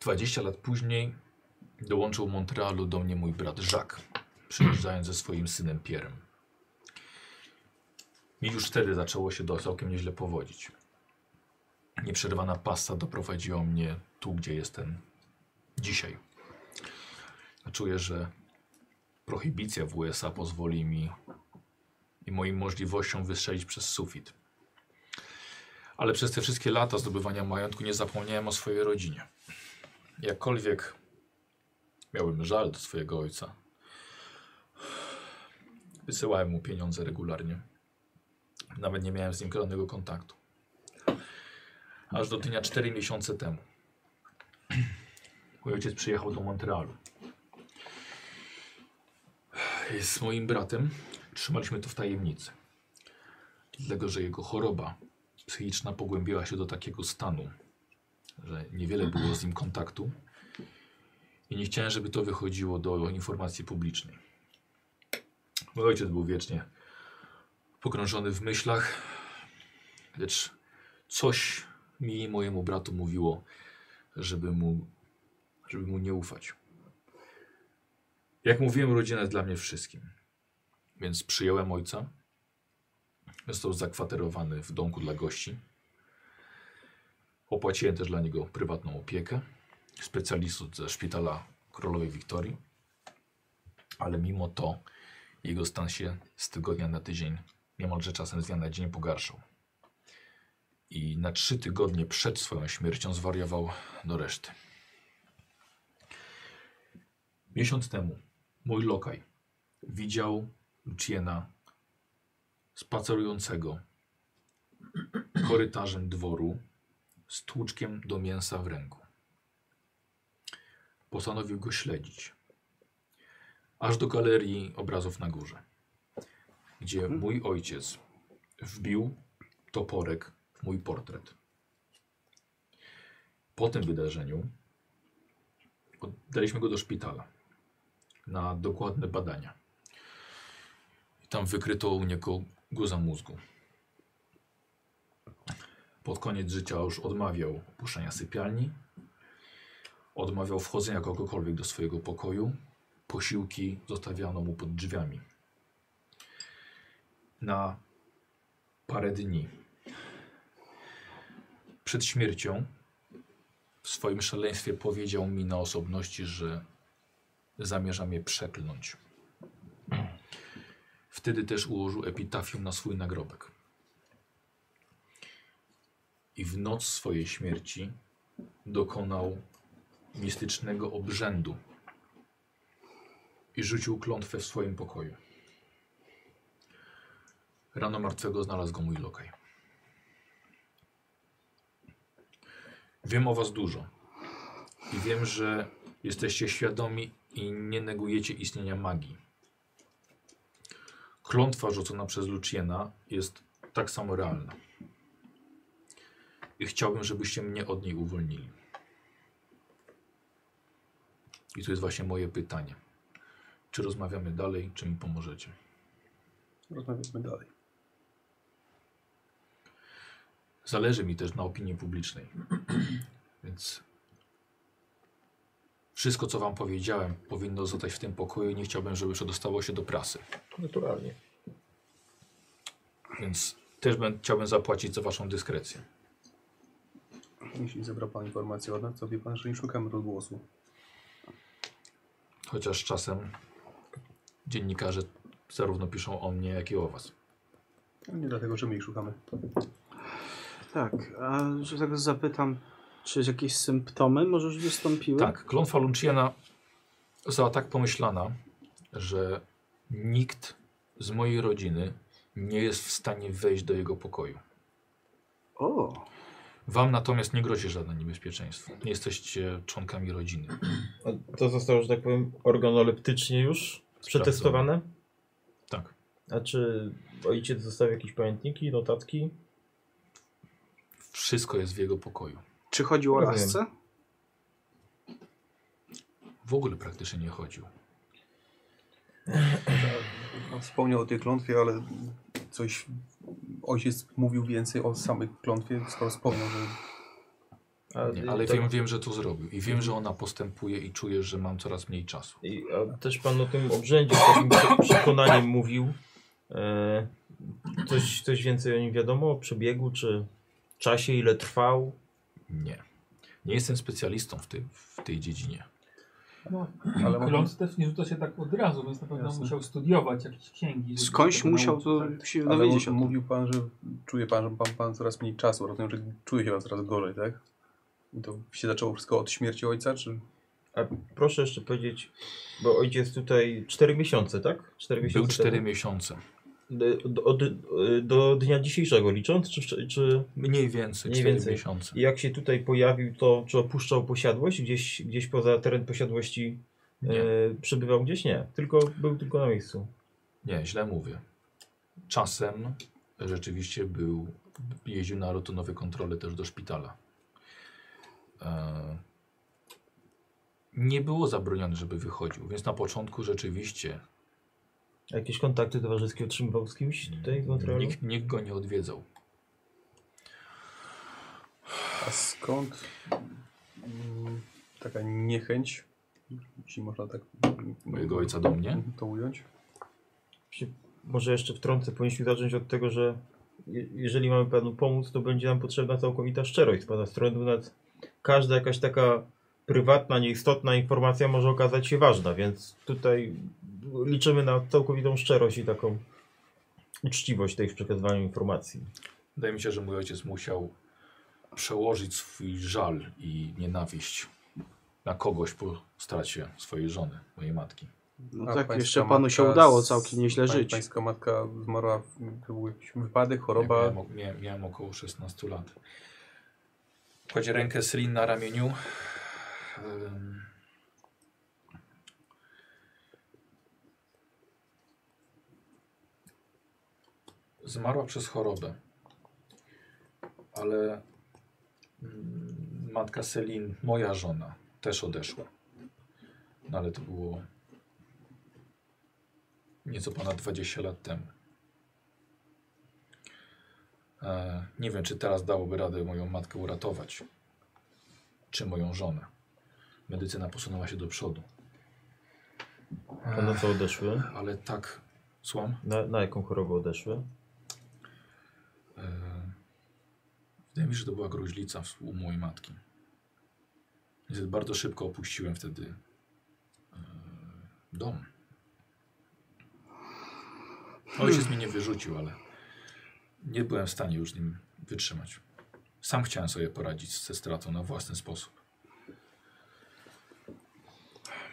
20 lat później dołączył w Montrealu do mnie mój brat Jacques, przyjeżdżając ze swoim synem Pierrem. I już wtedy zaczęło się do całkiem nieźle powodzić. Nieprzerwana pasta doprowadziła mnie tu, gdzie jestem dzisiaj. Czuję, że prohibicja w USA pozwoli mi i moim możliwościom wystrzelić przez sufit. Ale przez te wszystkie lata zdobywania majątku nie zapomniałem o swojej rodzinie. Jakkolwiek miałem żal do swojego ojca, wysyłałem mu pieniądze regularnie. Nawet nie miałem z nim żadnego kontaktu. Aż do dnia 4 miesiące temu. Mój ojciec przyjechał do Montrealu. I Z moim bratem trzymaliśmy to w tajemnicy. Dlatego, że jego choroba psychiczna pogłębiła się do takiego stanu, że niewiele było z nim kontaktu i nie chciałem, żeby to wychodziło do informacji publicznej. Mój ojciec był wiecznie pogrążony w myślach, lecz coś mi i mojemu bratu mówiło, żeby mu, żeby mu nie ufać. Jak mówiłem, rodzina jest dla mnie wszystkim. Więc przyjąłem ojca. Został zakwaterowany w domku dla gości. Opłaciłem też dla niego prywatną opiekę specjalistów ze szpitala królowej Wiktorii, ale mimo to jego stan się z tygodnia na tydzień, niemalże czasem z dnia na dzień pogarszał. I na trzy tygodnie przed swoją śmiercią zwariował do reszty. Miesiąc temu mój lokaj widział Luciena spacerującego korytarzem dworu z tłuczkiem do mięsa w ręku postanowił go śledzić. Aż do galerii obrazów na górze, gdzie mój ojciec wbił toporek w mój portret. Po tym wydarzeniu oddaliśmy go do szpitala na dokładne badania. I tam wykryto u niego guza mózgu. Pod koniec życia już odmawiał opuszczenia sypialni, Odmawiał wchodzenia kogokolwiek do swojego pokoju. Posiłki zostawiano mu pod drzwiami. Na parę dni przed śmiercią w swoim szaleństwie powiedział mi na osobności, że zamierza mnie przeklnąć. Wtedy też ułożył epitafium na swój nagrobek. I w noc swojej śmierci dokonał mistycznego obrzędu i rzucił klątwę w swoim pokoju. Rano martwego znalazł go mój lokaj. Wiem o was dużo i wiem, że jesteście świadomi i nie negujecie istnienia magii. Klątwa rzucona przez Luciena jest tak samo realna. I chciałbym, żebyście mnie od niej uwolnili. I to jest właśnie moje pytanie. Czy rozmawiamy dalej, czy mi pomożecie?
Rozmawiamy dalej.
Zależy mi też na opinii publicznej. Więc wszystko, co wam powiedziałem, powinno zostać w tym pokoju i nie chciałbym, żeby przedostało się do prasy.
Naturalnie.
Więc też bym, chciałbym zapłacić za waszą dyskrecję.
Jeśli zebrał Pan informację od nas, to wie Pan, że nie szukamy rozgłosu.
Chociaż czasem dziennikarze zarówno piszą o mnie, jak i o was.
Nie dlatego, że my ich szukamy.
Tak, a że tak zapytam, czy jakieś symptomy może już wystąpiły?
Tak, klątwa Lunciana została tak pomyślana, że nikt z mojej rodziny nie jest w stanie wejść do jego pokoju.
O,
Wam natomiast nie grozi żadne niebezpieczeństwo. Nie jesteście członkami rodziny.
A To zostało, że tak powiem, organoleptycznie już przetestowane.
Tak.
A czy ojciec zostawił jakieś pamiętniki, notatki?
Wszystko jest w jego pokoju.
czy chodziło o
Rozumiem.
lasce?
W ogóle praktycznie nie chodził.
On wspomniał o tej klątwie, ale coś ojciec mówił więcej o samej klątwie, skoro wspomniał, że
A,
Nie, ale
to-
wiem, wiem, że to zrobił. I wiem, że ona postępuje i czuję, że mam coraz mniej czasu.
I, a też pan o tym obrzędzie z takim prze- przekonaniem mówił. E, coś, coś więcej o nim wiadomo? O przebiegu, czy czasie, ile trwał?
Nie. Nie jestem specjalistą w, tej w tej dziedzinie.
No,
Ale może-
Klątw też nie rzuca się tak od razu, więc na pewno
Jasne.
musiał studiować jakieś księgi. żeby
Skądś
tego
musiał
nauczyć,
to
tak?
się
No, Ale
dowiedzieć o
mu-
tym.
mówił pan, że czuje pan, że pan, pan coraz mniej czasu, rozumiem, że czuje się pan coraz gorzej, tak? I to się zaczęło wszystko od śmierci ojca, czy
Proszę jeszcze powiedzieć, bo ojciec tutaj 4 miesiące, tak? 4
Był
miesiące.
cztery
temu.
miesiące.
Do, od, e, do dnia dzisiejszego licząc? Czy, wcze- czy
Mniej więcej, cztery
Mniej więcej.
miesiące.
jak się tutaj pojawił, to czy opuszczał posiadłość? Gdzieś, gdzieś poza teren posiadłości e,
Nie.
przebywał? Gdzieś nie. Tylko, był tylko na miejscu.
Nie, źle mówię. Czasem rzeczywiście był, jeździł na rutynowe kontrole też do szpitala. E, nie było zabronione, żeby wychodził, więc na początku rzeczywiście
A Jakieś kontakty towarzyskie utrzymywał z kimś tutaj w Montrealu?
nikt, nikt go nie odwiedzał.
a skąd mm, taka niechęć, jeśli można tak
Mojego ojca do mnie?
to ująć?
Się- Może jeszcze wtrącę, powinniśmy zacząć od tego, że je- jeżeli mamy panu pomóc, to będzie nam potrzebna całkowita szczerość z pana strony, bo nawet każda jakaś taka prywatna, nieistotna informacja może okazać się ważna, więc tutaj liczymy na całkowitą szczerość i taką uczciwość tej w przekazywaniu informacji.
Wydaje mi się, że mój ojciec musiał przełożyć swój żal i nienawiść na kogoś po stracie swojej żony, mojej matki.
No
A
tak,
pańska
jeszcze panu się
matka
udało
z-
całkiem nieźle
pań-
żyć.
Pańska matka zmarła, w- to był jakiś wypadek,
Ja
choroba.
Miałem, o- miałem, miałem około 16 lat. Kładzie rękę Srin na ramieniu. Ym. Zmarła przez chorobę, ale mm, matka Selin, moja żona, też odeszła. No ale to było nieco ponad 20 lat temu. E, nie wiem, czy teraz dałoby radę moją matkę uratować, czy moją żonę. Medycyna posunęła się do przodu,
A na co odeszły?
ale tak, słucham,
Na, na jaką chorobę odeszły?
e, wydaje mi się, że to była gruźlica w- u mojej matki. Niestety bardzo szybko opuściłem wtedy e, dom. Ojciec mnie nie wyrzucił, ale nie byłem w stanie już z nim wytrzymać. Sam chciałem sobie poradzić ze stratą na własny sposób.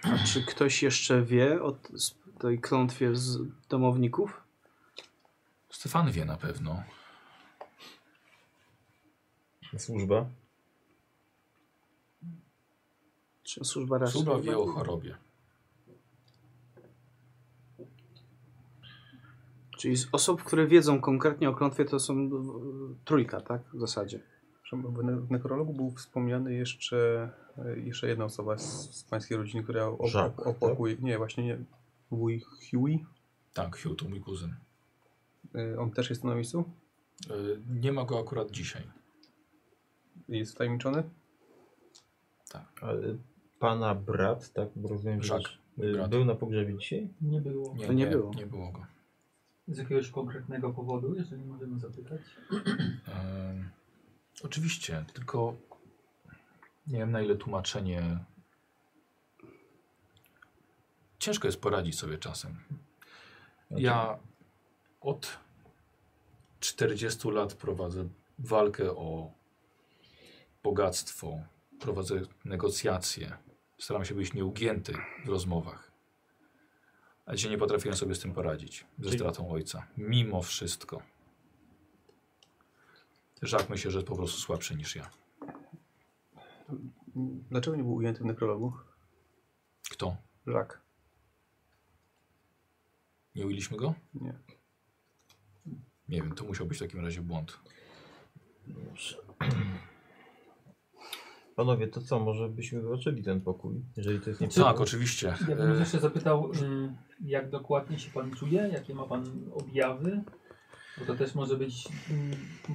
A czy ktoś jeszcze wie o t- z tej klątwie z domowników?
Stefan wie na pewno.
Służba?
Czy służba raczej?
Suba wie o chorobie.
Czyli z osób, które wiedzą konkretnie o klątwie, to są w- trójka, tak? W zasadzie.
Przepraszam, W ne- w nekrologu był wspomniany jeszcze, e, jeszcze jedna osoba z, z pańskiej rodziny, która op-
Jacques,
op- opakuje. Nie, właśnie nie. Wuj Huey.
Tak, Hugh to mój kuzyn.
E, On też jest na miejscu?
Y, Nie ma go akurat dzisiaj.
Jest wtajemniczony?
Ale Pana brat, tak bo rozumiem, że
Jacques,
y,
brat.
był na pogrzebie dzisiaj?
Tak, Nie było.
Nie,
To nie było.
Nie było go.
Z jakiegoś konkretnego powodu, jeżeli możemy zapytać.
Ym, oczywiście, tylko nie wiem na ile tłumaczenie. Ciężko jest poradzić sobie czasem. Ja od 40 lat prowadzę walkę o bogactwo, prowadzę negocjacje, staram się być nieugięty w rozmowach. A dzisiaj nie potrafiłem sobie z tym poradzić, ze
Czyli-
stratą ojca. Mimo wszystko. Żak myślę, że jest po prostu słabszy niż ja.
Dlaczego nie był ujęty w nekrologu?
Kto?
Żak.
Nie ujęliśmy go?
Nie.
Nie wiem, to musiał być w takim razie błąd.
Panowie, to co, może byśmy zobaczyli ten pokój, jeżeli to jest nieprawda.
Tak, oczywiście.
Ja bym
E,
jeszcze zapytał, mm, jak dokładnie się pan czuje, jakie ma pan objawy? Bo to też może być mm,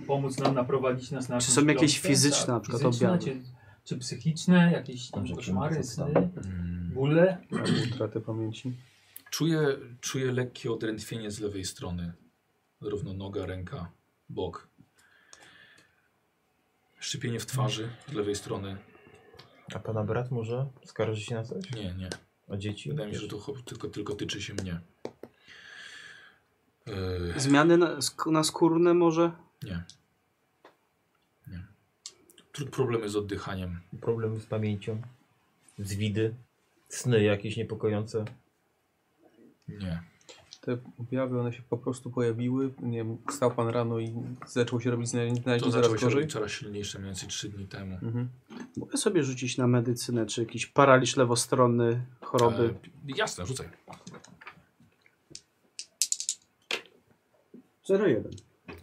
pomóc nam naprowadzić nas na
Czy
jakąś
są jakieś
drogę,
fizyczne na przykład
fizyczne,
objawy?
Czy, czy psychiczne, jakieś tam
Dobrze,
koszmary,
czy
sny,
mamy
mm.
bóle?
Albo utratę pamięci.
Czuję, czuję lekkie odrętwienie z lewej strony. Równo noga, ręka, bok. Szczypienie w twarzy z lewej strony.
A pana brat może skarży się na coś?
Nie, nie.
A dzieci?
Wydaje mi się, że to cho- tylko, tylko tyczy się mnie. Yy,
Zmiany na, sk- na skórne może?
nie. Nie. Tru- Problemy z oddychaniem.
Problemy z pamięcią, zwidy, sny jakieś niepokojące.
Nie.
Te objawy, one się po prostu pojawiły. Nie wiem, wstał pan rano i zaczął się robić
To
znaleźć zaraz
zaczęło się
gorzej.
robić coraz silniejsze mniej więcej 3 dni temu.
Mhm.
Mogę sobie rzucić na medycynę, czy jakiś paraliż lewostronny, choroby.
Tak.
E, jasne, rzucaj.
0,1.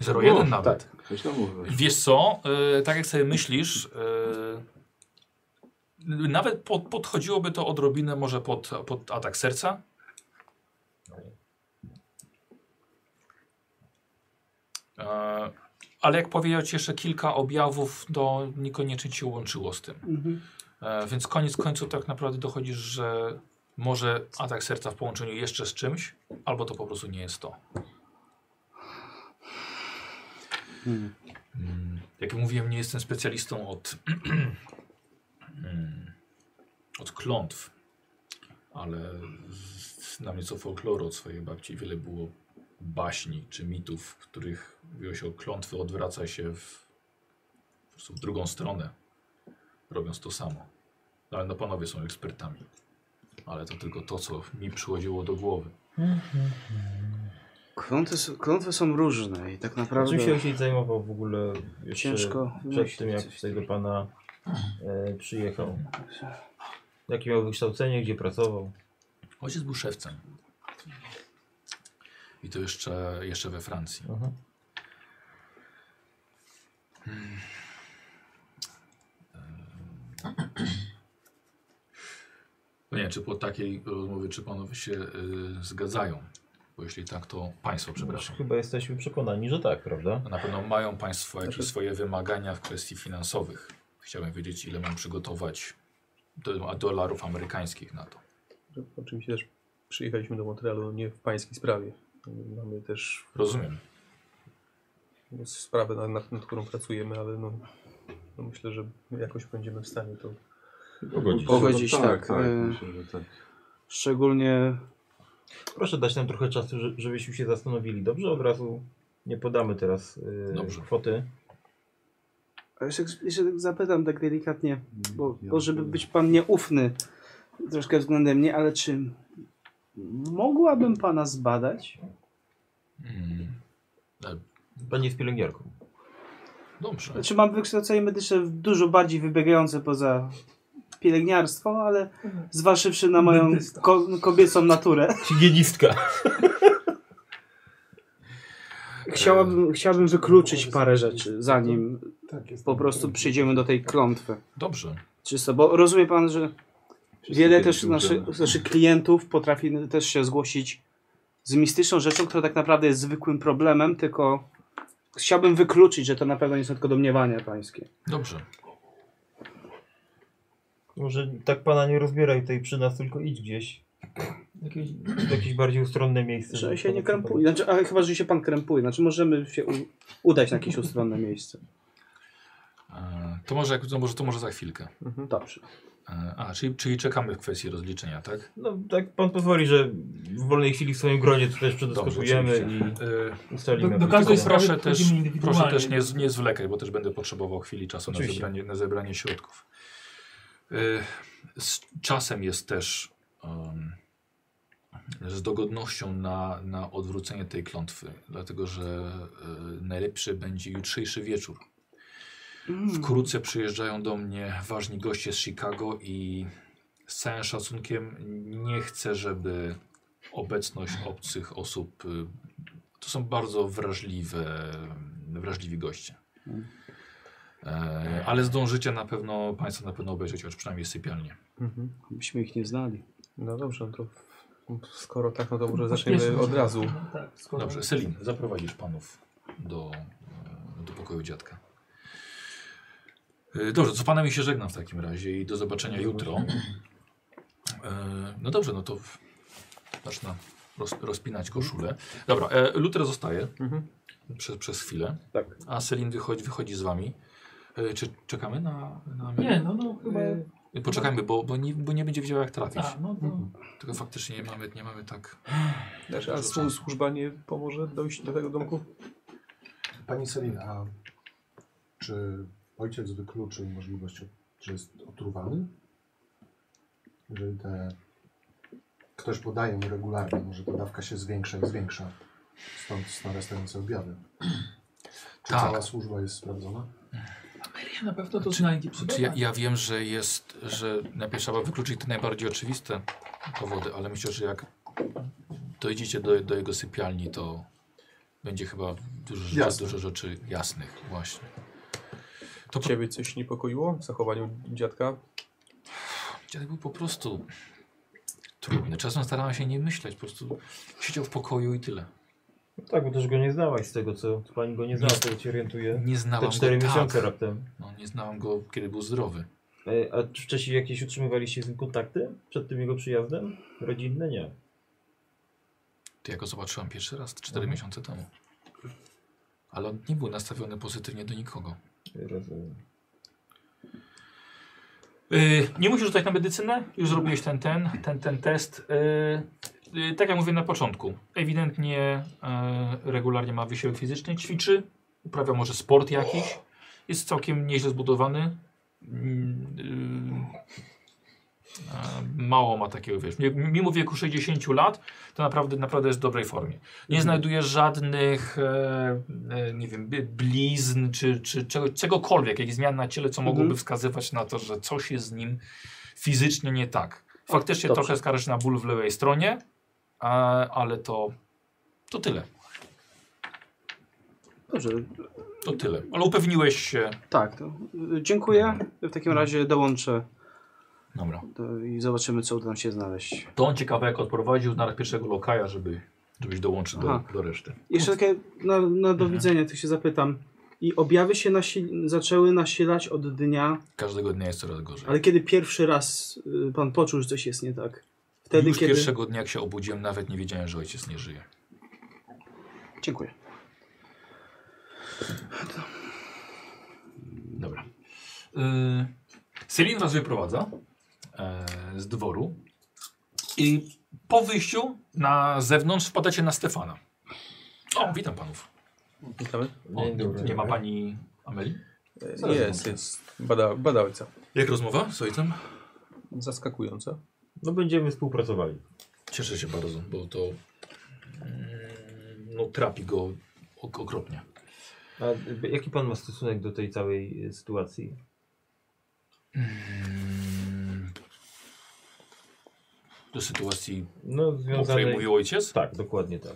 0,1 nawet.
Coś tam mówisz.
Wiesz co, y, tak jak sobie myślisz, y, nawet po, podchodziłoby to odrobinę może pod, pod atak serca. E, ale jak powiedział ci jeszcze kilka objawów, to niekoniecznie ci się łączyło z tym.
Mhm.
E, więc koniec końców tak naprawdę dochodzisz, że może atak serca w połączeniu jeszcze z czymś, albo to po prostu nie jest to.
Hmm.
Mm, Jak mówiłem, nie jestem specjalistą od, mm, od klątw, ale z- znam nieco folkloru od swojej babci. Wiele było baśni czy mitów, w których mówiło się o klątwy, odwraca się w, po prostu w drugą stronę, robiąc to samo. No, ale no panowie są ekspertami. Ale to tylko to, co mi przychodziło do głowy.
Klątwy, s- klątwy są różne i tak
Czym
naprawdę
się ojciec zajmował w ogóle jeszcze
ciężko
przed tym, jak
wymyślić.
tutaj do pana e, przyjechał? Jakie miał wykształcenie, gdzie pracował?
Ojciec był szewcem. I to jeszcze, jeszcze we Francji.
Aha.
No nie, czy po takiej rozmowie, czy panowie się y, zgadzają? Bo jeśli tak, to państwo, przepraszam.
Chyba jesteśmy przekonani, że tak, prawda?
Na pewno mają państwo jakieś swoje wymagania w kwestii finansowych. Chciałbym wiedzieć, ile mam przygotować do, a dolarów amerykańskich na to.
Oczywiście też przyjechaliśmy do Montrealu nie w pańskiej sprawie. Mamy też
Rozumiem.
sprawę, nad, nad, nad którą pracujemy, ale no, no myślę, że jakoś będziemy w stanie to
Pogodzić.
Pogodzić, tak.
tak,
Y-
myślę, że tak.
Szczególnie
Proszę dać nam trochę czasu, że- żebyśmy się zastanowili. Dobrze, od razu nie podamy teraz y,
Dobrze.
kwoty.
A jeszcze, jeszcze tak zapytam tak delikatnie,
Mm,
bo,
Ja
bo żeby
myślę,
być pan nieufny troszkę względem mnie, ale czy mogłabym pana zbadać?
Mm,
Pani jest pielęgniarką.
dobrze.
Znaczy mam wykształcenie medyczne dużo bardziej wybiegające poza pielęgniarstwo, ale zważywszy na moją
Dentysta.
ko kobiecą naturę,
Higienistka.
chciałabym, chciałbym wykluczyć parę rzeczy, zanim
Tak jest.
po prostu przyjdziemy do tej klątwy.
Dobrze.
Czysto, bo rozumie pan, że
Wszyscy
Wiele
kiedyś
też naszy,
umrzemy.
naszych klientów potrafi też się zgłosić z mistyczną rzeczą, która tak naprawdę jest zwykłym problemem, tylko chciałbym wykluczyć, że to na pewno nie są tylko domniewania pańskie.
Dobrze.
Może tak pana nie rozbieraj tej przy nas, tylko idź gdzieś. Jakieś, w jakieś bardziej ustronne miejsce.
Że
żeby
się nie
pana-
krępuje, znaczy, ale chyba, że się pan krępuje, znaczy możemy się u, udać na jakieś ustronne miejsce.
no E, to może, jak- to może, to może za chwilkę.
Dobrze.
E, A, czyli, czyli czekamy w kwestii rozliczenia, tak?
No tak pan pozwoli, że w wolnej chwili w swoim gronie to też przedyskutujemy
Dobrze,
i
E,
ustalimy.
Do- do każdej
Tylko
ewentualnie.
sprawy
proszę też,
wchodzimy indywidualnie.
proszę też nie, z- nie zwlekaj, bo też będę potrzebował chwili czasu na
Oczywiście.
zebranie, na zebranie środków. Y, Z czasem jest też em, z dogodnością na, na odwrócenie tej klątwy, dlatego że y, najlepszy będzie jutrzejszy wieczór.
Mm.
Wkrótce przyjeżdżają do mnie ważni goście z Chicago i z całym szacunkiem nie chcę, żeby obecność obcych osób y, to są bardzo wrażliwe, wrażliwi goście. E, ale zdążycie na pewno, Państwo na pewno obejrzeć, choć przynajmniej sypialnię.
Byśmy ich nie znali.
No dobrze, to skoro tak, no to może
Pośpieszmy
zaczniemy
się.
od razu.
No Tak, skoro...
Dobrze, Selin, zaprowadzisz Panów do, e, do pokoju dziadka. E, Dobrze, co Panami się żegnam w takim razie i do zobaczenia jutro. E, No dobrze, no to w- zacznę roz, rozpinać koszulę. Dobra, e, Luther zostaje
Mhm.
przez, przez chwilę,
Tak.
a Selin wychodzi, wychodzi z Wami. E, Czy czekamy na... na
Nie, no, no chyba...
Y,
Poczekajmy, bo, bo, nie, bo nie będzie wiedziała jak trafić.
A, no to...
Tylko faktycznie nie mamy, nie mamy tak...
Znaczy, a słu- służba nie pomoże dojść do tego domku?
Pani Selina, a czy ojciec wykluczył możliwość, od- że jest otruwany? Jeżeli te... ktoś podaje mu regularnie, może ta dawka się zwiększa i zwiększa. Stąd narastające objawy. Czy
Tak.
cała służba jest sprawdzona?
Maria na pewno to znajdzie przy
Znaczy, ja, ja wiem, że jest, że najpierw trzeba wykluczyć te najbardziej oczywiste powody, ale myślę, że jak dojdziecie do, do jego sypialni, to będzie chyba dużo, rzeczy-
Jasne.
dużo rzeczy jasnych właśnie. To po,
Ciebie coś niepokoiło w zachowaniu dziadka?
dziadek był po prostu trudny. Czasem starałem się nie myśleć, po prostu siedział w pokoju i tyle.
Tak, bo też go nie znałaś z tego, co co pani go nie znała,
Nie.
z tego cię orientuje.
Nie
Te
znałam
cztery
go
miesiące
tak.
raptem.
No, nie znałam go, kiedy był zdrowy.
E, A czy wcześniej jakieś utrzymywaliście z nim kontakty? Przed tym jego przyjazdem? Rodzinne? Nie.
To ja go zobaczyłam pierwszy raz 4 miesiące temu. Ale on nie był nastawiony pozytywnie do nikogo.
Rozumiem.
Yy, nie musisz rzucać na medycynę, już zrobiłeś ten, ten, ten, ten test. Yy, yy, tak jak mówię na początku, ewidentnie yy, regularnie ma wysiłek fizyczny, ćwiczy, uprawia może sport jakiś, jest całkiem nieźle zbudowany. Mm, yy, a, Mało ma takiego, wiesz, mi- mimo wieku 60 lat, to naprawdę, naprawdę jest w dobrej formie. Nie znajduje żadnych, e, e, nie wiem, bi- blizn czy, czy czego, czegokolwiek, jakichś zmian na ciele, co mogłoby wskazywać na to, że coś jest z nim fizycznie nie tak. Faktycznie
Dobrze.
trochę skarży na ból w lewej stronie, a, ale to, to tyle.
Dobrze,
To tyle. Ale upewniłeś się.
tak. To, y, dziękuję. W takim razie dołączę
Dobra.
do, i zobaczymy, co uda nam się znaleźć.
To on ciekawe, jak odprowadził na pierwszego lokaja, żeby, żebyś dołączył do,
Aha.
do reszty.
Jeszcze takie na, na do widzenia, to się zapytam. I objawy się nasi, zaczęły nasilać od dnia,
Każdego dnia jest coraz gorzej.
ale kiedy pierwszy raz y, pan poczuł, że coś jest nie tak? Wtedy,
Już
kiedy...
pierwszego dnia, jak się obudziłem, nawet nie wiedziałem, że ojciec nie żyje.
Dziękuję.
Dobra. Y, Selin was wyprowadza e, z dworu i po wyjściu na zewnątrz wpadacie na Stefana. O, witam panów.
Witamy.
O, nie ma pani Ameli?
Zaraz
E, Jest, jest. Bada, bada ojca.
Jak rozmowa z ojcem?
Zaskakująca.
No będziemy współpracowali.
Cieszę się bardzo, bo to mm, no, trapi go ok okropnie.
A y, jaki pan ma stosunek do tej całej y, sytuacji?
Mm, Do sytuacji,
No
o której
związanej...
mówił ojciec?
Tak, dokładnie tak.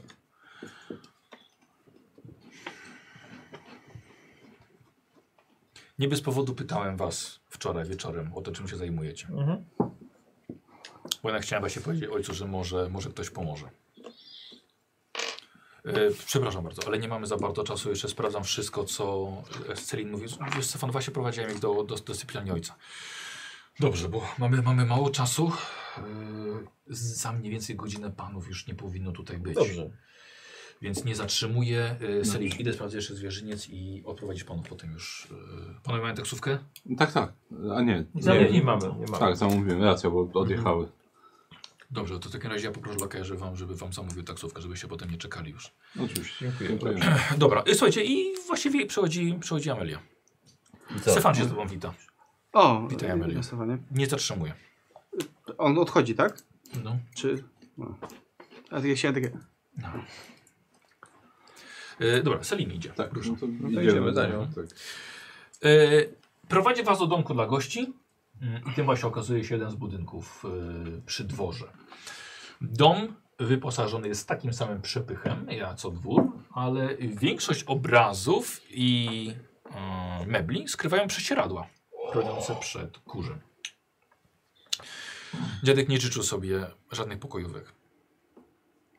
Nie bez powodu pytałem was wczoraj wieczorem o to, czym się zajmujecie.
Mhm.
Bo jednak chciałem właśnie powiedzieć ojcu, że może, może ktoś pomoże. E, przepraszam bardzo, ale nie mamy za bardzo czasu. Jeszcze sprawdzam wszystko, co e, Celin mówi. Wiesz, Stefan, właśnie prowadziłem ich do, do, do sypialni ojca. Dobrze, bo mamy, mamy mało czasu. E, za mniej więcej godzinę panów już nie powinno tutaj być.
Dobrze.
Więc nie zatrzymuję y, Selim. Idę sprawdzić jeszcze zwierzyniec i odprowadzić panów potem już. Y, panowie mają taksówkę?
Tak, tak. A nie.
Zamówienie
nie.
mamy, nie mamy.
Tak, zamówiłem, racja,
Mhm.
bo odjechały.
Dobrze, to w takim razie ja poproszę lokajerzy wam, żeby wam zamówił taksówkę, żebyście potem nie czekali już.
No, Oczywiście. Dziękuję.
Dobra, y, słuchajcie, i właściwie przychodzi, przychodzi Amelia. Stefan się z tobą wita.
O,
Witaj,
e,
Amelio.
głosowanie.
Nie zatrzymuje.
On odchodzi, tak?
No.
Czy... No. A ja się takie...
Y, dobra, Selim idzie.
Tak,
Proszę.
no to
idziemy
idziemy
za
za
nią.
Tak.
Y, prowadzi was do domku dla gości. Mm, I tym właśnie okazuje się jeden z budynków y, przy dworze. Dom wyposażony jest takim samym przepychem jak co dwór, ale większość obrazów i y, mebli skrywają prześcieradła chroniące przed kurzem. Dziadek nie życzył sobie żadnych pokojówek.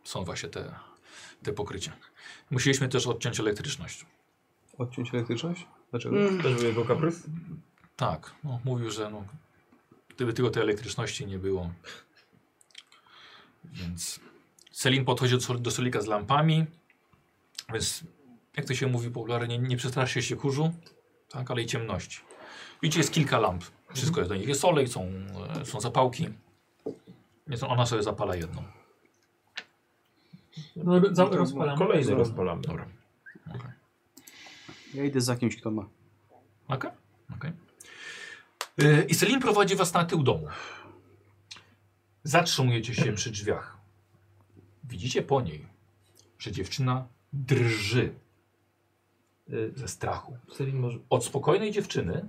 Są właśnie te, te pokrycia. Musieliśmy też odciąć elektryczność.
Odciąć elektryczność? Dlaczego?
Też był jego kaprys?
Tak, no, mówił, że no, gdyby tylko tej elektryczności nie było. Więc Selin podchodzi do, sol- do solika z lampami, więc jak to się mówi popularnie, nie przestraszy się kurzu, tak, ale i ciemności. Widzicie, jest kilka lamp. Wszystko jest do nich. Jest olej, są, e, są zapałki. Więc ona sobie zapala jedną.
No, Ro- za- Rozpalam.
Kolejny rozpalamy.
Dobra. Okay.
Ja idę za kimś, kto ma.
Okej, okej. Yy, I Selin prowadzi was na tył domu. Zatrzymujecie się przy drzwiach. Widzicie po niej, że dziewczyna drży yy, ze strachu.
Selin Y, może...
Od spokojnej dziewczyny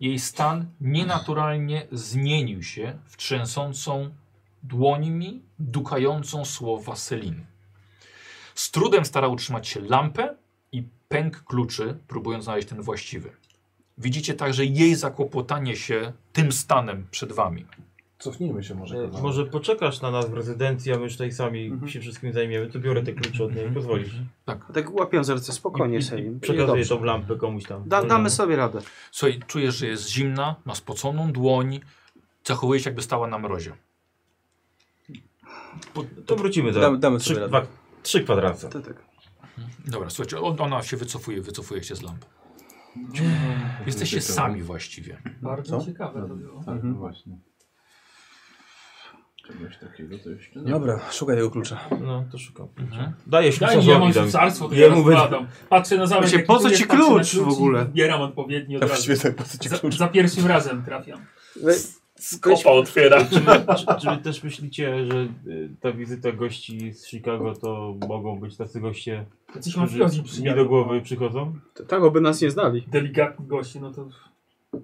jej stan nienaturalnie zmienił się w trzęsącą dłońmi, dukającą słowa Selin. Z trudem stara utrzymać się lampę i pęk kluczy, próbując znaleźć ten właściwy. Widzicie także jej zakłopotanie się tym stanem przed wami.
Cofnijmy się może.
E,
kawałek.
Może poczekasz na nas w rezydencji, a my już tutaj sami
Mhm.
się wszystkim zajmiemy. To biorę te klucze od niej, pozwolisz.
A tak łapię za ręce, spokojnie Selim.
Przekazuję
Dobrze.
tą lampę komuś tam. No,
Da, damy sobie radę.
Słuchaj, czujesz, że jest zimna, ma spoconą dłoń, zachowuje się jakby stała na mrozie.
To wrócimy za
Damy- damy
trzy,
sobie radę.
dwa, trzy kwadrace.
To tak.
Dobra, słuchajcie, on- ona się wycofuje, wycofuje się z lampy. Mhm. Jesteście
Ciekawe.
sami właściwie.
Mhm. Bardzo ciekawe to było.
Tak,
Mhm.
właśnie. Czegoś takiego to
No,
jeszcze nie.
Dobra, szukaj tego klucza.
No, to szukam.
Mhm.
Daję się
Daj mi, ja mam cesarstwo, to ja
Jemu będzie-
rozkładam. Patrzę na zamek.
Właśnie,
jaki
po co
tu jest,
ci
patrzę na
klucz w
i
ogóle?
Wybieram odpowiedni od razu.
tak, po co ci
Za, za pierwszym razem trafiam.
We,
Kopa otwiera.
Czy wy, czy, czy wy też myślicie, że y, ta wizyta gości z Chicago to mogą być tacy goście,
Jacyś mafiozi
którzy mi do
przyjadą.
głowy przychodzą?
tak, oby nas nie znali.
Delikatni goście, no to...
Oj,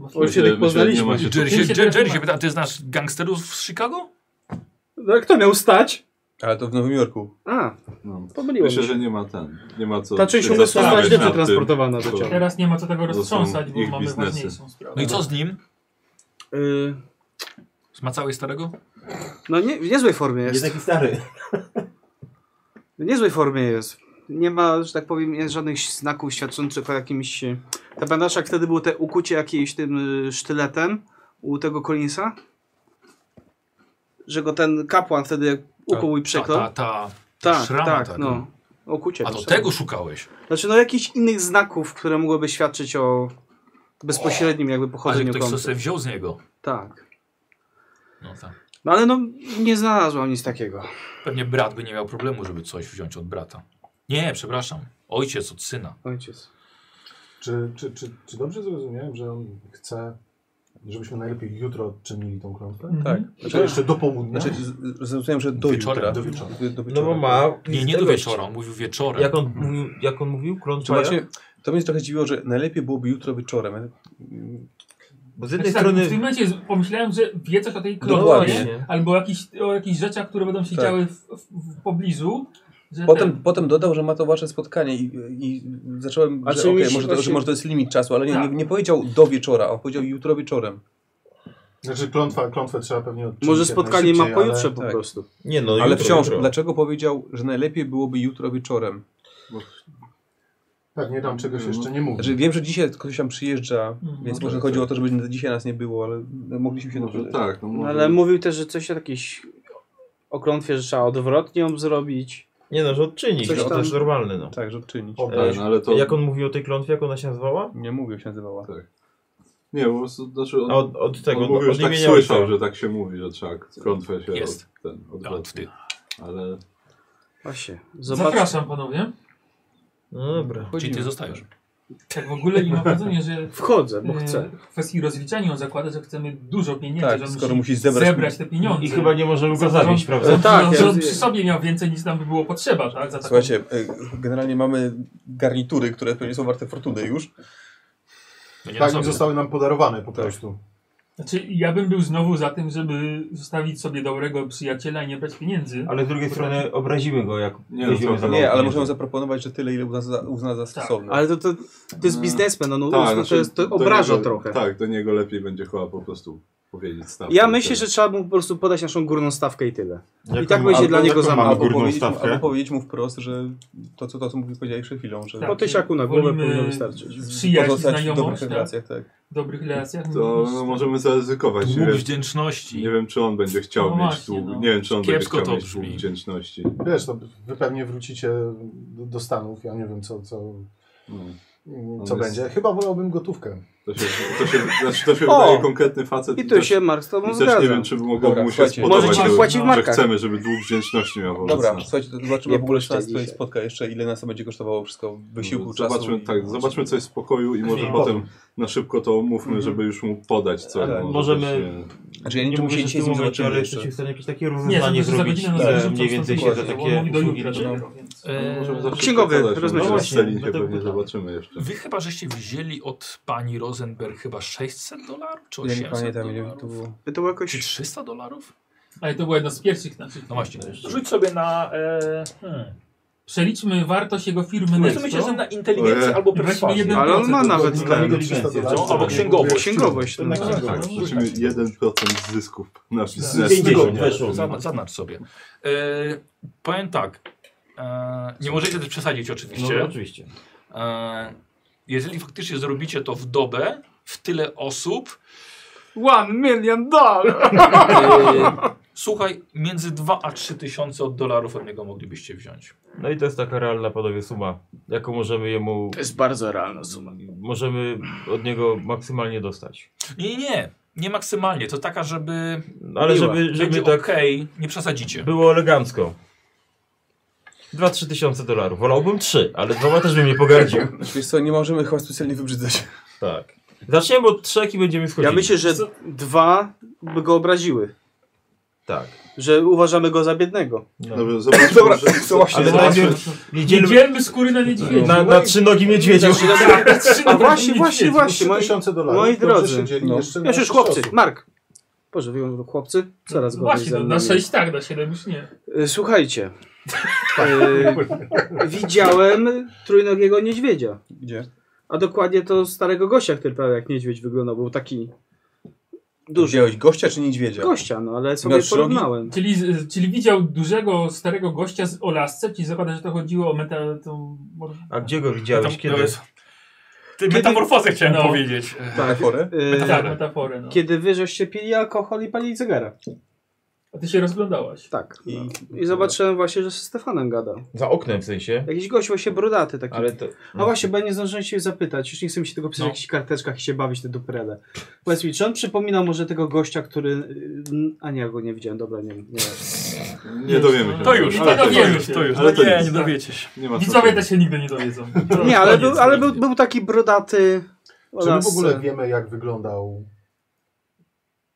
Myślę-
się tak
myślę, że nie ma
poznaliśmy.
się
Jerry się,
Kim się teraz
Jerry się
ma?
pyta, ty znasz gangsterów z Chicago?
No jak to miał stać?
Ale to w Nowym Jorku.
A,
No.
pomyliłem
Myślę,
się.
że nie ma ten. Nie ma co.
Ta część
się
umysłu została
zastanawiać
źle
nad tym.
przetransportowana do
co-
ciała.
Teraz nie ma co tego
To są
roztrząsać, bo
ich
mamy
biznesy.
ważniejszą sprawę.
No i co z nim?
Y,
Ma całej starego?
no nie, w niezłej formie
Jest
jest.
taki stary.
W niezłej formie jest. Nie ma, że tak powiem, nie- żadnych znaków świadczących o jakimś... e, Ta bandasza, jak wtedy było te ukucie jakimś tym y, sztyletem u tego Collinsa? Że go ten kapłan wtedy ukuł i
Ta, ta,
przeklął?
ta, Tak, ta
Tak,
szrama
tak,
taka.
no. Okucie.
A do tego szukałeś.
Znaczy, no jakichś innych znaków, które mogłyby świadczyć o bezpośrednim jakby
Ale
pochodzeniu
ktoś co
kąta.
sobie wziął z niego.
Tak.
No tak.
No ale no, nie znalazłam nic takiego.
Pewnie brat by nie miał problemu, żeby coś wziąć od brata. Nie, przepraszam. Ojciec od syna.
Ojciec.
Czy, czy, czy, czy dobrze zrozumiałem, że on chce, żebyśmy najlepiej jutro odczynili tą klątwę?
Mm.
Mhm.
Tak.
Czy to jeszcze do południa?
Znaczy, z- z- zrozumiałem, że do
Wieczorem,
jutra.
No. do wieczora.
Do, do
No
wieczora.
bo ma...
Nie, nie do wieczora, on mówił wieczorem.
Jak on mówił, jak on mówił?
Czy
Klątwa
właśnie, to mnie trochę dziwiło, że najlepiej byłoby jutro wieczorem. ale-
Bo z
Znaczy,
jednej
tak,
strony...
W tym momencie z- pomyślałem, że wie coś o tej
Dokładnie.
klonie, albo jakiś, o jakichś rzeczach, które będą się
Tak.
działy w, w, w pobliżu. Że
Potem, potem dodał, że ma to wasze spotkanie i, i zacząłem,
A
że
czy
okej,
mi się
może, to, że
właśnie-
może to jest limit czasu, ale nie, nie,
Tak.
nie powiedział do wieczora, on powiedział jutro wieczorem.
Znaczy klątwa, klątwę trzeba pewnie odczynić
Może
jak
spotkanie ma
najszybciej, ale-
pojutrze po
tak.
prostu.
Nie no,
Ale
jutro,
wciąż,
jutro.
dlaczego powiedział, że najlepiej byłoby jutro wieczorem?
Pewnie tam czegoś
Mhm.
jeszcze Tak, nie mówił.
Znaczy, wiem, że dzisiaj ktoś tam przyjeżdża,
Mhm.
więc
No
może
tak,
chodziło o
tak.
to, żeby dzisiaj nas nie było, ale mogliśmy się
Może
dowiedzieć.
tak, no
No,
może.
ale mówił też, że coś o jakiejś okrątwie, że trzeba odwrotnie ją zrobić.
Nie no, że odczynić,
Coś
no, to
tam-
jest normalne no.
Tak, że odczynić.
E,
no, ale to...
Jak on mówił o tej klątwie, jak ona się nazywała?
Nie mówię, jak się nazywała.
Nie, po prostu... Znaczy on,
A od, od tego,
on mówił,
od
że tak
imienia
słyszał,
ojca.
że tak się No. mówi, że trzeba klątwę się
Jest.
od, ten,
Od
odwrotnie.
ty.
Ale
Właśnie, zobacz.
Zapraszam panowie.
No dobra.
Czyli ty zostajesz.
Tak w ogóle nie mam wrażenia, że
Wchodzę, bo
e,
chcę.
w kwestii rozliczania on zakłada, że chcemy dużo pieniędzy,
Tak,
że on
skoro
musi
musi zebrać...
te pieniądze.
I chyba nie możemy go
Za-
zawieść,
za-
prawda?
E, tak,
on,
ja
że on
wiem.
przy sobie miał więcej niż nam by było potrzeba, tak? Za taką...
Słuchajcie, y, generalnie mamy garnitury, które pewnie są warte fortuny już.
To No nie na
Tak,
sobie.
i zostały nam podarowane po prostu.
Znaczy, ja bym był znowu za tym, żeby zostawić sobie dobrego przyjaciela i nie brać pieniędzy.
Ale z drugiej strony obrazimy go, jak
Nie, no
weźmiemy
to-
za mało
Nie, ale
pieniędzy.
możemy zaproponować, że tyle, ile uzna za, uzna za stosowne.
Ale to, to, to jest biznesmen, on
Tak,
tak,
znaczy,
to, jest, to
do
obraża
niego-
trochę.
Tak, do niego lepiej będzie chyba po prostu powiedzieć stawkę.
Ja
i
myślę, że
tyle.
trzeba mu po prostu podać naszą górną stawkę i tyle.
Jaką-
tak będzie
albo
dla niego
jaką
za
mamy
mało.
Albo
górną
powiedzieć, mu,
stawkę?
albo powiedzieć mu wprost, że to, co, to, co mówi- powiedziałeś przed chwilą, że
Tak,
po tysiaku na głowę
wolimy
powinno wystarczyć.
Przyjaźń,
pozostać w dobrych
znajomość, tak?
relacjach. Tak.
W dobrych relacjach.
To
niż-
no, możemy zaryzykować. Nie
Dług
wiem,
wdzięczności.
nie wiem, czy on będzie chciał
No
mieć
właśnie,
dług.
no.
Nie wiem, czy on
Kiepsko
będzie
to
chciał mieć dług
brzmi.
wdzięczności.
Wiesz, no, wy pewnie wrócicie do, do Stanów, ja nie wiem co, co,
No.
co
jest-
będzie. Chyba wolałbym gotówkę.
To się, to się, znaczy, to się
O!
wydaje konkretny facet.
I tu
też-
się Mark z tobą
i też nie wiem,
zgadza.
czy mogłoby
Dobra,
mu się
słuchajcie.
spodobać,
Może ci
że-
płaci w
że
markach.
chcemy, żeby dług wdzięczności miał wobec
Dobra,
nas.
słuchajcie, to zobaczymy
Nie
w ogóle
puszczaj
czas tutaj
dzisiaj.
spotka jeszcze, ile nas to będzie kosztowało wszystko, wysiłku, czasu.
zobaczmy,
i- Mhm.
tak, zobaczmy coś w pokoju i może
I
potem na szybko to omówmy, żeby już mu podać co.
Ale
możemy-
Znaczy ja nie wiem,
Nie
czy
mówię,
mu się
że
dzisiaj z
w tym
nim
momencie, ale
zobaczymy
jesteście
jeszcze.
w stanie jakieś takie
Nie,
rozeznanie
żeby za
zrobić.
godzinę nas
e,
wyrzucą
mniej
stąd
więcej się
stąd,
za
bo on
takie
mówi do
usługi.
jutra,
No.
dopiero, więc-
E,
Księgowy, rozmawiamy.
rozmawiamy. Z Selin się
No
pewnie
właśnie.
zobaczymy jeszcze.
Wy chyba żeście wzięli od pani Rosenberg chyba 600 dolarów czy
Ja nie
800
pamiętam, ile to
dolarów?
było.
To było
Czy
jakoś
300 dolarów?
Ale to była jedna z pierwszych naszych.
No właśnie. Rzuć sobie na... E, hmm.
Przeliczmy wartość jego firmy
Myślę,
Nexto.
myślę, że na inteligencję
Ojej.
albo
Weźmy
perswazję.
jeden-
Ale on ma
To
nawet
Dla
ten,
niego 300 dolarów.
albo księgowość.
księgowość. No.
Tak,
Tak, rzucimy 1% zysków na biznesie.
50 weszło.
Zana- Zaznacz sobie. E, powiem tak. E, nie możecie też przesadzić
No,
oczywiście.
oczywiście.
E, jeżeli faktycznie zrobicie to w dobę, w tyle osób,
One million dollar!
e, słuchaj, między 2 a 3 tysiące od dolarów od niego moglibyście wziąć.
No i to jest taka realna, panowie, suma, jaką możemy jemu,
To jest bardzo realna suma.
możemy od niego maksymalnie dostać.
Nie, nie, nie. Nie maksymalnie. To taka, żeby
No, ale
Miła.
żeby, żeby
będzie
tak
okej, nie przesadzicie.
było elegancko. 2-3 tysiące dolarów. Wolałbym 3, ale dwoma też bym nie pogardził.
Znaczy, Wiesz co, nie możemy chyba specjalnie wybrzydzać.
Tak. Zaczniemy od trzech i będziemy schodzić.
Ja myślę, że dwa by go obraziły.
Tak.
Że uważamy go za biednego.
No.
Dobrze, zobaczmy, Dobra, że,
Ale
zobaczmy,
najpierw jedziemy
No, Jedziemy skóry na niedźwiedzie. No,
na, na trzy nogi niedźwiedziu.
A właśnie, właśnie, właśnie. Moi,
3000 dolarów.
moi
Dobrze
drodzy,
się dzieli
no.
jeszcze na
już już
sześć
chłopcy,
osób.
Mark. Boże, wyjął chłopcy? Coraz
No
gorzej
Właśnie,
ze
no,
mną
na
jest.
6 tak, na 7 już nie.
Y, Słuchajcie.
Tak.
y, widziałem trójnogiego niedźwiedzia.
Gdzie?
A dokładnie to starego gościa, który prawie jak niedźwiedź wyglądał. Był taki duży.
Wziąłeś gościa czy niedźwiedzia?
Gościa, no ale sobie
trzy nogi?
porównałem.
Czyli, z- czyli widział dużego, starego gościa z Olasce, czyli zakłada, że to chodziło o metal... To...
A gdzie go widziałeś?
Metam-
Kiedy?
to jest- Ty, metamorfozę chciałem
No.
powiedzieć.
Metaforę?
Y,
Tak, metaforę. No.
Kiedy wy żeście pili alkohol i palili cygara.
A ty się rozglądałaś.
Tak.
I-
I, I zobaczyłem właśnie, że ze Stefanem gada.
Za oknem w sensie. No.
Jakiś gość właśnie brodaty taki.
Ale to...
Tak, A właśnie, bo ja nie zdążyłem się zapytać. Już nie chcę mi się tego pisać
No.
w jakichś karteczkach i się bawić te duperele. Powiedz mi, czy on przypomina może tego gościa, który... y, A nie, ja go nie widziałem. Dobra, nie wiem. Nie.
nie dowiemy się.
To już,
Nie
ale to, to
dowiemy
już,
się.
to już.
Ale to
nie,
nic.
nie dowiecie się.
Nie ma
Widzowie
sensu.
też się nigdy nie dowiedzą.
no, Nie, ale,
Koniec
był, ale był,
nigdy.
był taki brodaty. o
Czy my w
lasce.
ogóle wiemy, jak wyglądał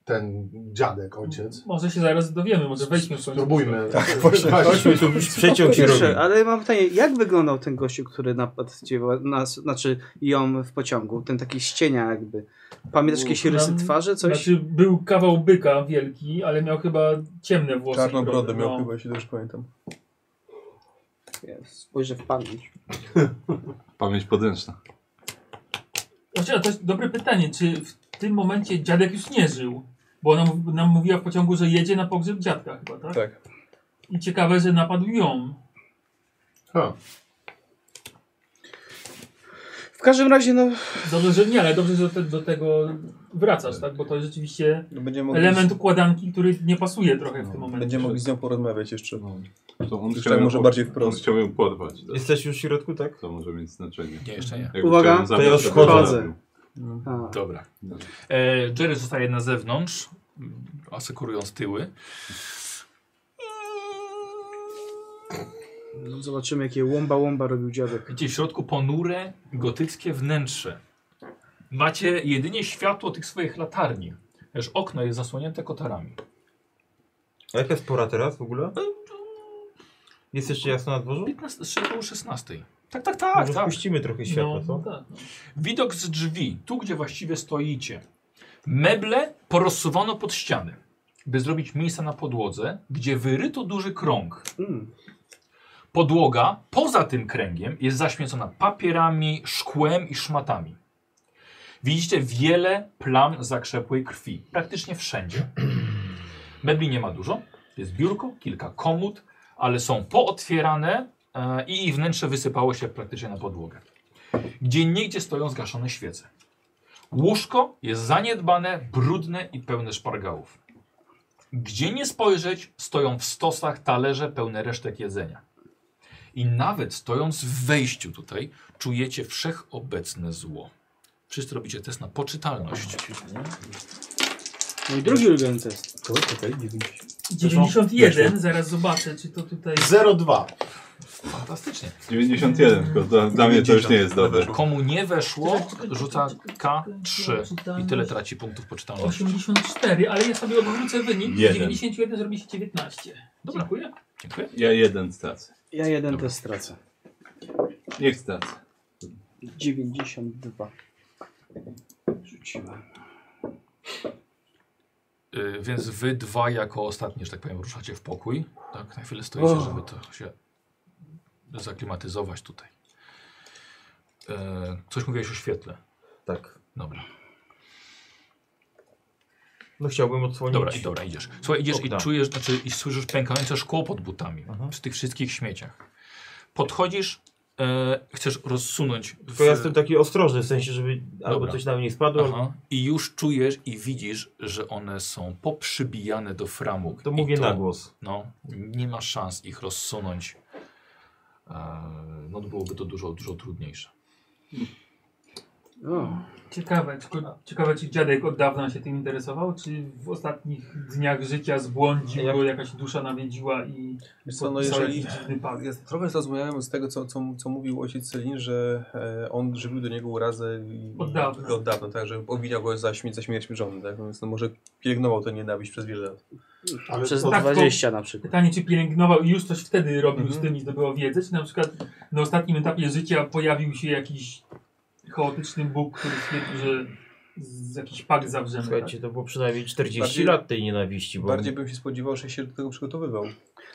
ten dziadek, ojciec?
Może się zaraz dowiemy, może wejdźmy w końcu.
Spróbujmy.
Tak, właśnie.
Chodźmy, tu już przeciąg się robi.
Proszę, ale mam pytanie, jak wyglądał ten gościu, który napadł cię, nas, znaczy ją w pociągu? Ten taki z cienia jakby. Pamiętasz jakieś
Nam-
rysy twarzy, coś?
Znaczy, był kawał byka wielki, ale miał chyba ciemne włosy.
Czarną brodę miał
No.
chyba, jeśli dobrze pamiętam.
Ja Spojrzę w pamięć.
Pamięć podręczna.
Znaczy, a to jest dobre pytanie, czy w tym momencie dziadek już nie żył? Bo ona mów- nam mówiła w pociągu, że jedzie na pogrzeb dziadka chyba, tak?
Tak.
I ciekawe, że napadł ją.
Ha,
W W każdym razie, no,
Dobrze, że nie, ale dobrze, że do, te, do tego wracasz, tak? Bo to jest rzeczywiście
No, Będziemy mogli,
element układanki, który nie pasuje trochę w tym momencie.
będziemy mogli z nią porozmawiać jeszcze.
To on
Jeszcze
chciał ją
tak może
po-
bardziej
On
wprost.
chciał ją porwać. To,
Jesteś już w środku, tak?
to może mieć znaczenie.
Nie, jeszcze nie.
Jakby
Uwaga,
chciał ją zabrać,
to ja już
to
wchodzę.
by zabił.
a,
Dobra. E, Jerry zostaje na zewnątrz, mm, asekurując tyły.
no zobaczymy jakie łomba łomba robił dziadek.
Widzicie w środku ponure, gotyckie wnętrze. Macie jedynie światło tych swoich latarni. Też okno jest zasłonięte kotarami.
A jaka jest pora teraz w ogóle?
No,
Jest jeszcze jasno na dworzu?
15, z koło 16. Tak, tak, tak,
Może
tak.
Wpuścimy trochę światła,
No,
co?
tak. no.
Widok z drzwi, tu gdzie właściwie stoicie. Meble porozsuwano pod ściany, by zrobić miejsca na podłodze, gdzie wyryto duży krąg.
Mm.
Podłoga poza tym kręgiem jest zaśmiecona papierami, szkłem i szmatami. Widzicie wiele plam zakrzepłej krwi, praktycznie wszędzie. Mebli nie ma dużo, jest biurko, kilka komód, ale są pootwierane e, i ich wnętrze wysypało się praktycznie na podłogę. Gdzie niegdzie stoją zgaszone świece. Łóżko jest zaniedbane, brudne i pełne szpargałów. Gdzie nie spojrzeć, stoją w stosach talerze pełne resztek jedzenia. I nawet stojąc w wejściu tutaj, czujecie wszechobecne zło. Wszyscy robicie test na poczytalność.
No i drugi ulubiony test.
91, zaraz zobaczę, czy to tutaj...
0,2.
Fantastycznie.
91, tylko dla, dla mnie to już nie jest dobre.
Komu nie weszło, rzuca K3 i tyle
Poczytalność.
traci punktów poczytalności.
84, ale ja sobie odwrócę wynik. Z
Jeden.
91 zrobi się 19.
Dobra.
Dziękuję.
Dziękuję.
Ja jeden stracę.
Ja jeden test stracę.
Niech stracę.
92. Rzuciłem.
Y, więc wy dwa jako ostatni, że tak powiem, ruszacie w pokój. Tak, na chwilę stoicie, żeby to się zaklimatyzować tutaj. Y, coś mówiłeś o świetle.
Tak.
Dobra.
No chciałbym odsłonić.
Dobra, i dobra, idziesz. Słuchaj, idziesz
Okna.
i czujesz, znaczy i słyszysz pękające szkło pod butami.
Aha.
Przy tych wszystkich śmieciach. Podchodzisz, e, chcesz rozsunąć. W,
Tylko ja jestem taki ostrożny, w sensie, żeby albo
Dobra.
coś na mnie nie spadło, albo...
Aha. I już czujesz i widzisz, że one są poprzybijane do framug.
To
I
mówię na głos.
No, nie ma szans ich rozsunąć. E, no byłoby to dużo, dużo trudniejsze.
O,
Ciekawe, tylko, ciekawe, czy dziadek od dawna się tym interesował, czy w ostatnich dniach życia zbłądził
Jak-
go, jakaś dusza nawiedziła i
Wiesz co, no
podpisał
jeżeli...
jakiś dziwny pakt.
Ja Tak, trochę zrozumiałem z tego, co, co, co mówił ojciec Celin, że e, on żywił do niego urazę i,
Od dawna.
od dawna, tak, że obwiniał go za, śmie- za śmierć żony, tak, więc no może pielęgnował tę nienawiść przez wiele lat.
Ale
przez
to,
tak,
20 na przykład.
Pytanie, czy pielęgnował i już coś wtedy robił
Mhm.
z tym i zdobywał wiedzę, czy na przykład na ostatnim etapie życia pojawił się jakiś chaotyczny Bóg, który stwierdził, że z, jakiś pakt zawrzemy. Tak?
Słuchajcie, to było przynajmniej 40
Bardziej-
lat tej nienawiści, bo...
Bardziej bym się spodziewał, że się do tego przygotowywał.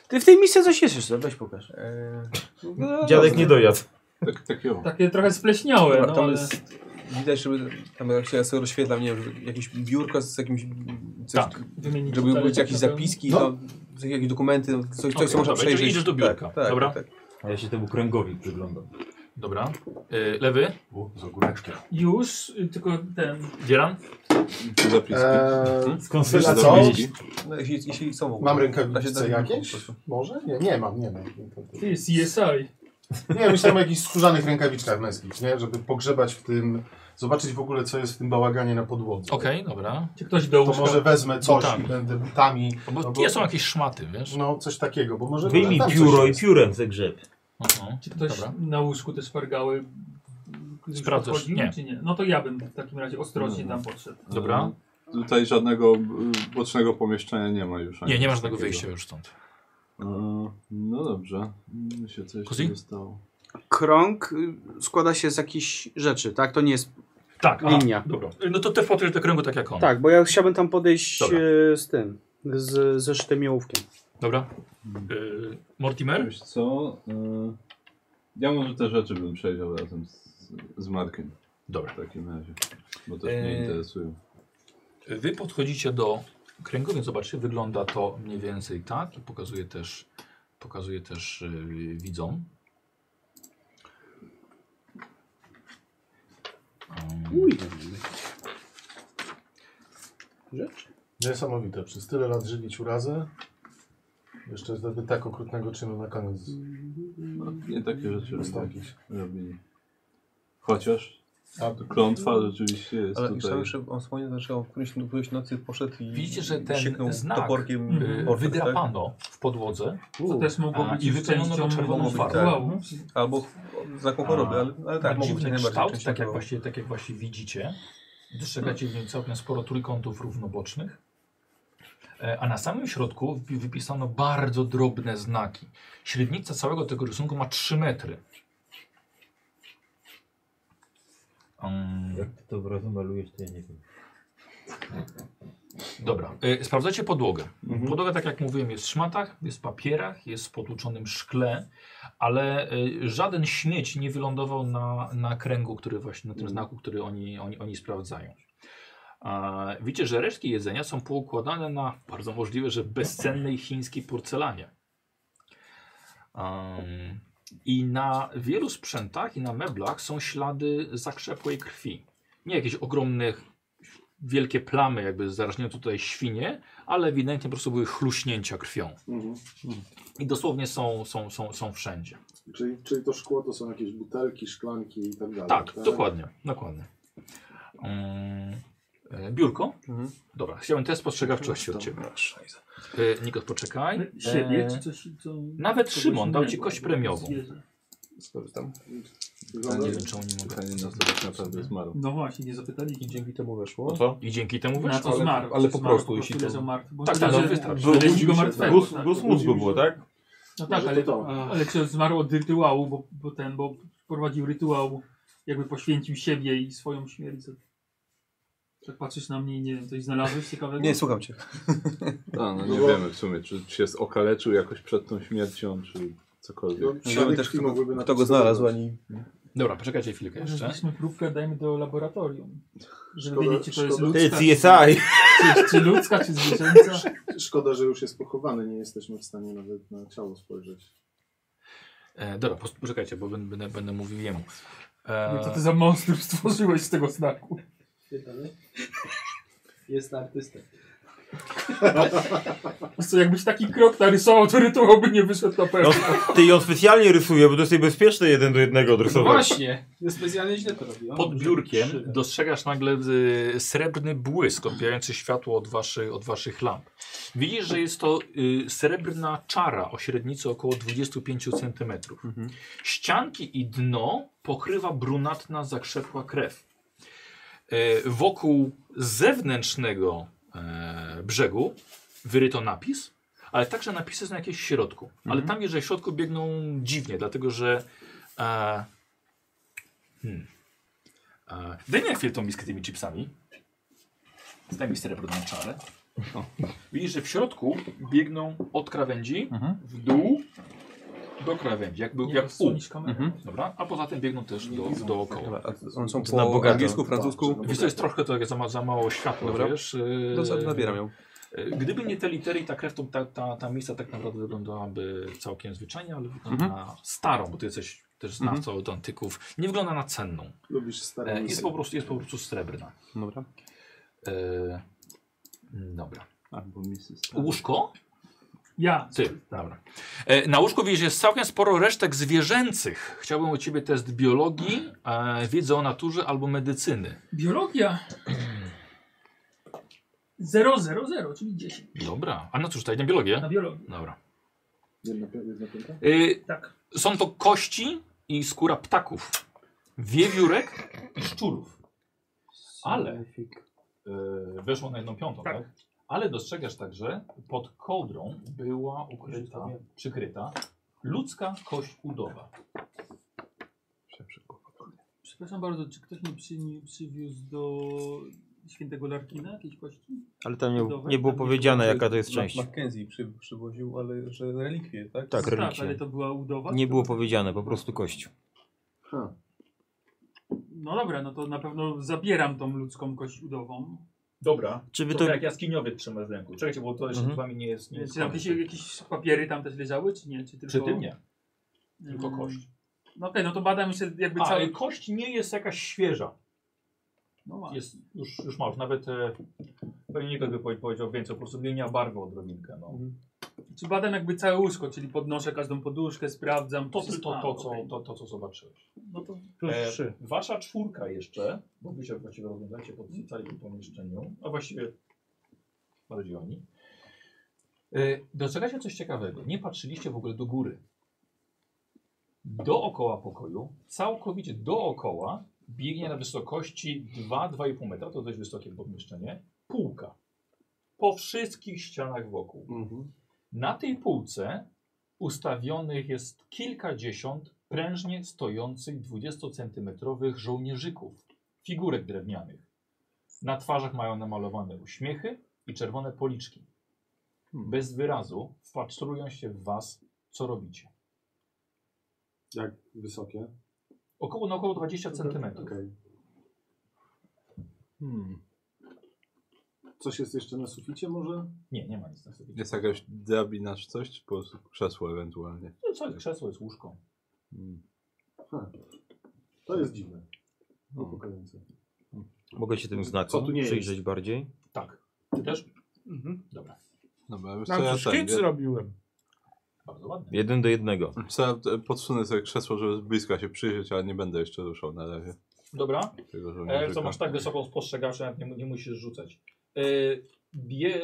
Ty w tej misce coś jest jeszcze, weź pokaż.
E,
Dziadek nie dojadł.
Tak, tak ją.
Takie trochę spleśniałe,
Dobra,
no,
tam
ale...
jest, widać, żeby tam jak się sobie rozświetlam, nie wiem, że jakieś biurko z jakimś, coś,
Tak.
wymienić
żeby
talerze,
były jakieś
na pewno.
zapiski,
No.
no. jakieś dokumenty, no, coś, coś
Okej,
co można
dobra,
przejrzeć.
czyli idziesz do biurka,
tak, tak,
dobra?
Tak.
A ja się temu kręgowi przyglądam.
Dobra. E, lewy,
U, z ogóreczkiem.
Już, y, tylko ten...
dzieran.
Tu Zapiski.
Eee,
Skąd
Tyle
słyszę
co?
zapiski?
No, jeśli, jeśli są w ogóle.
mam
Da się- tak- da
rękawice
się-
jakieś?
po prostu.
Może? Nie, nie mam, nie mam.
Ty, CSI.
Nie, myślałem o jakichś skórzanych rękawiczkach męskich, nie? Żeby pogrzebać w tym, zobaczyć w ogóle, co jest w tym bałaganie na podłodze.
Okej, dobra.
Czy ktoś
To
do łóżka...
może wezmę coś
Butami.
i będę butami.
No Bo
No
nie są jakieś szmaty, wiesz?
No, coś takiego, bo może...
Wyjmij
tam coś
pióro i
jest.
piórem zegrzeb.
Mhm.
Czy ktoś
Dobra.
na łóżku te szpargały gdzieś
Sprawdzasz?
podchodził,
Nie.
czy nie? No to ja bym w takim razie ostrożnie
Mhm.
tam podszedł.
Dobra.
E, Tutaj żadnego y, bocznego pomieszczenia nie ma już. ani
Nie, nie ma
nic
żadnego
takiego.
wyjścia już stąd.
E, No dobrze. Mi się coś
Kuzi?
dostało.
Krąg y, składa się z jakichś rzeczy, tak? To nie jest...
Tak, a,
Linia.
Dobra. No to też podróż do kręgu tak jak on.
Tak, bo ja chciałbym tam podejść
Dobra.
e, z tym, z, ze sztymiołówkiem.
Dobra. Y, Mortimer?
Wiesz co? e, Ja może te rzeczy bym przejrzał razem z, z Markiem
Dobra.
w takim razie. Bo też
Y,
mnie
E,
interesują.
Wy podchodzicie do kręgu, więc zobaczcie, wygląda to mniej więcej tak. I pokazuje też, pokazuje e, też yy, widzom.
Niesamowite. Przez tyle lat żywić urazę. Jeszcze zdobyt tak okrutnego czynu na koniec
No, nie takie rzeczy
tak.
robi-
wystąpić.
robili. Chociaż klątwa rzeczywiście
Mm.
jest
Ale
tutaj.
myślałem, że on wspomniał, że on któryś, któryś nocy poszedł i
Widzicie, że ten
sieknął
znak,
toporkiem
Y,
portret, tak?
Wydrapano w podłodze.
To też mogło
A,
być
i wypełniono
częścią
to czerwoną
farbą.
rytuału.
Albo znaką choroby, ale, ale tak,
Tak,
mogło być
dziwny
najbardziej
kształt,
częściowo.
tak jak, właśnie, tak jak właśnie widzicie. Dostrzegacie w nim całkiem sporo trójkątów równobocznych. E, A na samym środku wpi- wypisano bardzo drobne znaki. Średnica całego tego rysunku ma 3 metry. Um,
Jak ty to obraz malujesz, to ja nie wiem.
Dobra, y, sprawdzacie podłogę. Podłoga, tak jak mówiłem, jest w szmatach, jest w papierach, jest w potłuczonym szkle, ale y, żaden śmieć nie wylądował na, na kręgu, który właśnie, na tym znaku, który oni, oni, oni sprawdzają. A, widzicie, że resztki jedzenia są poukładane na bardzo możliwe, że bezcennej chińskiej porcelanie. Em, I na wielu sprzętach i na meblach są ślady zakrzepłej krwi. Nie jakieś ogromnych wielkie plamy, jakby zarażnione tutaj świnie, ale ewidentnie po prostu były chluśnięcia krwią.
Mhm.
I dosłownie są, są, są, są wszędzie.
Czyli, czyli to szkło to są jakieś butelki, szklanki i tak dalej.
Tak, dokładnie, dokładnie. Mm, e, biurko?
Mhm.
Dobra, chciałem test spostrzegawczości od Ciebie. E, Nikos, poczekaj.
Mhm.
Siebie
E,
czy coś. Co,
nawet
kogoś
Szymon dał ci
innego,
kość premiową.
zwierzę.
Skorzystam.
Ja
Wygląda,
nie
nie
wiem,
wiem, czemu nie mogę.
Pytanie na to tak naprawdę zmarł.
No właśnie, nie zapytali.
I dzięki temu
No
weszło.
co?
I dzięki temu
Na
wyszło.
co
ale-
zmarł.
ale
czy
po
zmarł
prostu, jeśli to-
to... leżał martwy. Bo
Tak,
tak,
tak, no,
tak,
wystarczy.
że znaleźli
Budził
go
się-
martwego.
Gus,
tak,
gus mózgu było, tak?
No tak,
Może
ale,
to to.
ale czy zmarł od rytuału, bo, bo ten, bo prowadził rytuał, jakby poświęcił siebie i swoją śmierć. Tak patrzysz na mnie i nie wiem, coś znalazłeś ciekawego?
Nie, słucham cię.
A, no nie
No bo-
wiemy w sumie, czy, czy się okaleczył jakoś przed tą śmiercią, czy cokolwiek.
No,
Nie wiemy
ślady
też,
krwi
kto,
mogłyby na
kto
to
go znalazł,
wskazywać.
ani...
Dobra, poczekajcie chwilkę
Może
jeszcze.
Weźmy próbkę, dajmy do laboratorium. Żeby
Szkoda-
wiedzieć, czy to jest
szkoda-
ludzka, Czy, czy ludzka, czy zwierzęca.
Szkoda, że już jest pochowany, nie jesteśmy w stanie nawet na ciało spojrzeć.
E, dobra, pos- poczekajcie, bo będę, będę, będę mówił jemu.
Nie
E,
wiem, co ty za monstrum stworzyłeś z tego znaku.
Jest artystą.
Wiesz Co, jakbyś taki krok narysował, to rytuał by nie wyszedł na pewno.
No, ty ją specjalnie rysuję, bo to jest niebezpieczne jeden do jednego odrysować.
Właśnie. Ja specjalnie źle to robiłem.
Pod biurkiem dostrzegasz nagle y, srebrny błysk odbijający światło od, waszy, od waszych lamp. Widzisz, że jest to y, srebrna czara o średnicy około 25 cm.
Mhm.
Ścianki i dno pokrywa brunatna, zakrzepła krew. E, Wokół zewnętrznego e, brzegu wyryto napis, ale także napisy są jakieś w środku. Ale
Mhm.
tam, jeżeli w środku biegną dziwnie, dlatego że e, E, hmm. Daj mi na chwilę tą miskę tymi chipsami. Zdaj mi srebrną czarę. O. Widzisz, że w środku biegną od krawędzi w dół do krawędzi, jakby jak U.
Nie,
Mhm.
rozsuniesz kamerę.
Dobra? A poza tym biegną też do, dookoła.
A one są
Na
po
bogato.
angielsku, francusku.
Wiesz, to jest trochę to, jak za, ma- za mało światła,
Dobra.
wiesz? e,
No, za- zabieram ją.
e, Gdyby nie te litery i ta krew, to ta, ta, ta misa tak naprawdę wyglądałaby całkiem zwyczajnie, ale wygląda na starą, bo ty jesteś też znawcą od antyków. Nie wygląda na cenną.
Lubisz stare
E,
misje.
Jest po prostu, jest po prostu srebrna.
Dobra.
E, mm, dobra.
Albo Mrs.
Tak.
Łóżko?
Ja.
Ty, dobra. E, na łóżku widzisz, jest całkiem sporo resztek zwierzęcych. Chciałbym u ciebie test biologii, e, wiedzy o naturze albo medycyny.
Biologia. 0, 0, 0, czyli 10.
Dobra. A na cóż, tutaj na biologię?
Na biologię.
Dobra.
Tak. Jedna, pi- jedna piąta?
Y,
Tak.
są to kości i skóra ptaków, wiewiórek i szczurów. Ale e, weszło na jedną piątą, tak?
Tak.
Ale dostrzegasz także, pod kołdrą była ukryta, przykryta ludzka kość udowa.
Przepraszam bardzo, czy ktoś mi przy, nie przywiózł do świętego Larkina jakieś kości?
Ale tam nie, nie było powiedziane, jaka to jest część.
Mackenzie przy, przywoził, ale że relikwie, tak?
Tak,
tak ale
relikwie.
to była udowa?
Nie było powiedziane, po prostu kość.
Ha.
No dobra, no to na pewno zabieram tą ludzką kość udową.
Dobra,
Czy wy
To,
to...
jak jaskiniowiec trzyma z ręku. Czekajcie, bo to jeszcze
Mhm.
z wami nie jest. Nie
Nie,
jest
czy tam
koniec.
gdzieś jakieś papiery tam też leżały, czy nie? Czy tylko,
Przy tym nie, tylko
Mm,
kość.
No okej, no to badam jeszcze jakby
A,
cały...
y, kość nie jest jakaś świeża.
No właśnie.
Jest, już, już masz, nawet e, pewnie Nikos by powie- powiedział więcej, po prostu zmienia barwę odrobinkę. No.
Czy badam jakby całe łóżko, czyli podnoszę każdą poduszkę,
To,
sprawdzam.
to, to,
wszystko.
to,
A,
co,
okej.
to, to, co zobaczyłeś.
No to
E, wasza czwórka jeszcze, bo wy się właściwie rozglądacie po całym pomieszczeniu, a właściwie bardziej oni. E, dostrzegacie coś ciekawego. Nie patrzyliście w ogóle do góry. Dookoła pokoju, całkowicie dookoła, biegnie na wysokości 2-2,5 metra, to dość wysokie pomieszczenie, półka. Po wszystkich ścianach wokół.
Mhm,
Na tej półce ustawionych jest kilkadziesiąt prężnie stojących 20-centymetrowych żołnierzyków, figurek drewnianych. Na twarzach mają namalowane uśmiechy i czerwone policzki. Bez wyrazu wpatrują się w was, co robicie.
Jak wysokie?
Około, na około 20 centymetrów.
Okej.
Hmm.
Coś jest jeszcze na suficie może?
Nie, nie ma nic na sobie.
Jest jakaś drabina czy coś, czy po prostu krzesło ewentualnie?
No co jest krzesło, jest łóżko.
Hmm.
Ha. To jest dziwne.
Hmm. No.
Niepokojące.
Mogę się tym
Co
znakom
tu nie jest?
przyjrzeć bardziej?
Tak. Ty też?
Mhm.
Dobra.
Dobra, wiesz
No
co, ja
to
ten,
szkic zrobiłem.
Bardzo ładne.
Jeden do jednego.
ja, co, ja e, podsunę sobie krzesło, żeby z bliska się przyjrzeć, ale nie będę jeszcze ruszał na razie.
Dobra.
Tego, że
E, co masz tak wysoką spostrzegawczą, jak nie, mu- nie musisz rzucać. E, bie,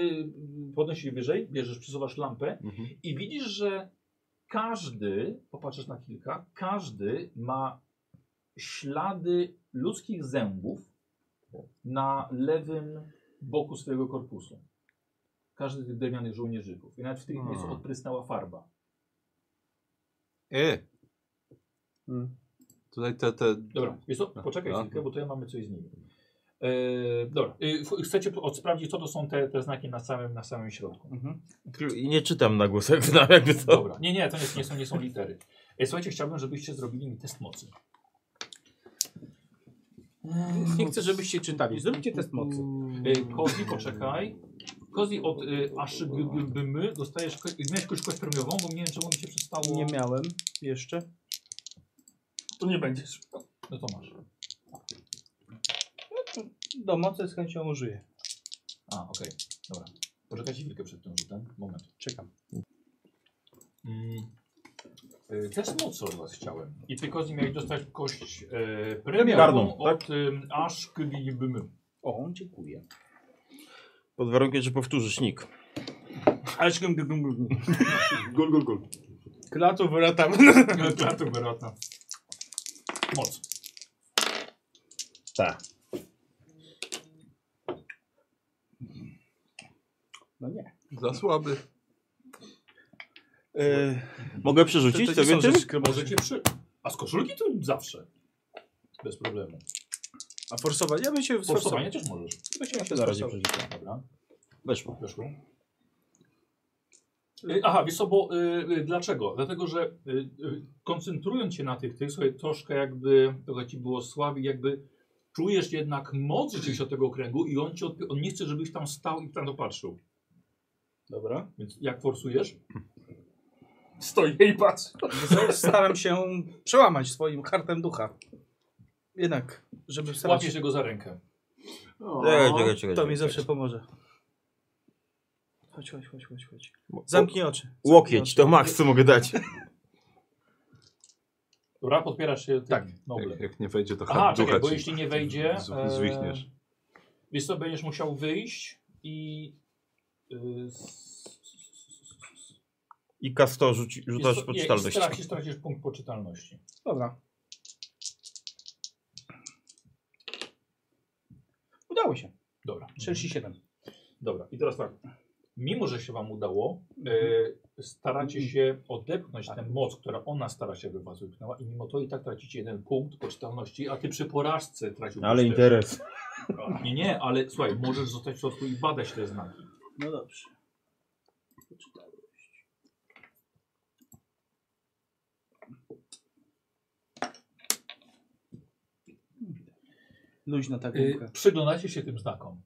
podnosisz je wyżej, bierzesz, przesuwasz lampę
Mhm.
i widzisz, że każdy, popatrzysz na kilka, każdy ma ślady ludzkich zębów na lewym boku swojego korpusu. Każdy z tych drewnianych żołnierzyków. I nawet w tych
Hmm.
miejscu odprysnęła farba.
E!
Hmm.
Tutaj te, te...
Dobra, jest to,
Tak.
poczekaj
A.
chwilkę, bo tutaj mamy coś z nimi. E, dobra, e, f- chcecie po- od- sprawdzić, co to są te, te znaki na samym, na samym środku.
Mhm.
I nie czytam na głos, jak znam, jakby co.
Dobra, nie, nie, to nie, nie, są, nie są litery. E, słuchajcie, chciałbym, żebyście zrobili mi test mocy.
Nie chcę, żebyście czytali. Zróbcie test mocy.
E, Kozi, poczekaj. Kozi, od e, aż g- g- by my dostajesz, ko- miałeś jakąś kość premiową, bo nie wiem, czemu mi się przestało.
Nie miałem jeszcze.
To nie będziesz.
No to masz.
No Do mocy z chęcią użyję.
A, okej, dobra. Poczekajcie chwilkę przed tym rzutem, moment.
Czekam.
Mm. Y, Test mocy od was chciałem. I ty Kozi miałeś dostać kość e,
Karną,
premiową
tak?
od y, aż KGBM.
O, dziękuję.
Pod warunkiem, że powtórzysz nick.
Aż gum, gum, gum, gum.
Gul, gul, gul.
Klatów wratam.
Klatu wyrota. Moc.
Tak.
No nie.
Za słaby.
E, mogę przerzucić to, sobie tym?
Możecie przy... A z koszulki to zawsze. Bez problemu.
A forsować? Ja bym się
Forsowanie
forsował.
też możesz.
Ja to na razie przerzucę.
Dobra.
Weszło.
Weszło. Y, Aha, wiesz co, bo y, y, dlaczego? Dlatego, że y, y, koncentrując się na tych, tych sobie troszkę jakby, trochę ci było słabiej, jakby czujesz jednak moc rzeczywiście od tego okręgu i on, ci odpi- on nie chce, żebyś tam stał i tam dopatrzył.
Dobra.
Więc jak forsujesz?
Stoję i patrz.
Staram się przełamać swoim kartem ducha. Jednak, żeby starać
Łapiesz jego za rękę.
O,
Czekaj, czekaj, czekaj.
To mi
czekaj.
zawsze pomoże. Chodź, chodź, chodź, chodź, chodź. Zamknij oczy.
Łokieć, to max, co mogę dać.
Dobra, podpierasz się tym tak.
Jak, jak nie wejdzie, to
Aha,
chyba
czekaj,
ducha
bo
ci
jeśli nie wejdzie, e,
z- zwichniesz.
Więc to będziesz musiał wyjść i... y, s-
I kasto rzuci,
Jest
rzucasz
to- nie, i
poczytalność.
Stracisz, stracisz punkt poczytalności.
Dobra. Udało się.
Dobra.
37.
Dobra. I teraz tak. Mimo, że się wam udało, e, staracie się odepchnąć tę moc, która ona stara się, by was wypchnęła i mimo to i tak tracicie jeden punkt poczytalności, a ty przy porażce traciłbyś
No, Ale
też.
interes.
Nie, nie, ale słuchaj, możesz zostać w środku i badać te znaki. E,
No dobrze. Luźna ta
Y,
gumka.
przyglądacie się tym znakom.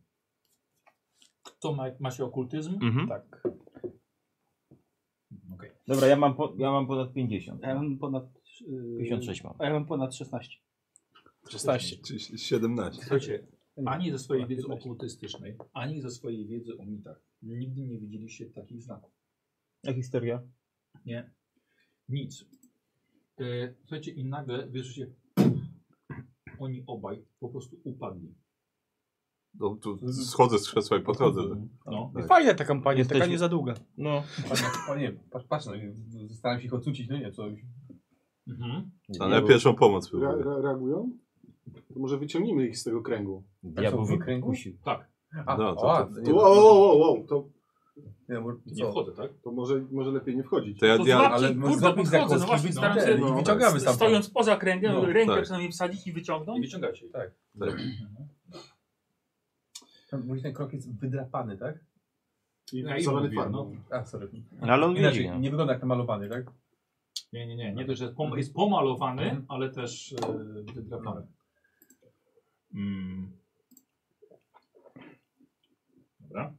Kto ma, ma się okultyzm?
Mhm.
Tak. Okej.
Dobra, ja mam, po, ja mam ponad 50.
A ja mam ponad... Yy,
56 mam.
A ja mam ponad 16.
16. 17.
Słuchajcie, Ani ze swojej wiedzy okultystycznej, ani ze swojej wiedzy o mitach. Nigdy nie widzieliście takich znaków.
A historia?
Nie. Nic. E, słuchajcie, i nagle wierzycie, oni obaj po prostu upadli.
No, tu schodzę z krzesła i podchodzę.
No.
Tak.
Fajna ta kampania, taka
Jesteśmy-
nie za długa.
No,
O nie, patrz, patrz no, i staram się ich odsucić, no nie, co...
Mhm.
Ale pierwszą pomoc
Re,
próbuję.
re, reagują? To może wyciągnijmy ich z tego kręgu.
są
diabeł
w kręgu?
wykrękusił.
Tak,
A,
No, to-
a,
to-
nie,
O, o, o, o, to,
nie, bo-
nie
co?
wchodzę, tak?
to może, może lepiej nie wchodzić.
To ja
To
dial...
złap-
Ale
Kurde,
może złapić za kostki,
podchodzę, no właśnie,
wyjdź
staram
na
się-
ten i
no,
wyciągamy stamtąd.
Stojąc poza kręgiem,
No,
rękę
tak.
przynajmniej wsadzić i
I
wyciągnąć.
wyciągacie ich.
Tak.
Tak.
Mówi, ten krok jest wydrapany, tak?
I
Ja im
zalany
mówię,
farbą.
A, sorry.
No, ale on widzi.
Inaczej,
no.
nie wygląda jak namalowany, tak?
Nie, nie, nie. Nie dość, że jest, Tak. Mhm. pom jest pomalowany, ale też e, wydrapany. Mm. Dobra.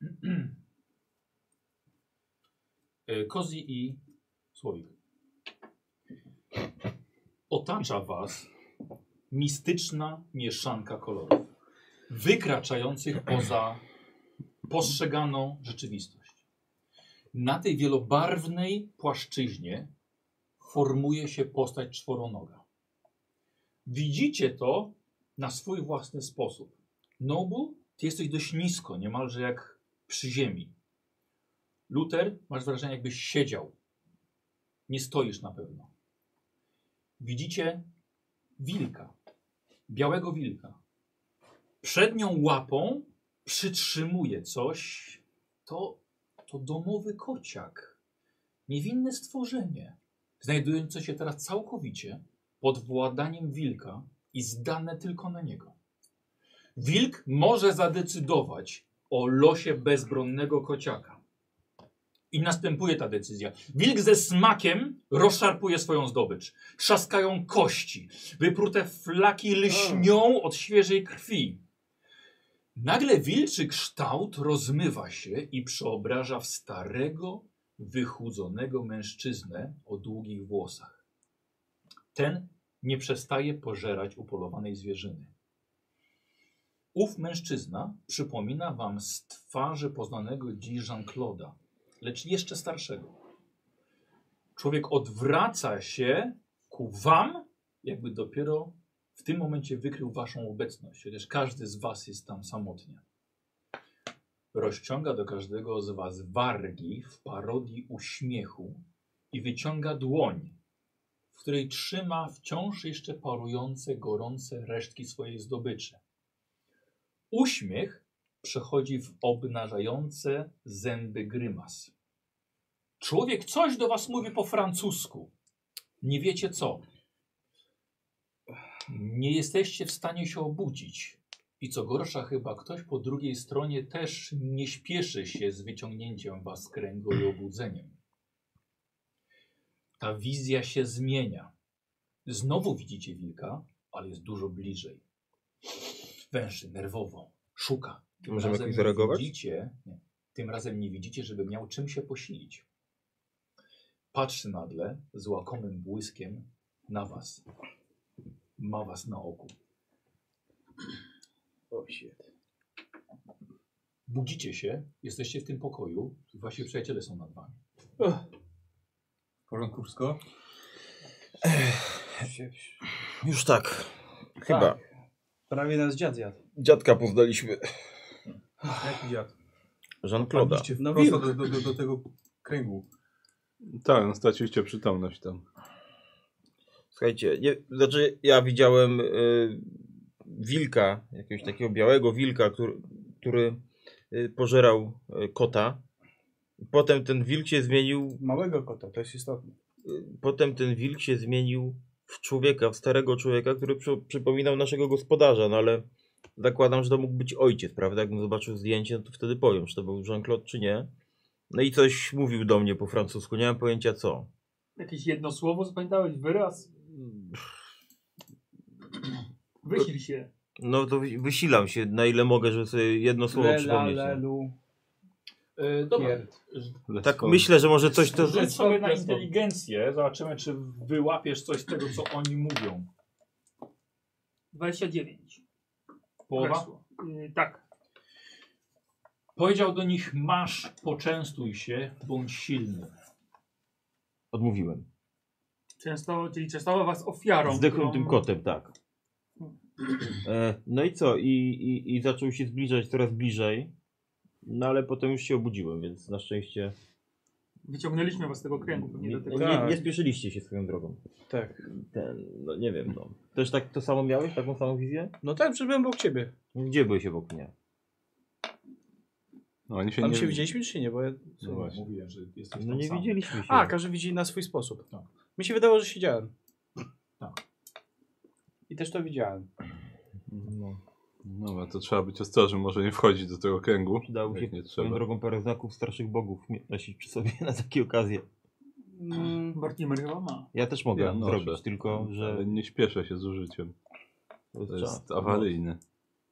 Mm. E, Kozi i Słowik. Otacza was mistyczna mieszanka kolorów, wykraczających poza postrzeganą rzeczywistość. Na tej wielobarwnej płaszczyźnie formuje się postać czworonoga. Widzicie to na swój własny sposób. Nobu, ty jesteś dość nisko, niemalże jak przy ziemi. Luther, masz wrażenie, jakbyś siedział. Nie stoisz na pewno. Widzicie wilka, białego wilka. Przednią łapą przytrzymuje coś. To to domowy kociak. Niewinne stworzenie, znajdujące się teraz całkowicie pod władaniem wilka i zdane tylko na niego. Wilk może zadecydować o losie bezbronnego kociaka. I następuje ta decyzja. Wilk ze smakiem rozszarpuje swoją zdobycz. Trzaskają kości. Wyprute flaki lśnią od świeżej krwi. Nagle wilczy kształt rozmywa się i przeobraża w starego, wychudzonego mężczyznę o długich włosach. Ten nie przestaje pożerać upolowanej zwierzyny. Ów mężczyzna przypomina wam z twarzy poznanego dziś Jean-Claude'a, lecz jeszcze starszego. Człowiek odwraca się ku wam, jakby dopiero w tym momencie wykrył waszą obecność, chociaż każdy z was jest tam samotnie. Rozciąga do każdego z was wargi w parodii uśmiechu i wyciąga dłoń, w której trzyma wciąż jeszcze parujące, gorące resztki swojej zdobyczy. Uśmiech przechodzi w obnażające zęby grymas. Człowiek coś do was mówi po francusku. Nie wiecie co. Nie jesteście w stanie się obudzić. I co gorsza, chyba ktoś po drugiej stronie też nie śpieszy się z wyciągnięciem was z kręgu i obudzeniem. Ta wizja się zmienia. Znowu widzicie wilka, ale jest dużo bliżej. Węszy nerwowo, szuka. Tym
Możemy
razem
jakoś
nie
zareagować?
Widzicie, nie, tym razem nie widzicie, żeby miał czym się posilić. Patrzy nagle z łakomym błyskiem na was. Ma was na oku. Budzicie się, jesteście w tym pokoju i wasi przyjaciele są nad wami.
W porządku wszystko?
Już tak. Chyba.
Prawie nas dziad zjadł.
Dziadka poznaliśmy.
Jaki dziad?
Jean-Claude'a.
Wpadliście
No
wprost do, do, do, do tego kręgu.
Tak, no, straciliście przytomność tam.
Słuchajcie, nie, znaczy ja widziałem y, wilka, jakiegoś takiego białego wilka, który, który y, pożerał y, kota. Potem ten wilk się zmienił,
Małego kota, to jest istotne.
y, potem ten wilk się zmienił w człowieka, w starego człowieka, który przy, przypominał naszego gospodarza, no ale zakładam, że to mógł być ojciec, prawda? Jakbym zobaczył zdjęcie, no to wtedy powiem, czy to był Jean-Claude, czy nie. No i coś mówił do mnie po francusku, nie mam pojęcia co.
Jakieś jedno słowo zapamiętałeś, wyraz.
Mm.
Wysil się.
No to wy- wysilam się na ile mogę, żeby sobie jedno słowo przypomnieć. no.
E, dobra,
Let's
Tak
go.
myślę, że może coś to...
rzuć sobie na inteligencję, zobaczymy czy wyłapiesz coś z tego co oni mówią.
29.
Połowa?
Kresło. Y, tak.
Powiedział do nich, masz, poczęstuj się, bądź silny.
Odmówiłem.
Często, czyli częstował was ofiarą.
Zdechłym
którą-
tym kotem, tak. E, no i co? I, i, I zaczął się zbliżać coraz bliżej. No ale potem już się obudziłem, więc na szczęście
Wyciągnęliśmy was z tego kręgu. Nie,
nie,
do tego.
nie, nie spieszyliście się swoją drogą.
Tak.
Ten, no nie wiem, no. Też tak to samo miałeś, taką samą wizję?
No tak, przybyłem obok ciebie.
Gdzie byłeś obok mnie?
No oni się
A
nie...
my się widzieliśmy czy się nie? Bo ja...
No właśnie.
Mówiłem, że jesteś
No nie
sam.
widzieliśmy się.
A, każdy widzi na swój sposób. Mi się wydało, że siedziałem. No. I też to widziałem.
no.
Dobra, to trzeba być ostrożnym, może nie wchodzić do tego kręgu.
Przydało się
Jak nie
swoją
trzeba.
drogą parę znaków starszych bogów mi- nosić przy sobie na takie okazje.
Bartimer chyba ma.
Ja też mogę
Ja noszę.
zrobić, tylko że
no, Ale nie śpieszę się z użyciem. To jest awaryjne.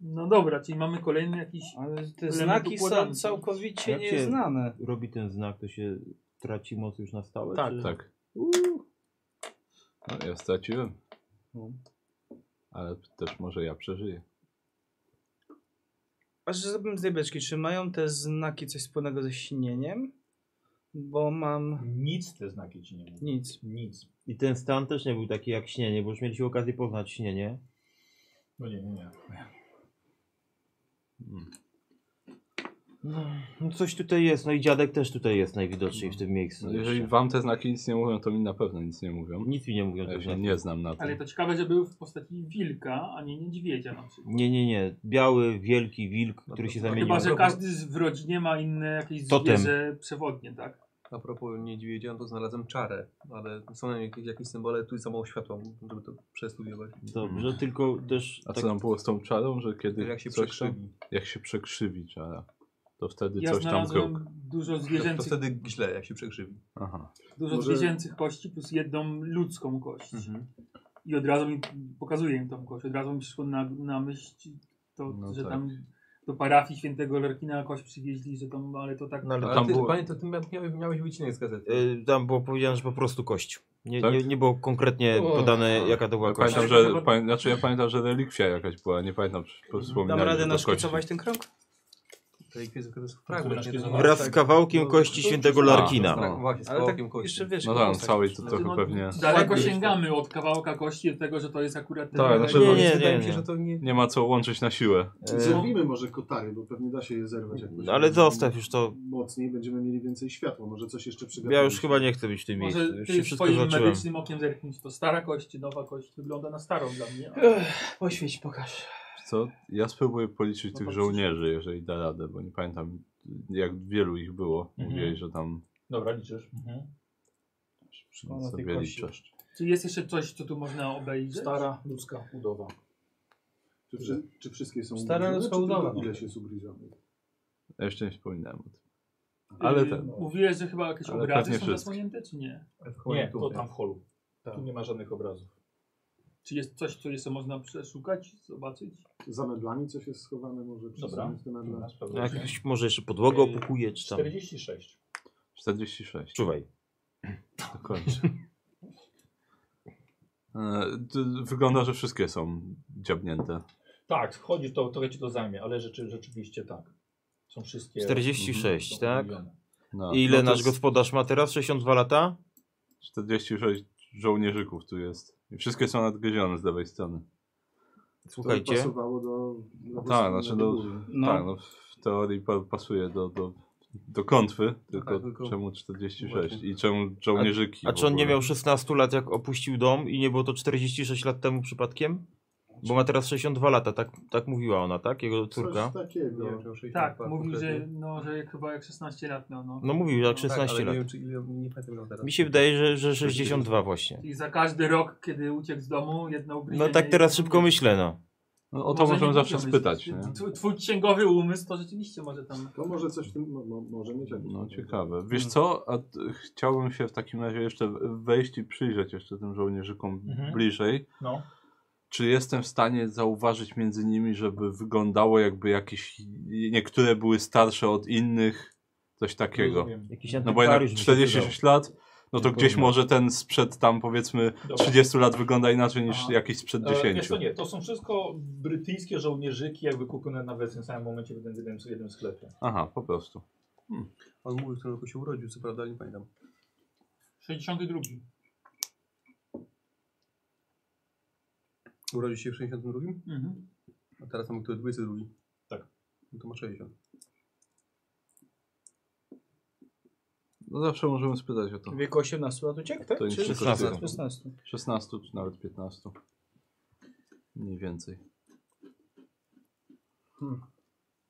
No dobra, czyli mamy kolejny jakiś...
Ale te
Element
znaki są
układanki.
całkowicie
Jak się-
nieznane.
robi ten znak, to się traci moc już na stałe?
Tak,
czy...
Tak. No, ja straciłem. Ale też może ja przeżyję.
Aż zrobiłem z tej beczki, czy mają te znaki coś wspólnego ze śnieniem? Bo mam
Nic te znaki ci nie mówią.
nic.
Nic.
I ten stan też nie był taki jak śnienie, bo już mieliśmy okazję poznać śnienie.
No nie, nie, nie.
No, no coś tutaj jest, no i dziadek też tutaj jest najwidoczniej w tym miejscu.
No, jeżeli
jeszcze.
wam te znaki nic nie mówią, to mi na pewno nic nie mówią.
Nic mi nie mówią
Ja
te
się
znaki.
nie znam na tym.
Ale to ciekawe, że były w postaci wilka, a nie niedźwiedzia na przykład.
Nie, nie, nie. Biały, wielki wilk,
No
który się zamienił.
Chyba, że każdy z- w rodzinie ma inne jakieś
Totem.
zwierzę przewodnie, tak?
A propos niedźwiedzia, no to znalazłem czarę, ale są na niej jakieś, jakieś symbole, tu jest za mało światła, żeby to przestudiować.
Dobrze, tylko też...
A
tak-
co tam było z tą czarą, że kiedy
Jak się
coś
przekrzywi,
Tam, jak się przekrzywi czara, to wtedy
Ja
coś tam kruk.
znalazłem dużo
to, to
zwierzęcych,
wtedy źle, jak się przekrzywi.
Aha.
dużo
może-
zwierzęcych kości plus jedną ludzką kość.
Mhm.
Mhm.
I od razu mi pokazuje im tą kość. Od razu mi przyszło na, na myśl to,
No
że
tak.
tam do parafii świętego Lerkina kość przywieźli, że tam, ale to tak.
No, ale
Ale
tam
ty,
było-
panie, to ty mia- miałeś, miałeś wycinek z gazety.
Y, Tam było powiedziane, że po prostu kość. Nie,
Tak?
nie, nie było konkretnie
O.
podane, jaka to była kość.
Pamiętam,
Ale
że,
chyba-
pamię, znaczy ja pamiętam, że relikwia jakaś była, nie pamiętam, czy
Dam
wspominałem.
radę naszkicować ten krąg?
To jest to jest fragment. nie?
naszkicowane.
Wraz
Tak.
z kawałkiem kości świętego
Tak,
Larkina.
Właśnie, z
Ale tak
kawałkiem kości.
jeszcze wiesz.
No tak,
kawałek.
całej to
no,
trochę pewnie...
Daleko
Ładnie.
sięgamy od kawałka kości do tego, że to jest akurat ten.
Tak,
Ale
znaczy-
nie,
Nie,
nie,
nie,
no, wydaje
nie,
mi się,
nie.
że to nie...
Nie ma co łączyć na siłę.
Zerwijmy może kotary, bo pewnie da się je zerwać jakoś.
No, E, ale zostaw już to.
Mocniej będziemy mieli więcej światła, może coś jeszcze przygotujemy.
Ja już chyba nie chcę być w tym miejscu.
Może
Już
ty
się wszystko
swoim
zacząłem.
medycznym okiem zerknąć, to stara kość, czy nowa kość wygląda na starą dla mnie. ale-
Ech, Poświeć, pokaż.
Wiesz Co? Ja spróbuję policzyć
No
tych
patrz.
żołnierzy, jeżeli da radę, bo nie pamiętam jak wielu ich było.
Mhm.
Mówiłeś, że tam
Dobra, liczysz. Mhm.
na tej
sobie
kości.
liczysz.
Czy jest jeszcze coś, co tu można obejrzeć?
Stara ludzka budowa. Czy, wszy- czy wszystkie są
Stara
ugryzione,
ludzka
czy tylko
budowa.
Ile się jest ugryzionych?
Ja jeszcze nie wspominałem o tym. Ale
Y,
ten.
Mówiłeś, że chyba jakieś
Ale
obrazy
pewnie
są
wszystkie.
zasłonięte, czy nie?
Nie, to tam w holu.
Tak.
Tu nie ma żadnych obrazów.
Czy jest coś, co jeszcze można przeszukać, zobaczyć?
Za meblami coś jest schowane może? Czy
Dobra.
są te meble?
No, Jak ktoś może jeszcze podłogę opukuje, czy tam.
46.
46.
Czuwaj.
To kończę. E, d- Wygląda, że wszystkie są dziabnięte.
Tak, chodzi to, to wiecie, to zajmie, ale rzeczy, rzeczywiście tak. Są wszystkie.
46,
są
Mhm.
tak?
omówione.
No,
I Ile
no to
nasz
z-
gospodarz ma teraz? 62 lata?
46 żołnierzyków tu jest. I wszystkie są nadgryzione z lewej strony.
To
Słuchajcie.
pasowało do... do
Tak, znaczy do-
góry.
No.
Tak, no w teorii pa- pasuje do, do, do klątwy, tylko,
tak, tylko-
czemu 46
Właśnie.
i czemu żołnierzyki?
A
w
czy on nie
ogóle?
miał 16 lat, jak opuścił dom i nie było to 46 lat temu przypadkiem? Bo ma teraz 62 lata, tak, tak mówiła ona, tak? Jego córka.
Coś takiego.
Nie wiem, czy o 60
Tak,
par
mówił, że,
konkretnie.
no, że chyba jak 16 lat miał. No.
No mówił, jak
No
Tak,
16
ale
lat.
nie wiem, czy ile, nie pamiętam ile on teraz.
Mi się wydaje, że, że 62 właśnie.
Czyli za każdy rok, kiedy uciekł z domu, jedno ugryzienie...
No tak teraz szybko myślę, no.
No, o to
Może
możemy
nie
zawsze
mówią,
spytać.
jest-
Nie?
tw- Twój księgowy umysł to rzeczywiście może tam...
To może coś w tym... mo- mo- Może mieć jakieś-
No ciekawe. Wiesz co, a t- chciałbym się w takim razie jeszcze wejść i przyjrzeć jeszcze tym żołnierzykom
Mhm.
bliżej.
No.
Czy jestem w stanie zauważyć między nimi, żeby wyglądało jakby jakieś, niektóre były starsze od innych, coś takiego.
Rozumiem.
Jakiś
No bo jednak
antykwariusz by się
46 lat No to gdzieś może ten sprzed tam powiedzmy
Dobra.
30 lat wygląda inaczej niż
Aha.
jakiś sprzed
E, wiesz
10.
to nie, to są wszystko brytyjskie żołnierzyki, jakby kupione nawet w tym samym momencie w jednym, w jednym sklepie.
Aha, po prostu.
On mówił, w którym roku się urodził, co prawda, ale nie pamiętam.
62.
Urodził się w 62,
Mhm.
a teraz mamy który 22.
Tak.
No to ma 60.
No zawsze możemy spytać o to.
W wieku 18 lat uciekł, tak?
To nic
Czy
nie
16?
kosztuje.
16.
16 czy nawet 15. Mniej więcej.
Hmm.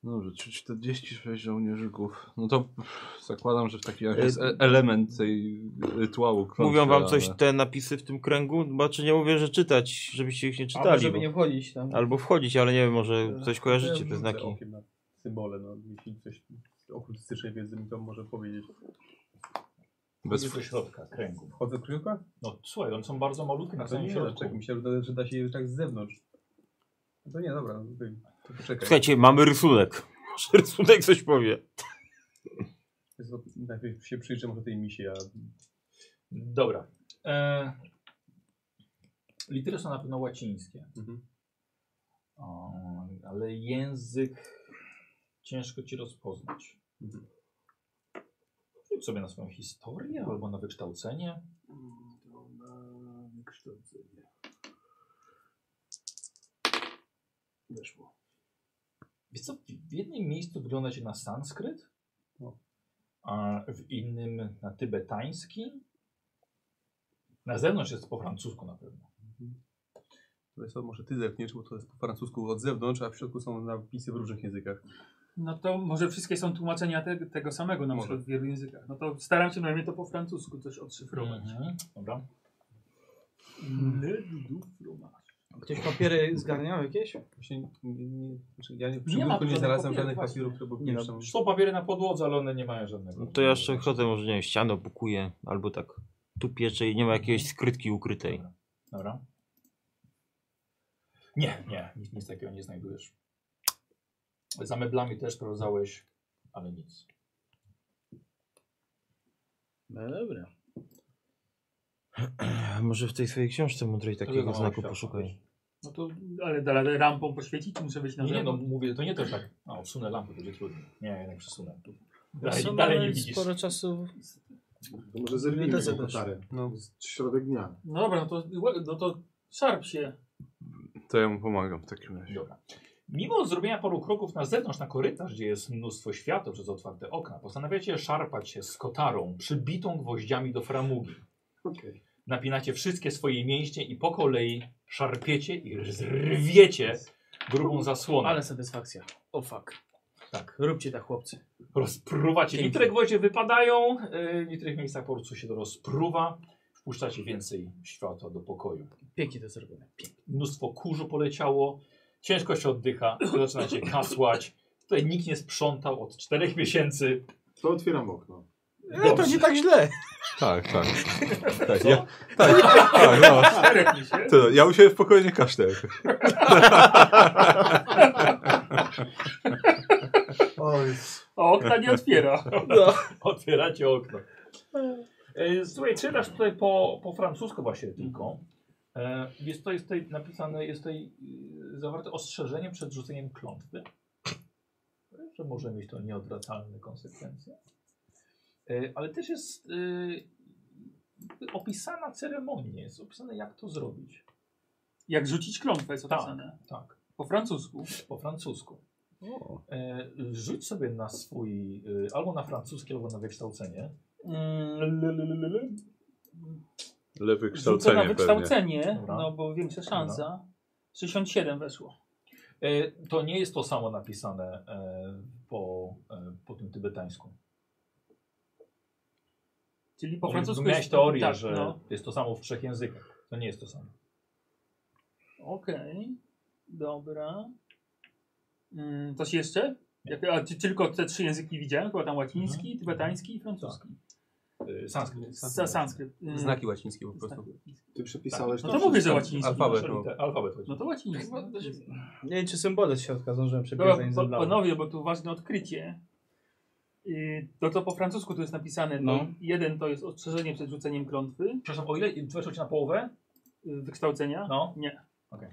No Dobrze, czy 46 żołnierzyków. No to pff, zakładam, że w takim razie
E,
jest e- element tej rytuału. klątwy,
Mówią wam
ale-
coś te napisy w tym kręgu? Znaczy nie mówię, że czytać, żebyście ich nie czytali.
Albo żeby
bo-
nie wchodzić tam.
Albo wchodzić, ale nie wiem, może
E,
coś kojarzycie, te
rzucę
znaki.
okiem na Symbole, no jeśli coś z okultystycznej wiedzy mi to może powiedzieć.
Bez
Jest do środka kręgu.
Wchodzę w krzyżówkę?
No słuchaj, one są bardzo malutkie na
A No to
samym
nie,
środku.
czekaj, myślałem, że da- że da się je tak z zewnątrz. No to nie, dobra, okej. to poczekaj.
Słuchajcie, mamy rysunek. Może rysunek coś powie.
Jest- Najpierw się przyjrzę może tej misji, a
Dobra. E, litery są na pewno łacińskie.
Mhm.
O, ale język ciężko ci rozpoznać.
Mhm.
Rzuć sobie na swoją historię albo na wykształcenie. Weszło. Wiesz co, w jednym miejscu wygląda się na sanskryt,
No.
a w innym na tybetański. Na zewnątrz jest po francusku na pewno.
to jest, może ty zerkniesz, bo to jest po francusku od zewnątrz, a w środku są napisy w różnych językach.
No to może wszystkie są tłumaczenia te, tego samego na
Może.
przykład w wielu językach. No to staram się najmniej to po francusku coś odszyfrować.
Mhm. Dobra.
Ktoś papiery zgarniał jakieś?
Właśnie nie, nie, znaczy ja nie, przy
Nie ma
biurku nie
żadnych
znalazłem
papierów,
żadnych
właśnie.
papierów, które
Nie no,
były no,
Są papiery na podłodze, ale one nie mają żadnego.
No to ja jeszcze chodzę, może nie wiem, ścianę opukuję, albo tak tu pieczę i nie ma jakiejś skrytki ukrytej.
Dobra. Dobra. Nie, nie, nic, nic takiego nie znajdujesz. Za meblami też sprawdzałeś, ale nic.
No dobra.
Może w tej swojej książce mądrej takiego
mało
znaku
światła.
poszukaj.
No to, ale dalej lampą poświecić, muszę być na
Nie, nie, no
zewnątrz.
mówię, to nie to tak. A, odsunę lampę, będzie trudno. Nie, jednak przesunę. Dalej,
Są
no
dalej nie
mamy
widzisz.
Sporo czasu.
To może zerwijmy
Bibliotece
tą
też.
kotarę. No, środek dnia.
No dobra, no to, no to szarp się.
To ja mu pomagam w takim razie.
Dobra. Mimo zrobienia paru kroków na zewnątrz, na korytarz, gdzie jest mnóstwo światła przez otwarte okna, postanawiacie szarpać się z kotarą przybitą gwoździami do framugi.
Okej.
Napinacie wszystkie swoje mięśnie i po kolei szarpiecie i zrwiecie grubą zasłonę.
Ale satysfakcja. O fuck.
Tak.
Róbcie tak, chłopcy.
Rozpruwacie.
Pięknie.
Niektóre gwoździe wypadają, yy, w niektórych miejscach po prostu się to rozpruwa. Wpuszczacie więcej światła do pokoju.
Pięknie to zrobione. Pięknie.
Mnóstwo kurzu poleciało, ciężko się oddycha, zaczynacie kasłać. Tutaj nikt nie sprzątał od czterech miesięcy.
To otwieram okno.
No to nie tak źle.
Tak, tak. tak, ja, tak, tak no.
Szarpnij się.
To, ja u siebie w pokoju nie kaszlę. jakoś.
Oj,
A okna nie otwiera.
No.
Otwieracie okno. E, Słuchaj, czytasz tutaj po, po francusku właśnie tylko. E, Jest to jest tutaj napisane, jest tutaj y, zawarte ostrzeżenie przed rzuceniem klątwy, że może mieć to nieodwracalne konsekwencje. E, Ale też jest y, opisana ceremonia, jest opisane jak to zrobić.
Jak rzucić klątwę jest opisane.
Tak,
Po francusku.
po francusku. E, Rzuć sobie na swój, y, albo na francuski, albo na wykształcenie.
Lewy
Rzucę na
Mm, kształcenie pewnie.
wykształcenie,
Dobra.
no bo większa szansa. 67 weszło.
E, To nie jest to samo napisane e, po, e, po tym tybetańsku.
Czyli po
Że
francusku
Miałeś
jest-
teorię,
tak,
że
no.
jest to samo w trzech językach. To nie jest to samo.
Okej, dobra. Mm, coś jeszcze? Jak, a ty, tylko te trzy języki widziałem, chyba tam łaciński, tybetański i francuski.
E, Sanskryt.
Sa- Sanskryt. Mm,
Znaki łacińskie po prostu.
znaki.
ty przepisałeś
No to mówię, że łaciński.
Alfabet.
Znaczy, liter- Alfabet.
No to łaciński.
Nie wiem, czy symbole z środka zdążyłem przebiegać,
Dobra,
zanim
No, po-
zablałem.
panowie, bo tu ważne odkrycie. y, to co po francusku tu jest napisane, to
No.
jeden to jest ostrzeżenie przed rzuceniem klątwy
Przepraszam, o ile weszło ci na połowę?
y, wykształcenia.
No.
Nie.
Okej.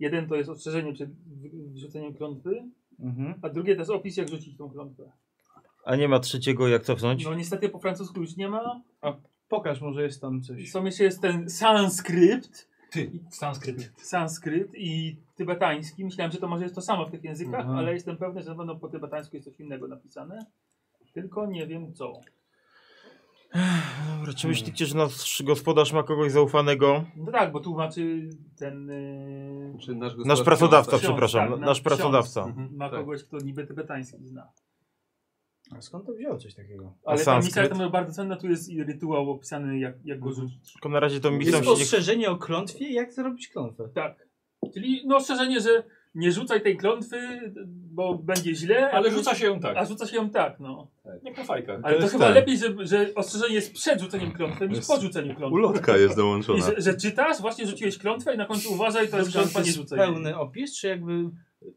Jeden to jest ostrzeżenie przed wy- wrzuceniem klątwy,
Mhm.
a drugie to jest opis jak rzucić tą klątwę.
A nie ma trzeciego jak cofnąć?
No niestety po francusku już nie ma.
Pokaż, może jest tam coś.
Są jeszcze jest ten sanskrypt,
Ty,
Tak,
sanskryt.
sanskryt i tybetański. Myślałem, że to może jest to samo w tych językach,
Mhm.
Aha.
ale jestem pewny, że na pewno po tybetańsku jest coś innego napisane. Tylko nie wiem co.
Dobra, czy myślicie, że nasz gospodarz ma kogoś zaufanego?
No tak, bo tłumaczy ten. y,
Czy nasz,
Nasz
gospodarz-
pracodawca,
ksiądz, tak,
przepraszam.
nasz
nasz pracodawca.
Mhm,
ma
tak.
kogoś, kto niby tybetański zna.
A skąd to wziął coś takiego? A
Ale ta misja
sanskryt?
tam jest bardzo cenna, tu jest i rytuał opisany, jak, jak
Mhm.
go rzucić.
Tylko na razie to mi
Jest
tam się nie...
ostrzeżenie o klątwie, jak zrobić klątwę.
Tak. Czyli no ostrzeżenie, że nie rzucaj tej klątwy, bo będzie źle.
Ale rzuca się ją tak.
A rzuca się ją tak, no.
Jak na fajkach.
Ale to,
jest
chyba
tak.
lepiej, że, że ostrzeżenie jest przed rzuceniem klątwy niż
Jest-
po rzuceniu klątwy.
Ulotka jest
I
no.
dołączona.
że, że czytasz, właśnie rzuciłeś klątwę i na końcu uważaj, to jest
Dobrze, ale
klątwa, nie rzucaj. jej.
pełny opis, czy jakby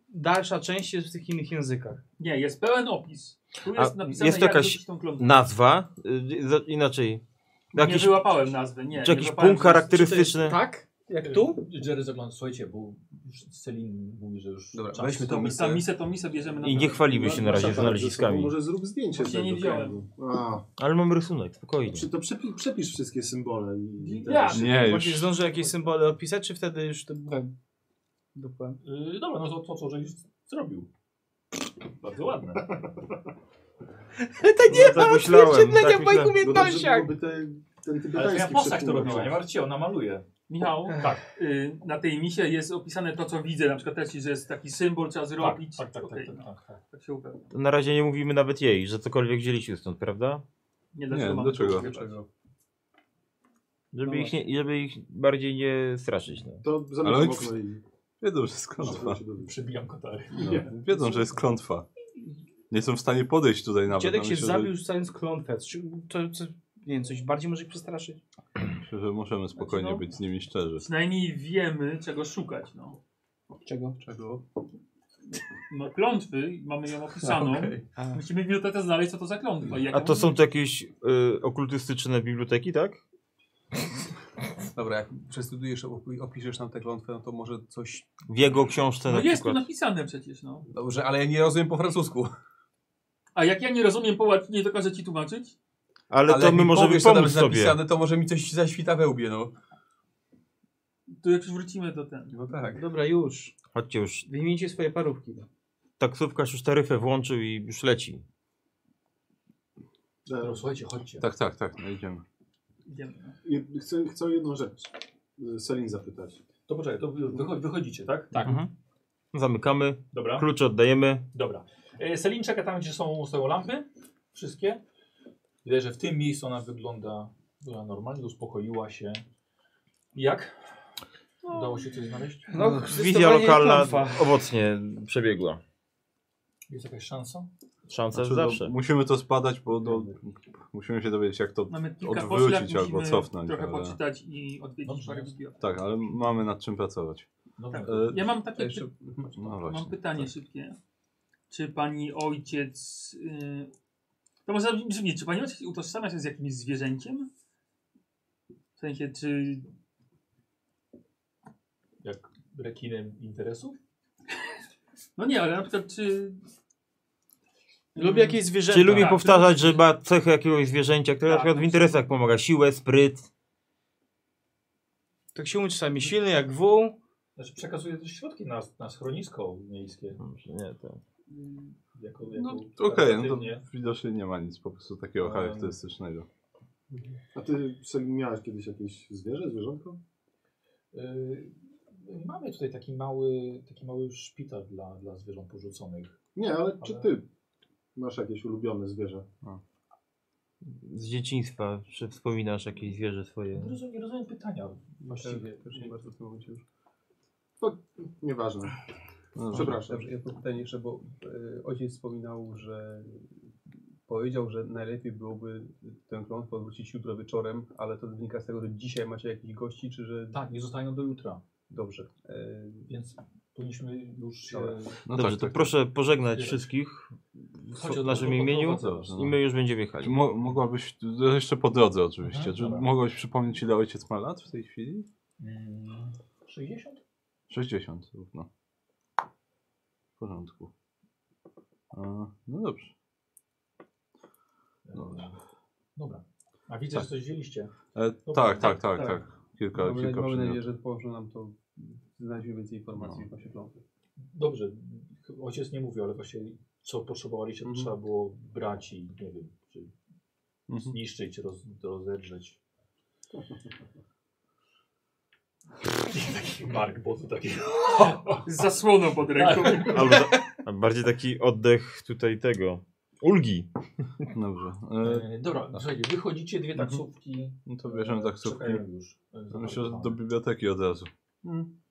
dalsza część jest w tych innych językach?
Nie, jest pełen opis. Tu
A
jest napisane,
jest
jak
jakaś
rzucić tą klątwę.
Nazwa? Y, za- Inaczej. Jakiś,
Nie wyłapałem nazwy, nie.
czy
nie
jakiś
wyłapałem,
punkt
że jest-
charakterystyczny?
Tak? Jak tu?
Jerry zagląda, słuchajcie, bo już Celine mówi, że już
Dobra,
czas.
weźmy tą
Dobra, Za
misję.
misę to misę bierzemy na
I nie
pewno.
chwalimy się na razie
Nasza
z
pana
naleziskami.
ze sobą, Może zrób zdjęcie.
Właśnie nie
tego
wziąłem.
kręgu. A,
Ale mam rysunek, spokojnie.
czy to przepi przepisz wszystkie symbole. I, i
Ja.
też-
Nie,
Właśnie
już.
zdążę jakieś symbole opisać, czy wtedy już to... Dokładnie.
Yy, dobra, no to, to co żeś zrobił. Bardzo ładne.
To nie ma Tak odzwierciedlenia w moich
No dobrze byłoby te, ten
Ale to ja
tybetański
postać to
przetłumaczyć.
robiła, nie martwcie, ona maluje.
Michał,
Tak.
y, na tej misie jest opisane to, co widzę. Na przykład też, że jest taki symbol, trzeba zrobić.
Tak, tak, tak.
Okej,
tak,
no,
tak, tak.
tak się upewniam.
To na razie nie mówimy nawet jej, że cokolwiek wzięliśmy stąd, prawda?
Nie,
Nie,
mamy
dlaczego?
tego
Dlaczego?
No
Żeby, ich, nie, żeby ich bardziej nie straszyć. No.
To
Ale-
zamykam okno i
Wiedzą, że jest klątwa.
No,
pozwolę się dowiedzieć.
Przebijam kotary.
No. Wiedzą, że jest klątwa. Nie są w stanie podejść tutaj nawet.
Dziadek
a
się
myślę,
zabił rzucając klątwę. Czy to, to, nie wiem, coś bardziej może ich przestraszyć?
Myślę, że możemy spokojnie
Znaczy, no-
być z nimi szczerzy.
Przynajmniej wiemy, czego szukać. No,
Czego?
Czego?
no klątwy, mamy ją opisaną. Musimy w bibliotece znaleźć, co to za klątwa. i jak
A
ją
to są
użyć.
to jakieś y, okultystyczne biblioteki, tak?
Dobra, jak przestudujesz, opi- opiszesz nam tę klątwę, no to może coś...
W jego książce
No
na
jest tu
przykład.
napisane przecież, no.
Dobrze, ale ja nie rozumiem po francusku.
A jak ja nie rozumiem po łacinie, to każę ci tłumaczyć?
Ale,
Ale
to
jak
my
mi
możemy
powiesz, co tam
pomóc
jest
sobie.
napisane, to może mi coś zaświta we łbie, no.
To jak już wrócimy do ten.
No tak.
Dobra, już.
Chodźcie już.
Wymienicie swoje parówki.
No,
Taksówkarz już taryfę włączył i już leci.
Dobra, słuchajcie, chodźcie.
Tak, tak, tak, no idziemy.
Idziemy. no.
I Chcę, chcę o jedną rzecz y, Selin zapytać.
To poczekaj, to wy, wycho- wychodzicie, tak?
Tak.
Mhm. Zamykamy,
Dobra,
klucze oddajemy.
dobra. E, Selin czeka tam, gdzie są, stoją lampy. Wszystkie. Widać, że w tym miejscu ona wygląda, wygląda normalnie, uspokoiła się. Jak? Udało się coś znaleźć?
No,
Wizja lokalna owocnie przebiegła.
Jest jakaś szansa?
Szansa
Znaczy,
jest
no,
zawsze.
musimy to spadać, bo no, musimy się dowiedzieć, jak to.
Mamy kilka
Odwrócić
poszlak,
albo
musimy
cofnąć,
trochę
ale-
poczytać i odwiedzić
Dobrze.
parę bibliotek.
Tak, ale mamy nad czym pracować.
No,
Tak.
E,
Ja mam takie
Jeszcze...
No
Mam
właśnie.
pytanie szybkie. Czy pani ojciec. y, To może brzmi, czy pani ojciec utożsamia się z jakimś zwierzęciem? W sensie, czy.
Jak rekinem interesów?
No nie, ale na przykład, czy.
Lubię jakieś zwierzęta.
Czy lubi
tak.
powtarzać, że ma cechę jakiegoś zwierzęcia, które
Tak,
na przykład w
na
interesach pomaga? Siłę, spryt.
Tak się mówi czasami silny jak wół.
Znaczy przekazuje też środki na, na schronisko miejskie.
tak.
Nie, tak. to...
Jako, jako
No, Okej, no to
charytatywnie.
widocznie nie ma nic po prostu takiego
Em.
charakterystycznego.
A ty Selin miałaś kiedyś jakieś zwierzę, zwierzątko?
Y, Mamy tutaj taki mały, taki mały szpital dla, dla zwierząt porzuconych.
Nie, ale czy
Ale-
ty masz jakieś ulubione zwierzę?
Z dzieciństwa, czy wspominasz jakieś zwierzę swoje?
Nie rozumiem, nie rozumiem pytania właściwie.
E, Też nie bardzo w tym momencie już.
Nieważne.
No,
Przepraszam.
Dobrze, ja mam pytanie jeszcze, bo e, ojciec wspominał, że powiedział, że najlepiej byłoby tę klątwę odwrócić jutro wieczorem, ale to wynika z tego, że dzisiaj macie jakichś gości, czy że...
Tak, nie zostają do jutra,
Dobrze. E,
więc powinniśmy już się...
Dobra.
No
Dobrze,
tak,
to
tak,
proszę pożegnać
Zbierać.
wszystkich. w naszym imieniu i my już będziemy jechali.
Czy mo mogłabyś, to jeszcze po drodze oczywiście,
No,
czy mogłabyś przypomnieć ile ojciec ma lat w tej chwili?
Mm, 60?
60 równo. W porządku. A, no dobrze. dobrze.
Dobra. A widzę,
Tak.
że coś wzięliście.
No
E,
To
tak,
prawda.
tak, tak,
Tak.
tak. Kilka,
Mamy,
kilka
mamy nadzieję,
przedmiotów.
że pomoże nam to znaleźć więcej informacji no. w planty.
Dobrze. Ojciec nie mówił, ale właśnie co potrzebowaliście, to
Mhm.
trzeba było brać i nie wiem, czy
Mhm.
zniszczyć, roz, rozedrzeć. Taki Mark, bo to taki.
Z zasłoną pod ręką.
Albo ta, a bardziej taki oddech tutaj tego. Ulgi.
Dobrze. E,
E, dobra, słuchajcie, wychodzicie, dwie
Mhm.
taksówki.
no to bierzemy taksówki.
Czekają już. e,
To Myślę, że
zaparkowane.
do biblioteki od razu.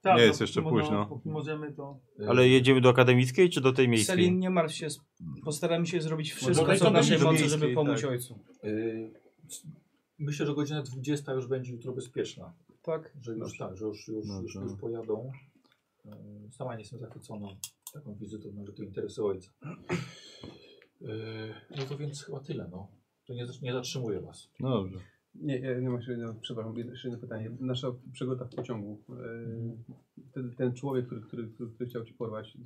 Tak,
Nie jest
no,
jeszcze
póki mo-
późno.
póki Możemy to...
Ale jedziemy do akademickiej czy do tej miejskiej?
Selin, nie martw się, sp- postaramy się zrobić wszystko,
Może
co w naszej
do
mocy,
miejskiej,
żeby pomóc
tak.
ojcu.
Y, c- Myślę, że godzina 20 już będzie jutro bezpieczna.
Tak?
Że już
No
tak, że już, już, już,
Dobrze.
już pojadą. Y, Sama nie jestem zachwycona taką wizytą, może to interesy ojca. Y, No to więc chyba tyle, no. To nie, nie zatrzymuję was.
No dobrze.
Nie, ja nie mam jeszcze jedno, przepraszam, jeszcze jedno pytanie. Nasza przygoda w pociągu. e, Ten, ten człowiek, który, który, który, który chciał ci porwać,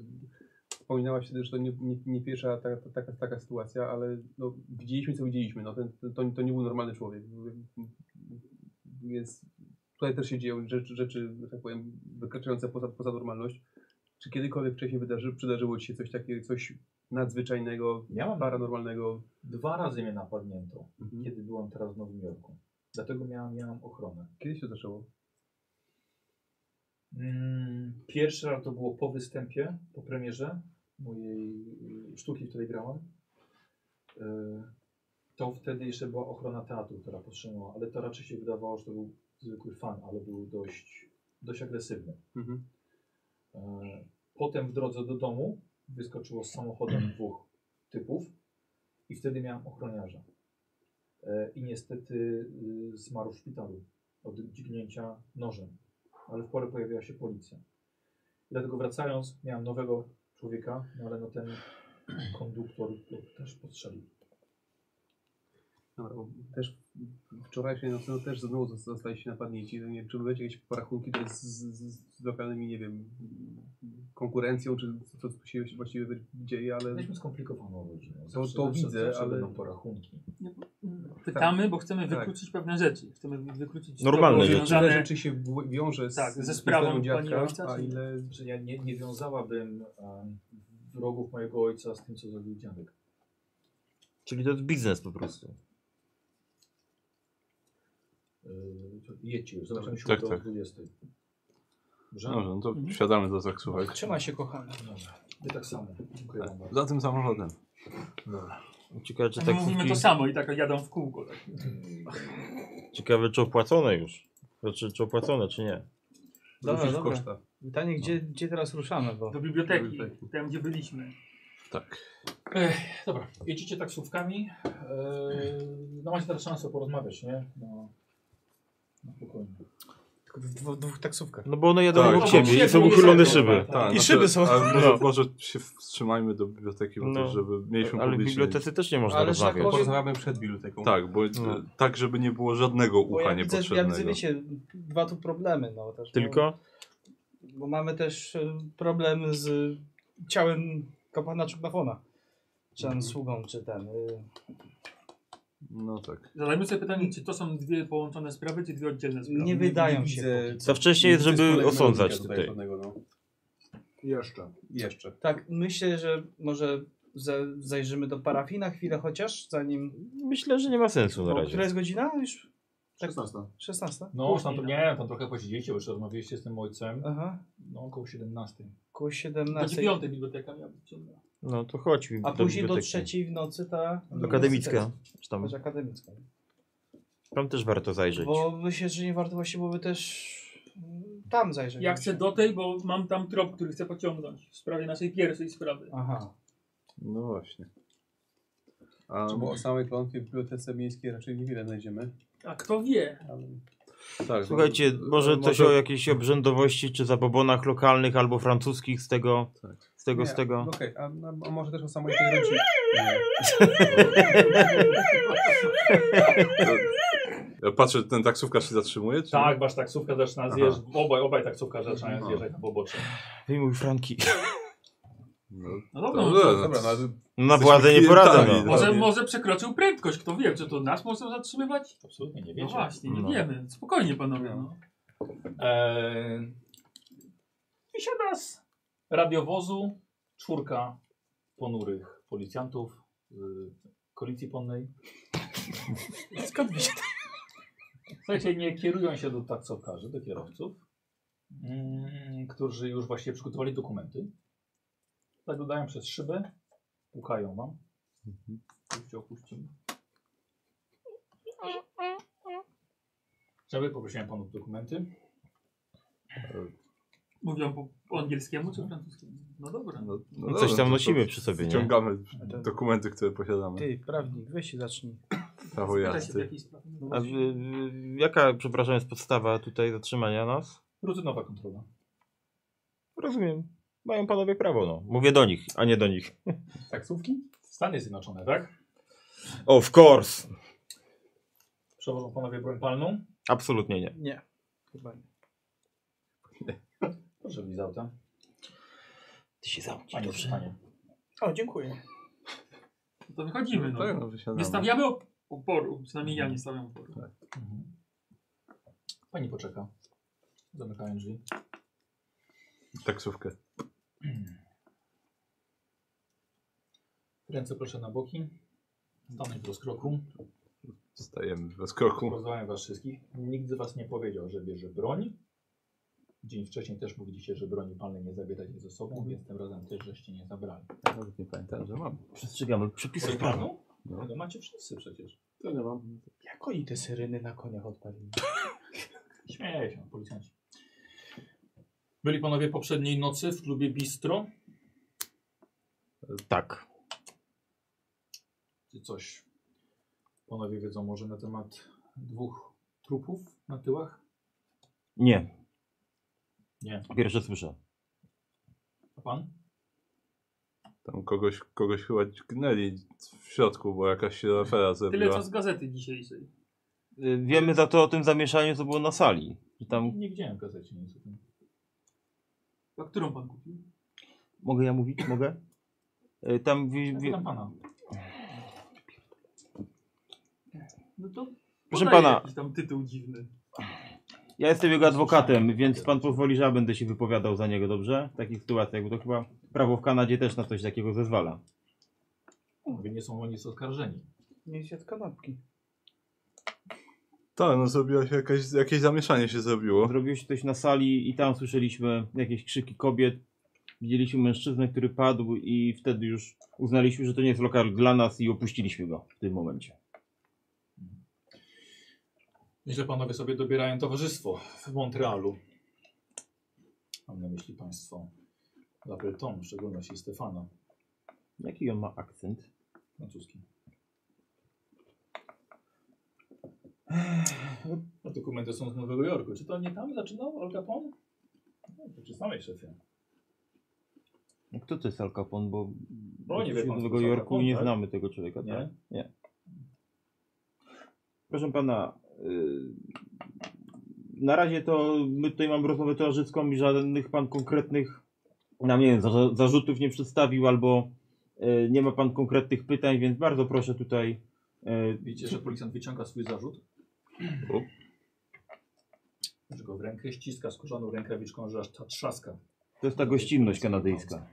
wspominałaś wtedy, że to nie, nie, nie pierwsza taka, taka, taka sytuacja, ale no, widzieliśmy co widzieliśmy. No, ten, ten, to, to nie był normalny człowiek. Więc tutaj też się dzieją rzeczy, rzeczy że tak powiem, wykraczające poza, poza normalność. Czy kiedykolwiek wcześniej wydarzy, przydarzyło ci się coś takiego, coś nadzwyczajnego,
Ja mam
paranormalnego?
Dwa razy mnie napadnięto, kiedy byłam teraz w Nowym Jorku. Dlatego miałam, miałam ochronę.
Kiedy się to zaczęło?
Mm, Pierwszy raz to było po występie, po premierze mojej y, sztuki, w której grałam. Y, To wtedy jeszcze była ochrona teatru, która powstrzymała, ale to raczej się wydawało, że to był zwykły fan, ale był dość, dość agresywny.
Mhm.
Y, Potem w drodze do domu wyskoczyło z samochodem dwóch typów i wtedy miałem ochroniarza. Y, I niestety y, zmarł w szpitalu od dźgnięcia nożem ale w porę pojawiła się policja. Dlatego wracając, miałem nowego człowieka, no ale no ten konduktor go też postrzelił.
Dobra, bo też wczorajszej nocy no, też znowu zos- zostaliście napadnięci. No, Nie wiem, czy były jakieś porachunki tutaj z, z, z- z lokalnymi, nie wiem, konkurencją, czy co tu się właściwie wy- dzieje, ale
Jesteśmy skomplikowaną rodziną.
to
zawsze-
widzę,
zawsze
ale-
będą porachunki.
Pytamy, bo chcemy
Tak.
wykluczyć pewne rzeczy. Chcemy wy- wykluczyć to
Normalne
było
rzeczy.
ile
związane-
rzeczy się w- wiąże z,
Tak, ze
z
sprawą
historią
pani ojca,
a
czy-
ile...
Znaczy, ja nie, nie wiązałabym em, wrogów mojego ojca z tym, co zrobił dziadek.
Czyli to jest biznes po prostu.
Yy, to jedźcie już, zobaczymy się
Tak,
do
tak.
20. Dobrze?
Dobrze, no to wsiadamy do taksówek.
Mhm.
E,
Trzymaj się, kochany.
Dobra. Wy tak samo. Dziękuję wam bardzo.
Za tym samochodem.
Ciekawe czy,
A my mówimy to
taksówki,
samo i tak jadą w kółko. Tak.
ciekawe, czy opłacone już. Znaczy, czy opłacone, czy nie.
Dobra,
dobra.
koszta.
Pytanie, gdzie, gdzie teraz ruszamy, bo...
Do biblioteki,
biblioteki.
tam gdzie byliśmy.
Tak.
Ech, dobra, jedziecie taksówkami. Yy, no macie teraz szansę porozmawiać, nie? No, na spokojnie.
Tylko w dwóch, dwóch taksówkach.
No bo one jadą
Tak.
obok siebie i są uchylone szyby.
Tak,
znaczy,
szyby są.
ale Może, może się wstrzymajmy do biblioteki, bo
No.
też, żeby mieliśmy
Ale w
publicznie-
bibliotece też nie można
Ale
rozmawiać.
Może-
Porozmawiamy przed biblioteką.
Tak, bo
No.
tak, żeby nie było żadnego
Bo
ucha
ja widzę, ja
niepotrzebnego.
widzę, wiecie, dwa tu problemy. No, też,
Tylko?
Bo, bo mamy też e, problem z e, ciałem kapłana Czukbafona. Czy tam sługą, czy ten... y,
No tak.
Zadajmy sobie pytanie, czy to są dwie połączone sprawy, czy dwie oddzielne sprawy?
Nie wydają się.
Za wcześnie jest, żeby osądzać tutaj.
tak
Jeszcze.
Jeszcze.
Tak, myślę, że może za- zajrzymy do parafii na chwilę chociaż, zanim...
Myślę, że nie ma sensu na
Bo która
razie.
jest godzina? Już tak.
16.
16?
No, tam, to- nie, tam trochę posiedzieliście, bo jeszcze rozmawialiście z tym ojcem.
Aha,
No, około 17.
koło
Do
17.
dziewiątej Znaczy, biblioteka miała być ciągle.
No to chodź.
A
do
później do
biblioteki.
trzeciej w nocy ta...
Akademicka. Czy tam,
Znaczy akademicka.
tam też warto zajrzeć.
Bo myślę, że nie warto właśnie byłoby też mm, tam zajrzeć.
Ja chcę do tej, bo mam tam trop, który chcę pociągnąć w sprawie naszej pierwszej sprawy.
Aha.
No właśnie. A,
Bo o samej klątwie w bibliotece miejskiej raczej niewiele znajdziemy.
A kto wie?
Ale...
tak,
Słuchajcie,
no,
może
no,
coś o jakiejś obrzędowości czy zabobonach lokalnych albo francuskich z tego,
Tak.
z Z tego,
Nie,
z
No.
tego.
Okej, a, a- a może też o samej tej rodzinie? Nie.
Ja Patrzę, ten taksówkarz się zatrzymuje? Czy...
Tak, wasz taksówka zaczyna
Aha.
zjeżdżać. Obaj, obaj taksówkarze zaczynają zjeżdżać na pobocze.
Wyjmuj franki.
No,
No
no,
dobra,
no,
no,
no,
Dobra, no ale
Na władzę nie poradzę.
klientami,
No.
no.
może,
Dokładnie.
może przekroczył prędkość, kto wie, czy to nas może zatrzymywać?
Absolutnie nie
No
wiecie.
właśnie, nie
No.
wiemy. Spokojnie panowie. No.
Eee, wysiada z radiowozu czwórka ponurych policjantów z Policji Polnej.
Skąd mi się
Słuchajcie, nie kierują się do taksówkarzy, do kierowców, mm, którzy już właśnie przygotowali dokumenty. Zaglądają przez szybę, pukają wam. Opuśćcie, opuścimy. Żeby poprosiłem panu dokumenty.
mówią po, po angielskiemu czy francuskiemu? No dobra.
no, no
No
dobra,
Coś
to-
tam
to
nosimy przy sobie, nie?
Wyciągamy dokumenty, które posiadamy.
Ty, prawnik, weź się zacznij.
Prawo
Pytaj się w
jazdy.
jakiej sprawie. No
A, y, y, jaka, przepraszam, jest podstawa tutaj zatrzymania nas?
Rutynowa kontrola.
Rozumiem. Mają panowie prawo, no. Mówię do nich, a nie do nich.
Taksówki? Stany Zjednoczone, tak?
Of course!
Przewożą panowie broń palną.
Absolutnie nie.
Nie. Chyba nie.
Proszę wyjść z auta.
Ty się zamknij,
Panie, panie.
O, dziękuję.
No to wychodzimy. No.
Tak, no
Nie
wysiadamy.
stawiamy op- oporu, przynajmniej ja nie stawiam oporu.
Tak.
Mhm. Pani poczeka. Zamykają drzwi.
Taksówkę.
Ręce proszę na boki. Stanąć w rozkroku.
Stajemy bez kroku.
Pozdrawiam was wszystkich. Nikt z was nie powiedział, że bierze broń. Dzień wcześniej też mówiliście, że broni palnej nie zabieracie ze
Mhm.
sobą, więc tym razem też żeście nie zabrali.
Nawet nie pamiętam, że mam.
Przestrzegamy przepisów prawa.
Palną?
No.
No macie wszyscy przecież.
To nie mam.
Jak oni te syreny na koniach odpalili?
Śmieję się, policjanci. Byli panowie poprzedniej nocy w klubie Bistro.
Tak.
Czy coś panowie wiedzą może na temat dwóch trupów na tyłach?
Nie.
Nie.
Pierwsze słyszę.
A pan?
Tam kogoś, kogoś chyba gnęli w środku, bo jakaś afera
Tyle co
zrobiła.
z gazety dzisiejszej.
Y, Wiemy za to o tym zamieszaniu, co było na sali. Że tam...
Nie widziałem w gazecie nic o tym.
A którą pan kupił?
Mogę ja mówić? Mogę? Y, Tam... Wi...
Ja
Wi...
pytam pana.
No to
Proszę
podaję
pana.
jakiś tam tytuł dziwny.
Ja jestem jego adwokatem, więc pan pozwoli, że ja będę się wypowiadał za niego, dobrze? W takich sytuacjach, bo to chyba prawo w Kanadzie też na coś takiego zezwala.
Panowie nie są oni oskarżeni.
Nie się od kanapki.
Tak, no zrobiła się jakaś, jakieś zamieszanie się zrobiło.
Zrobiło się coś na sali i tam słyszeliśmy jakieś krzyki kobiet. Widzieliśmy mężczyznę, który padł i wtedy już uznaliśmy, że to nie jest lokal dla nas i opuściliśmy go w tym momencie.
Nieźle panowie sobie dobierają towarzystwo w Montrealu. Mam na myśli państwo Lapelton, w szczególności Stefana,
Jaki on ma akcent?
francuski. No, dokumenty są z Nowego Jorku. Czy to nie tam zaczynał Al Capone? No, to przy samej szefie.
No Kto to jest Al Capone? Bo
No, nie wie
z
pan,
Nowego
co to Al
Jorku
Capone,
nie
tak?
znamy tego człowieka,
Nie?
tak? Nie. Proszę pana, y, na razie to my tutaj mamy rozmowę towarzyską i żadnych pan konkretnych nam nie wiem, za- zarzutów nie przedstawił albo y, nie ma pan konkretnych pytań, więc bardzo proszę tutaj. y,
Widzicie, że policjant wyciąga swój zarzut.
O.
Bierze go w rękę, ściska skórzaną rękawiczką, że aż ta trzaska.
To jest ta gościnność kanadyjska.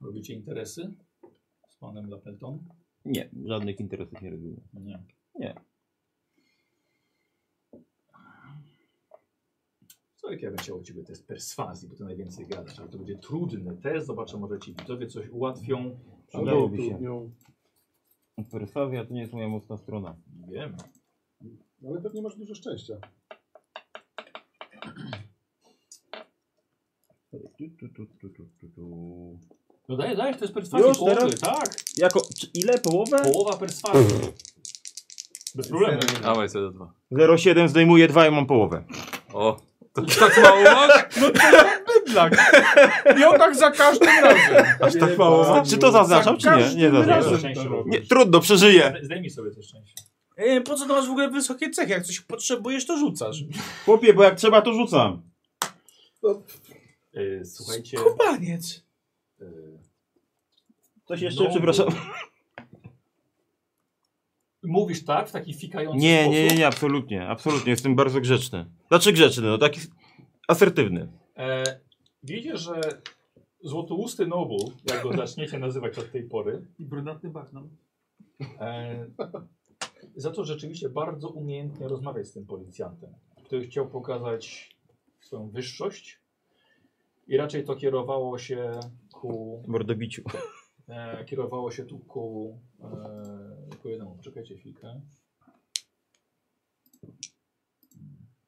Robicie interesy z panem Lapelton?
Nie, żadnych interesów nie robimy.
Nie.
Nie.
Co jak ja bym chciał u ciebie test perswazji, bo to najwięcej gadasz, ale to będzie trudny test. Zobaczę, może ci widzowie coś ułatwią.
Przydałoby się. Perswazja to nie jest moja mocna strona.
Nie wiem.
Ale pewnie masz dużo szczęścia.
Tu, tu, tu, tu, tu, tu, tu.
No daj, daj, to jest perswazji
Już
połowy,
teraz?
tak.
Jako, czy ile? Połowę?
Połowa perswazji.
Mhm.
Bez problemu.
Dawaj, 02.
0,7 zdejmuję 2 i mam połowę.
O, to tak mało masz?
szlak. Miał tak za każdym razem.
Aż tak mało.
Za-
Czy to zaznaczał, czy nie? Nie zaznaczał.
razem to
Nie, trudno, przeżyję.
Zdejmij sobie to szczęście.
E, po co to masz w ogóle wysokie cechy? Jak coś potrzebujesz, to rzucasz.
Chłopie, bo jak trzeba, to rzucam.
Yy, słuchajcie.
Kubaniec.
Yy,
Coś jeszcze, przepraszam.
mówisz tak, w taki fikający
Nie,
sposób.
nie, nie, nie, absolutnie, absolutnie. Jestem bardzo grzeczny. Znaczy grzeczny, no taki asertywny.
E, wiecie, że złotousty Nobu, jak go zaczniecie nazywać od tej pory,
I brunatny no. bagnon.
e, zaczął rzeczywiście bardzo umiejętnie rozmawiać z tym policjantem, który chciał pokazać swoją wyższość i raczej to kierowało się ku,
Mordobiciu.
e, kierowało się tu ku, e, ku jednemu. Czekajcie chwilkę.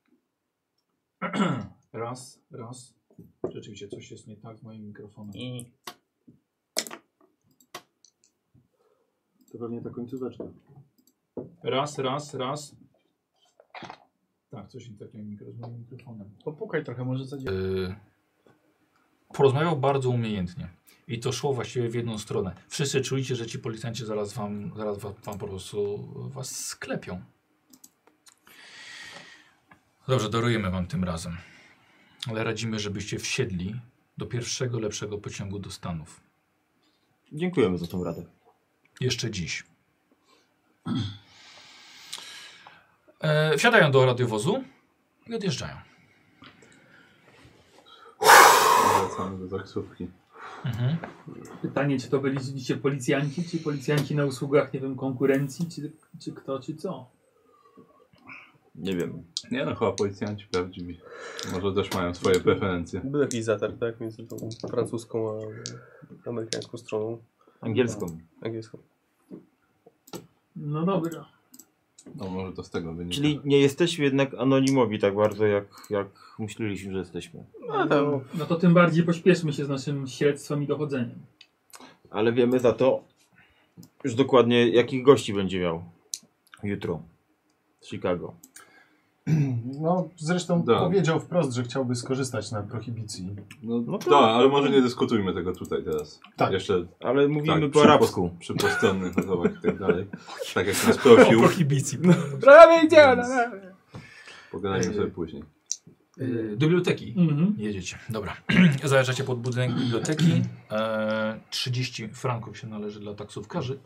Raz, raz. Rzeczywiście coś jest nie tak z moim mikrofonem.
To pewnie ta końcóweczka.
Raz, raz, raz. Tak, coś nie takiego mikro, z moim mikrofonem.
Popukaj trochę, może zadziała.
Porozmawiał bardzo umiejętnie. I to szło właściwie w jedną stronę. Wszyscy czujcie, że ci policjanci zaraz wam, zaraz wam, wam po prostu was sklepią. Dobrze, dorujemy wam tym razem. Ale radzimy, żebyście wsiedli do pierwszego lepszego pociągu do Stanów.
Dziękujemy za tą radę.
Jeszcze dziś. E, wsiadają do radiowozu i odjeżdżają.
Wracamy do taksówki.
Mhm.
Pytanie, czy to byli dzisiaj policjanci, czy policjanci na usługach, nie wiem, konkurencji, czy, czy kto, czy co.
Nie wiem.
Nie no, chyba policjanci prawdziwi. Może też mają swoje preferencje.
Był jakiś zatarg, tak? Między tą francuską a amerykańską stroną
Angielską.
angielską.
No dobra.
No może to z tego wynika.
Czyli nie jesteśmy jednak anonimowi tak bardzo, jak, jak myśleliśmy, że jesteśmy.
No tam.
No to tym bardziej pośpieszmy się z naszym śledztwem i dochodzeniem.
Ale wiemy za to już dokładnie, jakich gości będzie miał jutro z Chicago.
No, zresztą
Da.
powiedział wprost, że chciałby skorzystać na prohibicji.
No,
No to-
tak, ale może nie dyskutujmy tego tutaj teraz.
Tak.
Jeszcze
Ale mówimy
tak,
po
przy
arabsku.
pos- Przy postronnych osobach i tak dalej. Tak jak nas prosił,
prohibicji.
Prawie
działa, pogadajmy sobie później.
Yy, do biblioteki.
Mhm.
Jedziecie, dobra. Zajeżdżacie pod budynek biblioteki. E, 30 franków się należy dla taksówkarzy.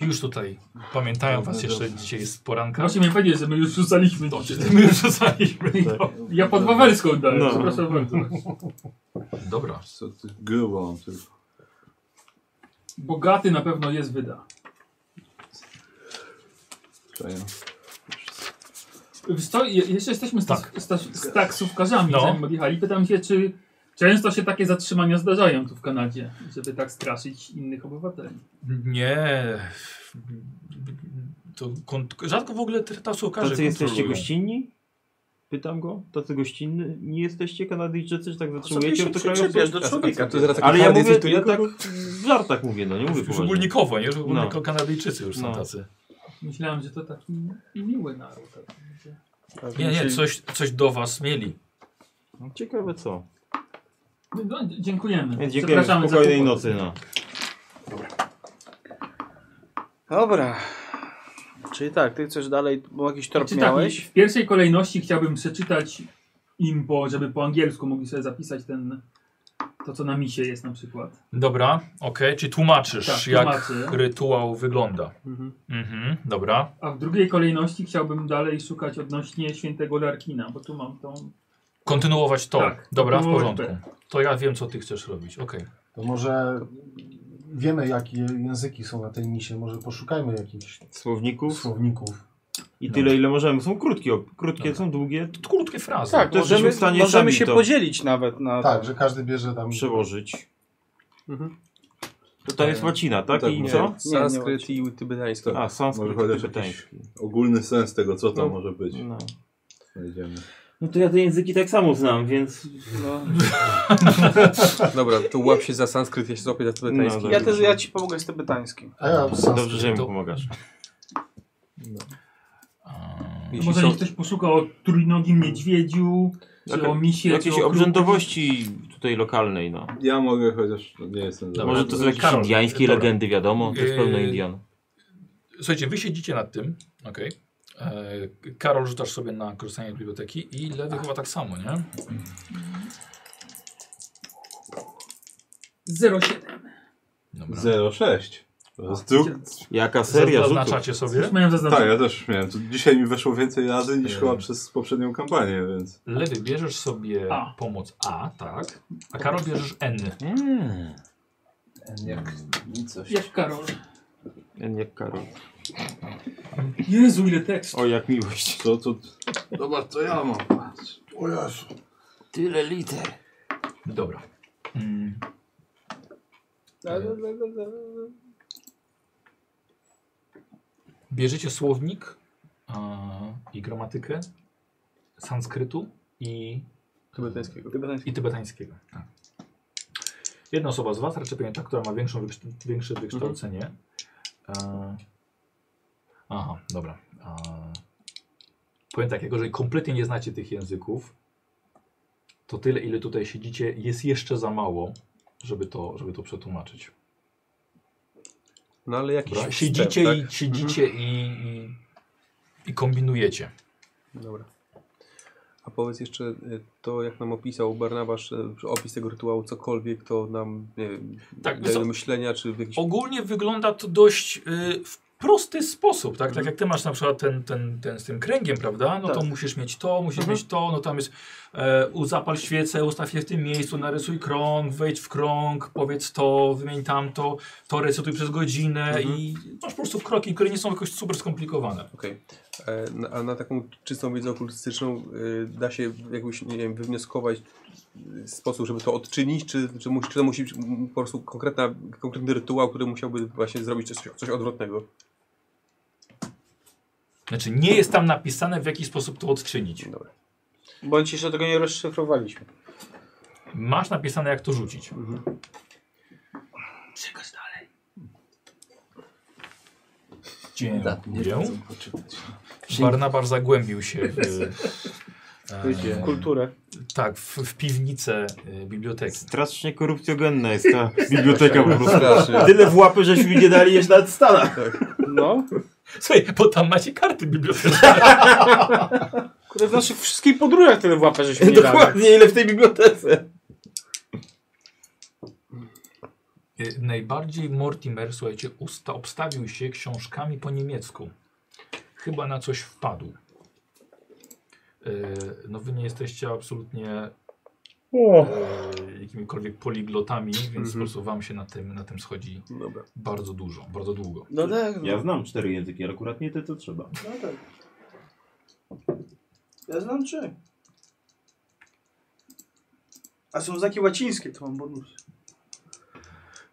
E, już tutaj pamiętają was jeszcze dzisiaj z poranka.
Proszę mi powiedzieć, że my już rzucaliśmy
Dobrze,
dzisiaj.
my już rzucaliśmy.
Tak.
No.
Ja pod Wawelską dałem,
No.
przepraszam bardzo.
Mhm. Dobra.
Co ty grubo mam tylko.
Bogaty na pewno jest wyda.
Czaję.
Wiesz co, je- jeszcze jesteśmy z,
Tak.
z, tas- z taksówkarzami,
No.
zanim odjechali. Pytam się, czy często się takie zatrzymania zdarzają tu w Kanadzie, żeby tak straszyć innych obywateli.
Nie. To kon- rzadko w ogóle te taksówkarze
Tacy jesteście
kontrolują.
gościnni? Pytam go. Tacy gościnni nie jesteście Kanadyjczycy, że tak zatrzymujecie
się przyczepiasz
znaczy,
do człowieka?
To zaraz taki
Ale ja
hard
mówię,
jest
ja tak
tylko-
w żartach mówię, no nie mówię
Już
poważnie.
ogólnikowo, nie? Już ogólniko
No.
Kanadyjczycy już są
No.
tacy.
Myślałem, że to taki miły naród. tak.
Nie, nie, coś, coś do was mieli.
No, Ciekawe co.
No, dziękujemy.
Więc dziękujemy.
Przepraszamy za
Spokojnej
kłopot.
nocy, no.
Dobra. Czyli tak, ty chcesz dalej, bo jakiś torp
Czy tak,
miałeś?
w pierwszej kolejności chciałbym przeczytać im, bo żeby po angielsku mogli sobie zapisać ten, to, co na misie jest na przykład.
Dobra, okej, czy tłumaczysz,
Tak,
jak
tłumaczę.
rytuał wygląda?
Mhm.
Mhm, dobra.
A w drugiej kolejności chciałbym dalej szukać odnośnie świętego Larkina, bo tu mam tą...
Kontynuować to.
Tak,
dobra, w
kontynuować
porządku. To ja wiem, co ty chcesz robić. Okej.
To może wiemy, jakie języki są na tej misie. Może poszukajmy jakichś
Słowników
słowników.
i
No.
tyle ile możemy. Są krótkie, op- krótkie
Dobra.
są długie.
To Krótkie frazy.
Tak, to
Możemy
możemy,
w stanie
możemy
sami
się
to-
podzielić nawet na
Tak, że każdy bierze tam.
Przełożyć.
Mhm.
To tam jest łacina, tak?
tak,
I
nie.
co?
Sanskryt i tybetański.
A,
Może
sanskryt
chociaż jakiś
tybetański.
ogólny sens tego, co to
No.
może być.
No.
Znajdziemy.
no to ja te języki tak samo znam, więc...
No.
Dobra, to łap się za sanskryt, ja się złapię za tybetański.
No,
Ja, też, ja ci pomogę z tybetańskim.
A ja sam
Dobrze, że mi
To-
pomagasz.
A,
Hmm.
Może niech ktoś poszukał o trójnogim niedźwiedziu, Czy o misie,
Jakieś
czy o
obrzędowości tutaj lokalnej, no.
Ja mogę, chociaż no, nie jestem za
Może to są jakieś
Karol,
indiańskie
dobra.
legendy, wiadomo, to jest pełno
Yy,
Indian.
Słuchajcie, wy siedzicie nad tym, okej. E, Karol rzucasz sobie na korzystanie z biblioteki i lewy chyba tak samo, nie?
0,7.
Dobra.
0,6. Tu...
Znaczy- Jaka seria rzutów?
Zaznaczacie sobie.
Miałem
Tak,
zaznaczone.
ja też miałem. Tu dzisiaj mi weszło więcej razy niż
Yy.
chyba przez poprzednią kampanię, więc.
Lewy bierzesz sobie
A.
pomoc A, tak. A Karol bierzesz N.
Mm,
Jak
Tak
coś.
Jak Karol.
jak Karol.
Jezu, ile tekstu.
O, jak miłość.
Co tu. Zobacz, co ja mam. Patrz.
O Jezu.
Tyle liter.
Dobra. Mm. Bierzecie słownik a, i gramatykę sanskrytu i,
Tybetańskiego.
i tybetańskiego. Tak. Jedna osoba z Was, raczej pewnie ta, która ma większą, wykszt- większe wykształcenie.
Mhm.
E, aha, dobra. E, powiem tak, jak jeżeli kompletnie nie znacie tych języków, to tyle, ile tutaj siedzicie, jest jeszcze za mało, żeby to, żeby to przetłumaczyć.
No ale jakiś
Dobra?
wstęp,
Siedzicie,
tak?
i, siedzicie i, i, i kombinujecie.
Dobra. A powiedz jeszcze y, to, jak nam opisał Barnabasz, y, opis tego rytuału, cokolwiek, to nam nie wiem,
Tak,
daje
co-
do myślenia, czy w jakiś...
Ogólnie wygląda to dość y, w prosty sposób, tak? Tak jak ty masz na przykład ten, ten, ten z tym kręgiem, prawda? No to
Tak.
musisz mieć to, musisz mieć to, no tam jest e, u- zapal świecę, ustaw je w tym miejscu, narysuj krąg, wejdź w krąg, powiedz to, wymień tamto, to recytuj przez godzinę i masz po prostu kroki, które nie są jakoś super skomplikowane.
Okej. E, na- A na taką czystą wiedzę okultystyczną y, da się jakoś, nie wiem, wywnioskować y, sposób, żeby to odczynić, czy, czy, musi, czy to musi być mm, po prostu konkretna, konkretny rytuał, który musiałby właśnie zrobić coś, coś odwrotnego?
Znaczy nie jest tam napisane w jaki sposób to odczynić.
Dobra.
Bądź jeszcze tego nie rozszyfrowaliśmy.
Masz napisane jak to rzucić.
Przekaż dalej.
Dzień.
Poczytać.
Barnabasz zagłębił się w, e,
Kulturę.
tak, w, w piwnicę y, biblioteki.
Tak Strasznie korupcjogenne jest ta biblioteka po prostu.
Strasznie.
Tyle w łapy, żeśmy nie dali jeszcze nawet stana.
No.
Słuchaj, bo tam macie karty biblioteczne.
Kurde, w naszych wszystkich podróżach tyle w łapę żeśmy nie dali.
Dokładnie, ile w tej bibliotece.
Y, Najbardziej Mortimer, słuchajcie, usta, obstawił się książkami po niemiecku. Chyba na coś wpadł. Y, No wy nie jesteście absolutnie y, jakimikolwiek poliglotami, więc po prostu wam się na tym, na tym schodzi
Dobra.
bardzo dużo, bardzo długo.
No tak.
Ja znam cztery języki, ale akurat nie te, co trzeba.
No tak. Ja znam trzy.
A są znaki łacińskie, to mam bonus.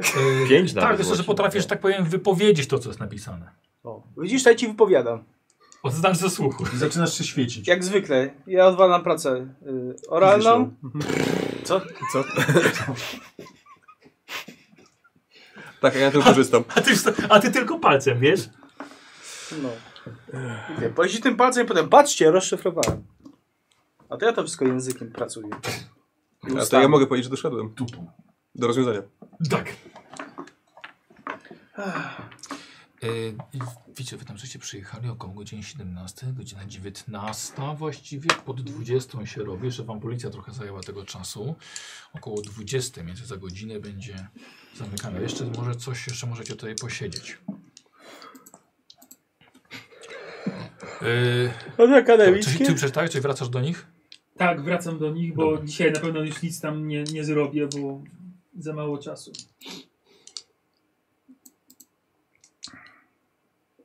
Y,
Pięć
Tak,
nawet
wiesz, co, że
właśnie,
potrafisz,
no.
tak powiem, wypowiedzieć to, co jest napisane.
O. Widzisz, to ja ci wypowiadam.
Oddam ze słuchu.
I zaczynasz się świecić.
Jak zwykle. Ja odwalam pracę y, oralną. Co?
Co? tak, a ja to korzystam.
A ty, a ty tylko palcem, wiesz?
No. Mówię, Pojeździ tym palcem i potem, patrzcie, rozszyfrowałem. A to ja to wszystko językiem pracuję. I
A to ja
ustami.
mogę powiedzieć, że doszedłem. Do rozwiązania.
Tak. Y, wiecie, wy tam żeście przyjechali około godziny 17, godzina 19 właściwie, pod 20 się robi, jeszcze wam policja trochę zajęła tego czasu. Około 20, więc za godzinę będzie zamykane. Jeszcze może coś, jeszcze możecie tutaj posiedzieć. Yy,
No tak,
dobra, czy ty
akademickie.
przeczytałeś, czy wracasz do nich?
Tak, wracam do nich, bo dzisiaj na pewno już nic tam nie, nie zrobię, bo za mało czasu.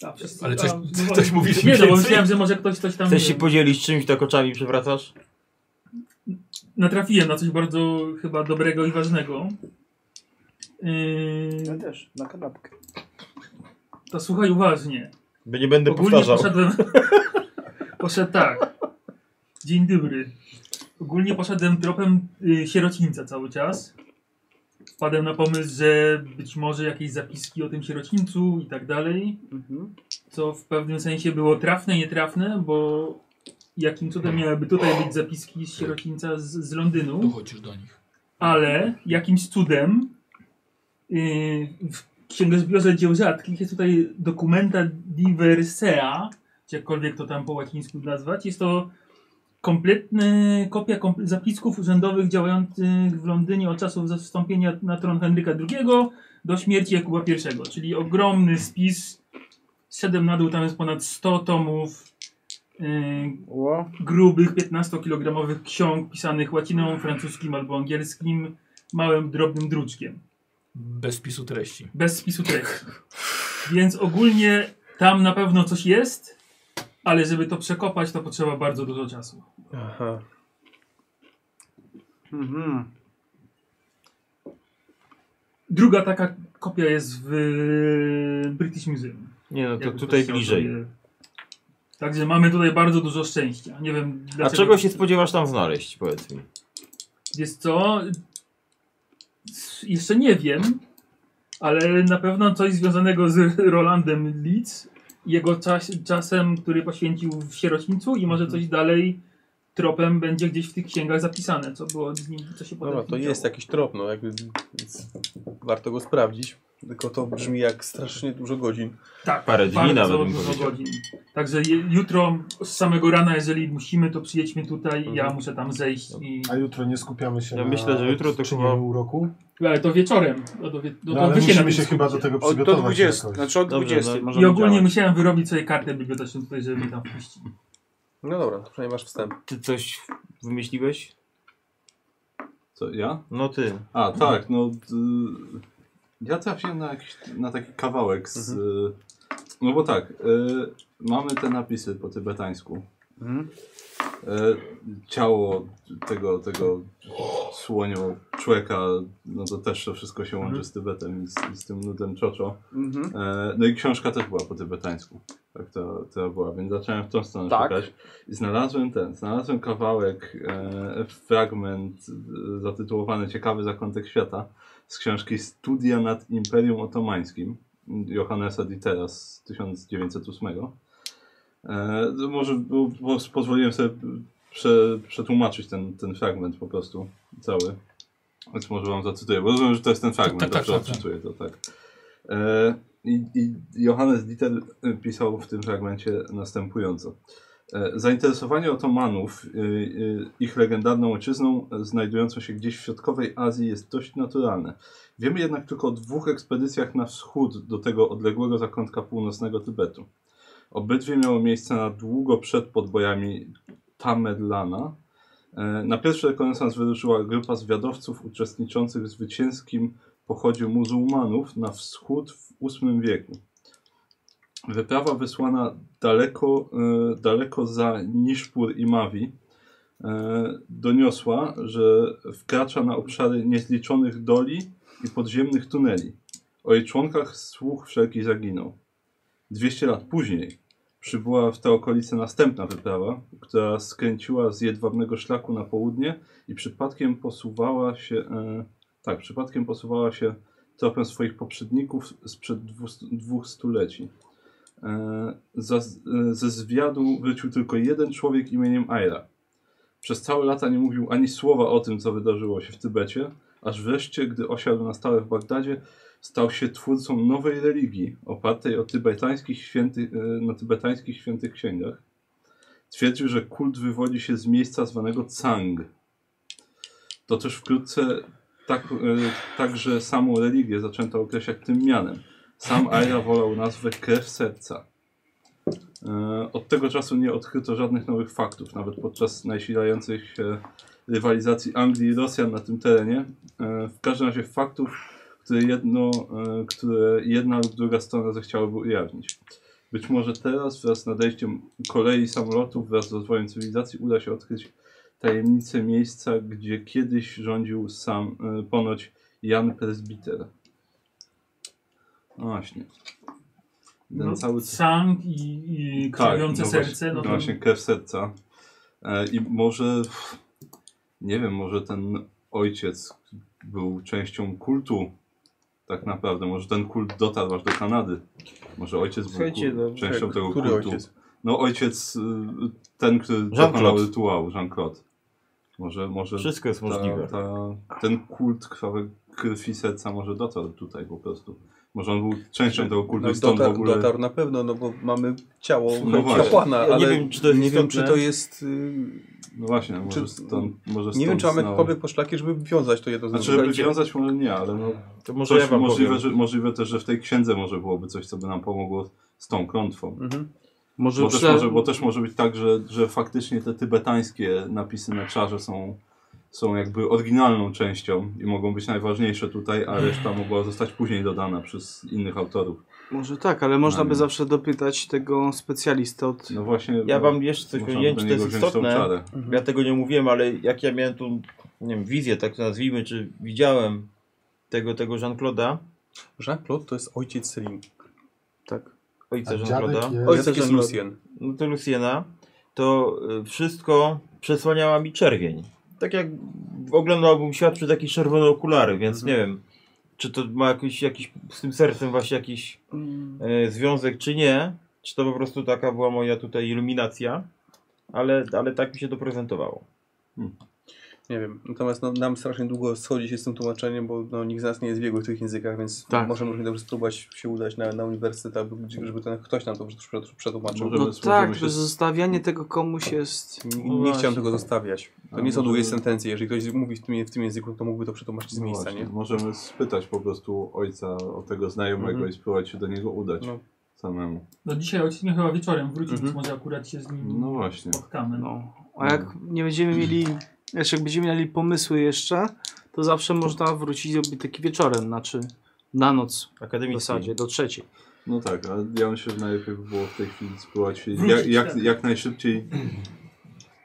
A, wszyscy,
Ale coś-
a, no
coś
bo-
mówisz
Nie,
im
no bo
więcej?
myślałem, że może ktoś coś tam...
Chcesz
nie
się
wiem,
podzielić czymś, tak oczami przewracasz?
Natrafiłem na coś bardzo chyba dobrego i ważnego.
Ja
Yy,
też, na kanapkę.
to słuchaj uważnie.
Bo nie będę
Ogólnie
powtarzał.
poszedłem. Poszedł tak. Dzień dobry. Ogólnie poszedłem tropem y, sierocińca cały czas. Wpadłem na pomysł, że być może jakieś zapiski o tym sierocińcu i tak dalej.
Mhm.
Co w pewnym sensie było trafne i nietrafne, bo jakim cudem miałyby tutaj być zapiski z sierocińca z, z Londynu.
Dochodzisz do nich.
ale jakimś cudem yy, w księgozbiorze dzieł rzadkich jest tutaj dokumenta diversea, czy jakkolwiek to tam po łacińsku nazwać. Jest to kompletny kopia komple zapisków urzędowych działających w Londynie od czasów zastąpienia na tron Henryka II do śmierci Jakuba I, czyli ogromny spis. Siedem na dół, tam jest ponad 100 tomów. Yy,
Ło.
grubych 15-kilogramowych ksiąg pisanych łaciną, francuskim albo angielskim, małym, drobnym druczkiem,
Bez spisu treści.
bez spisu treści. Więc ogólnie tam na pewno coś jest, ale żeby to przekopać, to potrzeba bardzo dużo czasu.
Aha.
Mhm.
Druga taka kopia jest w e, British Museum.
Nie no, to
Jakby
tutaj
chciał
bliżej.
sobie- Także mamy tutaj bardzo dużo szczęścia. Nie wiem
A
dlaczego.
czego się spodziewasz tam znaleźć, powiedz mi?
Wiesz co? S- Jeszcze nie wiem, ale na pewno coś związanego z Rolandem Leeds, jego czas, czasem, który poświęcił w sierocińcu i
Mhm.
może coś dalej tropem będzie gdzieś w tych księgach zapisane, co było z nim, co się potem
Dobra, No, to
działo.
jest jakiś trop, no jakby, więc warto go sprawdzić. Tylko to brzmi jak strasznie dużo godzin.
tak,
Parę dni
bardzo
nawet bym
dużo
powiedział.
godzin. Także je, jutro z samego rana, jeżeli musimy, to przyjedźmy tutaj, ja
Mhm.
muszę tam zejść. I...
A jutro nie skupiamy się
Ja
na
myślę, że jutro to
czynieniu
chyba-
uroku?
Ale to wieczorem. No, to wie, no,
No,
to
ale
wy się na
musimy
tym
się chyba do
skupicie.
tego
Od, do
przygotować
20,
jakoś.
znaczy od
Dobrze,
20
no.
I
możemy
ogólnie
działać.
musiałem wyrobić sobie kartę biblioteczną tutaj, żeby mnie tam wpuścić.
No dobra, no przynajmniej masz wstęp.
Ty coś wymyśliłeś?
Co, ja?
No ty.
A,
Mhm.
tak, no. d- ja trafiłem na, jakiś, na taki kawałek z.
Mhm.
No bo tak, y, mamy te napisy po tybetańsku.
Mhm.
Y, ciało tego, tego słonio człowieka, no to też to wszystko się łączy z Tybetem i z, i z tym nudem czoczo.
Mhm.
E, No i książka też była po tybetańsku. Tak to, to była, więc zacząłem w tą stronę
Tak.
szukać. I znalazłem ten, znalazłem kawałek, e, fragment e, zatytułowany Ciekawy zakątek świata z książki Studia nad Imperium Otomańskim Johannesa Dietera z 1908. E, to może bo, bo pozwoliłem sobie prze, przetłumaczyć ten, ten fragment po prostu cały. Więc może wam zacytuję, bo rozumiem, że to jest ten fragment,
tak,
dobrze
tak, tak.
odczytuję to tak. E, i, I Johannes Dieter e, pisał w tym fragmencie następująco. E, Zainteresowanie Otomanów e, e, ich legendarną ojczyzną e, znajdującą się gdzieś w środkowej Azji jest dość naturalne. Wiemy jednak tylko o dwóch ekspedycjach na wschód do tego odległego zakątka północnego Tybetu. Obydwie miały miejsce na długo przed podbojami Tamerlana. E, Na pierwszy rekonesans wyruszyła grupa zwiadowców uczestniczących w zwycięskim pochodzie muzułmanów na wschód w VIII wieku. Wyprawa wysłana daleko, e, daleko za Niszpur i Mawi e, doniosła, że wkracza na obszary niezliczonych doli i podziemnych tuneli. O jej członkach słuch wszelki zaginął. 200 lat później przybyła w te okolice następna wyprawa, która skręciła z jedwabnego szlaku na południe i przypadkiem posuwała się, e, tak, przypadkiem posuwała się tropem swoich poprzedników sprzed dwustu- dwóch stuleci. E, za, e, ze zwiadu wrócił tylko jeden człowiek imieniem Aira. Przez całe lata nie mówił ani słowa o tym, co wydarzyło się w Tybecie, aż wreszcie, gdy osiadł na stałe w Bagdadzie, stał się twórcą nowej religii opartej o tybetańskich święty, e, na tybetańskich świętych księgach. Twierdził, że kult wywodzi się z miejsca zwanego Cang. To też wkrótce tak, e, także samą religię zaczęto określać tym mianem. Sam Aira wolał nazwę krew serca. E, Od tego czasu nie odkryto żadnych nowych faktów, nawet podczas najsilających się rywalizacji Anglii i Rosjan na tym terenie. E, W każdym razie faktów które, jedno, e, które jedna lub druga strona zechciałaby ujawnić. Być może teraz, wraz z nadejściem kolei samolotów, wraz z rozwojem cywilizacji, uda się odkryć tajemnicę miejsca, gdzie kiedyś rządził sam e, ponoć Jan Presbiter. No właśnie. Ten
No,
cały
Sang i, i krwawiące
no
serce,
Właśnie,
no
no
to
właśnie, krew serca. E, I może, nie wiem, może ten ojciec był częścią kultu, tak naprawdę. Może ten kult dotarł aż do Kanady. Może ojciec był
Słuchajcie,
kul-
no,
częścią
tak,
tego
który
kultu.
ojciec?
No ojciec, y, ten, który
Jean-Claude.
dokonał rytuału, Jean-Claude. Może, może
Wszystko jest możliwe.
Ta, ten kult krwawej krwi serca może dotarł tutaj po prostu. Może on był częścią tego kultu
No,
i stąd
dotar,
w ogóle...
dotarł na pewno, no bo mamy ciało
No właśnie.
kapłana,
Ja nie
ale
wiem, czy to jest
nie wiem, czy
istotne.
to jest... y,
No właśnie, może
Czy-
stąd, może stąd
nie wiem, czy mamy
znał.
jakiekolwiek poszlaki, żeby wiązać to jedno z
Znaczy,
drugim.
żeby wiązać może nie, ale no,
To
może
może
coś,
ja wam
możliwe,
powiem.
że, możliwe też, że w tej księdze może byłoby coś, co by nam pomogło z tą klątwą.
Mhm.
Bo,
Może,
też
prze...
może, bo też może być tak, że, że faktycznie te tybetańskie napisy na czarze są, są jakby oryginalną częścią i mogą być najważniejsze tutaj, a reszta mogła zostać później dodana przez innych autorów.
może tak, ale można by
Nami.
zawsze dopytać tego specjalistę od...
No właśnie.
Ja
no,
wam jeszcze coś
można
powiem,
do
czy to
niego
jest
wziąć tą
istotne.
czarę.
Ja tego nie mówiłem, ale jak ja miałem tu, nie wiem, wizję, tak to nazwijmy, czy widziałem tego, tego Jean-Claude'a,
Jean-Claude to jest ojciec Selin.
Tak.
ojca
A dziadek
Jean-Claude'a,
jest...
Ojciec
Ojciec
jest
Jean-Claude.
Lucien.
no to Luciena, to y, wszystko przesłaniała mi czerwień. Tak jak oglądałbym świat przez jakieś czerwone okulary, więc
Mhm.
nie wiem, czy to ma jakiś, jakiś z tym sercem właśnie jakiś e,
Mm.
związek, czy nie. Czy to po prostu taka była moja tutaj iluminacja, ale, ale tak mi się to prezentowało.
Nie wiem. Natomiast no, nam strasznie długo schodzi się z tym tłumaczeniem, bo no, nikt z nas nie jest biegły w tych językach, więc
Tak.
może możemy dobrze spróbować się udać na, na uniwersytet, albo gdzie- żeby ten ktoś nam to przetł- przetłumaczył.
Może-
No
Możemy-
tak,
możemy się-
zostawianie tego komuś jest...
Nie,
No
nie
właśnie.
chciałem tego
tak.
zostawiać. To
A
No,
nie są
może-
długie sentencje. Jeżeli ktoś mówi w tym, w tym języku, to mógłby to przetłumaczyć z
No
miejsca,
właśnie,
nie?
Możemy spytać po prostu ojca o tego znajomego
Mhm.
i spróbować się do niego udać
No.
samemu.
No dzisiaj ojciec mnie chyba wieczorem wrócił,
Mhm.
więc może akurat się z nim
No właśnie.
spotkamy.
No. A jak nie będziemy
Mm.
mieli, wiesz, jak będziemy mieli pomysły jeszcze, to zawsze można wrócić robić taki wieczorem, znaczy na noc w
Akademicki.
zasadzie, do trzeciej.
No tak, ale ja myślę, że najlepiej by było w tej chwili spróbować się
Wrócić,
jak, jak,
tak.
jak najszybciej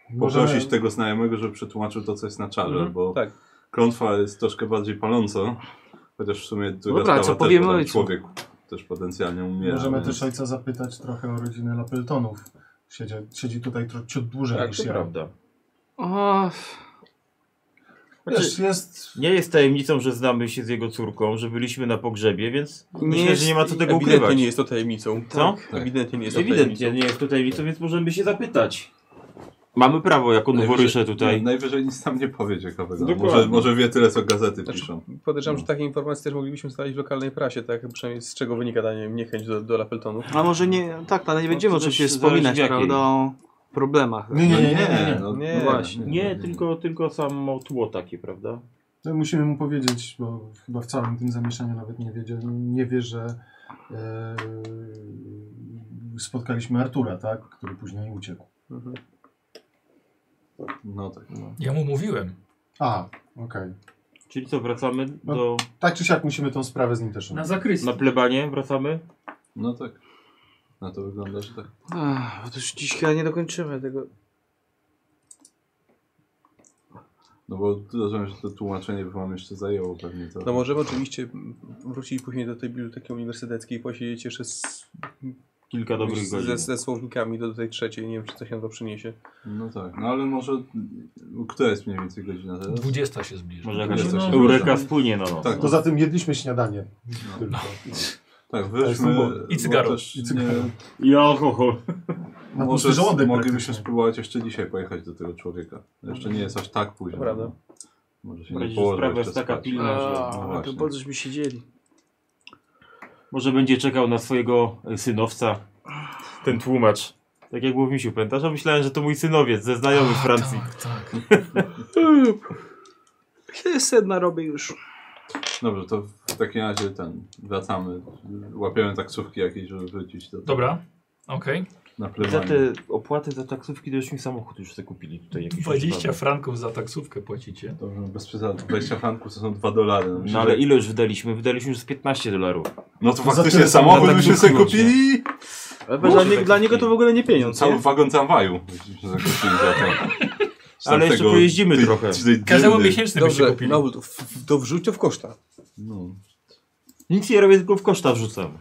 Może-
poprosić tego znajomego, żeby przetłumaczył to, co jest na czarze,
Mhm,
bo
tak.
klątwa jest troszkę bardziej paląco, chociaż w sumie druga
Dobra, co
sprawa też,
powiemy
bo tam
ojcu?
człowiek też potencjalnie umiera.
Możemy
więc-
też ojca zapytać trochę o rodzinę Lapeltonów. Siedzi, siedzi tutaj tro- ciut dłużej
Tak,
niż
to
ja.
Prawda.
O,
Znaczy-
Wiesz, jest...
Nie jest tajemnicą, że znamy się z jego córką, że byliśmy na pogrzebie, więc
Nie
myślę,
jest-
że nie ma co tego
Ewidentnie
ukrywać.
nie jest to tajemnicą. Tak.
Co? Tak.
Ewidentnie nie jest to
Ewidentnie nie jest to tajemnicą, więc możemy się zapytać. Mamy prawo jako noworysze
Nie,
tutaj.
najwyżej nic tam nie powie ciekawego.
Dokładnie.
Może, może wie tyle, co gazety piszą.
Podejrzewam, że takie informacje też moglibyśmy znaleźć w lokalnej prasie, tak? Przynajmniej z czego wynika ta nie wiem, niechęć do, do Lapeltonów.
a może nie, tak, ale nie będziemy
to też
oczywiście
zależy
wspominać,
w jakiej.
prawda, o problemach.
Nie, nie, nie, nie, nie.
no,
Nie,
no
właśnie.
Nie, tylko, tylko samo tło takie, prawda?
To musimy mu powiedzieć, bo chyba w całym tym zamieszaniu nawet nie, wiedzie, nie wie, że e, spotkaliśmy Artura, tak? który później uciekł.
No tak.
Ja mu mówiłem.
A, okej.
Czyli co, wracamy
No.
do...
Tak czy siak musimy tą sprawę z nim też
Na
omówić.
zakrystii.
Na plebanie wracamy?
No tak. Na to wygląda, że tak.
Ach, bo to już dziś chyba nie dokończymy tego.
No bo rozumiem, że to tłumaczenie by wam jeszcze zajęło pewnie to.
No możemy oczywiście wrócić później do tej biblioteki uniwersyteckiej i posiedzieć jeszcze z,
Kilka dobrych godzin.
ze, ze słownikami do tej trzeciej. Nie wiem, czy coś nam to przyniesie.
No tak, no ale może... Która jest mniej więcej godzina teraz?
20 się zbliża.
Może jakaś
Jest coś
eureka
dobrego.
spłynie no, na nas.
Tak,
Poza tym jedliśmy śniadanie.
No.
Tylko.
Tak,
Ale
wyszmy...
są
I cygaro.
I cygaro.
I alkohol.
Na
Może
pusty Znaczy, żołądek
moglibyśmy
praktycznie.
spróbować jeszcze dzisiaj pojechać do tego człowieka. Jeszcze nie jest aż tak późno.
To prawda.
Może się
W razie,
nie
że
położy
sprawa
jeszcze
jest taka
spać.
pilna, że-
No
A,
właśnie.
to po cośmy siedzieli.
Może będzie czekał na swojego e, synowca, ten tłumacz. Tak jak było w misiu, pamiętasz? A myślałem, że to mój synowiec ze znajomych z Francji.
Tak, tak.
Sedna robię już.
Dobrze, to w takim razie ten, wracamy. Łapiemy taksówki jakieś, żeby wrócić do
Dobra, okej.
Na
Za
plebanie.
te opłaty za taksówki to już mi samochód już sobie kupili tutaj. jakiś
20
używany.
franków za taksówkę płacicie.
Dobrze, bez przesady. 20 franków to są 2 dolary. No,
No
myślę,
ale
że-
ile już wydaliśmy? Wydaliśmy już z 15 dolarów.
no to
Za
faktycznie
tyle
samochód
na
byśmy
taksówki
sobie kupili.
Ale
Może
dla, nie,
taki
dla niego to
film.
w ogóle nie pieniądz,
Cały
nie?
wagon tramwaju. byśmy zakupili za to. Z
Ale jeszcze
tamtego-
pojeździmy
tej-
trochę.
tej
Każdemu
dyndy.
miesięczny byście
Dobrze,
kupili.
no, to, w- to wrzuć to w koszta.
No.
Nic nie robię, tylko w koszta wrzucam.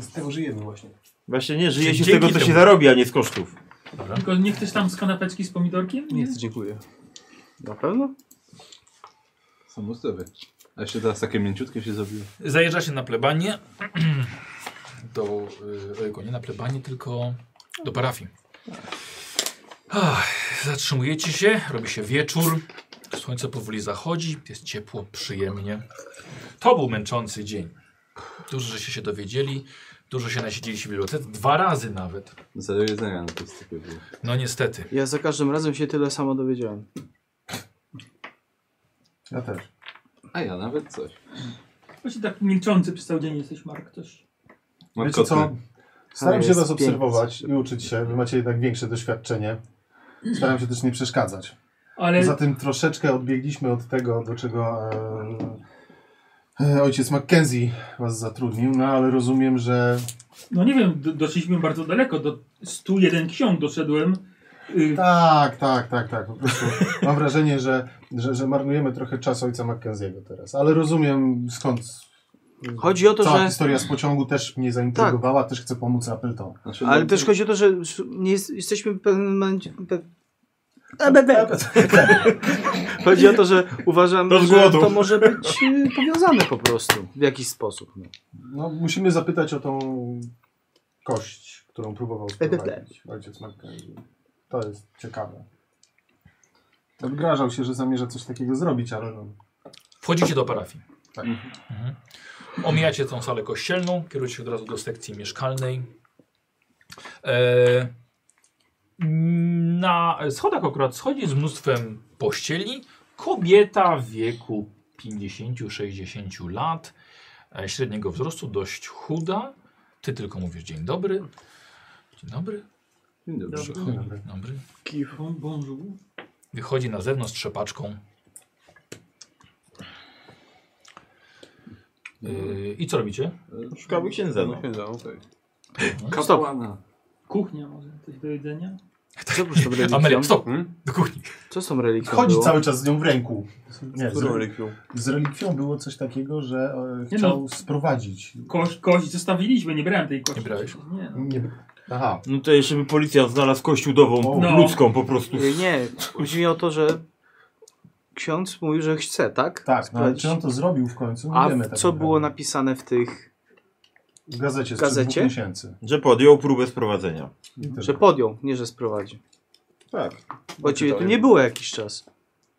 Z tego żyjemy właśnie.
Właśnie nie, żyje się z
Dzięki
tego, co
temu.
się zarobi, a nie z kosztów.
Tylko nie chcesz tam z kanapeczki z pomidorkiem?
Nie, dziękuję.
Na pewno?
Samo z tobie. A jeszcze teraz takie mięciutkie się zrobiło.
Zajeżdża się na plebanie. Do, y, ojejku, nie na plebanie, tylko
Do parafii. Ach, zatrzymujecie się, robi się wieczór. Słońce powoli zachodzi, jest ciepło, przyjemnie. To był męczący dzień. Dużo żeście się dowiedzieli, dużo się nasiedzieliście w bibliotece, dwa razy nawet.
Zero jedzenia na tej stypie było.
No niestety.
Ja za każdym razem się tyle samo dowiedziałem.
Ja też.
A ja nawet coś.
Właśnie tak milczący przez cały dzień jesteś, Mark, też.
Mam
Wiecie co?
koty.
Staram
Ale
się
jest
was obserwować i uczyć się. Wy macie jednak większe doświadczenie. Staram się też nie przeszkadzać.
Ale
Poza tym troszeczkę odbiegliśmy od tego, do czego e, e, ojciec Mackenzie was zatrudnił, no ale rozumiem, że
no nie wiem, d- doszliśmy bardzo daleko, do 101 ksiąg doszedłem. Y,
Tak, tak, tak, tak. Po prostu mam wrażenie, że, że, że marnujemy trochę czasu ojca Mackenziego teraz, ale rozumiem skąd.
Chodzi o to,
Cała
że... Tak.
historia z pociągu też mnie zaintrygowała, też chcę pomóc Appleton.
Znaczy,
Ale
no,
też chodzi o to, że nie jest, jesteśmy w pewnym momencie... Pe...
E,
Chodzi o to, że uważam,
Do
że
zgłodu.
to może być y, powiązane po prostu w jakiś sposób. No.
No, musimy zapytać o tą kość, którą próbował
Edyta.
sprowadzić ojciec Mackenzie. To jest ciekawe. Odgrażał się, że zamierza coś takiego zrobić, ale no,
Wchodzicie do parafii.
Tak.
Mhm. Omijacie tą salę kościelną, kierujecie się od razu do sekcji mieszkalnej. E, na schodach akurat schodzi z mnóstwem pościeli. Kobieta w wieku 50-60 lat, e, średniego wzrostu, dość chuda. Ty tylko mówisz dzień dobry. Dzień dobry.
dzień dobry.
Przychodzi. Dzień dobry.
Bon- Bonjour.
Wychodzi na zewnątrz trzepaczką. Yy, I co robicie?
Szukamy księdza. No.
Kapłana.
Kuchnia może, coś do jedzenia.
Co było z tą religią?
Amelia, stop! Do kuchni.
Co z tą religią
Chodzi
było?
cały czas z nią w ręku. Nie, z,
Którą relikwią?
z relikwią było coś takiego, że e,
Nie
chciał
no.
sprowadzić.
Kość, kość zostawiliśmy, nie brałem tej kości.
Nie brałeś?
Nie, no.
Nie, aha,
No to jeszcze by policja znalazł kościół dową,
No.
ludzką po prostu.
Y, Nie, chodzi mi o to, że ksiądz mówił, że chce, tak?
tak, no, ale
Sprawdzić.
czy on to zrobił w końcu? Nie
A
wiemy
w-
tak
co
naprawdę.
było napisane w tych,
w gazecie? Z
gazecie?
gazecie? miesięcy.
Że podjął próbę sprowadzenia.
że podjął, nie że sprowadzi?
Tak.
Bo ciebie tu nie było jakiś czas.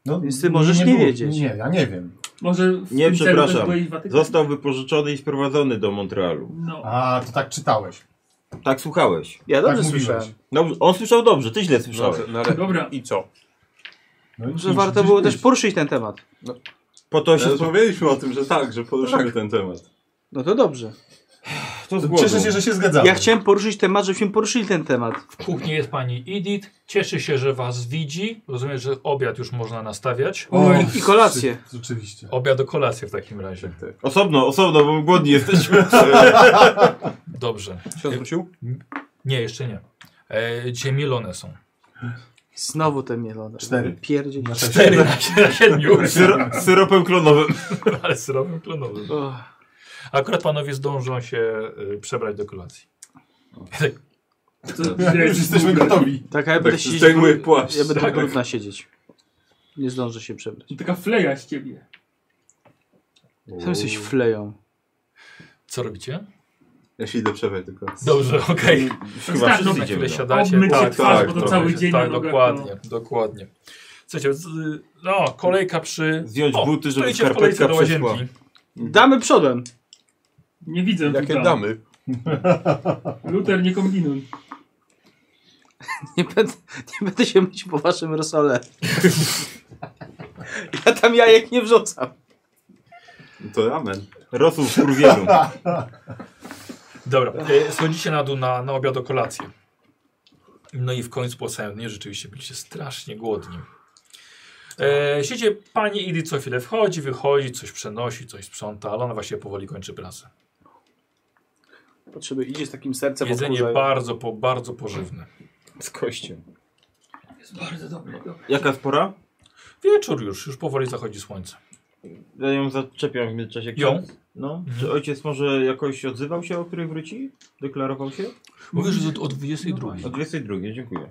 No,
Więc ty możesz nie
było-
wiedzieć.
Nie, ja nie wiem.
Może w
Nie,
tym celu
przepraszam.
też byłeś w Watykanie?
Został wypożyczony i sprowadzony do Montrealu.
No.
A, to tak czytałeś.
Tak słuchałeś.
Ja
Tak
dobrze
mówiłeś.
słyszałem.
Dobrze, on słyszał dobrze, ty źle słyszałeś.
No, ale...
Dobra.
I co?
No, i
Że
już
warto
gdzieś
było
byłeś.
też poruszyć ten temat.
Po to się...
Rozmawialiśmy o tym, że tak, że poruszymy ten temat.
No to dobrze.
To z
Cieszę się, że się zgadzamy.
Ja chciałem poruszyć temat, żebyśmy poruszyli ten temat.
W kuchni jest pani Edith. Cieszy się, że was widzi. Rozumiem, że obiad już można nastawiać.
O,
I kolację.
przy- Rzeczywiście.
Obiad do kolacji w takim razie.
Osobno, osobno, bo głodni jesteśmy.
Dobrze.
Ksiądz wrócił?
Nie, jeszcze nie. E, dzisiaj mielone są.
Znowu te mielone.
Cztery.
Pierdzieć.
Na sześć.
Cztery na siedmiu.
Syro, syropem klonowym.
Ale syropem klonowym.
Och.
Akurat panowie zdążą się y, przebrać do kolacji.
Co, zbierałeś-
Jesteśmy gotowi.
Tak, a ja będę
się
siedzieć.
zdejmuje
bru-
płaszcz,
Ja będę
tak.
brudna siedzieć. Nie zdążę się przebrać.
Taka fleja z ciebie.
Sam jesteś fleją.
Co robicie?
Ja się idę przebrać tylko.
Dobrze, okej.
Chyba
no,
wszyscy
Na chwilę
idziemy. no.
Tak,
siadacie. Tak,
Obmycie twarz,
bo
to
to
cały dzień
Tak,
na nogach,
dokładnie, dokładnie. Słuchajcie, z, no, kolejka przy...
Zdjąć
o,
buty, żeby
stoicie w kolejce
skarpetka
do
przeszła.
łazienki.
Damy przodem.
Nie widzę
Jakie
tutaj.
damy?
Luter, nie kombinuj.
Nie będę, nie będę się myć po waszym rosole. Ja tam jajek nie wrzucam.
No to ramen.
Rosół w kurwielu.
Dobra, e, schodzicie na dół na, na obiad o kolację. No i w końcu po całym dniu rzeczywiście byliście strasznie głodni. E, siedzie pani Idy co chwilę wchodzi, wychodzi, coś przenosi, coś sprząta, ale ona właśnie powoli kończy pracę.
Potrzeby idzie z takim sercem
Jedzenie bardzo, po, bardzo pożywne.
Z kościem.
Jest bardzo dobre. dobre.
Jaka jest pora?
Wieczór już, już powoli zachodzi słońce.
Ja ją zaczepiam w międzyczasie.
Ją?
No.
Mhm.
Czy ojciec może jakoś odzywał się, o której wróci? Deklarował się?
Mówisz, że od, od 22.
O 22, dziękuję.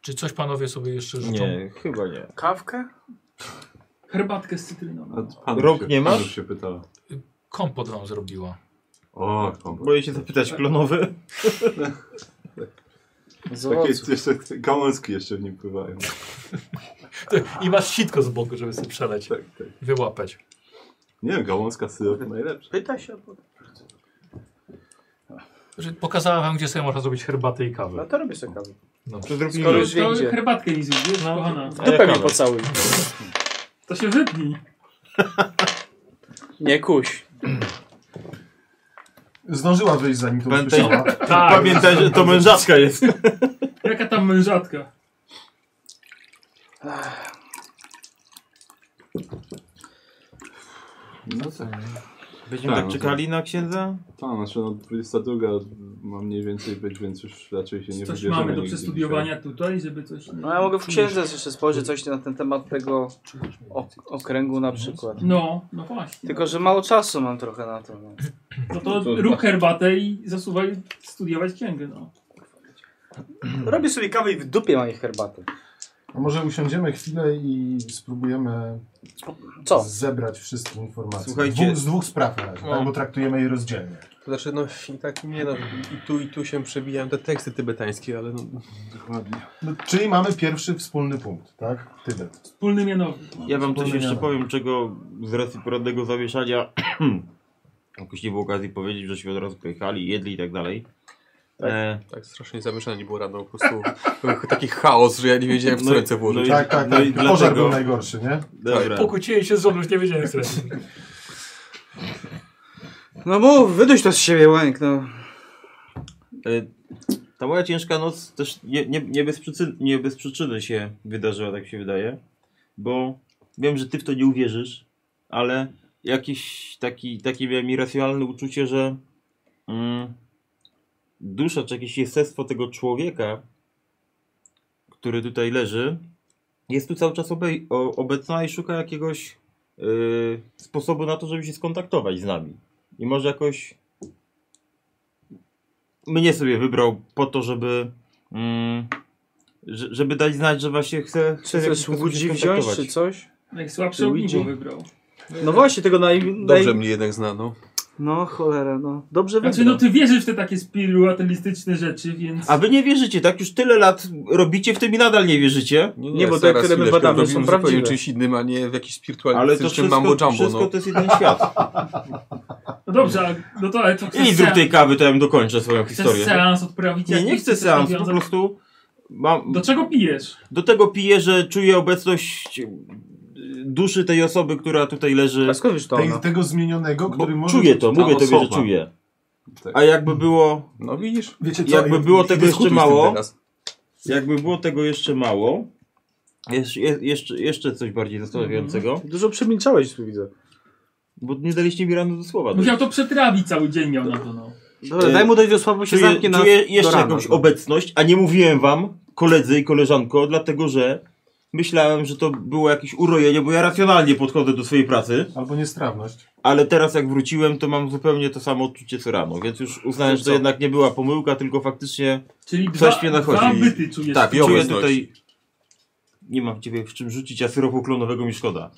Czy coś panowie sobie jeszcze życzą?
Nie, chyba nie.
Kawkę?
Herbatkę z cytryną.
A pan
Rąk
się,
nie masz?
Pan się pytała.
Kompot wam zrobiła.
O, kombo.
Boję się zapytać, klonowy?
Takie jeszcze, te gałązki jeszcze w nim pływają.
I masz sitko z boku, żeby sobie przeleć. Wyłapać.
Tak, Nie, gałązka syrop najlepsza.
Pyta się. Bo...
Że Pokazałem wam, gdzie sobie można zrobić herbatę i kawę.
No to robię sobie kawę.
No.
To zrobimy.
Skoro
już
To
Zdjęcie.
herbatkę mi zjedziesz,
No.
kochana.
A
Dupę
jaka
mi
ma?
pocałuj.
To się wypnij.
Tak.
Nie kuś.
Zdążyła wyjść zanim to
Pamiętaj-
usłyszała.
Tak.
Pamiętaj, że to mężatka jest.
Jaka tam mężatka?
No tak.
Będziemy
Tak,
tak
no
czekali na księdza?
Tak, znaczy no, 22 ma mniej więcej być, więc już raczej się
Coś
nie wybierzemy
mamy do
nigdzie
przestudiowania tutaj, żeby coś... nie-
No ja mogę w księdze jeszcze spojrzeć coś na ten temat tego o- okręgu na przykład.
No, no właśnie.
Tylko, że mało czasu mam trochę na to. No.
No to rób herbatę i zasuwaj studiować księgę, no.
Robię sobie kawę i w dupie mam ich herbaty.
A może usiądziemy chwilę i spróbujemy
Co?
zebrać wszystkie informacje.
Słuchajdzie-
Dwóch, z dwóch spraw na razie,
No.
tak? bo traktujemy je rozdzielnie.
To znaczy, no i tak nie no, i tu i tu się przebijają te teksty tybetańskie, ale no...
dzisiaj. Dokładnie.
No, czyli mamy pierwszy wspólny punkt, tak? Tybet.
Wspólny mianownik.
Ja wam coś jeszcze
Wspomniane.
powiem, czego z racji poradnego zawieszania jakoś nie było okazji powiedzieć, żeśmy od razu pojechali, jedli i tak dalej. E,
Tak strasznie zamieszanie było rano, po prostu taki chaos, że ja nie wiedziałem w co
No i-
ręce włożyć.
no
Tak, tak,
no
tak.
i
Pożar
dlatego-
był najgorszy, nie?
dobra.
Pokłóciłem się z żoną, już nie wiedziałem co jest.
No mów, wyduś to z siebie, łęk, no.
E, Ta moja ciężka noc też nie, nie, nie, bez przyczyny, nie bez przyczyny się wydarzyła, tak się wydaje. Bo wiem, że ty w to nie uwierzysz, ale jakieś taki, takie miałem irracjonalne uczucie, że mm, dusza czy jakieś jestestwo tego człowieka, który tutaj leży, jest tu cały czas obej- o, obecna i szuka jakiegoś e, sposobu na to, żeby się skontaktować z nami. I może jakoś mnie sobie wybrał po to, żeby mm, że- żeby dać znać, że właśnie chce, chce
Czy
w jakiś
chcesz
sposób się
łudzi wziąć,
skontaktować.
czy coś?
Najsłabsze ogniwo wybrał.
No właśnie, tego naj...
Dobrze
naj...
mnie jednak znano.
No cholera, no. Dobrze
Znaczy,
wybrał.
no ty wierzysz w te takie spiruatelistyczne rzeczy, więc...
A wy nie wierzycie, tak? Już tyle lat robicie w tym i nadal nie wierzycie.
Nie, bo te,
zaraz,
które my
chwileczkę,
badamy, są
robimy
prawdziwe.
zupełnie czymś innym, a nie w jakiś
Ale to
spiritualistycznym
wszystko,
mambo-jumbo,
wszystko
no.
to jest jeden świat.
No dobrze, a- no to ale to chcesz
I zrób
seans-
tej kawy, to ja bym dokończę swoją
Chcesz
historię.
seans odprawić?
Nie, nie
jakiś?
chcę
Chcesz
seansu, po
nawiązać-
prostu mam,
Do czego pijesz?
do tego piję, że czuję obecność y, duszy tej osoby, która tutaj leży.
A skąd wiesz to no.
Tej,
ona?
tego zmienionego,
Bo
który może...
czuję to,
ta
mówię tobie, że
osoba.
czuję.
Tak.
A jakby było,
No widzisz?
Wiecie co?
jakby było tego
Dyskutuj
jeszcze
z tym
mało,
teraz.
jakby było tego jeszcze mało, jeszcze, jeszcze, jeszcze coś bardziej zastanawiającego,
Dużo przemilczałeś, tu widzę.
bo nie daliście mi rano do słowa.
Musiał to przetrawić cały dzień miał na to, no.
Dobra,
Y,
daj mu dojść do słabu, się
Czuję,
zamknie na...
czuję jeszcze
do rana,
jakąś
no.
obecność, a nie mówiłem wam, koledzy i koleżanko, dlatego że myślałem, że to było jakieś urojenie, bo ja racjonalnie podchodzę do swojej pracy,
Albo niestrawność.
ale teraz jak wróciłem, to mam zupełnie to samo odczucie co rano, więc już uznałem, że to
Co?
jednak nie była pomyłka, tylko faktycznie
Czyli
Coś
dwa,
mnie nachodzi.
dwa byty czujesz.
tak,
i
czuję
obecność.
tutaj... Nie mam w ciebie w czym rzucić, a syropu klonowego mi szkoda.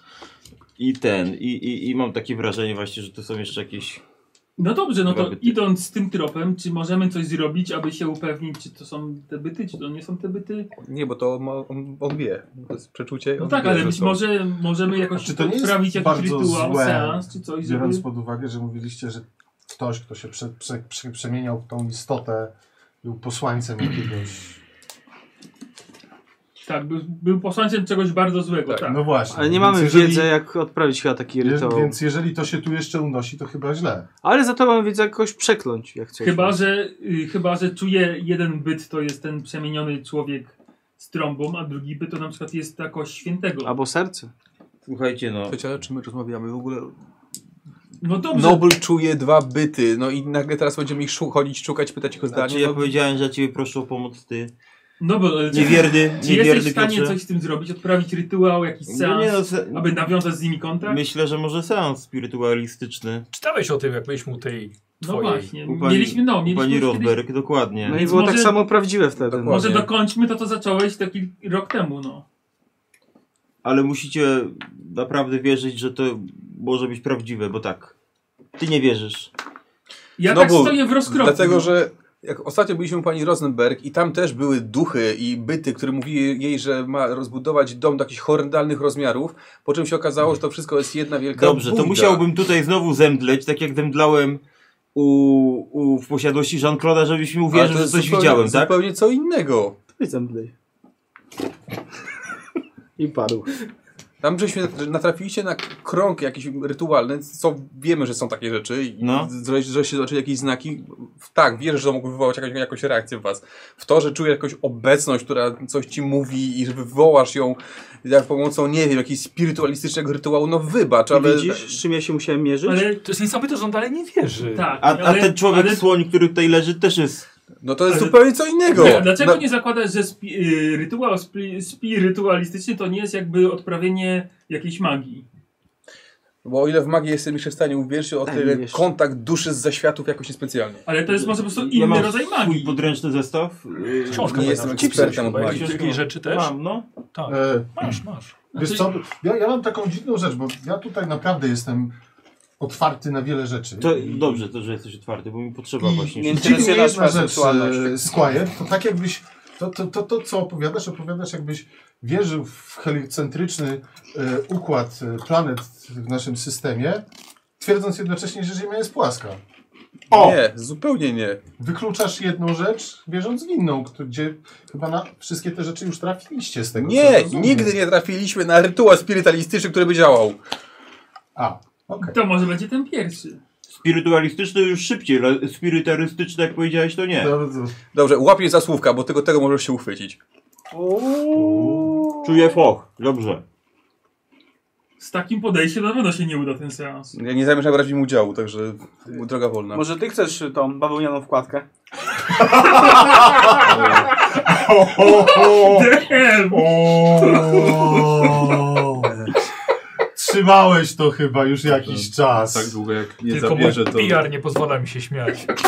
I ten, i, i, i mam takie wrażenie właśnie, że to są jeszcze jakieś...
No dobrze, no
Dwa
to
byty.
idąc tym tropem, czy możemy coś zrobić, aby się upewnić, czy to są te byty, czy to nie są te byty?
Nie, bo to on, ma, on, on wie. To jest przeczucie.
No
on
tak,
wie,
ale
że
być
to-
może możemy
A
jakoś
czy to nie jest
odprawić jakiś
bardzo
rytuał,
złe,
seans, czy coś, żeby...
Biorąc pod uwagę, że mówiliście, że ktoś, kto się prze, prze, prze, przemieniał w tą istotę, był posłańcem jakiegoś...
Tak, był, był posłańcem czegoś bardzo złego, tak.
No właśnie.
Ale nie
więc
mamy
jeżeli-
wiedzy, jak odprawić chyba taki
Je-
rytuał.
Więc jeżeli to się tu jeszcze unosi, to chyba źle.
Ale za to mam wiedzę, jak kogoś przekląć, jak no. coś.
Chyba, że, y, chyba, że czuje jeden byt, to jest ten przemieniony człowiek z trąbą, a drugi byt to na przykład jest jako świętego.
Albo serce.
Słuchajcie, no...
Słuchajcie, ale czy my rozmawiamy w ogóle?
No dobrze,
Nobel czuje dwa byty, no i nagle teraz będziemy ich szu- chodzić, szukać, pytać ich o
Znaczy,
zdanie.
ja
no,
powiedziałem, że ja ciebie proszę o pomoc, ty...
no bo... ale-
Niewierny,
Czy jesteś
niewierny
w stanie
Piotrze.
coś z tym zrobić? Odprawić rytuał, jakiś
No nie, no,
seans,
se-
aby Tak? nawiązać z nimi kontakt?
Myślę, że może seans spirytualistyczny.
Czytałeś o tym, jak byliśmy u tej
No
twojej.
właśnie,
u pani-
mieliśmy, no,
U
mieliśmy
pani
już kiedyś,
Rosberg, dokładnie.
No i było tak
Może-
samo prawdziwe wtedy. No.
Dokładnie.
może dokończmy to, co zacząłeś taki rok temu, no.
Ale musicie naprawdę wierzyć, że to może być prawdziwe, bo tak. Ty nie wierzysz.
Ja
No
tak
bo-
stoję w rozkroku.
Dlatego, że Jak ostatnio byliśmy u pani Rosenberg i tam też były duchy i byty, które mówiły jej, że ma rozbudować dom do jakichś horrendalnych rozmiarów, po czym się okazało, że to wszystko jest jedna wielka
Dobrze, to
bunda.
musiałbym tutaj znowu zemdleć, tak jak zemdlałem u, u, w posiadłości Jean-Claude'a, żebyś mi
Ale to
uwierzył, że
jest
coś
zupełnie-
widziałem, tak?
Zupełnie co innego.
Jestem blej. I padł.
Tam żeśmy natrafiliście na krąg jakiś rytualny, co wiemy, że są takie rzeczy i
No.
że, że się zobaczy jakieś znaki. Tak, wierzę, że to mógł wywołać jakąś, jakąś reakcję w was. W to, że czuję jakąś obecność, która coś ci mówi i że wywołasz ją za pomocą, nie wiem, jakiegoś spirytualistycznego rytuału, no wybacz, ale...
Widzisz, z czym ja się musiałem mierzyć?
no, Ale
To jest niesamowite, że on dalej nie wierzy.
tak,
A, a
ale-
ten człowiek
ale-
słoń, który tutaj leży, też jest.
No to jest
Ale-
zupełnie co innego.
No.
No,
Nie, dlaczego
Na-
nie zakładasz, że spi, y, rytuał spi, spirytualistyczny to nie jest jakby odprawienie jakiejś magii?
Bo o ile w magii jestem jeszcze w stanie uwierzyć, o
Daj mi
tyle
jeszcze.
kontakt duszy z zaświatów jakoś niespecjalnie.
Ale to jest może po prostu
Ja
inny
mam
rodzaj
swój
magii.
podręczny zestaw. Yy,
Książka
nie
ma
jestem
nawet.
ekspertem od
chyba
magii.
jakieś takie rzeczy też?
Mam, no.
Tak.
E,
Masz, masz.
Wiesz co, ja, ja mam taką dziwną rzecz, bo ja tutaj naprawdę jestem otwarty na wiele rzeczy.
To, dobrze, to, że jesteś otwarty, bo mi potrzeba
I
właśnie.
nie-
wszystkiego.
dziwi mnie
interesuje nas
jedna
twoja
rzecz,
seksualność.
e, Squire, to tak jakbyś, to, to, to, to co opowiadasz, opowiadasz jakbyś wierzył w heliocentryczny e, układ e, planet w naszym systemie, twierdząc jednocześnie, że Ziemia jest płaska.
O!
Nie, zupełnie nie.
Wykluczasz jedną rzecz, wierząc w inną, kto- gdzie chyba na wszystkie te rzeczy już trafiliście z tego, co
Nie,
rozumiem.
nigdy nie trafiliśmy na rytuał spirytalistyczny, który by działał.
A, okej.
To może będzie ten pierwszy.
Spirytualistyczny już szybciej, ale spirytarystyczny, jak powiedziałeś, to nie.
Bardzo-
Dobrze, łapię za słówka, bo tego, tego możesz się uchwycić.
Czuję foch. Dobrze.
Z takim podejściem na pewno się nie uda ten seans.
Ja nie zamierzam brać w nim udziału, także droga wolna.
Może ty chcesz y, tą bawełnianą wkładkę?
Damn!
O! Trzymałeś to chyba już jakiś czas.
Tak długo jak nie
Tylko mój
zabierze to.
PR nie pozwala mi się śmiać.
Tak,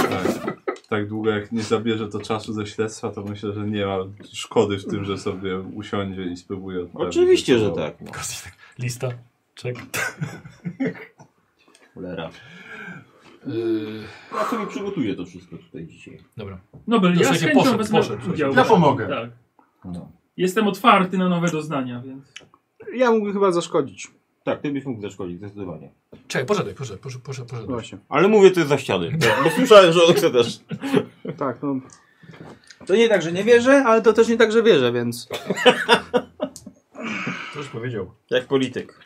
tak długo jak nie zabierze to czasu ze śledztwa, to myślę, że nie ma szkody w tym, że sobie usiądzie i spróbuje odprawić.
Oczywiście, że
rytuał.
tak. No.
Lista. Czek.
Cholera.
Yy.
Ja sobie przygotuję to wszystko tutaj dzisiaj.
Dobra.
No bo
To
ja z
słuchajcie,
chęcią
poszedł,
wezmę
poszedł,
udział.
Ja pomogę.
Tak.
No.
Jestem otwarty na nowe doznania, więc...
Ja mógłbym chyba zaszkodzić.
Tak, ty byś mógł zaszkodzić, zdecydowanie.
Czekaj, pożadaj, pożadaj, pożadaj, pożadaj, pożadaj.
Właśnie.
Ale mówię, to jest za ściany. Bo słyszałem, że on chce też.
Tak, no. To nie tak, że nie wierzę, ale to też nie tak, że wierzę, więc.
To już powiedział.
Jak polityk.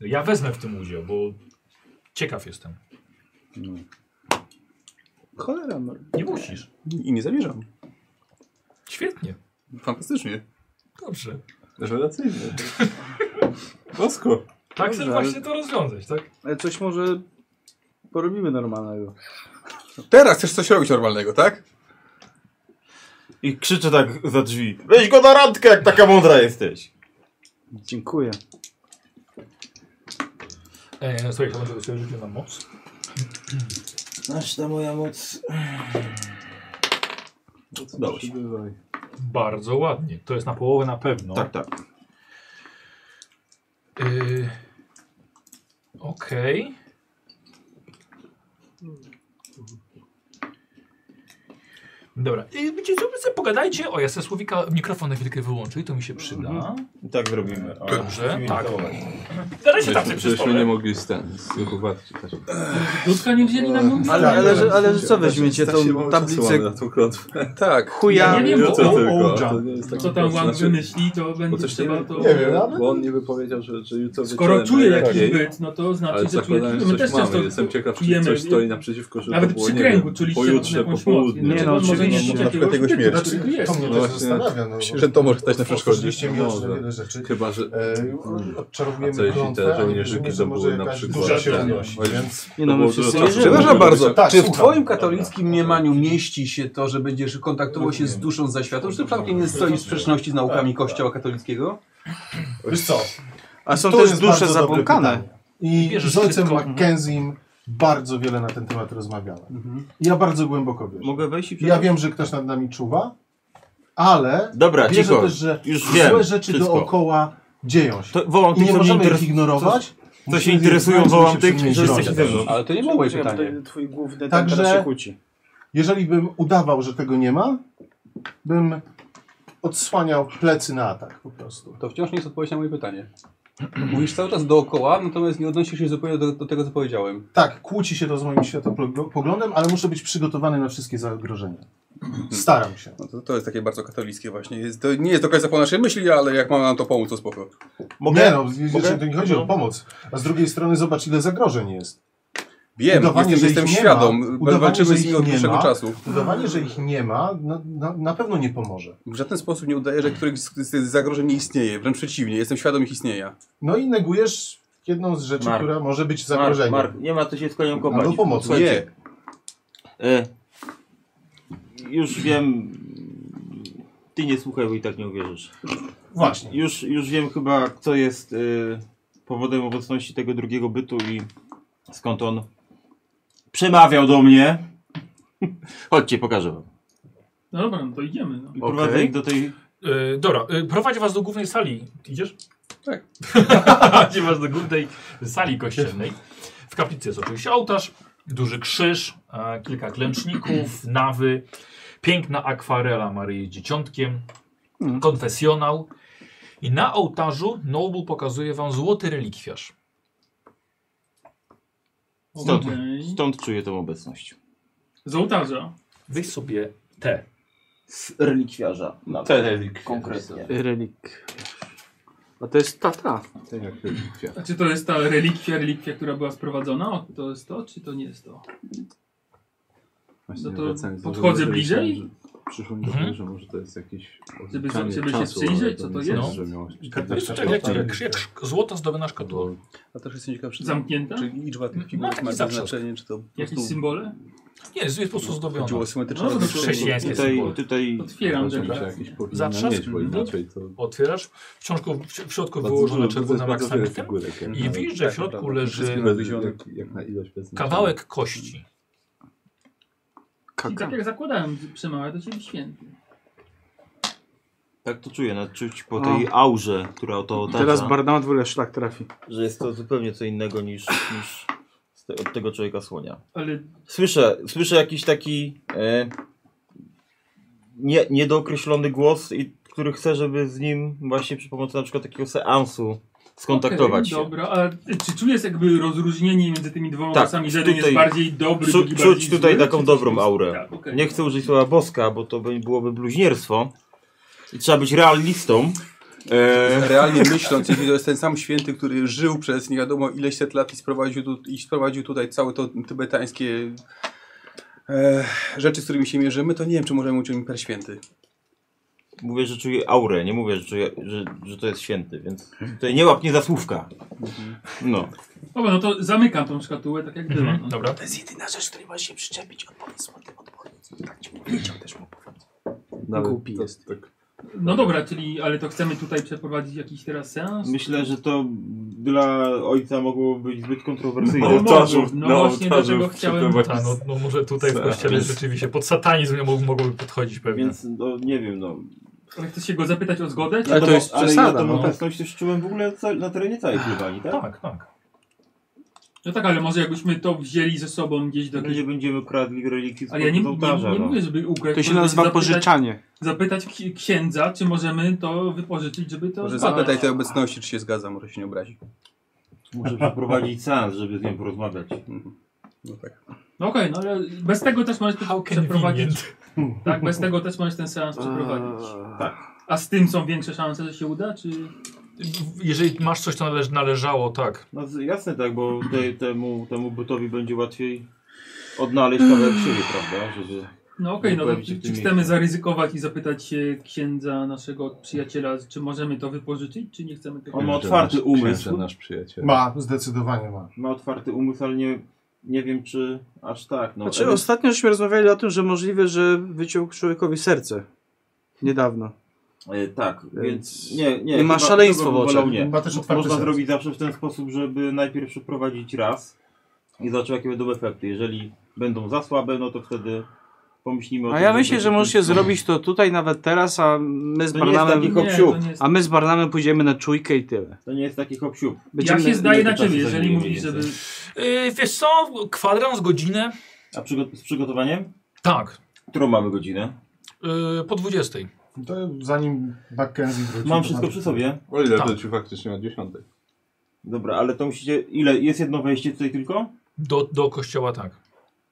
Ja wezmę w tym udział, bo ciekaw jestem.
Cholera, no.
Nie musisz.
I nie zamierzam.
Świetnie.
Fantastycznie.
Dobrze.
no.
Rewelacyjnie. Bosko.
Tak
Dobrze,
chcesz właśnie to rozwiązać, tak?
Ale coś może porobimy normalnego.
Teraz chcesz coś robić normalnego, tak?
I krzyczę tak za drzwi. Weź go na randkę, jak taka mądra jesteś.
Dziękuję.
E, słuchaj, to będzie sobie rzucił na moc.
Aż ta moja moc. Dobrze.
Bywaj.
Bardzo ładnie. To jest na połowę na pewno.
Tak, tak.
Y, Okej. Dobra, y, wiecie, co, wy sobie pogadajcie. O, ja sobie słowika mikrofon na chwilkę wyłączę i to mi się przyda.
I tak zrobimy. O,
Dobrze,
musimy
tak.
całować.
Gadajcie tam
Żeśmy,
sobie przy
żeśmy nie
stole.
mogli z ten, z Kubaty czytać.
Ludzka nie wzięli na mną
Ale, ale, że, ale że co weźmiecie?
Tak się
Tą
mało czasu mamy
tablicę
na tą klątwę.
Tak.
chuja.
Ja nie wiem,
Jutro
bo-
tylko,
o,
to nie jest taki
Co tam
proces.
wam
Znaczy,
wymyśli, to
Bo
będzie
też nie,
trzeba
wiem,
to...
Nie wiem, ale-
bo on niby powiedział, że, że jutro
Skoro
wieczorem
czuję
najlepiej,
jakiś byt, no to
Ale
znaczy, że czuję...
zakładając,
My
że
też
coś mamy.
często
Jestem ciekaw, czy
czujemy-
coś stoi naprzeciwko, że
Nawet
to było,
przy
nie
kręgu
wiem,
czuliście
pojutrze,
na jakąś
po południu.
moc.
Nie
Nie
no,
no, może
oczywiście,
nie
no,
czuć
na
jakiegoś
przykład jego
bytu,
śmierć.
to
Znaczy,
tu jest.
to mnie
No
też
właśnie. No
zastanawia. No,
Myślę, że to może stać na przeszkodzie.
Otworzyliście mi oczy na
Może.
wiele rzeczy.
Chyba, że...
E,
A
odczarowujemy
co jeśli
klątwę,
te
a nie
żołnierzyki
wiemy,
to
że może
były na
jakaś
przykład...
duża się
ten, no,
unosi,
oj,
więc...
Nie no,
było
my wszyscy
dużo czasu.
wierzymy.
Przepraszam bardzo,
Tak,
czy w
słucham.
twoim katolickim mniemaniu mieści się to, że będziesz kontaktował się z duszą za światów, czy to przypadkiem nie stoi w sprzeczności z
Tak,
naukami kościoła katolickiego?
Wiesz co,
A są
To
też
jest
dusze
bardzo dobre
zabłąkane.
pytanie. I
Bierzesz
z ojcem
wszystko.
Mackenzie'im bardzo wiele na ten temat rozmawiałem.
Mhm.
Ja bardzo głęboko wierzę.
Mogę wejść i
Ja wiem, że ktoś nad nami czuwa, ale
Dobra,
wierzę
cicho.
też, że
Już
złe
wiem
rzeczy
wszystko.
dookoła dzieją się.
To wołam
I
tych,
nie
co mnie
możemy ich
interes...
ignorować.
co
Musimy
się interesują,
znaleźć, żeby
wołam
się
tych,
przy nich
że
bronić.
jesteście ze mną.
Ale to nie było moje pytanie.
Twój główny
Także-
Także... się kłóci.
Jeżeli bym udawał, że tego nie ma, bym odsłaniał plecy na atak po prostu.
To wciąż nie jest odpowiedź na moje pytanie. Mówisz cały czas dookoła, natomiast nie odnosisz się zupełnie do, do tego, co powiedziałem.
Tak, kłóci się to z moim światopoglądem, ale muszę być przygotowany na wszystkie zagrożenia. Staram się.
No to, to jest takie bardzo katolickie właśnie. Jest, to nie jest do końca po naszej myśli, ale jak mam nam to pomóc, to spoko.
Mogę? Nie no, wiecie, to nie chodzi o pomoc. A z drugiej strony zobacz, ile zagrożeń jest.
Wiem,
Udawanie,
jestem,
że
jestem
ich nie ma,
świadom.
udawanie,
Walczymy
że
z nimi
ich
od
nie
dłuższego
ma,
czasu.
Udawanie, że ich nie ma, na, na, na pewno nie pomoże.
W żaden sposób nie udaję, że któryś z z tych zagrożeń nie istnieje. Wręcz przeciwnie, jestem świadom ich istnienia.
No i negujesz jedną z rzeczy,
Mark.
która może być zagrożeniem.
Mark, Mark, nie ma co się z koniem kopać.
Albo pomocy.
Słuchajcie, E, już wiem. Ty nie słuchaj, bo i tak nie uwierzysz.
Właśnie.
Już, już wiem chyba, co jest e, powodem obecności tego drugiego bytu i skąd on przemawiał do mnie. Chodźcie, pokażę wam.
No dobra, no to idziemy. No.
I prowadzę ich do tej...
Yy, dobra, yy, prowadzi was do głównej sali. Idziesz?
Tak.
prowadzi was do głównej sali kościelnej. W kaplicy jest oczywiście ołtarz, duży krzyż, e, kilka klęczników, nawy, piękna akwarela Maryi z Dzieciątkiem, konfesjonał. I na ołtarzu Noble pokazuje wam złoty relikwiarz.
Stąd,
Okej.
stąd czuję tą obecność.
Z ołtarza.
Weź sobie te.
Z relikwiarza. nawet.
Te relikwiarze.
Konkretnie.
Relik. A to jest ta, ta.
Jak relikwia.
A czy to jest ta relikwia, relikwia, która była sprowadzona? O, to jest to, czy to nie jest to?
Właśnie
No to
wracając do
podchodzę
tego, że
bliżej?
myślałem, że Przyszło mi do
Mhm.
głowy, że może to jest jakieś
Żeby-
odliczanie
żeby się
czasu,
przyjrzeć,
ale
co to
nie sądzę,
jest.
że miało-
To jest jak, jak, jak, jak szk- złota zdobiona szkatuła.
A też jestem ciekaw, czy,
Zamknięta?
czy liczba tych
Ma
figur
taki
ma
zaprząt.
znaczenie, czy to po
Jakieś
prostu
symbole?
Nie, jest jest po prostu zdobiona.
chodziło o symetryczne
No, no,
rozmieszczenie.
chrześcijańskie
Tutaj,
symbole.
tutaj
Otwieram
Znaczy, że
rzeczy.
jakieś powinna
Zatrzask-
mieć, bo inaczej to...
Otwierasz, w, ciążku, w w środku
Bardzo
wyłożona
dużo- to
czerwona
jest bardzo wiele
maksamitym
figurek, jak
i
na- Tak, no
widzisz, że w środku
naprawdę.
leży
Bez- jak- Jak na ilość bez znaczenia.
kawałek kości.
I tak jak zakładałem przemawia, to się święty.
Tak to czuję, nawet czuć po tej aurze, która to otacza,
Tak.
Teraz Bardamat w ogóle szlak trafi.
że jest to zupełnie co innego niż, niż z te, od tego człowieka słonia.
Ale
Słyszę, słyszę jakiś taki e, nie, niedookreślony głos, i, który chce, żeby z nim właśnie przy pomocy na przykład takiego seansu skontaktować
Okej,
się.
Dobra, a czy czujesz jakby rozróżnienie między tymi dwoma
Tak,
głosami? Jeden jest
tutaj-
bardziej dobry,
czu-
drugi
czuć
bardziej
tutaj
zły,
taką
czy-
dobrą aurę.
Tak, okej.
Nie chcę użyć słowa boska, bo to by, byłoby bluźnierstwo. I trzeba być realistą. E,
Realnie myśląc, jeśli to jest ten sam święty, który żył przez nie wiadomo ileś set lat i sprowadził, tu, i sprowadził tutaj całe to tybetańskie e, rzeczy, z którymi się mierzymy, to nie wiem, czy możemy mówić o nim per święty.
Mówię, że czuję aurę, nie mówię, że, czuję, że, że to jest święty, więc tutaj nie łap nie za słówka.
Mhm.
No.
Dobra, no to zamykam tą szkatułę, tak jak była.
Mhm.
Mhm.
No.
Dobra.
To jest jedyna rzecz, której możesz się przyczepić. Odpowiedz mu, ty odpowiedz. Tak ci powiedział, też mu powiedz.
Nawet
Głupi
No to-
jest.
tak-
no dobra, czyli, ale to chcemy tutaj przeprowadzić jakiś teraz seans?
Myślę, że to dla ojca mogło być zbyt kontrowersyjne.
No,
No,
ołtarzu- no na właśnie do ołtarzu tego chciałem-
Tak,
Ta, no, no może tutaj w kościele rzeczywiście pod satanizm nie mog- mogłoby podchodzić pewnie.
Tak. więc no, nie wiem, no.
Ale chcesz się go zapytać o zgodę? Czy...
Ja
to
tą-
jest
ale
przesada,
ja tą
no.
obecność też czułem w ogóle ca- na terenie całej Plebanii, tak?
Tak, tak.
No tak, ale może jakbyśmy to wzięli ze sobą gdzieś do
No,
jakiejś...
nie będziemy kradli relikii z
Ale ja nie,
ołtarza,
nie, nie
no.
mówię, żeby ukraść.
To się
może
nazywa
zapytać-
pożyczanie.
Zapytać ki- księdza, czy możemy to wypożyczyć, żeby to... tak.
Może
zbadać.
zapytaj tej obecności, czy się zgadza, może się nie obrazi.
Muszę przeprowadzić seans, żeby z nią porozmawiać.
No tak.
No okej, no ale bez tego też możesz to przeprowadzić.
Przeprowadzić.
Tak, bez tego też możesz ten seans przeprowadzić. Tak. A z tym są większe szanse, że się uda, czy...
Jeżeli masz coś, co należ, należało, tak.
No z- jasne tak, bo te, temu, temu bytowi będzie łatwiej odnaleźć kawałek siebie, prawda? Że, że...
No okej,
Nie
no to
pojawi się w
czy
tym
chcemy
miejscu.
zaryzykować i zapytać się księdza, naszego przyjaciela, czy możemy to wypożyczyć, czy nie chcemy tego...
On ma
Księże
otwarty
nasz-
umysł.
księże nasz przyjaciel.
Ma, zdecydowanie ma.
Ma otwarty umysł, ale nie, nie wiem czy aż tak. No,
Znaczy,
Ewen-
ostatnio żeśmy rozmawiali o tym, że możliwe, że wyciął człowiekowi serce. Niedawno.
e, tak,
Więc
więc nie, nie.
nie ma
chyba-
szaleństwa
chyba
w oczach.
wolał Nie.
Ma też otwarty
Można
serce.
zrobić zawsze w ten sposób, żeby najpierw przeprowadzić raz i zobaczyć jakie będą efekty. Jeżeli będą za słabe, no to wtedy pomyślimy o
A
tym,
ja
No żeby-
myślę, że możecie zrobić to tutaj, nawet teraz, a my z
To nie jest taki
Barnamem...
hop siup.
nie jest...
A my z Barnamem pójdziemy na czujkę i tyle.
To nie jest taki hop siup.
Ja
Będziemy...
się zdaję na
czasu
ciebie, jeżeli
zajmuje
mówisz,
mniej
żeby...
więcej?
Yy, wiesz co, kwadrans, godzinę.
A przygo- z przygotowaniem?
Tak,
Którą mamy godzinę?
yy, po 20.
To zanim Mackenzie wróci...
Mam
to
wszystko
mamy-
przy sobie.
O ile
Tak.
wróci faktycznie o 10.
Dobra, ale to musicie. Ile? Jest jedno wejście tutaj tylko?
Do, do kościoła tak.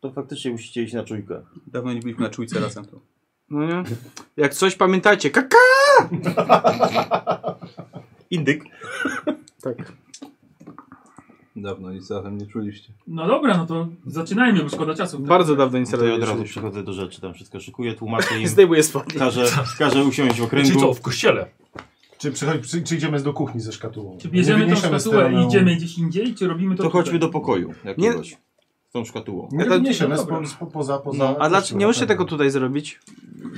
To faktycznie musicie iść na czujkę.
Dawno nie byliśmy na czujce razem. To.
No nie? Jak coś pamiętajcie, kaka!
Indyk.
Tak.
Dawno nic zatem nie czuliście.
No dobra, no to zaczynajmy, bo szkoda czasu.
Bardzo dawno nic
To ja
nie
od razu
robiłem.
przechodzę do rzeczy, tam wszystko szykuję, tłumaczę im,
Zdejmuję spodnie.
każę, każę usiąść w
Czyli co,
okręgu.
w kościele?
Czy, przychodzi, czy, czy idziemy do kuchni ze szkatułą?
Czy bierzemy tą
wyniesiemy
statuę
stronę-
i idziemy gdzieś indziej, czy robimy to
To chodźmy
tutaj?
do pokoju jakiegoś. Z tą szkatułą.
Nie
Ja tak-
wyniesiemy,
dobra.
spo, spo, poza, poza...
No,
A dlaczego
kościołem,
nie możecie
tak.
tego tutaj zrobić?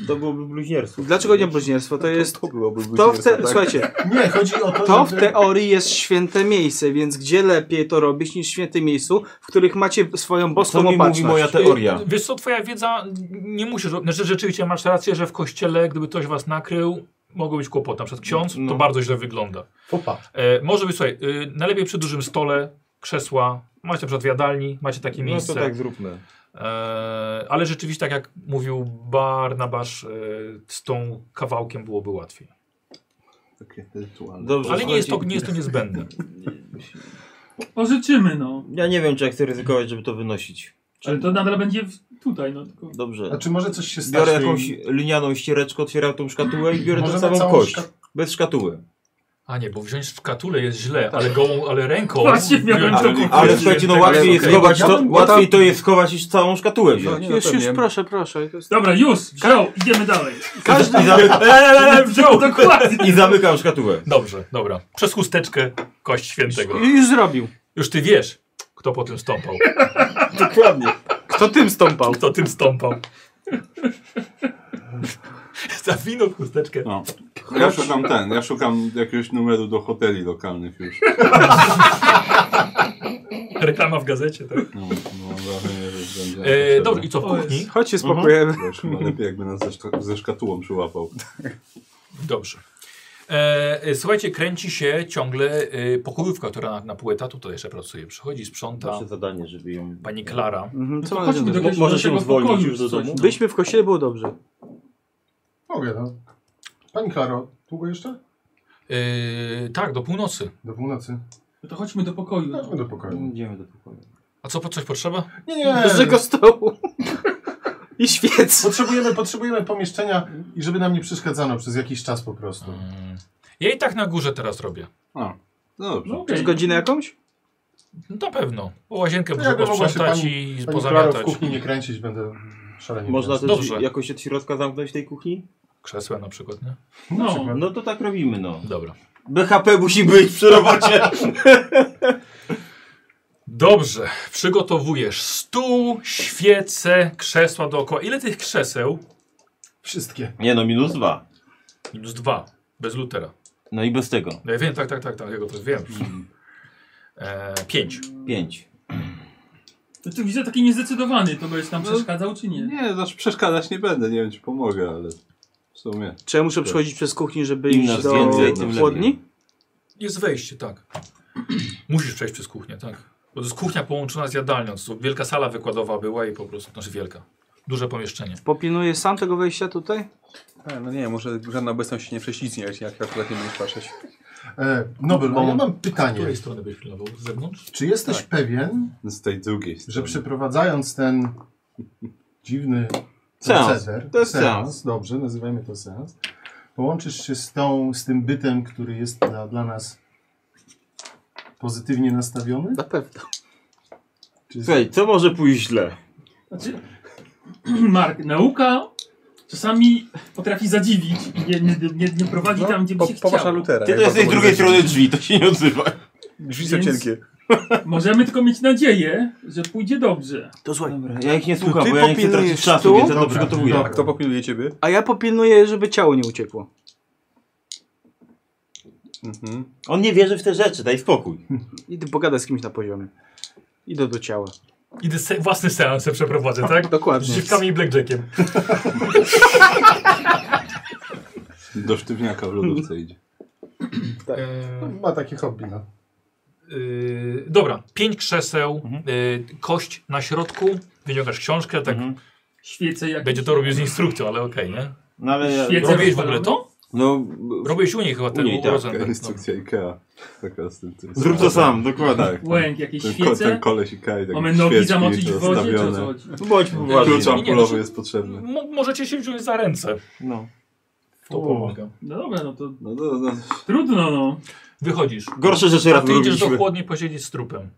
To byłoby bluźnierstwo.
Dlaczego nie bluźnierstwo? To jest...
To byłoby
To w
bluźnierstwo,
te...
tak?
Słuchajcie,
Nie, chodzi o to,
to w
żeby-
teorii jest święte miejsce, więc gdzie lepiej to robić niż w świętych miejscu, w których macie swoją
Co
boską
mi mówi moja
opatrzność. No,
teoria?
Yy, Wiesz co, twoja wiedza nie musisz... Znaczy rzeczywiście masz rację, że w kościele, gdyby ktoś was nakrył, mogło być kłopot. Na przykład ksiądz,
No.
to bardzo źle wygląda.
Opa.
E, może być, słuchaj, y, najlepiej przy dużym stole, krzesła, macie na przykład w jadalni, macie takie
No
miejsce.
to tak zróbmy.
E, ale rzeczywiście, tak jak mówił Barnabasz, e, z tą kawałkiem byłoby łatwiej.
Takie rytualne.
Dobrze,
Ale nie jest to,
słuchajcie,
nie jest to niezbędne.
Pożyczymy, no.
Ja nie wiem, czy ja chcę ryzykować, żeby to wynosić.
Ale to nadal będzie w... tutaj, no. Tylko...
Dobrze.
A czy może coś się stać?
Biorę
tej-
jakąś linianą ściereczkę, otwieram tą szkatułę i biorę tą
Możemy
samą
całą
kość.
szka-
Bez szkatuły.
A nie, bo wziąć w katule jest źle, ale gołą, ale ręką.
Właśnie miałem
wziąć-
to
ale-
kupić.
Ale słuchajcie, no łatwiej jest
okej.
schować
Ja
to,
bym-
łatwiej to jest schować niż całą szkatułę wziąć.
nie,
Już, już,
pewnie.
proszę, proszę. To jest-
Dobra, już, wziął, idziemy dalej.
Każdy eee,
Wziął, dokładnie.
I zamykam szkatułę.
Dobrze, dobra. Przez chusteczkę kość świętego.
Ju- Już zrobił.
Już ty wiesz, kto po tym stąpał.
Dokładnie.
Kto tym stąpał?
Kto tym stąpał. Zawinął w chusteczkę.
No. Ja szukam ten, ja szukam jakiegoś numeru do hoteli lokalnych już.
Reklama w gazecie, tak?
No, no wrażenie, że będzie.
E,
potrzebne.
dobrze, i co w kuchni?
Chodźcie, spokojemy.
Wiesz, chyba lepiej jakby nas ze, szka ze szkatułą przyłapał.
Dobrze. E, e, słuchajcie, kręci się ciągle e, pokojówka, która na, na pół etatu tutaj jeszcze pracuje. Przychodzi, sprząta
Nasze zadanie, żeby ją...
pani Klara.
Mm.
Mhm,
No
co
To
będzie?
chodźmy do
Mo-
jakiegoś-
może
do
się
tego
zwolnić
pokoju
już do
czy coś,
domu?
no.
Byliśmy w kościele, było dobrze.
Mogę, no. Pani Klaro, długo jeszcze?
E, tak, do północy.
Do północy.
No To chodźmy do pokoju. no.
Chodźmy do pokoju.
Idziemy do pokoju.
A co, po coś potrzeba?
Nie, nie.
Dużego stołu. I świec.
Potrzebujemy, potrzebujemy pomieszczenia i żeby nam nie przeszkadzano przez jakiś czas po prostu.
Mm. Ja i tak na górze teraz robię.
A, dobrze.
No okej.
Z godzinę jakąś?
No, na pewno. Bo łazienkę
To
muszę
jakby No mogła się
posprzątać
pani-
i
Pani Klaro, w
pozamiatać.
kuchni nie kręcić, będę szalenie.
Można też
Dobrze.
jakoś od środka zamknąć tej kuchni?
Krzesłem na przykład, nie?
No,
No to tak robimy, no.
Dobra.
BHP musi być przy robocie.
Dobrze. Przygotowujesz stół, świece, krzesła dookoła. Ile tych krzeseł?
Wszystkie.
Nie no, minus dwa.
Minus dwa. Bez lutera.
No i bez tego.
No ja wiem, tak, tak, tak, tak. Ja go też wiem.
Mhm.
E, pięć.
Pięć.
to ty widzę taki niezdecydowany, to byś tam przeszkadzał czy nie?
Nie, znaczy przeszkadzać nie będę, nie wiem czy pomogę, ale w sumie.
Czy ja
Tak.
muszę przechodzić przez kuchnię, żeby
Im
iść
nas
do
więcej, tym
chłodni?
lepiej.
Jest wejście, tak. Musisz przejść przez kuchnię, tak. Bo to jest kuchnia połączona z jadalnią. To wielka sala wykładowa była i po prostu, znaczy wielka. Duże pomieszczenie.
Tak
Popilnuję sam tego wejścia tutaj?
A, no nie, może żadna obecność się nie prześlizgnie, jak jak akurat nie będziesz patrzeć.
E, Nobel, a ja mam
Z
pytanie.
której strony byś pilnował? Z zewnątrz?
Czy jesteś
Tak.
pewien,
Z tej drugiej strony.
że przeprowadzając ten dziwny
Seans.
proceder,
To jest
seans,
seans.
dobrze, nazywajmy to seans, połączysz się z, tą, z tym bytem, który jest dla, dla nas pozytywnie nastawiony?
Na pewno.
Czy
Słuchaj, co może pójść źle?
Znaczy, Mark, nauka czasami potrafi zadziwić i nie, nie, nie, nie prowadzi tam, gdzie by
po,
się
popatrz
chciało.
Lutera.
Ty to jesteś z drugiej strony drzwi, to się nie odzywa.
Drzwi są
Więc-
cienkie.
Możemy tylko mieć nadzieję, że pójdzie dobrze.
To słuchaj.
Ja ich nie słucham,
ty
bo ja nie chcę tracić
popilnujesz
czasu,
tu?
więc ja to
Dobra,
przygotowuję.
A kto popilnuje ciebie?
A ja popilnuję, żeby ciało nie uciekło.
Mhm.
On nie wierzy w te rzeczy, daj spokój.
Idę pogadać z kimś na poziomie. Idę do ciała.
Idę se, własny seans se przeprowadzę, tak? Z
Dokładnie.
dziwkami i blackjackiem.
Do sztywniaka w lodówce idzie. Tak.
E,
Ma takie hobby, no.
Yy,
Mhm.
e,
Mhm.
dobra, pięć krzeseł, yy, kość na środku, wyciągasz książkę, tak
Świece jak.
Będzie to robił z instrukcją, ale okej, nie?
No ale ja-
Świece
Robiłeś w ogóle to?
No,
Robiłeś u niej chyba ten no.
u niej, tak,
Rosenberg,
instrukcja IKEA. Taka z tym, tym
Zrób to sam, dokładnie.
Tak,
Łęk, jakieś
ten,
świece?
Ten koleś IKEA i tak
Mamy nogi
świeczki
zamoczyć w wodzie, czy o co
rozstawione.
chodzi?
Bądź poważny.
Klucz ampulowy
nie,
jest potrzebny.
Mo- możecie się wziąć za ręce.
No.
To pomaga.
No dobra, no to
No, no, no.
trudno, no.
Wychodzisz.
Gorsze rzeczy
A
raz
ty idziesz do
robiliśmy.
chłodni posiedzieć z trupem.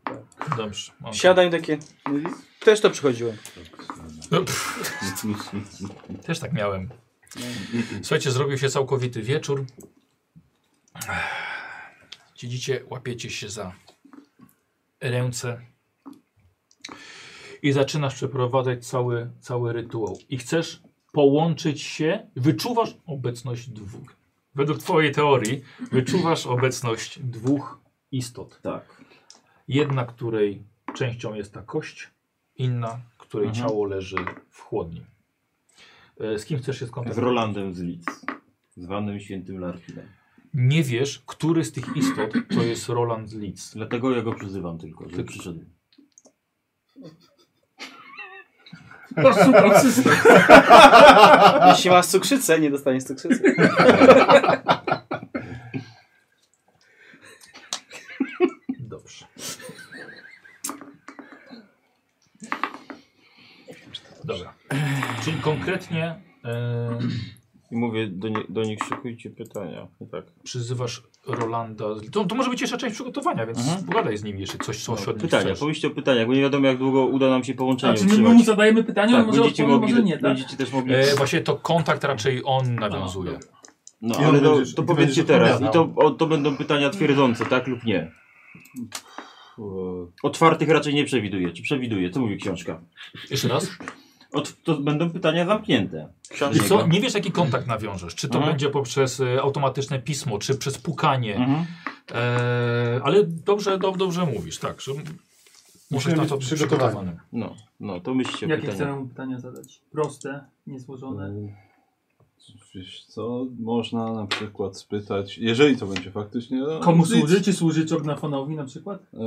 Dobrze. okej.
Siadaj takie. mówi, Też to przychodziłem.
No Też tak miałem. Słuchajcie, zrobił się całkowity wieczór. Siedzicie, łapiecie się za ręce i zaczynasz przeprowadzać cały, cały rytuał. I chcesz połączyć się, wyczuwasz obecność dwóch. Według twojej teorii wyczuwasz obecność dwóch istot.
Tak.
Jedna, której częścią jest ta kość, inna, której
Mhm.
ciało leży w chłodni. E, Z kim chcesz się
Z
skontaktować?
Rolandem z Lidz. Zwanym świętym Larkinem.
Nie wiesz, który z tych istot to jest Roland z Leeds.
Dlatego ja go przyzywam tylko, żeby przyszedł.
Oszukał system.
Jeśli masz cukrzycę, nie dostaniesz cukrzycy.
Dobrze. Dobra. Czyli konkretnie e,
I mówię do, nie, do nich szykujcie pytania. I tak.
przyzywasz Rolanda. z- To, to może być jeszcze część przygotowania, więc
Mhm. No,
pogadaj z nim jeszcze coś, coś od nich
pytania,
chcesz.
pomyślcie o pytaniach, bo nie wiadomo jak długo uda nam się połączenie
Znaczy, my, my
utrzymać.
mu zadajemy pytania, on
tak,
może
będziecie
odpowie,
mogli,
może nie, tak?
będziecie też mogli.
E, właśnie to kontakt raczej on nawiązuje.
No,
I on
ale to,
będziesz-
to
i
powiedzcie
będziesz
teraz. I
odpowiadał.
to, o, to będą pytania twierdzące, tak lub nie. e, Otwartych raczej nie przewiduje. Czy przewiduje? Co mówi książka?
Jeszcze raz?
Ot, to będą pytania zamknięte.
Wiesz co? Nie wiesz, jaki kontakt nawiążesz. Czy to
Mhm.
będzie poprzez e, automatyczne pismo, czy przez pukanie.
Mhm.
E, ale dobrze, dob, dobrze mówić, tak. Że musisz
Musimy
na
być
to
przygotowani.
przygotowany.
No, no, to myślcie o
Jakie
pytaniach.
chcemy mu pytania zadać? Proste,
Mm.
niezłożone.
Wiesz co, można na przykład spytać, jeżeli to będzie faktycznie... No,
Komu
nic.
służy? Czy służy Czognafonowi na przykład?
E,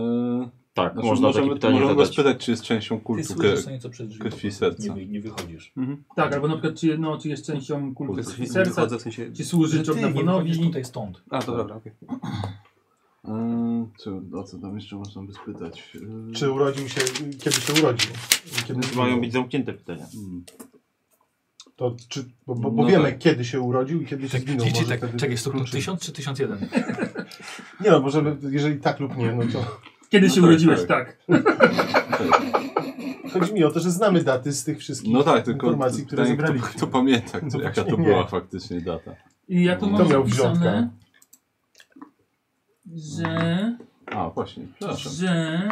Tak,
znaczy,
można takie
możemy,
pytanie
możemy go
zadać.
spytać, czy jest częścią
Ty
kultu
słyszysz
ke,
co nieco przed drzwi.
krwi
Nie,
serca.
wy- nie wychodzisz.
Tak, albo na przykład czy, no, czy jest częścią kultu
Kultu
krwi serca,
Wychodzę, w sensie...
czy służy
No, wychodzisz
Czognafonowi.
tutaj stąd.
A, to dobra, okej.
E, czy, o co tam jeszcze można by spytać? E, no,
Czy urodził się, kiedy się urodził? Kiedy
To mają być zamknięte pytania.
hmm.
To czy, bo bo, bo
No
wiemy,
tak.
kiedy się urodził i kiedy się zginął.
Dzieci,
Może
tak,
wtedy
czekaj, stóp,
kluczy.
1000 czy 1001?
Nie no, możemy, jeżeli tak lub nie, no to...
Kiedy się
tak,
urodziłeś,
tak.
tak.
Chodzi mi o to, że znamy daty z tych wszystkich
No tak, tylko
informacji, które
pytanie,
zebraliśmy.
kto, kto pamięta, kto,
No
jaka to
właśnie nie.
była faktycznie data.
I ja tu
To
mam
miał
zapisane,
wziątka.
że,
A, właśnie, przepraszam.
że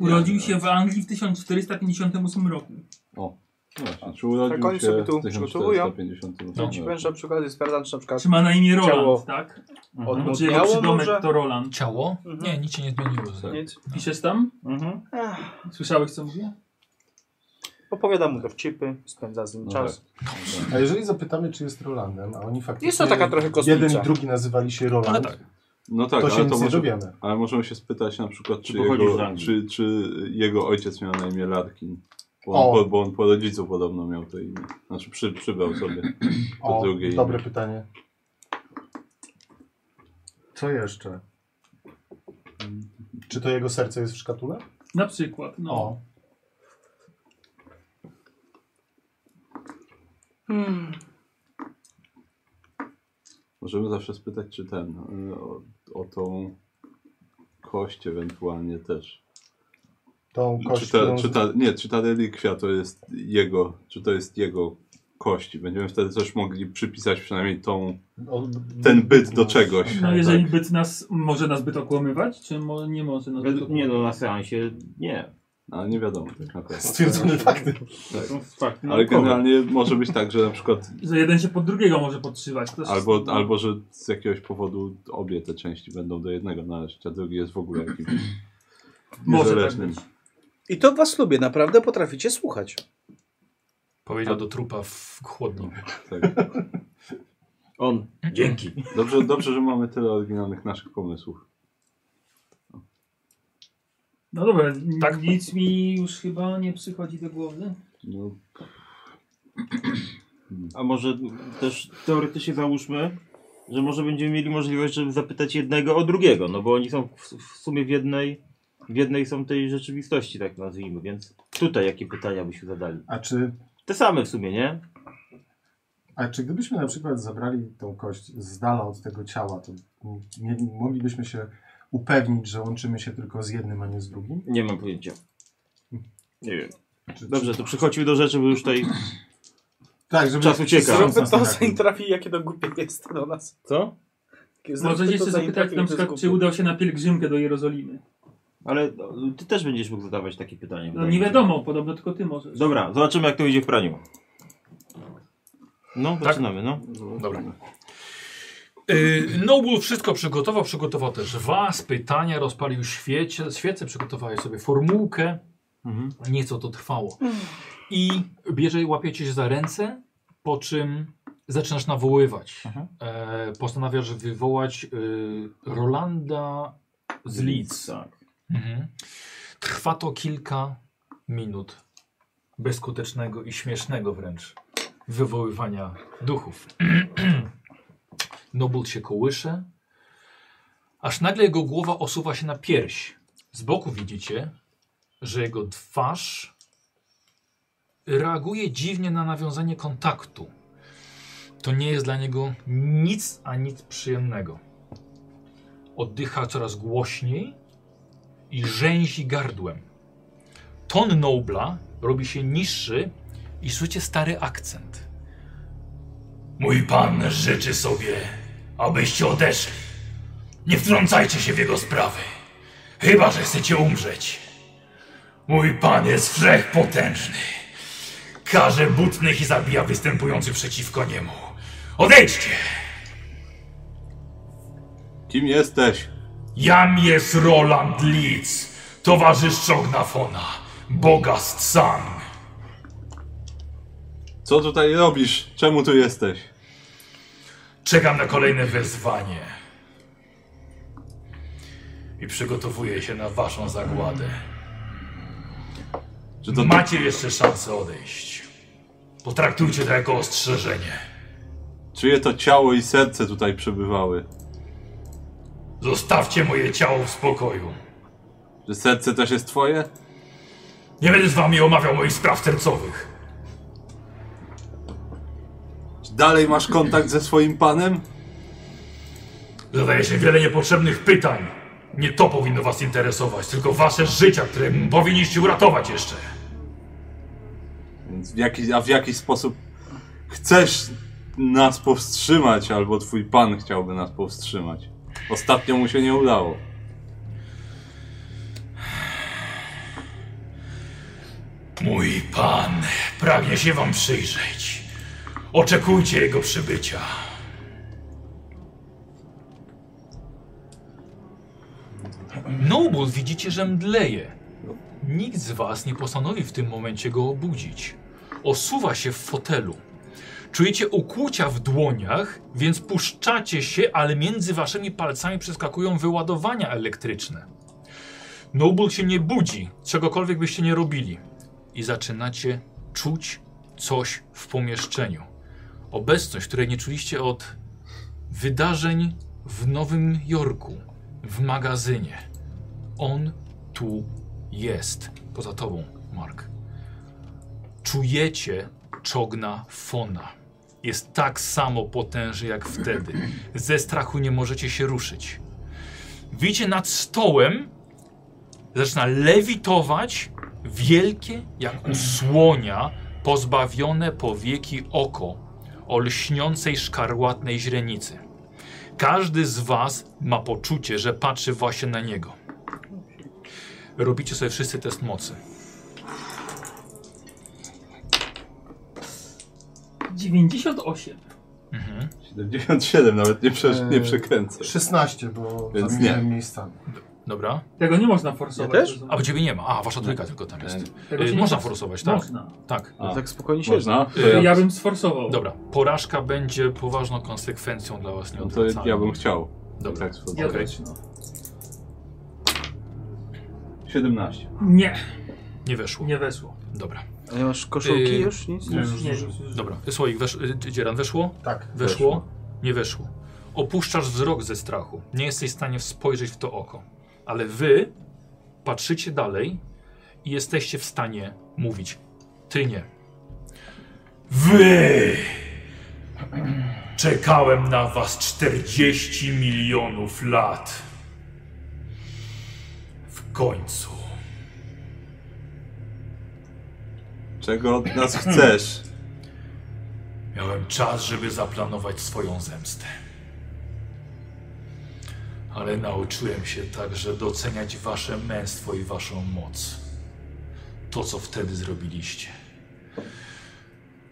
urodził się w Anglii w 1458 roku.
O, no właśnie, czy urodził
Tak, oni
się
sobie tu
w
przygotowują.
1450
No.
Ci powiem, że na przykład jest sprawdzam, czy na przykład
Czy ma na imię Roland,
Ciało.
tak?
odmówiało
Czy Znaczy jego przydomek
może?
to Roland.
Ciało?
Mhm.
Nie, nic się nie zmieniło.
Tak.
Zero.
Nic.
Piszesz tam?
Mhm.
Słyszałeś co mówię?
Opowiadam mu dowcipy, spędza z nim
No
czas.
tak.
A jeżeli zapytamy, czy jest Rolandem, a oni faktycznie...
Jest to taka trochę kosmica.
Jeden i drugi nazywali się
Ale
Roland,
tak.
No
to
tak,
się
ale
nic
to
nie
może,
dowiemy.
Ale możemy się spytać na przykład, czy,
Czy pochodzi z
jego,
Anglii?
czy, czy jego ojciec miał na imię Larkin. Bo
O.
on, po, bo on po rodzicu podobno miał to imię. Znaczy przy, przybrał sobie to
O,
drugie imię.
dobre pytanie. Co jeszcze? Czy to jego serce jest w szkatule?
Na przykład, no.
O.
Możemy zawsze spytać, czy ten, y, o, o tą kość ewentualnie też.
Tą kość,
czy ta,
którą...
czy ta, nie, czy ta relikwia to jest jego, czy to jest jego kość. Będziemy wtedy też mogli przypisać przynajmniej tą,
o-
ten byt do czegoś.
tak,
No jeżeli byt nas, może nas byt okłamywać, czy mo, nie może nas byt
Według,
okłamywać?
nie no, na seansie nie.
Ale nie wiadomo tak naprawdę.
Stwierdzone fakty.
To
no,
są fakty
Ale
naukowe.
generalnie może być tak, że na przykład
no.
Że jeden się pod drugiego może podszywać. To jest-
albo, albo że z jakiegoś powodu obie te części będą do jednego należeć, a drugi jest w ogóle jakimś
może tak
niezależnym.
być.
I to was lubię, naprawdę potraficie słuchać.
Powiedział do trupa w chłodni.
Tak.
On. Dzięki.
Dobrze, dobrze, że mamy tyle oryginalnych naszych pomysłów.
No dobra, tak? nic mi już chyba nie przychodzi do głowy.
No,
A może też teoretycznie załóżmy, że może będziemy mieli możliwość, żeby zapytać jednego o drugiego, no bo oni są w, w sumie w jednej, w jednej są tej rzeczywistości, tak nazwijmy, więc tutaj jakie pytania byśmy zadali?
A czy,
Te same w sumie, nie?
a czy gdybyśmy na przykład zabrali tą kość z dala od tego ciała, to m- nie, moglibyśmy się upewnić, że łączymy się tylko z jednym, a nie z drugim?
Nie mam pojęcia. Nie wiem.
Czy,
Dobrze, to przechodźmy do rzeczy, bo już tutaj
Tak, żeby
czas ucieka.
Zróbmy
To co im trafi, jakie to głupie jest do nas.
Co?
Możecie jeszcze zapytać na przykład, czy udał się na pielgrzymkę do Jerozolimy.
Ale no, ty też będziesz mógł zadawać takie pytanie.
No
wydaje
nie
mi się.
wiadomo, podobno tylko ty możesz.
Dobra, zobaczymy jak to idzie w praniu. No,
Tak?
zaczynamy, no.
Dobra. Y, Noble wszystko przygotował, przygotował też was, pytania, rozpalił świecie, świece, przygotowałeś sobie formułkę,
Mhm.
nieco to trwało. I bierze, łapiecie się za ręce, po czym zaczynasz nawoływać. E, postanawiasz wywołać y, Rolanda z Leeds.
Tak.
Mhm. Trwa to kilka minut bezskutecznego i śmiesznego wręcz wywoływania duchów. Noble się kołysze, aż nagle jego głowa osuwa się na pierś. Z boku widzicie, że jego twarz reaguje dziwnie na nawiązanie kontaktu. To nie jest dla niego nic, a nic przyjemnego. Oddycha coraz głośniej i rzęzi gardłem. Ton Nobla robi się niższy i słyszycie stary akcent.
Mój pan życzy sobie, abyście odeszli. Nie wtrącajcie się w jego sprawy. Chyba, że chcecie umrzeć. Mój pan jest wszechpotężny. Karze butnych i zabija występujących przeciwko niemu. Odejdźcie!
Kim jesteś?
Jam jest Roland Leeds, towarzysz Ognafona, boga z San.
Co tutaj robisz? Czemu tu jesteś?
Czekam na kolejne wezwanie. I przygotowuję się na waszą zagładę. Macie jeszcze szansę odejść. Potraktujcie to jako ostrzeżenie.
Czyje to ciało i serce tutaj przebywały?
Zostawcie moje ciało w spokoju.
Że serce też jest twoje?
Nie będę z wami omawiał moich spraw sercowych.
Czy dalej masz kontakt ze swoim panem?
Zadaje się wiele niepotrzebnych pytań. Nie to powinno was interesować, tylko wasze życia, które powinniście uratować jeszcze.
Więc w jaki, a w jaki sposób chcesz nas powstrzymać, albo twój pan chciałby nas powstrzymać? Ostatnio mu się nie udało.
Mój pan pragnie się wam przyjrzeć. Oczekujcie jego przybycia.
Noble widzicie, że mdleje. Nikt z was nie postanowi w tym momencie go obudzić. Osuwa się w fotelu. Czujecie ukłucia w dłoniach, więc puszczacie się, ale między waszymi palcami przeskakują wyładowania elektryczne. Noble się nie budzi, czegokolwiek byście nie robili. I zaczynacie czuć coś w pomieszczeniu. Obecność, której nie czuliście od wydarzeń w Nowym Jorku, w magazynie. On tu jest. Poza tobą, Mark. Czujecie czogna Fona. Jest tak samo potężny jak wtedy. Ze strachu nie możecie się ruszyć. Widzicie nad stołem zaczyna lewitować wielkie, jak u słonia, pozbawione powieki oko o lśniącej szkarłatnej źrenicy. Każdy z was ma poczucie, że patrzy właśnie na niego. Robicie sobie wszyscy test mocy.
Dziewięćdziesiąt 98.
Mhm.
77 nawet nie, prze, nie
Eee,
przekręcę.
16, bo
Więc
zamieniłem miejscami.
Dobra.
Tego nie można forsować.
Ja też?
A u ciebie nie ma. A, wasza trójka tylko tam jest.
Tak, Tego
Y,
się nie
można
da-
forsować, tak?
Można.
Tak.
A,
Tak spokojnie siedzę.
Można? To
Ja
ja,
bym sforsował.
Dobra. Porażka będzie poważną konsekwencją dla was
no to
nieodwracalną.
ja bym chciał.
Dobra.
Tak, spróbować.
Ja też. No.
17.
Nie,
Nie weszło.
nie weszło.
Dobra.
A nie masz koszulki
Y,
już? Nic?
nie, już, już, już. Dobra. Słoik, wesz... y, dzieran, weszło? Tak. Weszło? Nie weszło. Opuszczasz wzrok ze strachu. Nie jesteś w stanie spojrzeć w to oko. Ale wy patrzycie dalej i jesteście w stanie mówić. Ty nie.
Wy! Czekałem na was 40 milionów lat. W końcu.
Czego od nas chcesz?
Miałem czas, żeby zaplanować swoją zemstę. Ale nauczyłem się także doceniać wasze męstwo i waszą moc. To, co wtedy zrobiliście.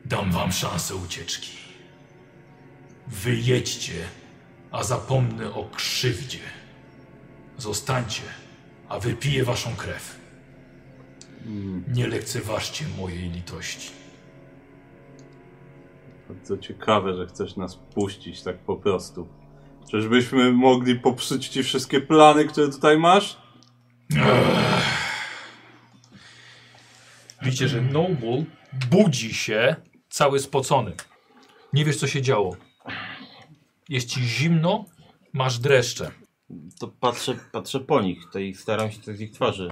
Dam wam szansę ucieczki. Wyjedźcie, a zapomnę o krzywdzie. Zostańcie, a wypiję waszą krew. Nie lekceważcie mojej litości.
Bardzo ciekawe, że chcesz nas puścić tak po prostu. Czyżbyśmy mogli popsuć ci wszystkie plany, które tutaj masz?
Widzicie, że Noble budzi się cały spocony. Nie wiesz, co się działo. Jest ci zimno, masz dreszcze.
To patrzę, patrzę po nich, to i staram się coś z ich twarzy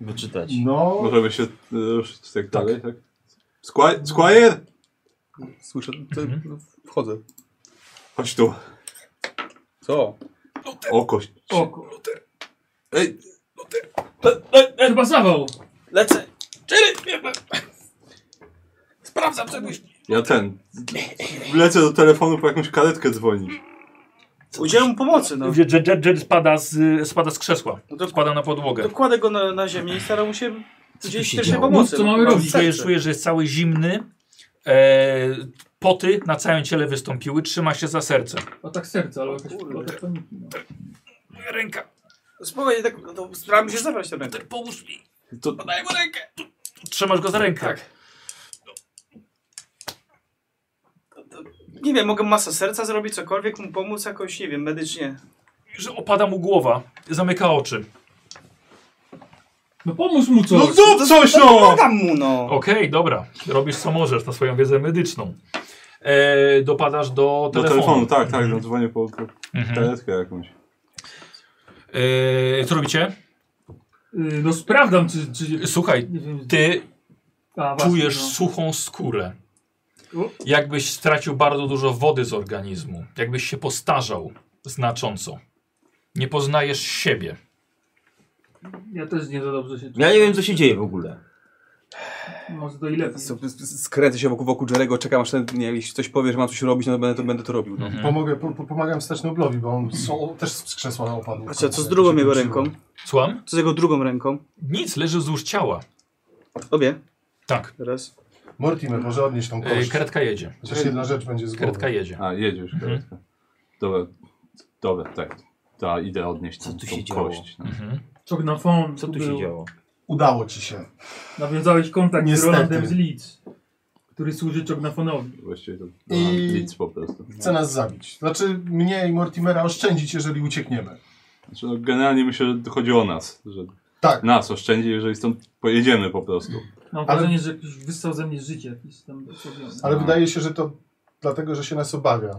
wyczytać.
No. Możemy się y, ruszyć tak, dalej, tak? Squi- Squire?
Słyszę, to,
Mhm.
no, wchodzę.
Chodź tu.
Co?
Oko.
O kurde.
Ej.
Chyba zawał.
Lecę.
Czyli Sprawdzam czegoś.
Ja ten. Lecę do telefonu po jakąś karetkę dzwonić.
Udzielam pomocy, no.
Jet, jet, jet, jet spada, z, spada z krzesła. Spada na podłogę.
Dokładę go na, na ziemię i staram się udzielić
się
pierwszej
działo? No,
pomocy. Mam
Czujesz,
serce.
czujesz, że jest cały zimny. E, poty na całym ciele wystąpiły. Trzyma się za serce.
O tak serce, ale jakaś atak paniki. No.
Ręka.
Spokojnie, tak, no, to staram się zabrać tę rękę.
Pomóż mi.
To
Podaj mu rękę.
Trzymasz go za rękę. Tak.
Nie wiem, mogę masę serca zrobić, cokolwiek mu pomóc jakoś, nie wiem, medycznie.
Że opada mu głowa. Zamyka oczy.
no pomóż mu coś.
No zrób coś, no!
Pomagam mu, no!
Okej, dobra. Robisz co możesz na swoją wiedzę medyczną. E, dopadasz do
Do
telefonu.
telefonu, tak, tak, no dzwonię po, po
Mhm.
karetkę jakąś.
E, co robicie?
Y, No sprawdzam, czy... czy...
Słuchaj,
Nie wiem,
ty
A, właśnie,
czujesz
no.
suchą skórę.
U.
Jakbyś stracił bardzo dużo wody z organizmu. Jakbyś się postarzał znacząco. Nie poznajesz siebie.
no. Ja też nie za dobrze się czuję.
Ja nie wiem co się dzieje w ogóle.
Może to i lepiej.
S- s- s- Skręcę się wokół, wokół Jerego, czekam aż ten, nie, jeśli coś powie, że mam coś robić, no to będę to, będę to robił. No.
Mhm.
Mhm.
Pomogę, po, po, pomagam wstać Noblowi, bo on są, też z krzesła opadł.
A co, co z drugą jego ręką?
Słucham?
Co z jego drugą ręką?
Nic, leży wzdłuż ciała.
Obie.
Tak.
Teraz.
Mortimer, może odnieść tą
E,
kość.
karetka jedzie.
Chociaż jedna rzecz będzie z głowy.
Karetka jedzie.
A, jedzie
Mhm.
już karetka. Dobra, dobra, tak. Ta, idę odnieść tą,
tu
tą
się działo?
kość. No.
Mhm.
Czognafon,
Co tu się
był.
działo?
Udało ci się.
Nawiązałeś kontakt
Niestety.
z Rolandem z Leeds, który służy Czognafonowi.
Właściwie to
I-
I... nic po prostu.
Chce nas zabić. Znaczy mnie i Mortimera oszczędzić, jeżeli uciekniemy.
Znaczy, no, generalnie myślę, że chodzi o nas. Że
Tak.
Nas oszczędzi, jeżeli stąd pojedziemy po prostu.
Mam
Ale-
wrażenie, że jakiś wyssał ze mnie życie, jakiś tam osłabiony.
Mhm.
Ale wydaje się, że to dlatego, że się nas obawia.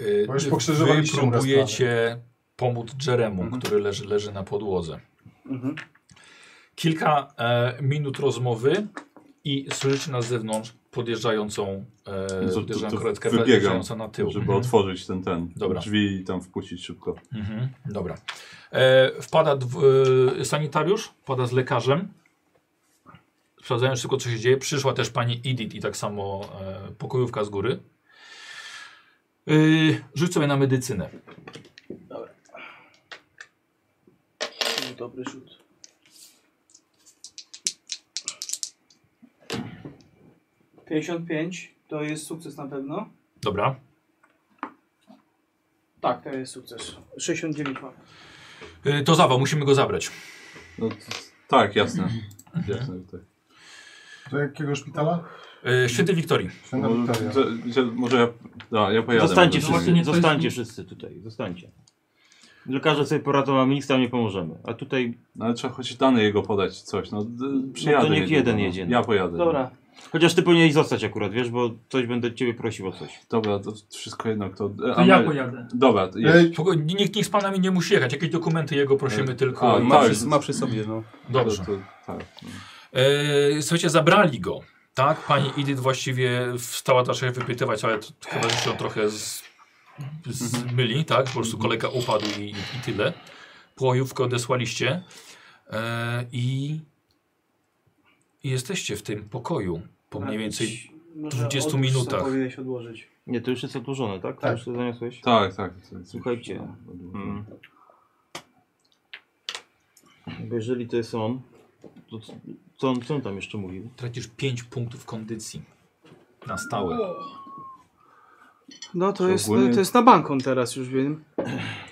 E,
Bo już
wy
pokrzyżowaliście Mhm. mu
próbujecie pomóc Jeremu, który leży, leży na podłodze.
Mhm.
Kilka e, minut rozmowy i słyszycie na zewnątrz podjeżdżającą, e,
No to- to-
podjeżdżającą
to
karetkę,
Wybiegam,
podjeżdżającą na tył.
żeby
Mhm.
otworzyć ten, ten
Dobra.
drzwi i tam wpuścić szybko.
Mhm, dobra. E, wpada dw, e, sanitariusz, wpada z lekarzem. Sprawdzają szybko, co się dzieje. Przyszła też pani Edith i tak samo e, pokojówka z góry. E, rzuć sobie na medycynę.
Dobry rzut. Pięćdziesiąt pięć. To jest sukces na pewno.
Dobra.
Tak, to jest sukces. 69 mam.
Y,
E, to zawał, musimy go zabrać.
No, t- tak, jasne. jasne tak.
Do jakiego szpitala?
Y,
E, Święty Wiktorii.
No,
Święta
Może,
Wiktoria.
że- że- No, może ja, a, ja pojadę.
Zostańcie
może
wszyscy,
sobie-
zostańcie wszyscy tutaj, zostańcie. Lekarze sobie poradzą, a my nic tam nie pomożemy. A tutaj...
No ale trzeba choć dane jego podać, coś. No, d-
No
przyjadę
to niech
niedługo,
jeden
no.
jedzie.
Ja pojadę.
Dobra. Chociaż ty powinieneś zostać akurat, wiesz, bo coś będę ciebie prosił o coś.
Dobra, to wszystko jedno, kto... To
ja pojadę.
Dobra, to jedź.
Ej, pogo- Nikt, nikt z panami nie musi jechać. Jakieś dokumenty jego prosimy
Ej,
tylko.
No
a,
i-
ma przy- ma
przy sobie, no.
Dobrze.
To- to- tak, no.
E, słuchajcie, zabrali go. Tak, pani Edith właściwie wstała też się wypytywać, ale to, to chyba że się trochę z, zmyli, tak? Po prostu kolega upadł i, i, i tyle. Płojówkę odesłaliście e, i, i jesteście w tym pokoju po
Tak.
mniej więcej 20 minutach.
Powinieneś odłożyć.
Nie, to już jest odłożone, tak? To
Tak.
już to zaniosłeś?
Tak, tak.
Słuchajcie. Mm. Bo jeżeli to jest on, to co- co on, co on tam jeszcze mówił?
Tracisz 5 punktów kondycji na stałe.
No to
Czy
jest,
ogólnie-
to jest na bankon teraz już wiem.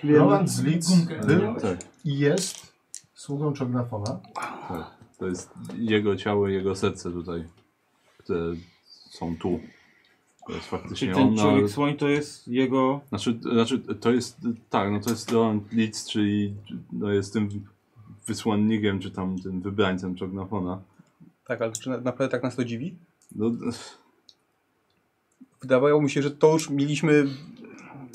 wiem.
Roland z Lidz był
Tak.
i jest sługą Czognafona.
Tak. To jest jego ciało, i jego serce tutaj, które są tu. To jest faktycznie
Czyli
on.
ten
no,
człowiek
ale-
słoń to jest jego...
Znaczy, znaczy, to jest, tak, no to jest Roland Leeds, czyli no jest tym wysłannikiem, czy tam tym wybrańcem Czognafona.
Tak, ale czy na- naprawdę tak nas to dziwi?
No,
Wydawało mi się, że to już mieliśmy...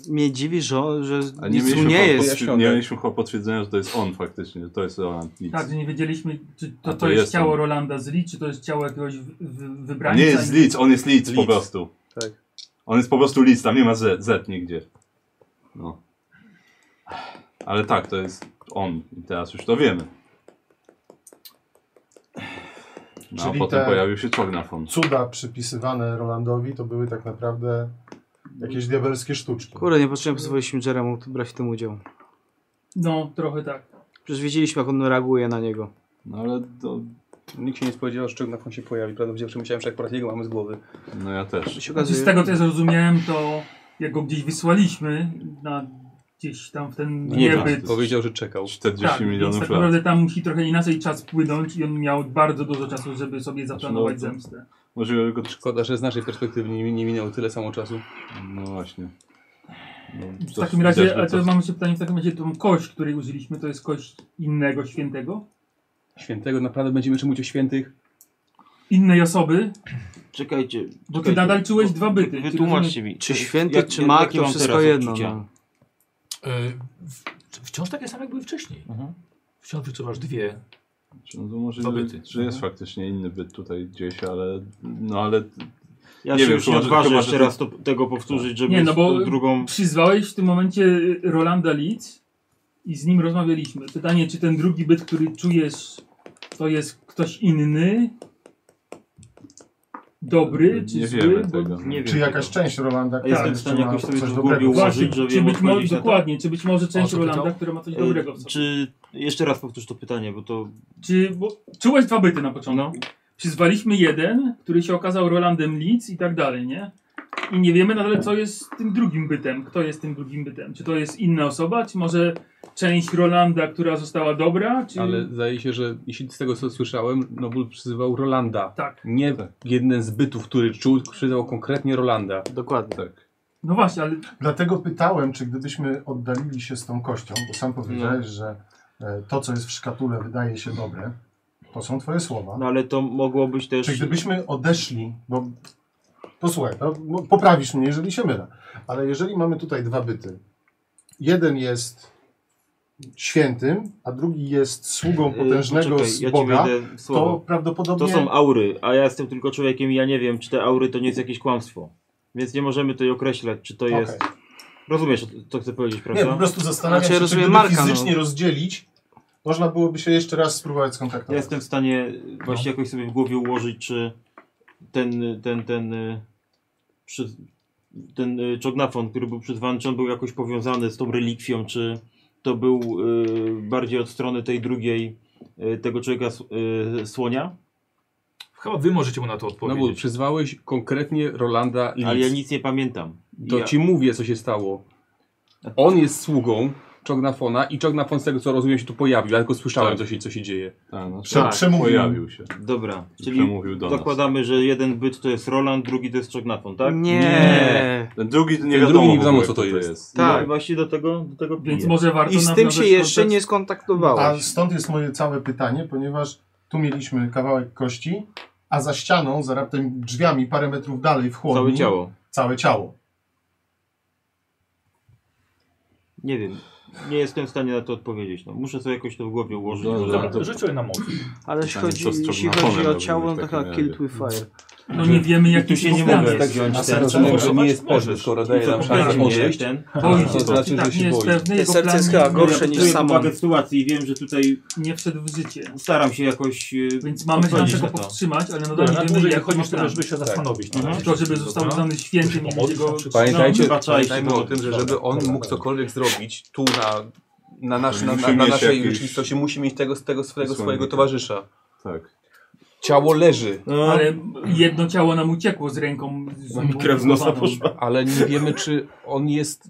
Mnie dziwi, że, że
a nie
nic tu
mieliśmy,
nie
chyba
jest.
potwier- nie mieliśmy chyba potwierdzenia, że to jest on faktycznie, że to jest Roland Leeds.
Tak, że nie wiedzieliśmy, czy
A
to,
to
to jest
jest
ciało
on.
Rolanda z Lee, czy to jest ciało jakiegoś wy- wy- wybrańca.
Nie jest Leeds, on jest Leeds po
Leeds.
prostu.
Tak.
On jest po prostu Leeds, tam nie ma Z, Z nigdzie. No. Ale tak, to jest on. I teraz już to wiemy. No, a
Czyli
potem
te-
tak.
pojawił się Czognafon.
Cuda przypisywane Rolandowi to były tak naprawdę jakieś diabelskie sztuczki.
Kurde, nie potrzebnie pozwoliliśmy Jeremu tu brać w tym udział.
No, trochę tak.
Przecież wiedzieliśmy, jak on reaguje na niego.
No ale to...
Nikt się nie spodziewał, że Czognafon się pojawi. Prawda, dziewczyny myślałem, że akurat jego mamy z głowy.
No ja też.
Się
Znaczy,
okazuje,
z tego co ja zrozumiałem, to jak go gdzieś wysłaliśmy na gdzieś tam w ten
Nie wiem,
niebyt.
powiedział, że czekał.
40
Tak, więc
milionów
tak
lat.
naprawdę tam musi trochę inaczej czas płynąć i on miał bardzo dużo czasu, żeby sobie zaplanować
to-
zemstę.
Może go...
Szkoda, że z naszej perspektywy nie, nie minęło tyle samo czasu.
No właśnie. No,
W
to
takim
widać,
razie,
że
ale
to-
to mam się pytanie, w takim razie tą kość, której użyliśmy, to jest kość innego świętego?
Świętego naprawdę będziemy czym o świętych.
Innej osoby?
Czekajcie.
Bo ty
czekajcie.
nadal czułeś dwa byty. Ty
Wytłumaczcie mi.
Czy
to-
święty,
jak-
czy
jak-
mag,
jakie
to
mam
wszystko
teraz
jedno.
odczucia?
No.
E, w, wciąż takie same jak były wcześniej. Wciąż wyczuwasz dwie.
No to może,
To
że,
byty.
że jest faktycznie inny byt tutaj gdzieś, ale... No ale...
Ja się już nie
chyba, że-
odważę
chyba,
jeszcze
że to-
raz to, tego powtórzyć, żeby
Nie, no bo
tą drugą...
przyzwałeś w tym momencie Rolanda Leeds i z nim rozmawialiśmy. Pytanie, czy ten drugi byt, który czujesz, to jest ktoś inny? Dobry czy
Nie
zły?
wiemy
Bo-
tego.
Nie wiem
Czy jakaś
tego.
część Rolanda,
A jestem
która
w stanie
ma
jakoś sobie
coś
to
dobrego
głębiej
w sobie?
ułożyć.
No Właśnie,
Ułożyć, żeby
czy być
odpowiedzieć
może,
na to?
dokładnie, czy być może część
O, co pytał?
Rolanda, która ma coś
E,
dobrego w sobie. Czy,
Czy... Jeszcze raz powtórz to pytanie, bo to...
bo, czułeś dwa byty na początku?
No.
Przyzwaliśmy jeden, który się okazał Rolandem Leeds i tak dalej, nie? I nie wiemy nadal, co jest tym drugim bytem. Kto jest tym drugim bytem? Czy to jest inna osoba? Czy może część Rolanda, która została dobra? Czy...
Ale zdaje się, że jeśli z tego co słyszałem, Nobul przyzywał Rolanda.
Tak.
Nie jeden z bytów, który czuł, przyzywał konkretnie Rolanda.
Dokładnie.
Tak.
No właśnie, ale
Dlatego pytałem, czy gdybyśmy oddalili się z tą kością, bo sam powiedziałeś,
No.
że e, to, co jest w szkatule, wydaje się dobre. To są twoje słowa.
No ale to mogło być też...
Tak,
Czy Tak gdybyśmy odeszli, bo posłuchaj, no, no, poprawisz mnie, jeżeli się mylę, ale jeżeli mamy tutaj dwa byty, jeden jest świętym, a drugi jest sługą
E,
potężnego
poczekaj,
z
ja ci
Boga,
wejdę w słowo.
to prawdopodobnie
To są aury, a ja jestem tylko człowiekiem i ja nie wiem, czy te aury to nie jest jakieś kłamstwo. Więc nie możemy tutaj określać, czy to
Okej.
jest... Rozumiesz, co chcę powiedzieć, prawda?
Nie, po prostu zastanawiam
Znaczy,
się,
rozumiem
czy
Marka,
Marka, fizycznie
no.
rozdzielić, można byłoby się jeszcze raz spróbować
Ja
skontaktować.
jestem w stanie właśnie jakoś sobie w głowie ułożyć, czy ten, ten, ten, y, przy, ten y, czognafon, który był przyzwany, czy on był jakoś powiązany z tą relikwią, czy to był y, bardziej od strony tej drugiej, y, tego człowieka s- y, słonia,
Chyba wy możecie mu na to
No
Nobul,
odpowiedzieć.
przyzwałeś konkretnie Rolanda Leeds.
ale ja nic nie pamiętam.
To
ja,
ci mówię, co się stało. On jest sługą Czognafona i Czognafon z tego co rozumiem się tu pojawił, ja tylko słyszałem
Tak.
co, się, co się dzieje.
Tak, no,
Prze-
tak, pojawił się.
Dobra, czyli
Przemówił do nas.
zakładamy, że jeden byt to jest Roland, drugi to jest Czognafon, tak?
Nie. Nie. Ten drugi to nie Ten wiadomo drugi nie w ogóle, wiadomo, co kto to to jest. jest.
Tak.
Tak.
właśnie do tego, do tego piję.
I z tym się jeszcze nie skontaktowałeś.
A stąd jest moje całe pytanie, ponieważ tu mieliśmy kawałek kości, a za ścianą, za raptem drzwiami, parę metrów dalej w chłodni...
Całe ciało.
Całe ciało.
Nie wiem. Nie jestem w stanie na to odpowiedzieć. No, muszę sobie jakoś to w głowie ułożyć.
No,
może-
dobra, to- Rzuć sobie na moc.
Ale jeśli chodzi, jeśli chodzi o ciało, to chyba Killed with Fire.
No nie wiemy, jak tu się nie mogę tak wziąć.
A serce może nie jest pewne, skoro daje nam szansę odejść.
to znaczy, że się boi.
Te
Jego plany-
Ja potrzebuję uwagę w sytuacji i wiem, że tutaj
Nie wszedł w życie.
staram się jakoś e,
Więc mamy
odpowiedzieć
szansę
na
go
to.
powstrzymać, ale nadal
Dobra, na
nie wiemy,
dłużej
jak
jak chodzisz,
ma
to
plan.
żeby się zastanowić.
Tak.
Tak.
To, żeby został
Dobra.
uznany świętym i będzie go...
Pamiętajcie,
No,
pamiętajmy
no,
o tym, że żeby on mógł cokolwiek zrobić tu na, na, nasz, na, na,
Musi
na
mieć
naszej
jakiś-
rzeczywistości, musi mieć tego, tego swojego, swojego
Wysłannika.
towarzysza.
Tak.
Ciało leży.
No,
Ale jedno ciało nam uciekło z ręką. Z
No mi
krew z nosa
zmumowaną.
poszła.
Ale nie wiemy, czy on jest...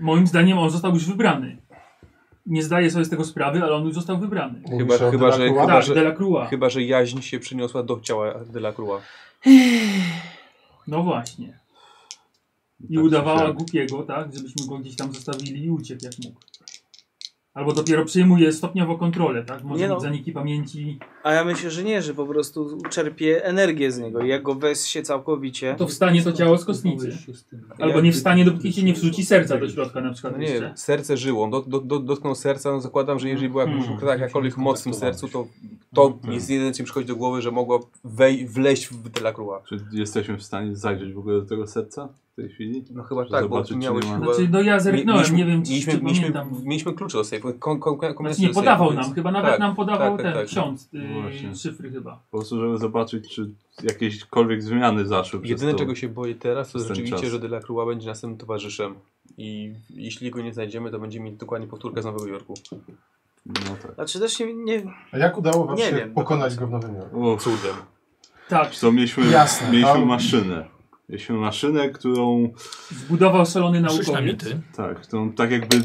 Moim zdaniem on został już wybrany. Nie zdaję sobie z tego sprawy, ale on już został wybrany.
Chyba, chyba, że, chyba,
Tak,
że,
Delacroix.
chyba, że jaźń się przyniosła do ciała Delacroix.
No właśnie. I
Tak,
udawała głupiego, tak? Żebyśmy go gdzieś tam zostawili i uciekł jak mógł. Albo dopiero przyjmuje stopniowo kontrolę, tak? Może
Nie
mieć
no.
zaniki pamięci.
A ja myślę, że nie, że po prostu czerpie energię z niego. Jak go wes się całkowicie.
To wstanie to ciało z kostnicy. Albo nie wstanie, dopóki się nie wrzuci serca do środka na przykład
No nie,
jeszcze.
wiem, serce żyło. Do, do, do, dotknął serca, no zakładam, że jeżeli była jakaś hmm. jakakolwiek moc w tym sercu, to to
Hmm.
jest jedyne, co mi przychodzi do głowy, że mogła wej, wleźć w Delacroix.
tak. Czy jesteśmy w stanie zajrzeć w ogóle do tego serca w tej chwili?
No chyba
Czy
tak, bo
zobaczyć, czy
miałeś
nie ma-
chyba...
Znaczy, no ja zerknąłem,
mieliśmy-
nie wiem, czy-
mieliśmy,
czy
mieliśmy,
pamiętam.
mieliśmy klucz do sejfu. Kon, kon, kon,
Znaczy nie podawał nam, chyba nawet
Tak.
nam podawał ten ksiądz
Właśnie.
yy, szyfry chyba.
Po prostu, żeby zobaczyć, czy jakiekolwiek zmiany zaszły przez
Jedyne,
to-
czego się boję teraz, to
przez ten
rzeczywiście,
czas.
że Delacroix będzie naszym towarzyszem. I jeśli go nie znajdziemy, to będziemy mieli dokładnie powtórkę z Nowego Jorku.
No tak.
Znaczy też nie. nie
A jak udało wam
Nie
się
wiem. no
pokonać go w Nowym Jorku?
Uff.
Cudem.
Tak.
To mieliśmy,
Jasne,
mieliśmy
tam-
maszynę. Mieliśmy maszynę, którą...
Zbudował szalony naukowiec.
mity.
Tak, którą tak jakby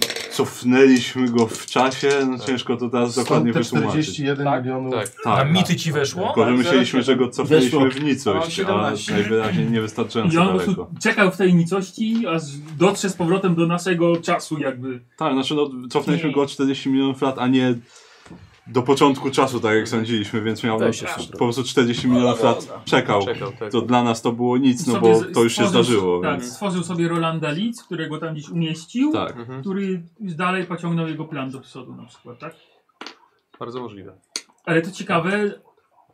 cofnęliśmy go w czasie. No ciężko to teraz dokładnie
te
wytłumaczyć. Tak,
41
Tak,
milionów...
A mity ci weszło?
Tylko, że
Tak,
myśleliśmy,
zaraz-
że go cofnęliśmy
Weszło.
w nicość,
Mam
a
17.
najwyraźniej nie
I
wystarczająco
on po prostu
daleko.
czekał w tej nicości, aż dotrze z powrotem do naszego czasu jakby.
Tak, znaczy no, cofnęliśmy go o 40 milionów lat, a nie do początku czasu, tak jak sądziliśmy, więc miał
Weź
no,
się
po prostu 40 milionów lat czekał.
Czekał, tak.
To dla nas to było nic, no
Sobie
bo
z-
to już się
stworzył-
zdarzyło.
Tak,
więc...
stworzył sobie Rolanda Leeds, którego tam gdzieś umieścił,
Tak.
który dalej pociągnął jego plan do przodu na przykład, tak?
Bardzo możliwe.
Ale to ciekawe,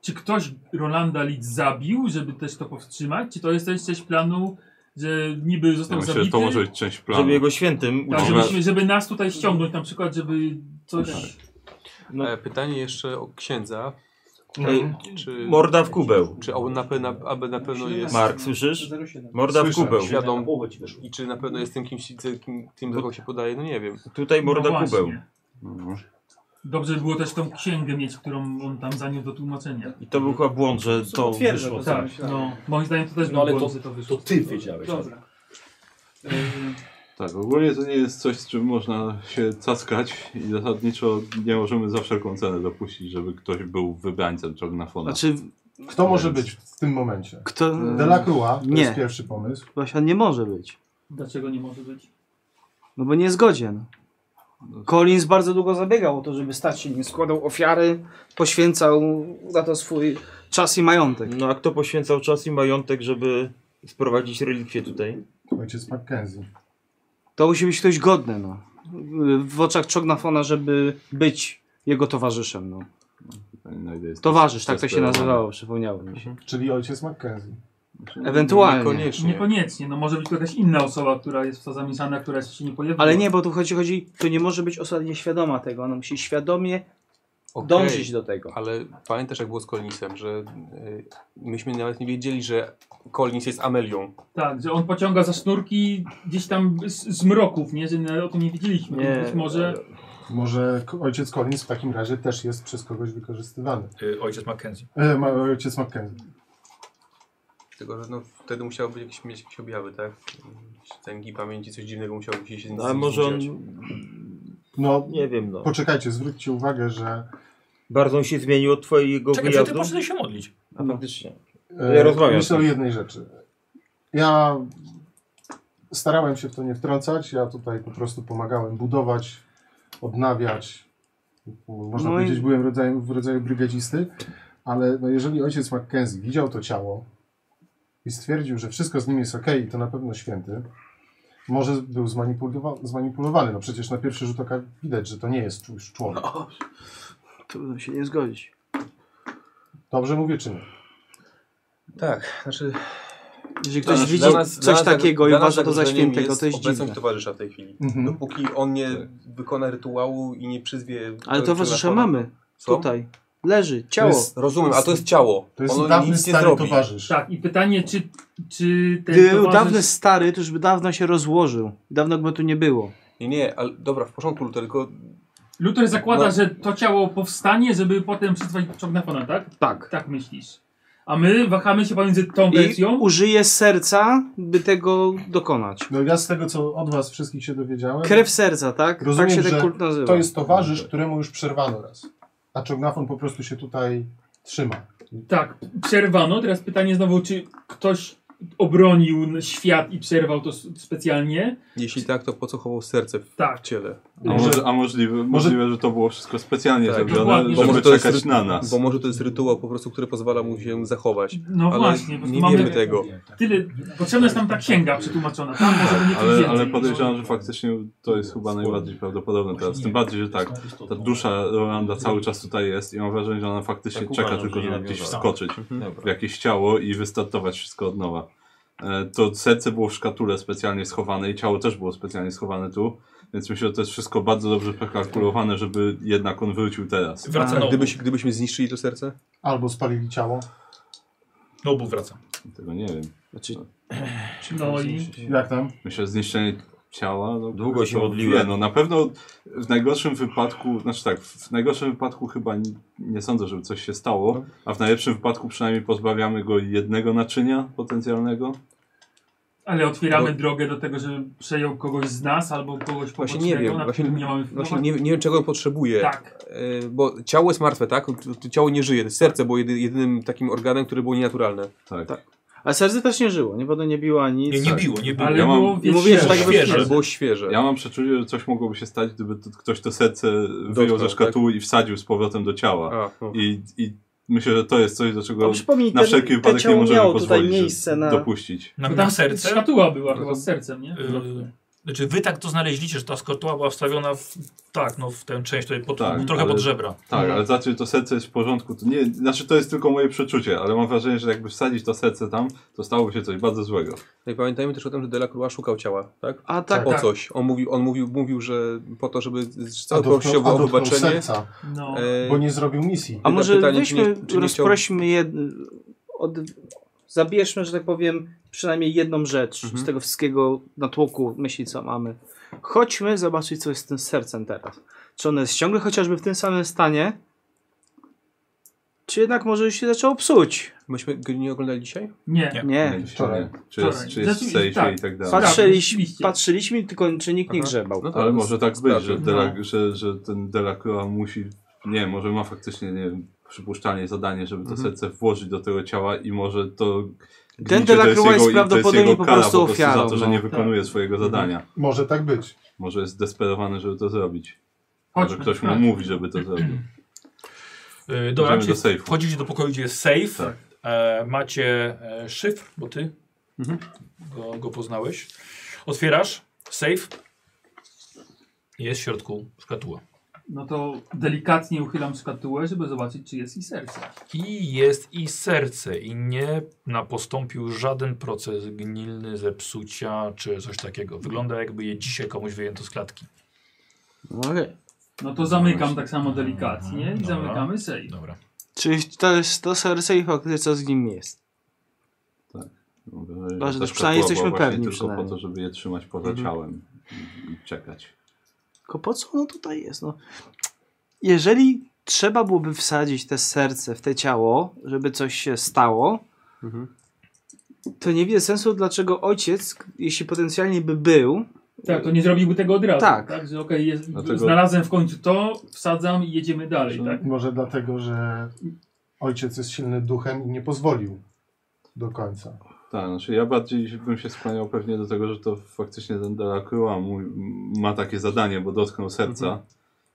czy ktoś Rolanda Leeds zabił, żeby też to powstrzymać? Czy to jest też część planu, że niby został
Ja myślę,
zabity?
że to może być część planu.
Żeby jego świętym
Tak,
uczynić.
żeby, żeby nas tutaj ściągnąć na przykład, żeby coś...
No.
E, pytanie jeszcze o księdza. E,
Mhm.
Czy,
Morda w kubeł.
Czy on na, pe- na, aby na pewno jest...
Mark, słyszysz? Morda w
Słyszę,
kubeł.
Świadom, I czy na pewno jest tym kimś, tym, tym, za kogo się podaje? No nie wiem.
Tutaj morda
No właśnie.
kubeł.
Dobrze by było też tą księgę mieć, którą on tam zaniósł do tłumaczenia.
I to był chyba błąd, że to
Potwierdzę
wyszło.
to,
tak.
tak.
No, moim zdaniem to też
No
był
ale
błąd,
to-
że wyszło.
to ty wiedziałeś.
Dobra.
Tak, ogólnie to nie jest coś, z czym można się cackać i zasadniczo nie możemy za wszelką cenę dopuścić, żeby ktoś był wybrańcem Czognafona.
Znaczy.
Kto może być w tym momencie?
Kto?
No.
Delacroix, to
Nie.
jest pierwszy pomysł.
Właśnie nie może być.
Dlaczego nie może być?
No bo nie jest godzien. Collins bardzo długo zabiegał o to, żeby stać się nim. Składał ofiary, poświęcał na to swój czas i majątek.
No a kto poświęcał czas i majątek, żeby sprowadzić relikwie tutaj?
Ojciec Mackenzie.
To musi być ktoś godny, no. W oczach Czognafona, żeby być jego towarzyszem, no.
No, i jest
Towarzysz, tak to się
zdesperowany.
nazywało, przypomniało mi
Mhm.
się.
Czyli ojciec Mackenzie.
Ewentualnie.
Niekoniecznie, no może być to jakaś inna osoba, która jest w to zamieszana, która jeszcze się nie pojawiła.
Ale nie, bo tu chodzi, chodzi, to nie może być osoba nieświadoma tego. Ona musi świadomie
Okej,
dążyć do tego.
Ale pamiętasz jak było z Collinsem, że y, myśmy nawet nie wiedzieli, że Collins jest Amelią.
Tak, że on pociąga za sznurki gdzieś tam z, z mroków, nie? Że na- o tym nie widzieliśmy.
Nie.
Być może
Może k- ojciec Collins w takim razie też jest przez kogoś wykorzystywany.
Y, Ojciec Mackenzie.
E, ma, ojciec Mackenzie.
Tylko, że no, wtedy musiałby jakieś, mieć jakieś objawy, tak? Tęgi pamięci, coś dziwnego musiałoby się z nim
No, a może on...
dziać.
No,
nie wiem, no.
Poczekajcie, zwróćcie uwagę, że
Bardzo on się zmienił od twojego
Czekaj,
wyjazdu.
czy ty poszedłeś się modlić?
A faktycznie.
e,
ja rozmawiam.
myślę
z
o
nim.
jednej rzeczy. Ja starałem się w to nie wtrącać, ja tutaj po prostu pomagałem budować, odnawiać. Można
No i-
powiedzieć, byłem rodzajem, w rodzaju brygadzisty, ale no jeżeli ojciec Mackenzie widział to ciało i stwierdził, że wszystko z nim jest ok i to na pewno święty, może był zmanipulowa zmanipulowany. No przecież na pierwszy rzut oka widać, że to nie jest już
No.
człowiek.
Trudno się nie zgodzić.
Dobrze mówię czy nie?
Tak, znaczy...
Jeżeli
dla
ktoś
nas-
widzi
dla nas- dla nas
coś takiego i
zagrożeniem
uważa to za
jest
świętego, to jest dziwne.
obecność towarzysza w tej chwili.
Mhm.
Dopóki on nie wykona rytuału i nie przyzwie...
Ale towarzysza
człowieka-
mamy.
Co?
Tutaj. Leży. Ciało.
jest- rozumiem, a to jest ciało.
To jest
Ono
dawny
nic nie
stary
zrobi.
towarzysz.
Tak, i pytanie, czy, czy ten
Gdyby był
towarzysz-
dawny stary, to już by dawno się rozłożył. Dawno by tu nie było.
Nie, nie, ale dobra, w porządku, Luther, tylko...
Luther zakłada,
No.
że to ciało powstanie, żeby potem przysłać Czognafona, tak?
Tak.
Tak myślisz. A my wahamy się pomiędzy tą
I
wersją.
użyje serca, by tego dokonać.
No ja z tego, co od was wszystkich się dowiedziałem...
Krew serca, tak?
Rozumiem,
tak się
że
ten kult nazywa.
to jest towarzysz, któremu już przerwano raz. A czognafon po prostu się tutaj trzyma.
Tak, przerwano. Teraz pytanie znowu, czy ktoś obronił n- świat i przerwał to s- specjalnie?
Jeśli tak, to po co chował serce w
Tak.
ciele?
A, może, a możliwe, możliwe, że to było wszystko specjalnie zrobione,
dokładnie.
Tak. Bo
żeby
może to jest
czekać
rytu-
na nas.
Bo może to jest rytuał po prostu, który pozwala mu się zachować.
No
ale
właśnie, po prostu
nie
mamy-
wiemy tego.
tak.
Tyle, potrzebna jest nam ta księga przetłumaczona. Tam może będzie coś
Ale,
więcej.
ale podejrzewam, że faktycznie to jest chyba najbardziej prawdopodobne teraz. Tym bardziej, że tak, ta dusza Rolanda cały czas tutaj jest i mam wrażenie, że ona faktycznie
Tak
czeka
uważam,
tylko,
że nie
żeby gdzieś
nawiązała.
wskoczyć
Dobra.
w jakieś ciało i wystartować wszystko od nowa. E, To serce było w szkatule specjalnie schowane i ciało też było specjalnie schowane tu, więc myślę, że to jest wszystko bardzo dobrze prekalkulowane, żeby jednak on wrócił teraz.
Wraca na
A gdybyś, gdybyśmy zniszczyli to serce?
Albo spalili ciało.
No obu wraca.
Tego nie wiem.
No i
Jak tam?
Myślę, że zniszczenie ciała. No,
Długo się
to
modliłem.
wie, No, na pewno w najgorszym wypadku, znaczy tak, w najgorszym wypadku chyba nie, nie sądzę, żeby coś się stało, a w najlepszym wypadku przynajmniej pozbawiamy go jednego naczynia potencjalnego.
Ale otwieramy
No.
drogę do tego, żeby przejął kogoś z nas albo kogoś
Właśnie
pobocznego,
nie wiem,
nad
właśnie,
którym nie mamy no
właśnie nie, nie wiem czego on potrzebuje.
Tak.
E, Bo ciało jest martwe, tak? To- to Ciało nie żyje. Serce było jedy- jedynym takim organem, które było nienaturalne.
Tak.
A serce też nie żyło. Nie woda nie biła nic.
Nie, nie biło, nie biło.
Ale
Ja mam-
było
I
wiesz,
mówię, że
Świeże.
tak jakby
Ale
Świeże.
było świeże.
Ja mam przeczucie, że coś mogłoby się stać, gdyby to, ktoś to serce wyjął ze
tak?
szkatuły i wsadził z powrotem do ciała.
A, no.
I, I myślę, że to jest coś, do czego
A przypomnij,
na
ten-
wszelki
ten
wypadek nie
ciało
możemy
miało tutaj
pozwolić, że-
miejsce na-
dopuścić.
Na,
Bo
na
tam
serce.
Tak, Szkatuła była chyba z sercem, nie?
Y-
Yy, znaczy wy tak to znaleźliście, że ta skotuła była wstawiona w, tak, no, w tę część tutaj pod,
Tak,
trochę
ale-
pod żebra.
Tak,
Mhm.
ale znaczy to serce jest w porządku. To nie, znaczy to jest tylko moje przeczucie, ale mam wrażenie, że jakby wsadzić to serce tam, to stałoby się coś bardzo złego.
No i pamiętajmy też o tym, że Delacroix szukał ciała, tak?
A tak,
O
Tak.
coś. On mówił, on mówił, mówił że po to, żeby
A dotknął,
całkowicie
a dotknął
wybaczenie.
serca,
No.
e,
bo nie zrobił misji.
A
Tylko
może
pytanie, czy nie-
weźmy,
czy nie
rozprośmy jed... od... zabierzmy, że tak powiem, przynajmniej jedną rzecz z tego wszystkiego natłoku myśli, co mamy. Chodźmy zobaczyć, co jest z tym sercem teraz. Czy ono jest ciągle chociażby w tym samym stanie? Czy jednak może już się zaczęło psuć?
Myśmy go nie oglądali dzisiaj?
Nie.
Nie.
Nie.
Wczoraj.
Czy jest, czy jest w
Znaczy,
sejfie
tak.
i tak dalej.
Patrz-
Patrzyliśmy,
rzeczywiście.
patrzyliśmy tylko czy nikt nie
Aha.
grzebał.
No to-
Ale może tak być, że,
No.
Dela, że, że ten Delacroix musi, nie wiem, może ma faktycznie, nie wiem, przypuszczalnie zadanie, żeby
Mhm.
to serce włożyć do tego ciała i może to... gnicie to
Delacroix
jego-
jest
to
prawdopodobnie
jego
po
kara
prostu
za
ofiarą,
to, że
no.
nie
Tak.
wykonuje swojego
Mhm.
zadania.
Może tak być.
Może jest desperowany, żeby to zrobić. Może
Chodźmy.
ktoś mu
tak.
mówi, żeby to zrobił.
Yy,
Idziemy
dobra,
do
do
sejfu.
wchodzicie do pokoju, gdzie jest safe.
Tak.
E, macie e, szyfr, bo ty
Mhm.
go, go poznałeś. Otwierasz safe. Jest w środku szkatuła.
No to delikatnie uchylam szkatułę, żeby zobaczyć, czy jest i serce.
I jest i serce, i nie na- postąpił żaden proces gnilny, zepsucia czy coś takiego. Wygląda jakby je dzisiaj komuś wyjęto z klatki.
Okej.
No to zamykam tak samo delikatnie i
Dobra.
zamykamy sej.
Dobra.
Czyli to jest to serce i faktycznie co z nim jest.
Mówię, że
Dobrze,
ta
to przynajmniej
szkatuła
jesteśmy
była właśnie
pewni
Tylko po
przynajmniej. Mhm.
to, żeby je trzymać poza ciałem i- i czekać.
Tylko po co ono tutaj jest? No, jeżeli trzeba
Mhm.
byłoby wsadzić te serce w te ciało, żeby coś się stało, to nie widzę sensu, dlaczego ojciec, jeśli potencjalnie by był...
Tak, to nie zrobiłby tego od razu.
Tak.
tak że okej, jest,
Dlatego-
znalazłem w końcu to, wsadzam i jedziemy dalej, tak?
Może dlatego, że ojciec jest silny duchem i nie pozwolił do końca.
Tak, znaczy ja bardziej bym się skłaniał pewnie do tego, że to faktycznie ten Delacroix mój- m- ma takie zadanie, bo dotknął serca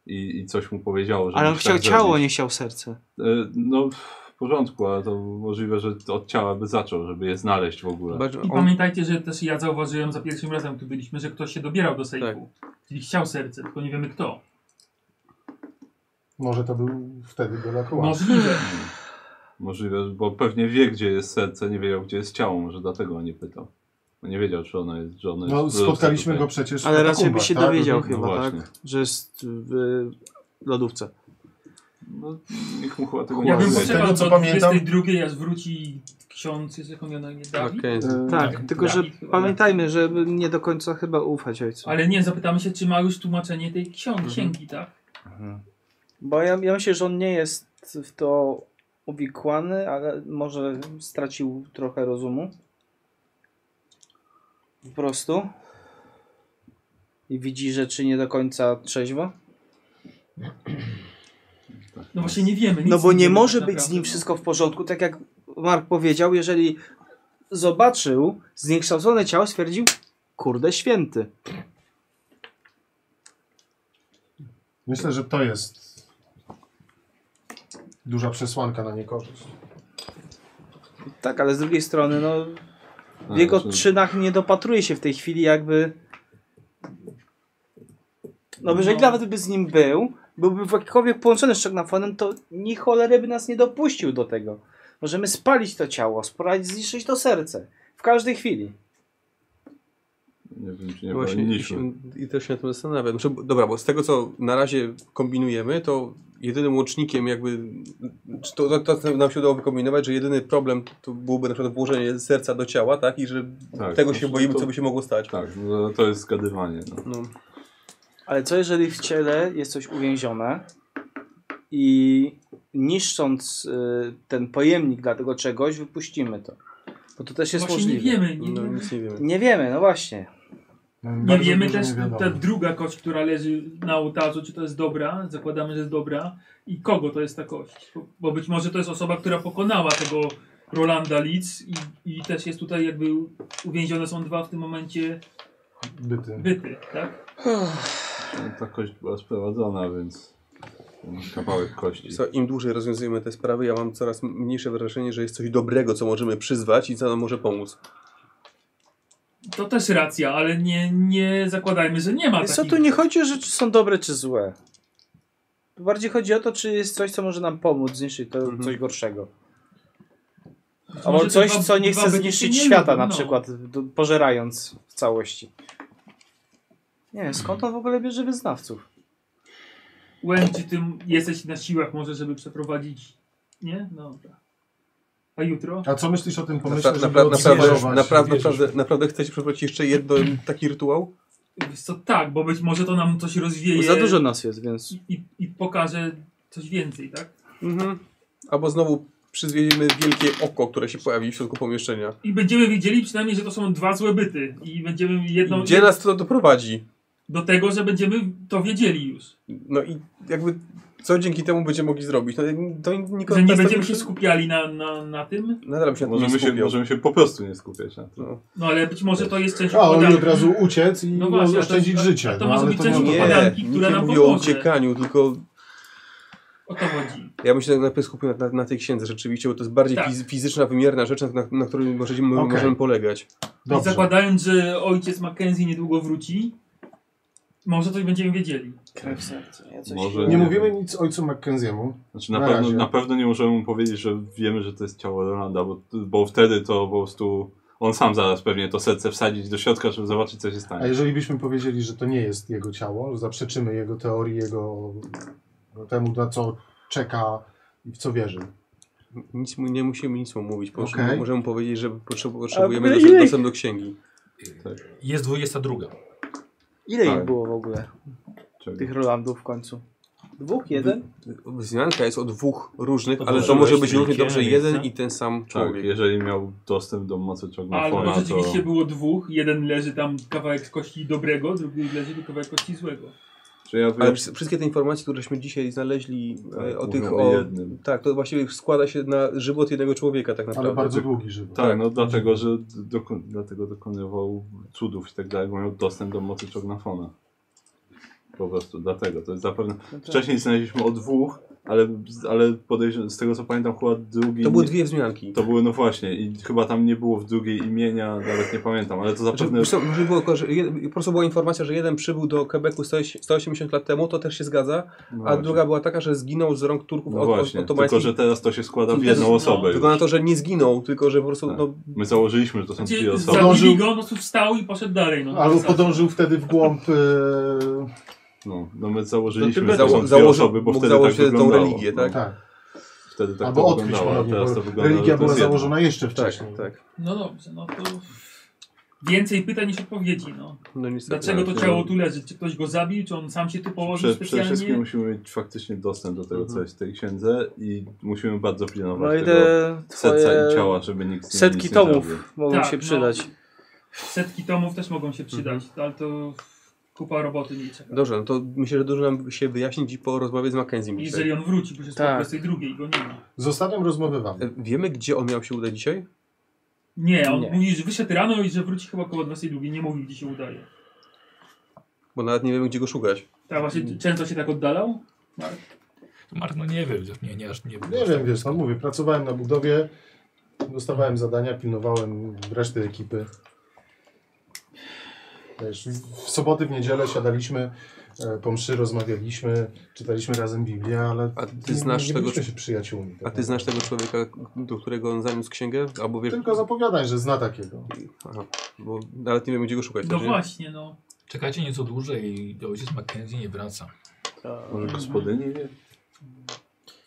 i, i coś mu powiedziało, że
Mhm. Ale on
musi
chciał
tak
ciało,
zrobić.
nie chciał serce.
E, No w porządku, ale to możliwe, że od ciała by zaczął, żeby je znaleźć w ogóle.
I pamiętajcie, że też ja zauważyłem za pierwszym razem, tu byliśmy, że ktoś się dobierał do sejfu. Czyli chciał serce, tylko nie wiemy kto.
Może to był wtedy Delacroix.
Możliwe.
Możliwe, bo pewnie wie, gdzie jest serce, nie wiedział, gdzie jest ciało, może dlatego nie pytał. Bo nie wiedział, czy ono jest, że ono
No,
jest...
spotkaliśmy
tutaj.
go przecież
Ale raczej by się
tak?
dowiedział
Mhm.
chyba,
No właśnie.
tak? Że jest w lodówce.
No, nikt mu chyba tego nie
Ja bym
powiedział.
poczekał
co
do
pamiętam-
22, aż wróci ksiądz, jest jako mianowicie Dawid.
E, tak, tylko że
Dawid chyba.
pamiętajmy, żeby nie do końca chyba ufać ojcu.
Ale nie, zapytamy się, czy ma już tłumaczenie tej ksiąg-
Mhm.
księgi, tak?
Bo ja, ja myślę, że on nie jest w to uwikłany, ale może stracił trochę rozumu. Po prostu. I widzi rzeczy nie do końca trzeźwo.
No właśnie nie wiemy. nic
No bo nie
wiemy,
może
tak
być z
naprawdę.
nim wszystko w porządku, tak jak Mark powiedział, jeżeli zobaczył zniekształcone ciało, stwierdził, kurde święty.
Myślę, że to jest duża przesłanka na niekorzyść.
Tak, ale z drugiej strony, no w
Tak,
Ale
jego
Znaczy,
czy-
czynach nie dopatruje się w tej chwili jakby... No jeżeli nawet by z nim był, byłby w jakikolwiek połączony z Czegnafonem, to ni cholery by nas nie dopuścił do tego. Możemy spalić to ciało, spalić, zniszczyć to serce. W każdej chwili.
Nie wiem, czy nie
Właśnie, i,
powinniśmy.
się, i też się na tym zastanawiam. Znaczy, bo- dobra, bo z tego co na razie kombinujemy, to jedynym łącznikiem jakby, czy to, to, to co nam się udało wykombinować, że jedyny problem to byłoby na przykład włożenie serca do ciała, tak? I że
Tak,
tego
to-
się boimy,
to-
co by się mogło stać.
Tak, no, to jest zgadywanie. No.
Ale co jeżeli w ciele jest coś uwięzione i niszcząc y, ten pojemnik dla tego czegoś, wypuścimy to? Bo to też jest
Właśnie nie
możliwe.
wiemy, nie No, wiemy.
nic nie wiemy.
Nie wiemy, no właśnie.
Mm,
Nie wiemy też, ta druga kość, która leży na ołtarzu, czy to jest dobra, zakładamy, że jest dobra, i kogo to jest ta kość. Bo- Bo być może to jest osoba, która pokonała tego Rolanda Leeds i, i też jest tutaj jakby uwięzione są dwa w tym momencie
byty,
byty tak?
No, Ta kość była sprowadzona, więc kawałek kości.
Co, Im dłużej rozwiązujemy te sprawy, ja mam coraz mniejsze wrażenie, że jest coś dobrego, co możemy przyzwać i co nam może pomóc.
To też racja, ale nie, nie zakładajmy, że nie ma
Wiesz co,
takich.
tu nie chodzi o rzeczy są dobre czy złe. Tu bardziej chodzi o to, czy jest coś, co może nam pomóc zniszczyć to
Mhm.
coś gorszego. Albo
może
coś,
te dwa-
co nie
dwa
chce
byty się
zniszczyć
nie
świata
lubią,
na
no.
przykład, d- pożerając w całości. Nie wiem, skąd on w ogóle bierze wyznawców?
Łęcz, czy ty jesteś na siłach może, żeby przeprowadzić... Nie? No dobra. A jutro?
A co myślisz o tym pomyśle,
Napra-
żeby
napra- naprawdę,
odświeżować?
naprawdę,
Wierzysz?
naprawdę, naprawdę chcecie przeprowadzić jeszcze jeden taki rytuał?
Wiesz co, tak, bo być może to nam coś rozwieje.
Za dużo
nas jest, więc...
I, i, i pokaże coś więcej, tak?
Mhm. Albo znowu przyzwiedzimy wielkie oko, które się pojawi w środku pomieszczenia.
I będziemy wiedzieli przynajmniej, że to są dwa złe byty. I będziemy jedną...
Gdzie nas to doprowadzi?
Do tego, że będziemy to wiedzieli już.
No i jakby co dzięki temu będziemy mogli zrobić? No, to nikogo
Że
nas
nie
to
będziemy
już-
się skupiali na, na, na tym.
Nadal się na tym nie
Możemy się,
skupiał.
możemy się po prostu nie skupiać na tym.
No ale być może to jest część
A, on
układanki.
od razu uciec i
No właśnie, a to-
oszczędzić
a- a
życie.
to
no,
może
ale
być część
nie-
Nie,
układanki,
nikt
która
nie
nam
mówił o
pomoże.
uciekaniu, tylko
O to chodzi.
ja bym się tak najpierw skupił na, na, na tej księdze rzeczywiście, bo to jest bardziej
Tak.
fiz- fizyczna, wymierna rzecz, na, na której możemy,
Okej.
możemy polegać.
I zakładając, że ojciec Mackenzie niedługo wróci, może coś będziemy wiedzieli.
Krew serca. Ja
Może-
Nie mówimy nic ojcu Mackenziemu.
Znaczy na, pewno,
razie.
na pewno nie możemy mu powiedzieć, że wiemy, że to jest ciało Rolanda, bo, bo wtedy to po prostu on sam zaraz pewnie to serce wsadzić do środka, żeby zobaczyć, co się stanie.
A jeżeli byśmy powiedzieli, że to nie jest jego ciało, że zaprzeczymy jego teorii, jego no, temu, na co czeka i w co wierzy.
Nic mu, nie musimy nic mu mówić, po prostu
Okej.
możemy powiedzieć, że potrzebu-
A,
potrzebujemy
ile
dostęp,
ich-
dostęp do księgi.
Jest 22.
Ile
Tak.
ich było w ogóle?
Czego?
Tych Rolandów w końcu. Dwóch, jeden?
Wzmianka jest o dwóch różnych,
To
ale to
może
może
być
być równie
wielkie
dobrze
miejsce.
jeden i ten sam
Tak,
człowiek.
jeżeli miał dostęp do mocy
Albo
Czognofona, to...
rzeczywiście było dwóch, jeden leży tam kawałek kości dobrego, drugi leży tu kawałek kości złego.
Czy ja
Ale wszy- wszystkie te informacje, któreśmy dzisiaj znaleźli e, o
Tak, mówią
tych
o
o.
jednym.
Tak, to właściwie składa się na żywot jednego człowieka tak naprawdę.
Tak, no dlatego, że doko dlatego dokonywał cudów i tak dalej, bo miał dostęp do mocy Czognafona. Po prostu dlatego, to jest zapewne...
No tak.
Wcześniej znaleźliśmy o dwóch, ale, ale podejrzewam, z tego co pamiętam chyba drugi...
To były
nie-
dwie wzmianki.
To były, no właśnie, i chyba tam nie było w drugiej imienia, nawet nie pamiętam, ale to
Znaczy,
zapewne...
wiesz co, może było, tylko, że jeden, po prostu była informacja, że jeden przybył do Quebecu 180 lat temu, to też się zgadza, a
No właśnie.
druga była taka, że zginął z rąk Turków
No
od,
właśnie,
od otomańskich.
tylko że teraz to się składa w
Tylko- no,
jedną osobę
Tylko
już. Tak.
na to, że nie zginął, tylko że po prostu no,
My założyliśmy, że to są dwie
Znaczy,
osoby.
zabili go, on po prostu wstał i poszedł dalej. No,
Albo
Zasadnie.
podążył wtedy w głąb. e,
No, no my założyliśmy,
No,
że to są
zało-
dwie
założy-
osoby, bo
mógł
wtedy tak
założyć tą
wyglądało.
religię, tak?
No.
Tak.
Wtedy tak
Albo
to
odkryć
wyglądało, a
ponownie,
teraz
bo
to wygląda,
religia
że to
była
jest jedno.
założona jeszcze wcześniej.
Tak,
No dobrze, no to więcej pytań niż odpowiedzi. No.
No niestety,
Dlaczego to
tak,
ciało
no.
tu leży? Czy ktoś go zabił? Czy on sam się tu położył
Prze, przede
specjalnie?
wszystkim musimy mieć faktycznie dostęp do tego, co jest w tej księdze i musimy bardzo pilnować
No i
tego
te
serca
twoje
i ciała, żeby nikt z nim
setki
nic nie
tomów
zrobił.
mogą się przydać.
No, setki tomów też mogą się przydać, no, ale to kupa roboty nie czeka.
Dobrze, no to myślę, że dużo nam się wyjaśnić po rozmowie z Mackenziem dzisiaj.
Jeżeli on wróci, bo się tak. z tej drugiej go nie ma.
Z ostatnią rozmowy wam.
E, Wiemy, gdzie on miał się udać dzisiaj?
Nie, on
Nie.
mówi, że wyszedł rano i że wróci chyba koło 22. Nie mówił, gdzie się udaje.
Bo nawet nie wiemy, gdzie go szukać.
Tak, właśnie często się tak oddalał? Marek?
Mark, no nie wiem, nie, nie, aż nie
Nie wiem, wiesz, no mówię, pracowałem na budowie, dostawałem zadania, pilnowałem reszty ekipy. Wiesz, w- w soboty, w niedzielę siadaliśmy, e, po mszy rozmawialiśmy, czytaliśmy razem Biblię, ale
A ty znasz
nie
tego
byliśmy się przyjaciółmi. tak?
A ty znasz tego człowieka, do którego on zaniósł księgę? Albo wiesz...
Tylko zapowiadaj, że zna takiego.
Aha, bo nawet nie wiemy, gdzie go szukać.
No
też, nie?
Właśnie, no.
Czekajcie nieco dłużej i ojciec Mackenzie nie wraca.
Może gospodyni wie?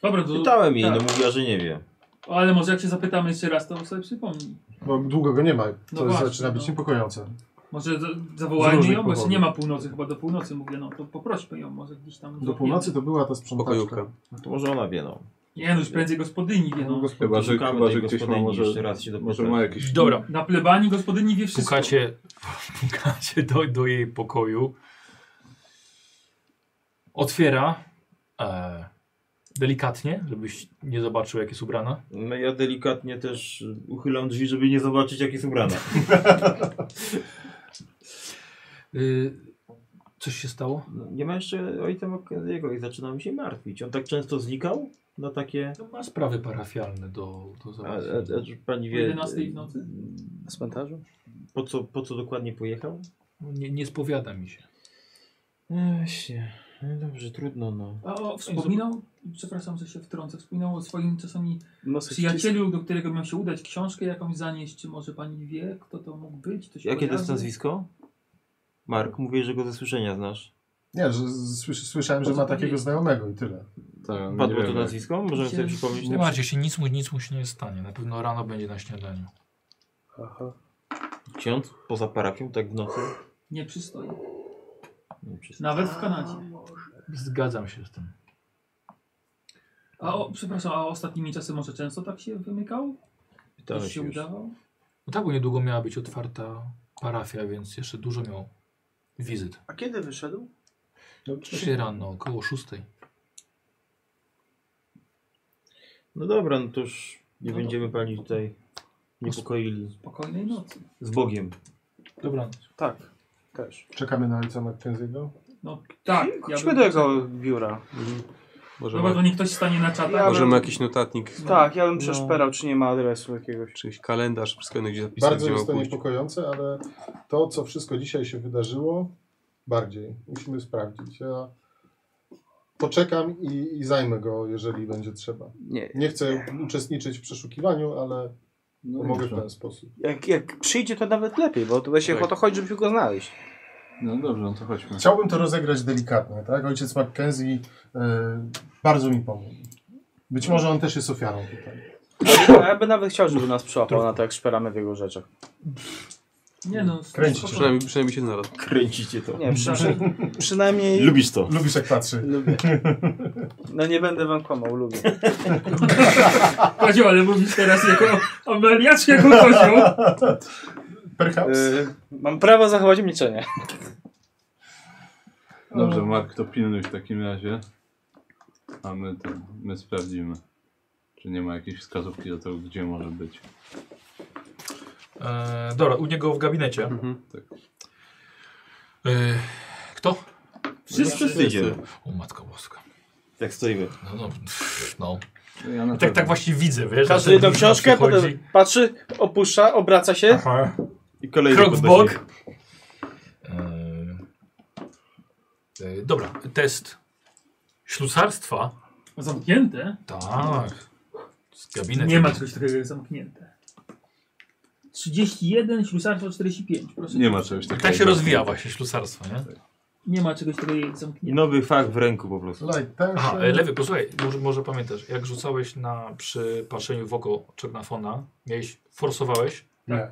Dobra, to...
Pytałem jej,
tak.
no mówiła, że nie wie.
Ale może jak się zapytamy jeszcze raz, to on sobie przypomni.
Bo długo go nie ma, to
No właśnie,
zaczyna być
no.
niepokojące.
Może za-
Z
zawołajmy
różnych
ją, bo jeszcze
powodów.
nie ma północy, chyba do północy mówię, no to poprośmy ją może gdzieś tam.
Do północy to była ta sprzątaczka.
Pokojówka.
No to może ona wie, no.
Nie no, już prędzej gospodyni wie, no.
Chyba, że,
Szukamy
chyba,
tej
że gdzieś ma
gospodyni,
może,
jeszcze raz się
może
dopytać.
ma jakiś...
Dobra,
Na plebanii gospodyni wie wszystko.
pukacie, pukacie do, do jej pokoju. Otwiera e, delikatnie, żebyś nie zobaczył, jak jest ubrana.
No ja delikatnie też y, uchylam drzwi, żeby nie zobaczyć jak jest ubrana.
Y, coś się stało?
No, nie ma jeszcze ojca Mackenzie'ego i zaczynam się martwić. On tak często znikał na takie...
No, Ma sprawy parafialne do, do
A, a,
załatwienia.
a, czy pani
O
wie, Mm,
11 w nocy?
Z cmentarzu?
po co, po co dokładnie pojechał?
No, Nie, nie spowiada mi się.
Właśnie. No dobrze, trudno no.
A o, wspominał, przepraszam, że się wtrącę, wspominał o swoim czasami
Nosek
przyjacielu, do którego miał się udać, książkę jakąś zanieść, czy może pani wie, kto to mógł być? To się
Jakie to jest
kojarzy?
nazwisko? Mark, mówię, że go ze słyszenia znasz.
Nie, że z- słysz- słyszałem, że ma takiego znajomego i tyle.
Tak, nie
Padło to
wiemy.
nazwisko? Możemy sobie przypomnieć?
No
Nie martwcie się, nic mu, nic mu się nie stanie. Na pewno rano będzie na śniadaniu.
Aha.
Ksiądz poza parafią, tak w nocy?
Nie przystoi.
Nie wiem, czy jest-
Nawet w Kanadzie.
Zgadzam się z tym.
A o, przepraszam, a ostatnimi czasy może często tak się wymykał?
Pytałeś
Już się
Tak, już.
udawał?
No tak, bo niedługo miała być otwarta parafia, więc jeszcze dużo miał wizyt.
A kiedy wyszedł?
Dzisiaj rano, około szóstej.
No dobra, no to już nie
No
będziemy pani tutaj niepokoili.
Spokojnej nocy.
Z Bogiem.
Dobranoc.
Tak, też.
Czekamy na ojca McKenzie'ego.
No tak,
Chodźmy
bym-
do jego biura.
Może,
Dobra,
ma,
to niech ktoś stanie na czatach.
Ja
może ma
bym-
jakiś notatnik,
Tak, ja bym przeszperał, czy nie ma adresu jakiegoś.
czy jakiś kalendarz, wszystko inne, gdzie zapisane,
Bardzo
gdzie ma
jest to
pójść.
niepokojące, ale to, co wszystko dzisiaj się wydarzyło, bardziej. Musimy sprawdzić. Ja poczekam i, i zajmę go, jeżeli będzie trzeba.
Nie.
Nie chcę uczestniczyć w przeszukiwaniu, ale
No
mogę w
dobrze.
ten sposób.
Jak, jak przyjdzie, to nawet lepiej, bo to właśnie o to chodzi, żeby go znaleźć.
No dobrze, no to chodźmy.
Chciałbym to rozegrać delikatnie, tak? Ojciec Mackenzie y, bardzo mi pomógł. Być może on też jest ofiarą tutaj.
No, A ja bym nawet chciał, żeby nas przyłapał na to, jak szperamy w jego rzeczach.
Nie no,
Kręcić
spoko.
przynajmniej, przynajmniej Mm. się znalazł.
Kręcicie to.
Nie, przy- przy-
przynajmniej-
Lubisz to.
Lubisz, jak patrzy.
Lubię.
No nie będę wam kłamał, lubię.
Kozioł, ale mówisz teraz jako Amelia czy jako kozioł?
Perhaps. Y, mam prawo zachować milczenie.
Dobrze, Mark, to pilnuj w takim razie. A my, ten, my sprawdzimy, czy nie ma jakiejś wskazówki do tego, gdzie może być.
E, dobra, u niego w gabinecie.
Tak.
E, kto?
Wszyscy, wszyscy idziemy.
O matko boska.
Jak stoimy.
No, no, pff, no.
Ja
I tak, tak właśnie widzę, wiesz?
Każdy
że
jedną
ten
książkę,
przychodzi.
potem patrzy, opuszcza, obraca się.
I kolejny
Krok w
podnosi.
bok. E, e, dobra, test ślusarstwa.
Zamknięte?
Tak. Z gabinetu.
Nie ma czegoś takiego jak zamknięte. 31, ślusarstwo 45. Proszę.
Nie ma czegoś takiego.
Tak się rozwija właśnie ślusarstwo, nie?
Nie ma czegoś takiego jak zamknięte.
I nowy fach w ręku po prostu.
Aha, e, lewy, posłuchaj, może, może pamiętasz, jak rzucałeś na przy patrzeniu w oko Czegnafona, miałeś, forsowałeś,
Nie.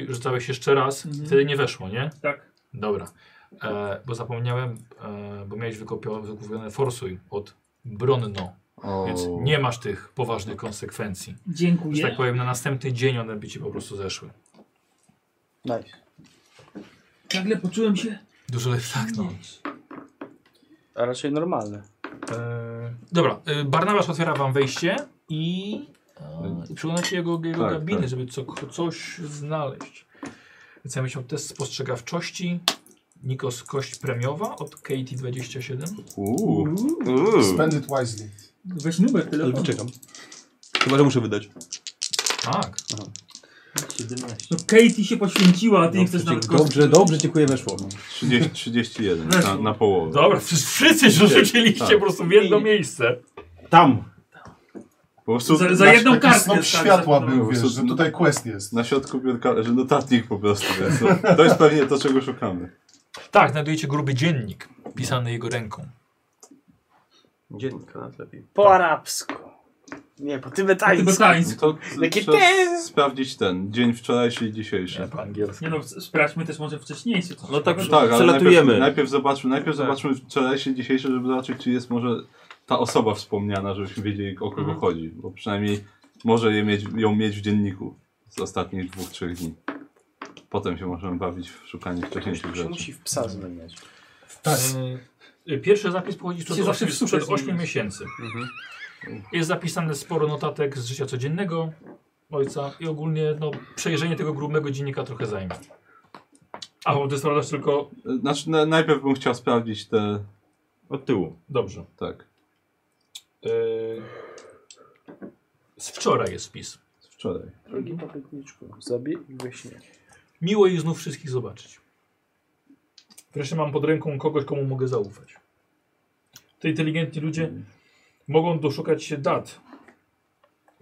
i rzucałeś jeszcze raz,
Mhm.
wtedy nie weszło,
No.
nie?
Tak.
Dobra, e, bo zapomniałem, e, bo miałeś wykopio- wykupione forsuj od Bronno,
O.
więc nie masz tych poważnych konsekwencji.
Dziękuję.
Że tak powiem, na następny dzień one by ci po prostu zeszły.
Nice.
Nagle poczułem się.
Dużo lepiej, tak no.
A raczej normalne.
E, dobra, y, Barnabasz otwiera wam wejście i e, przeglądacie jego, jego
Tak,
gabiny,
tak.
żeby co, coś znaleźć. Więc ja myślę, test spostrzegawczości. Nikos kość premiowa od Katie 27.
Uuu.
Spend it wisely.
Weź numer
Ale
telefonu.
poczekam. Chyba, że muszę wydać.
Tak.
No Katie się poświęciła, a ty nie chcesz nawet
No, Dobrze, dobrze, dziękuję, weszło.
30, 31, na, na połowę.
Dobra, wszyscy- wszyscy się rzuciliście
Tak.
po prostu w jedno miejsce.
Tam.
Po prostu
Za- za
na-
jedną
Taki
kartkę,
snop
tak,
światła
za-
był,
po
wiesz,
prostu
że tutaj quest jest.
Na środku biurka, że notatnik po prostu. Więc no, to jest pewnie to, czego szukamy.
Tak, znajdujecie gruby dziennik pisany jego ręką.
Dziennika nawet lepiej.
Po arabsku. Nie, po tybetańsku.
Po tybetańsku.
No to
Takie
trzeba
te-
sprawdzić ten dzień wczorajszy i dzisiejszy.
Po angielsku.
Nie no, sprawdźmy też może wcześniejsze. coś.
No tak,
Tak,
tak
ale
przelatujemy.
Najpierw, najpierw zobaczmy, najpierw zobaczmy wczorajszy i dzisiejszy, żeby zobaczyć, czy jest może ta osoba wspomniana, żebyśmy wiedzieli o kogo chodzi. Bo przynajmniej może je mieć, ją mieć w dzienniku z ostatnich dwóch, trzech dni. Potem się możemy bawić w szukanie wcześniejszych
Się
rzeczy.
musi w psa zmieniać.
E, Pierwszy zapis pochodzi
Się
sprzed
zawsze
8,
w Mhm. super
sprzed 8
zmienia.
miesięcy. Jest zapisane sporo notatek z życia codziennego ojca i ogólnie no, przejrzenie tego grubego dziennika trochę zajmie. A bo ty sprawdzasz tylko...
Znaczy, na, najpierw bym chciał sprawdzić te...
Od tyłu.
Dobrze.
Tak,
E, Z wczoraj jest spis.
z wczoraj.
Drogi popytniczku, zabij i wyśnie.
Miło jest znów wszystkich zobaczyć. Wreszcie mam pod ręką kogoś, komu mogę zaufać. Te inteligentni ludzie
Mhm.
mogą doszukać się dat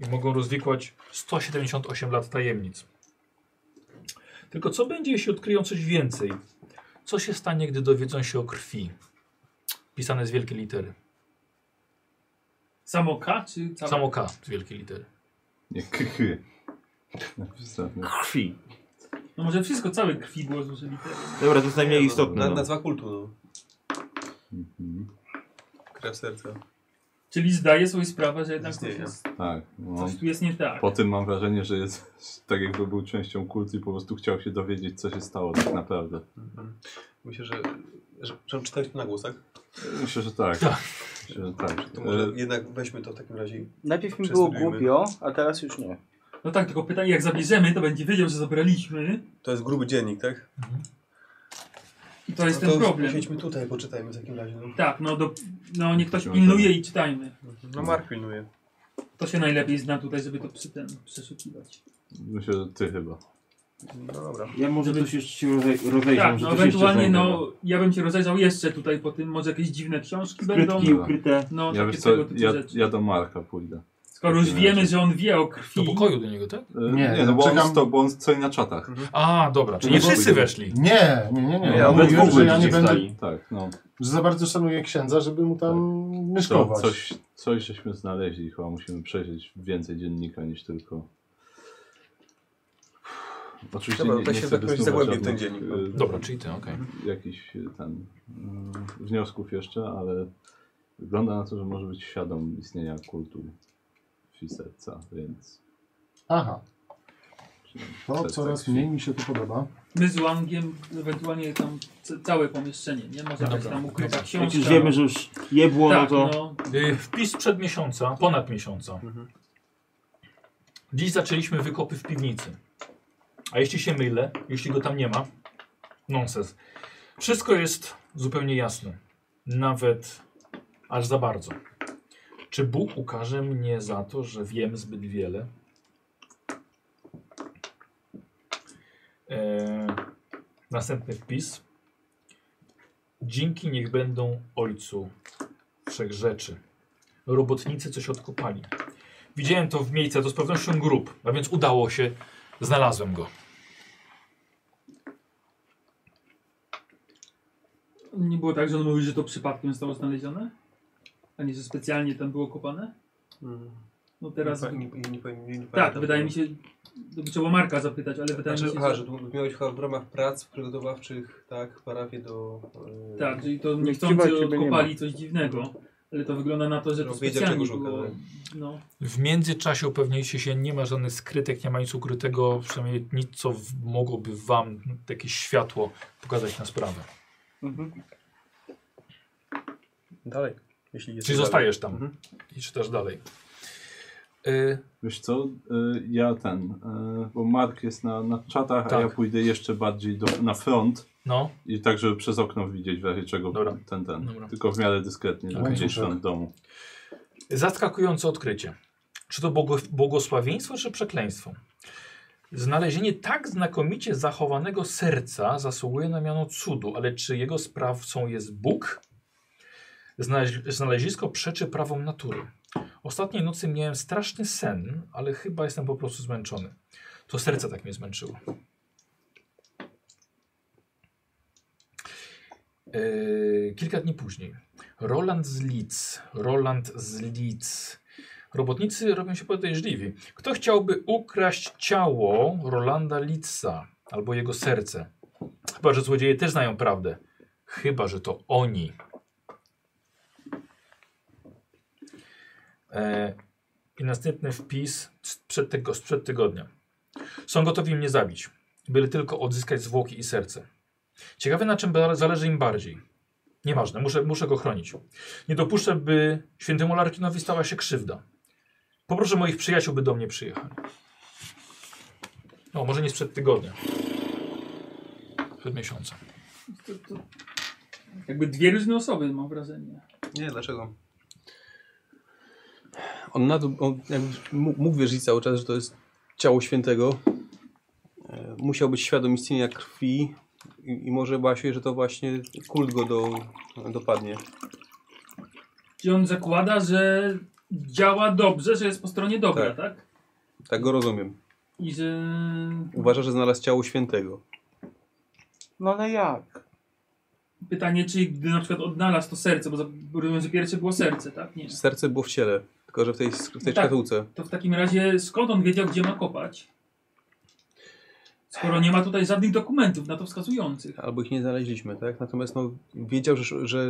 i mogą rozwikłać 178 lat tajemnic. Tylko co będzie, jeśli odkryją coś więcej? Co się stanie, gdy dowiedzą się o krwi? Pisane z wielkiej litery.
Samo K czy całe?
Samo K z wielkiej litery.
Nie, kchy. Napisane.
Krwi.
No może wszystko, całe krwi było z użyli tego.
Dobra, to jest najmniej istotne.
Na,
No.
nazwa kultu, no.
Mhm.
Krew serca.
Czyli zdaję sobie sprawę, że jednak
Istnieje.
coś, jest,
Tak. No.
coś tu jest nie tak.
Po tym mam wrażenie, że jest tak jakby był częścią kultu i po prostu chciał się dowiedzieć, co się stało tak naprawdę.
Mhm. Myślę, że... że trzeba czytać to na głos, tak?
Myślę, że tak.
Tak.
Myślę, że tak.
To może
E,
jednak weźmy to w takim razie. i-
Najpierw mi było
Przestudujmy.
głupio, a teraz już nie.
No tak, tylko pytanie, jak zabierzemy, to będzie wiedział, że zabraliśmy.
To jest gruby dziennik, tak?
I to jest
no
ten
to
problem.
Siedźmy tutaj, poczytajmy w takim razie. No,
Tak, no, do, no niech ktoś pilnuje i czytajmy.
no Mark pilnuje.
To się najlepiej zna tutaj, żeby to przy tym przeszukiwać.
Myślę, że ty chyba.
No dobra.
Ja może tu się jeszcze się rozej- rozejrzę,
Tak,
może
no
coś jeszcze
ewentualnie
znajdę.
no, ja bym się rozejrzał jeszcze tutaj po tym, może jakieś dziwne książki będą.
Skrytki ukryte.
No,
ja,
takie
wiesz co,
tego typu
ja,
rzeczy.
ja do Marka pójdę.
Skoro już
takim
wiemy,
razie.
że on wie o
Do
krwi.
pokoju do niego, tak?
E,
Nie,
nie no bo
czekam-
on, sto, bo on stoi na czatach.
A, dobra, czyli nie wszyscy weszli.
Nie, nie, nie, nie.
Ja
Ja mówiłem, że ja nie będę,
stali.
Tak, no.
że za bardzo szanuję księdza, żeby mu tam
To
mieszkować.
coś, coś żeśmy znaleźli, chyba musimy przejrzeć więcej dziennika niż tylko. Oczywiście
Dobra,
nie,
to się
nie
tak
chcę
jakoś
wysnuwać
zagłębię w
żadnych,
ten dziennik. no.
y,
Dobra, czyli ty, okej.
Jakichś y, tam y, wniosków jeszcze, ale wygląda na to, że może być świadom istnienia kultu wsi serca, więc...
Aha. To
serca
No, coraz
wsi.
mniej mi się tu podoba.
My z Łangiem ewentualnie tam c- całe pomieszczenie, nie? Może być
Dobra,
tam ukryta
dobra.
Jak
książka.
już wiemy, że już je było,
tak,
no to...
no,
Y, Wpis przed miesiąca, ponad miesiąca. Dziś zaczęliśmy wykopy w piwnicy. A jeśli się mylę, jeśli go tam nie ma, nonsens. Wszystko jest zupełnie jasne. Nawet aż za bardzo. Czy Bóg ukaże mnie za to, że wiem zbyt wiele? E, następny wpis. Dzięki niech będą Ojcu trzech rzeczy. Robotnicy coś odkopali. Widziałem to w miejscu, to z pewnością grób, a więc udało się, znalazłem go.
nie było tak, że on mówił, że to przypadkiem zostało znalezione? A nie, że specjalnie tam było kopane? No teraz...
Mm. Nie, pa- nie, nie, nie, powiem- nie, nie
tak,
pamiętam.
to wydaje mi się... To by trzeba Marka zapytać, ale wydaje
Znaczy,
mi się,
aha,
że...
że tu miałeś chyba w ramach prac przygotowawczych, tak, parafię do... e,
Tak, czyli to
Nie
niechcący
kiwaj, ciebie nie
odkopali
ma.
coś dziwnego. Ale to wygląda na to, że to
Wiedział,
specjalnie
czego szukał,
było...
tak.
No.
W międzyczasie upewniliście się, nie ma żadnych skrytek, nie ma nic ukrytego, przynajmniej nic, co w- mogłoby wam takie światło pokazać na sprawę.
Dalej, jeśli jest
Czyli
dalej.
zostajesz tam
Mhm.
i czytasz dalej. Y,
Wiesz co, y, ja ten, y, bo Mark jest na, na czatach, a
Tak.
ja pójdę jeszcze bardziej do, na front
no,
i tak, żeby przez okno widzieć w razie czego
Dobra.
ten, ten,
Dobra.
tylko w miarę dyskretnie, żeby
Okej.
gdzieś tam w domu.
zaskakujące odkrycie. Czy to błogo- błogosławieństwo, czy przekleństwo? Znalezienie tak znakomicie zachowanego serca zasługuje na miano cudu, ale czy jego sprawcą jest Bóg? Znaleź, znalezisko przeczy prawom natury. Ostatniej nocy miałem straszny sen, ale chyba jestem po prostu zmęczony. To serce tak mnie zmęczyło. Yy, kilka dni później. Roland z Leeds. Roland z Leeds. Robotnicy robią się podejrzliwi. Kto chciałby ukraść ciało Rolanda Leedsa albo jego serce? Chyba, że złodzieje też znają prawdę. Chyba, że to oni. E, I następny wpis sprzed, tego, sprzed tygodnia. Są gotowi mnie zabić, byle tylko odzyskać zwłoki i serce. Ciekawe na czym ba- zależy im bardziej. Nieważne, muszę, muszę go chronić. Nie dopuszczę, by świętemu Larkinowi stała się krzywda. Poproszę moich przyjaciół, by do mnie przyjechali. No, może nie sprzed tygodnia. Sprzed miesiąca.
To, to... Jakby dwie różne osoby, mam wrażenie.
Nie, dlaczego? On, nad, on jakby mógł mógł wierzyć cały czas, że to jest ciało świętego. E, Musiał być świadom istnienia krwi i, i może bał się, że to właśnie kult go do, dopadnie.
Czyli on zakłada, że działa dobrze, że jest po stronie dobra,
Tak.
tak?
Tak go rozumiem.
I że...
Uważa, że znalazł ciało świętego.
No ale jak?
Pytanie, czy gdy na przykład odnalazł to serce, bo za- bo rozumiem, że pierwsze było serce, tak? Nie.
Serce było w ciele, tylko że w tej, w tej
Tak.
szkatułce.
To w takim razie skąd on wiedział, gdzie ma kopać? Skoro nie ma tutaj żadnych dokumentów na to wskazujących.
Albo ich nie znaleźliśmy, tak? Natomiast no, wiedział, że, że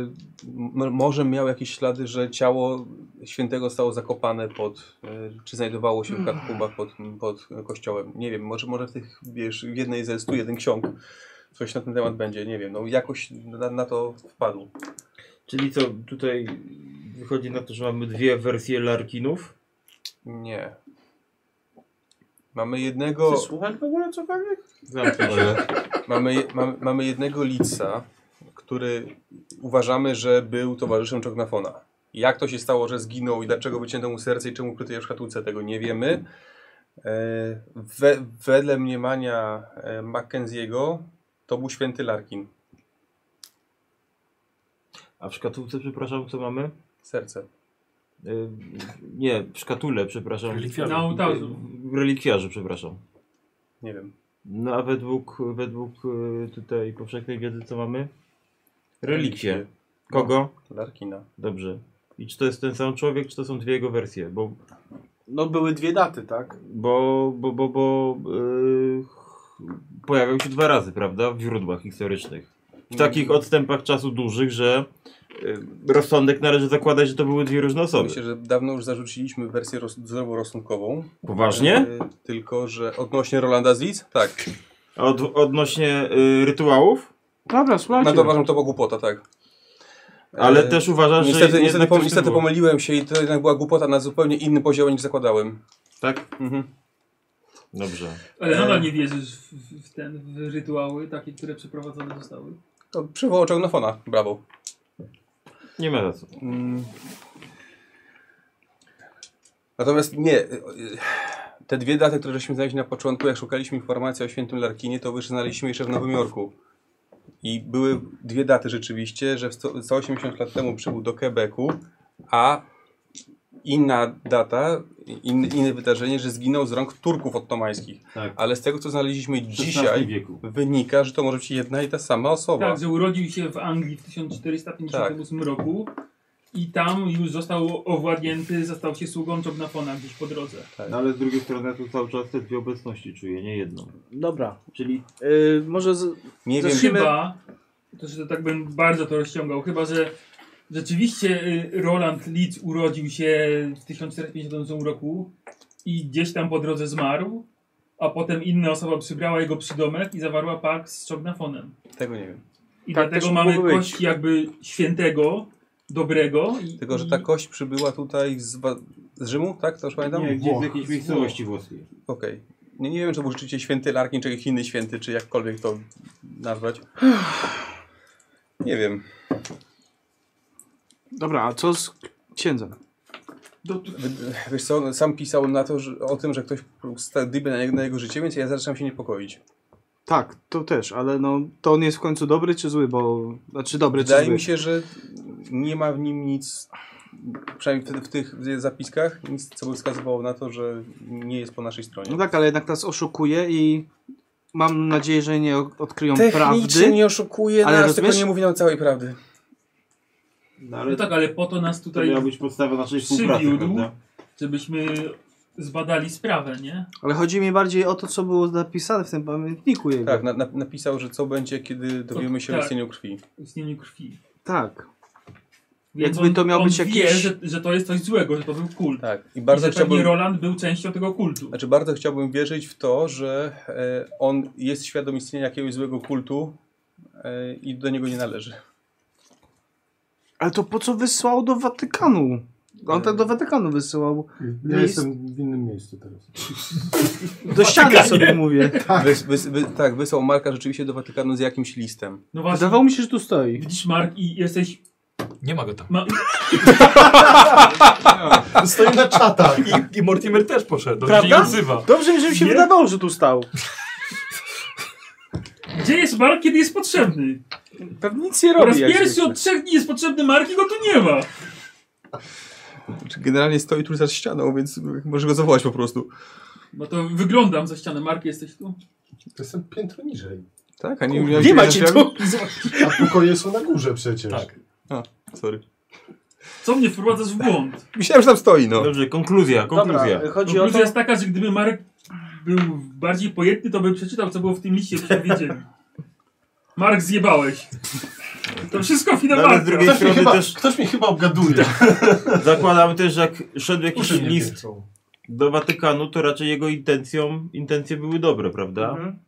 m- może miał jakieś ślady, że ciało świętego zostało zakopane pod, e, czy znajdowało się w katakumbach pod, pod kościołem. Nie wiem, może, może w tych, wiesz, w jednej ze 101 ksiąg coś na ten temat będzie, nie wiem. No jakoś na, na to wpadł.
Czyli co, tutaj wychodzi na to, że mamy dwie wersje Larkinów.
Nie. Mamy
Ty
jednego,
słuchasz w ogóle cokolwiek?
Zamknij się.
mamy, je- mamy, mamy jednego Litsa, który uważamy, że był towarzyszem Czognafona. Jak to się stało, że zginął i dlaczego wycięto mu serce i czemu krytyje w szkatułce, tego nie wiemy. E, We, wedle mniemania e, Mackenzie'ego to był święty Larkin.
A w szkatułce, przepraszam, co mamy?
Serce.
Y, nie, w szkatule, przepraszam.
Relikwiarzu.
Na ołtarzu.
W relikwiarzu, przepraszam.
Nie wiem.
No a według, według y, tutaj powszechnej wiedzy co mamy? Relikwie. Kogo?
Larkina.
Dobrze. I czy to jest ten sam człowiek, czy to są dwie jego wersje? Bo,
No były dwie daty, tak?
bo, bo, bo, bo y, pojawiał się dwa razy, prawda? W źródłach historycznych. W takich odstępach czasu dużych, że y, rozsądek należy zakładać, że to były dwie różne osoby.
Myślę, że dawno już zarzuciliśmy wersję roz- zdroworozsądkową.
Poważnie?
E, tylko, że odnośnie Rolanda z Leeds? Tak.
A od, odnośnie y, rytuałów?
Dobra, słuchajcie.
No to uważam, to była głupota, tak.
Znaczy- Ale
E,
też uważasz, że
niestety,
jednak
Niestety,
coś
pom-
tu
niestety
było?
pomyliłem się i to jednak była głupota na zupełnie inny poziom niż zakładałem.
Tak?
Mhm.
Dobrze.
Ale nadal nie wierzysz w, w, w ten w rytuały takie, które przeprowadzone zostały.
To przywołał Czognofona, brawo.
Nie ma za co.
Mm. Natomiast nie, y, y, te dwie daty, które żeśmy znaleźli na początku, jak szukaliśmy informacji o świętym Larkinie, to wyznaliśmy jeszcze w Nowym Jorku. I były dwie daty rzeczywiście, że w sto- 180 lat temu przybył do Quebecu, a inna data, in, inne wydarzenie, że zginął z rąk Turków ottomańskich.
Tak.
Ale z tego, co znaleźliśmy
XVI
dzisiaj,
wieku.
wynika, że to może być jedna i ta sama osoba.
Tak, że urodził się w Anglii w 1458 roku i tam już został owładnięty, został się sługą Czobnafona gdzieś po drodze.
No ale z drugiej strony ja tu cały czas te dwie obecności czuję, nie jedną.
Dobra.
Czyli
y, może z,
nie
zaczniemy-
Chyba, to, że tak bym bardzo to rozciągał, chyba, że rzeczywiście y, Roland Leeds urodził się w 1458 roku i gdzieś tam po drodze zmarł, a potem inna osoba przybrała jego przydomek i zawarła pakt z Czobnafonem.
Tego nie wiem.
I
Tak
dlatego
też
mamy
mógłby być.
kość jakby świętego, dobrego. I,
Tylko, że tak-
i-
ta
Mhm.
kość przybyła tutaj z, Wa- z Rzymu, tak? To już pamiętam?
Nie, gdzieś z jakiejś miejscowości włoskiej.
Okej. Nie, nie wiem, czy to był rzeczywiście święty Larkin, czy jakiś inny święty, czy jakkolwiek to nazwać. Nie wiem.
Dobra, a co z księdzem?
Wy- Wiesz co, on sam pisał na to, że, o tym, że ktoś dyby na, jego- na jego życie, więc ja zaczynam się niepokoić.
Tak, to też, ale no to on jest w końcu dobry czy zły, bo... Znaczy dobry czy
Wydaje
zły.
mi się, że nie ma w nim nic, przynajmniej w, w tych zapiskach, nic, co by wskazywało na to, że nie jest po naszej stronie.
No tak, ale jednak nas oszukuje i mam nadzieję, że nie o- odkryją prawdy.
Technicznie nie oszukuje
ale
nas,
rozumiesz?
tylko nie mówi nam całej prawdy.
No tak, ale po to nas tutaj
To miała być podstawa naszej współpracy,
przywiódł,
prawda?
żebyśmy zbadali sprawę, nie?
Ale chodzi mi bardziej o to, co było napisane w tym pamiętniku jego.
Tak, na, na, napisał, że co będzie, kiedy dowiemy się o
tak.
istnieniu krwi.
Istnieniu krwi.
Tak.
Więc
Jakby
on-
to miał
on
być
wie,
jakiś-
Że, że to jest coś złego, że to był kult.
Tak. I
bardzo
bardzo
I że pewnie
chciałbym-
Roland był częścią tego kultu.
Znaczy, bardzo chciałbym wierzyć w to, że e, on jest świadom istnienia jakiegoś złego kultu e, i do niego nie należy.
Ale to po co wysłał do Watykanu? On tak do Watykanu wysyłał.
No
Ja
list.
jestem w innym miejscu teraz.
Do ściany sobie mówię.
Tak. Wys, wys, wy, tak, wysłał Marka rzeczywiście do Watykanu z jakimś listem.
No właśnie.
Wydawało mi się, że tu stoi.
Widzisz, Mark, i jesteś.
Nie ma go tam.
Ma...
Stoi na czatach. I, i Mortimer też poszedł. on się Nie
Prawda?
odzywa.
Dobrze, mi, że mi się
Nie?
wydawało, że tu stał.
Gdzie jest Mark, kiedy jest potrzebny?
Pewnie nic nie
Po raz
robi. jak
pierwszy
zwykle.
od trzech dni jest potrzebny Mark i go tu nie ma.
Znaczy, generalnie stoi tu za ścianą, więc możesz go zawołać po prostu.
No to wyglądam za ścianę. Mark, jesteś tu?
Jestem piętro niżej.
Tak, a nie
Kurde,
miałeś
nie ma
wiedzieć,
cię
jak-
tu. A pokoje są na górze przecież.
Tak.
A, sorry.
Co mnie wprowadzasz w błąd?
Myślałem, że tam stoi, no.
Dobrze, konkluzja, konkluzja.
Dobra, chodzi o
Konkluzja
to...
jest taka, że gdyby Marek był bardziej pojętny, to by przeczytał, co było w tym liście przewidzieli. Mark, zjebałeś. To wszystko wina
No, ale z
Marka.
drugiej-
Ktoś, mnie
Strony
chyba,
też-
ktoś mnie chyba obgaduje.
Tak.
Zakładam też, że jak szedł jakiś
Uszy mnie
list
piecą.
do Watykanu, to raczej jego intencją, intencje były dobre, prawda?
Mhm.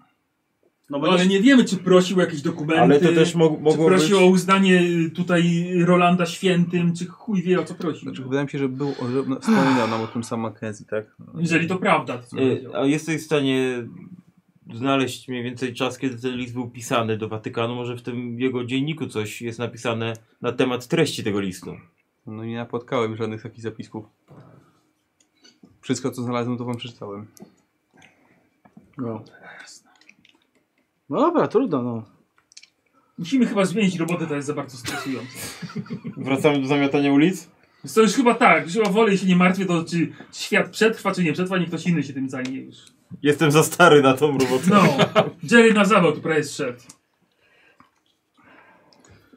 No
No, ale nie wiemy, czy prosił o jakieś dokumenty,
Ale to też mog-
czy
mogło być...
prosił o uznanie y, tutaj Rolanda świętym, czy chuj wie o co prosił.
Znaczy, wydaje mi się, że był, że wspominał nam o tym sam Mackenzie, tak?
Jeżeli to prawda, to co powiedział.
E, A jesteś w stanie znaleźć mniej więcej czas, kiedy ten list był pisany do Watykanu? Może w tym jego dzienniku coś jest napisane na temat treści tego listu?
No nie napotkałem żadnych takich zapisków. Wszystko, co znalazłem, to wam przeczytałem.
No. no dobra, trudno, no.
Musimy chyba zmienić robotę, to jest za bardzo stresujące.
Wracamy do zamiatania ulic?
Więc to już chyba tak, że o wolę się nie martwię, to czy świat przetrwa, czy nie przetrwa, niech ktoś inny się tym zajmie już.
Jestem za stary na tą robotę.
No, Jerry na zawał tu prawie zszedł.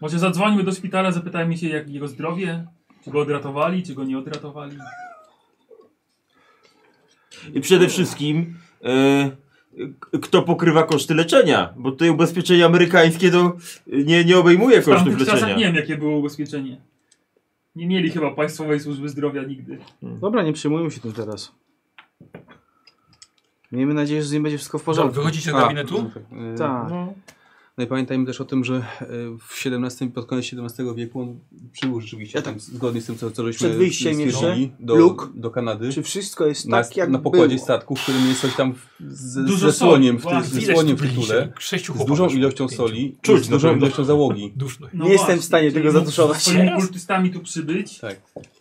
Może zadzwońmy do szpitala, zapytajmy się jak jego zdrowie, czy go odratowali, czy go nie odratowali.
I przede wszystkim e, k- kto pokrywa koszty leczenia, bo tutaj ubezpieczenie amerykańskie to nie, nie obejmuje
W tamtych
kosztów
czasach nie
leczenia.
wiem, jakie było ubezpieczenie. Nie mieli chyba Państwowej Służby Zdrowia nigdy.
Dobra, nie przejmujmy się tym teraz. Miejmy nadzieję, że z nim będzie wszystko w porządku.
Dobra, wychodzicie z
A,
gabinetu?
y, Tak.
e, No i pamiętajmy też o tym, że e, w XVII, pod koniec XVII wieku on przybył rzeczywiście tam, zgodnie z tym, co, co żeśmy
tak. Przed wyjściem
stwierdzili
jeszcze
do,
luk.
do Kanady.
Czy wszystko jest
na,
tak, jak
Na pokładzie
było?
statku, w którym jest coś tam z,
Dużo
ze słoniem w,
soli.
ty, ze
Ile
słoniem w
tu byliście?
tytule,
Sześciu
z dużą ilością soli, i z dużą ilością załogi.
No
nie jestem w stanie
czyli
tego
mógł
zatuszować.
Z swoimi
Teraz?
kultystami tu przybyć,
Tak.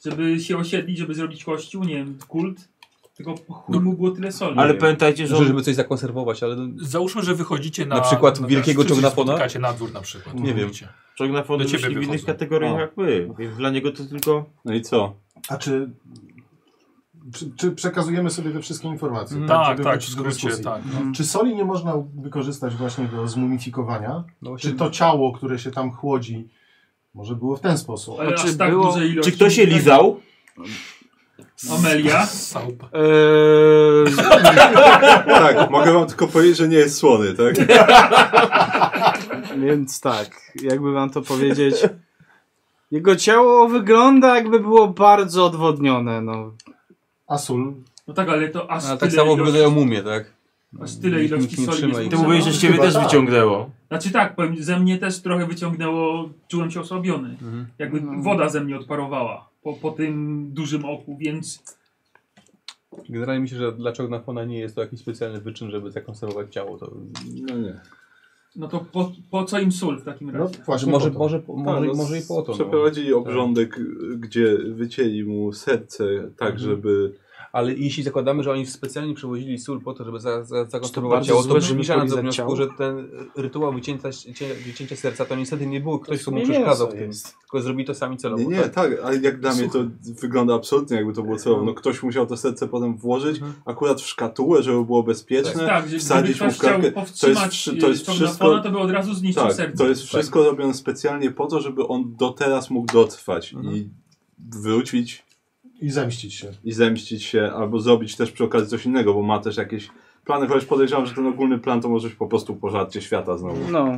żeby się osiedlić, żeby zrobić kościół, nie wiem, kult. Tylko po chuj mu było tyle soli.
Nie wiem. Że żeby coś zakonserwować, ale...
Załóżmy, że wychodzicie na...
Na przykład wielkiego
czy coś
czognapona?
Spotykacie na dwór na przykład.
Nie wiem.
Czognapon
Do ciebie
myśli w innych
wychodzą.
kategoriach
A.
jak my, więc dla niego to tylko...
No i co?
A czy, czy, czy przekazujemy sobie te wszystkie informacje?
Mhm. Tak,
żeby
tak,
wrócić
w
do
skrócie,
dyskusji?
tak, no.
Czy soli nie można wykorzystać właśnie do zmumifikowania?
No właśnie-
czy to ciało, które się tam chłodzi, może było w ten sposób?
Ale aż tak dużej ilości- Amelia?
Eee,
tak, mogę wam tylko powiedzieć, że nie jest słony, tak?
Więc tak, jakby wam to powiedzieć. Jego ciało wygląda jakby było bardzo odwodnione, no.
A sól?
No tak, ale to aż
A tak
tyle
samo
ilości-
wyglądają mumie, tak?
Aż tyle
Nikt
ilości
nic nie
soli
trzyma
jest
i-
Ty mówiłeś, że z ciebie
Chyba
też
tak.
wyciągnęło.
Znaczy tak, powiem, ze mnie też trochę wyciągnęło, czułem się osłabiony. Jakby woda ze mnie odparowała po, po tym dużym oku, więc
Generalnie myślę, że dla czognafona nie jest to jakiś specjalny wyczyn, żeby zakonserwować ciało. To...
No nie.
no to po, po co im sól w
No,
takim razie?
może, może,
Tak,
może,
no
może i po to.
no, Przeprowadzili
no.
obrządek, gdzie wycięli mu serce, tak
Mhm.
żeby...
Ale jeśli zakładamy, że oni specjalnie przewozili sól po to, żeby za, za, zakonserwować
bardzo
ciało, to
złe, żeby
przybliża nas do
polizać
wniosku,
ciało?
że ten rytuał wycięcia, cię- wycięcia serca to niestety nie był ktoś, kto mu
nie
przeszkadzał
mięso
w tym.
jest.
Tylko zrobili to sami celowo.
Nie, nie, tak, ale jak dla mnie to wygląda absolutnie jakby to było celowo. No ktoś musiał to serce potem włożyć, akurat w szkatułę, żeby było bezpieczne,
Tak, że
wsadzić
gdyby
mu
ktoś
w kartkę.
chciał powstrzymać,
wszy-
y, Cognafona, to by od razu zniszczył
tak,
serce.
to jest
Tak.
wszystko robione specjalnie po to, żeby on do teraz mógł dotrwać i wrócić
I zemścić się.
i zemścić się, albo zrobić też przy okazji coś innego, bo ma też jakieś plany, chociaż podejrzewam, że ten ogólny plan to może być po prostu pożarcie świata znowu.
No.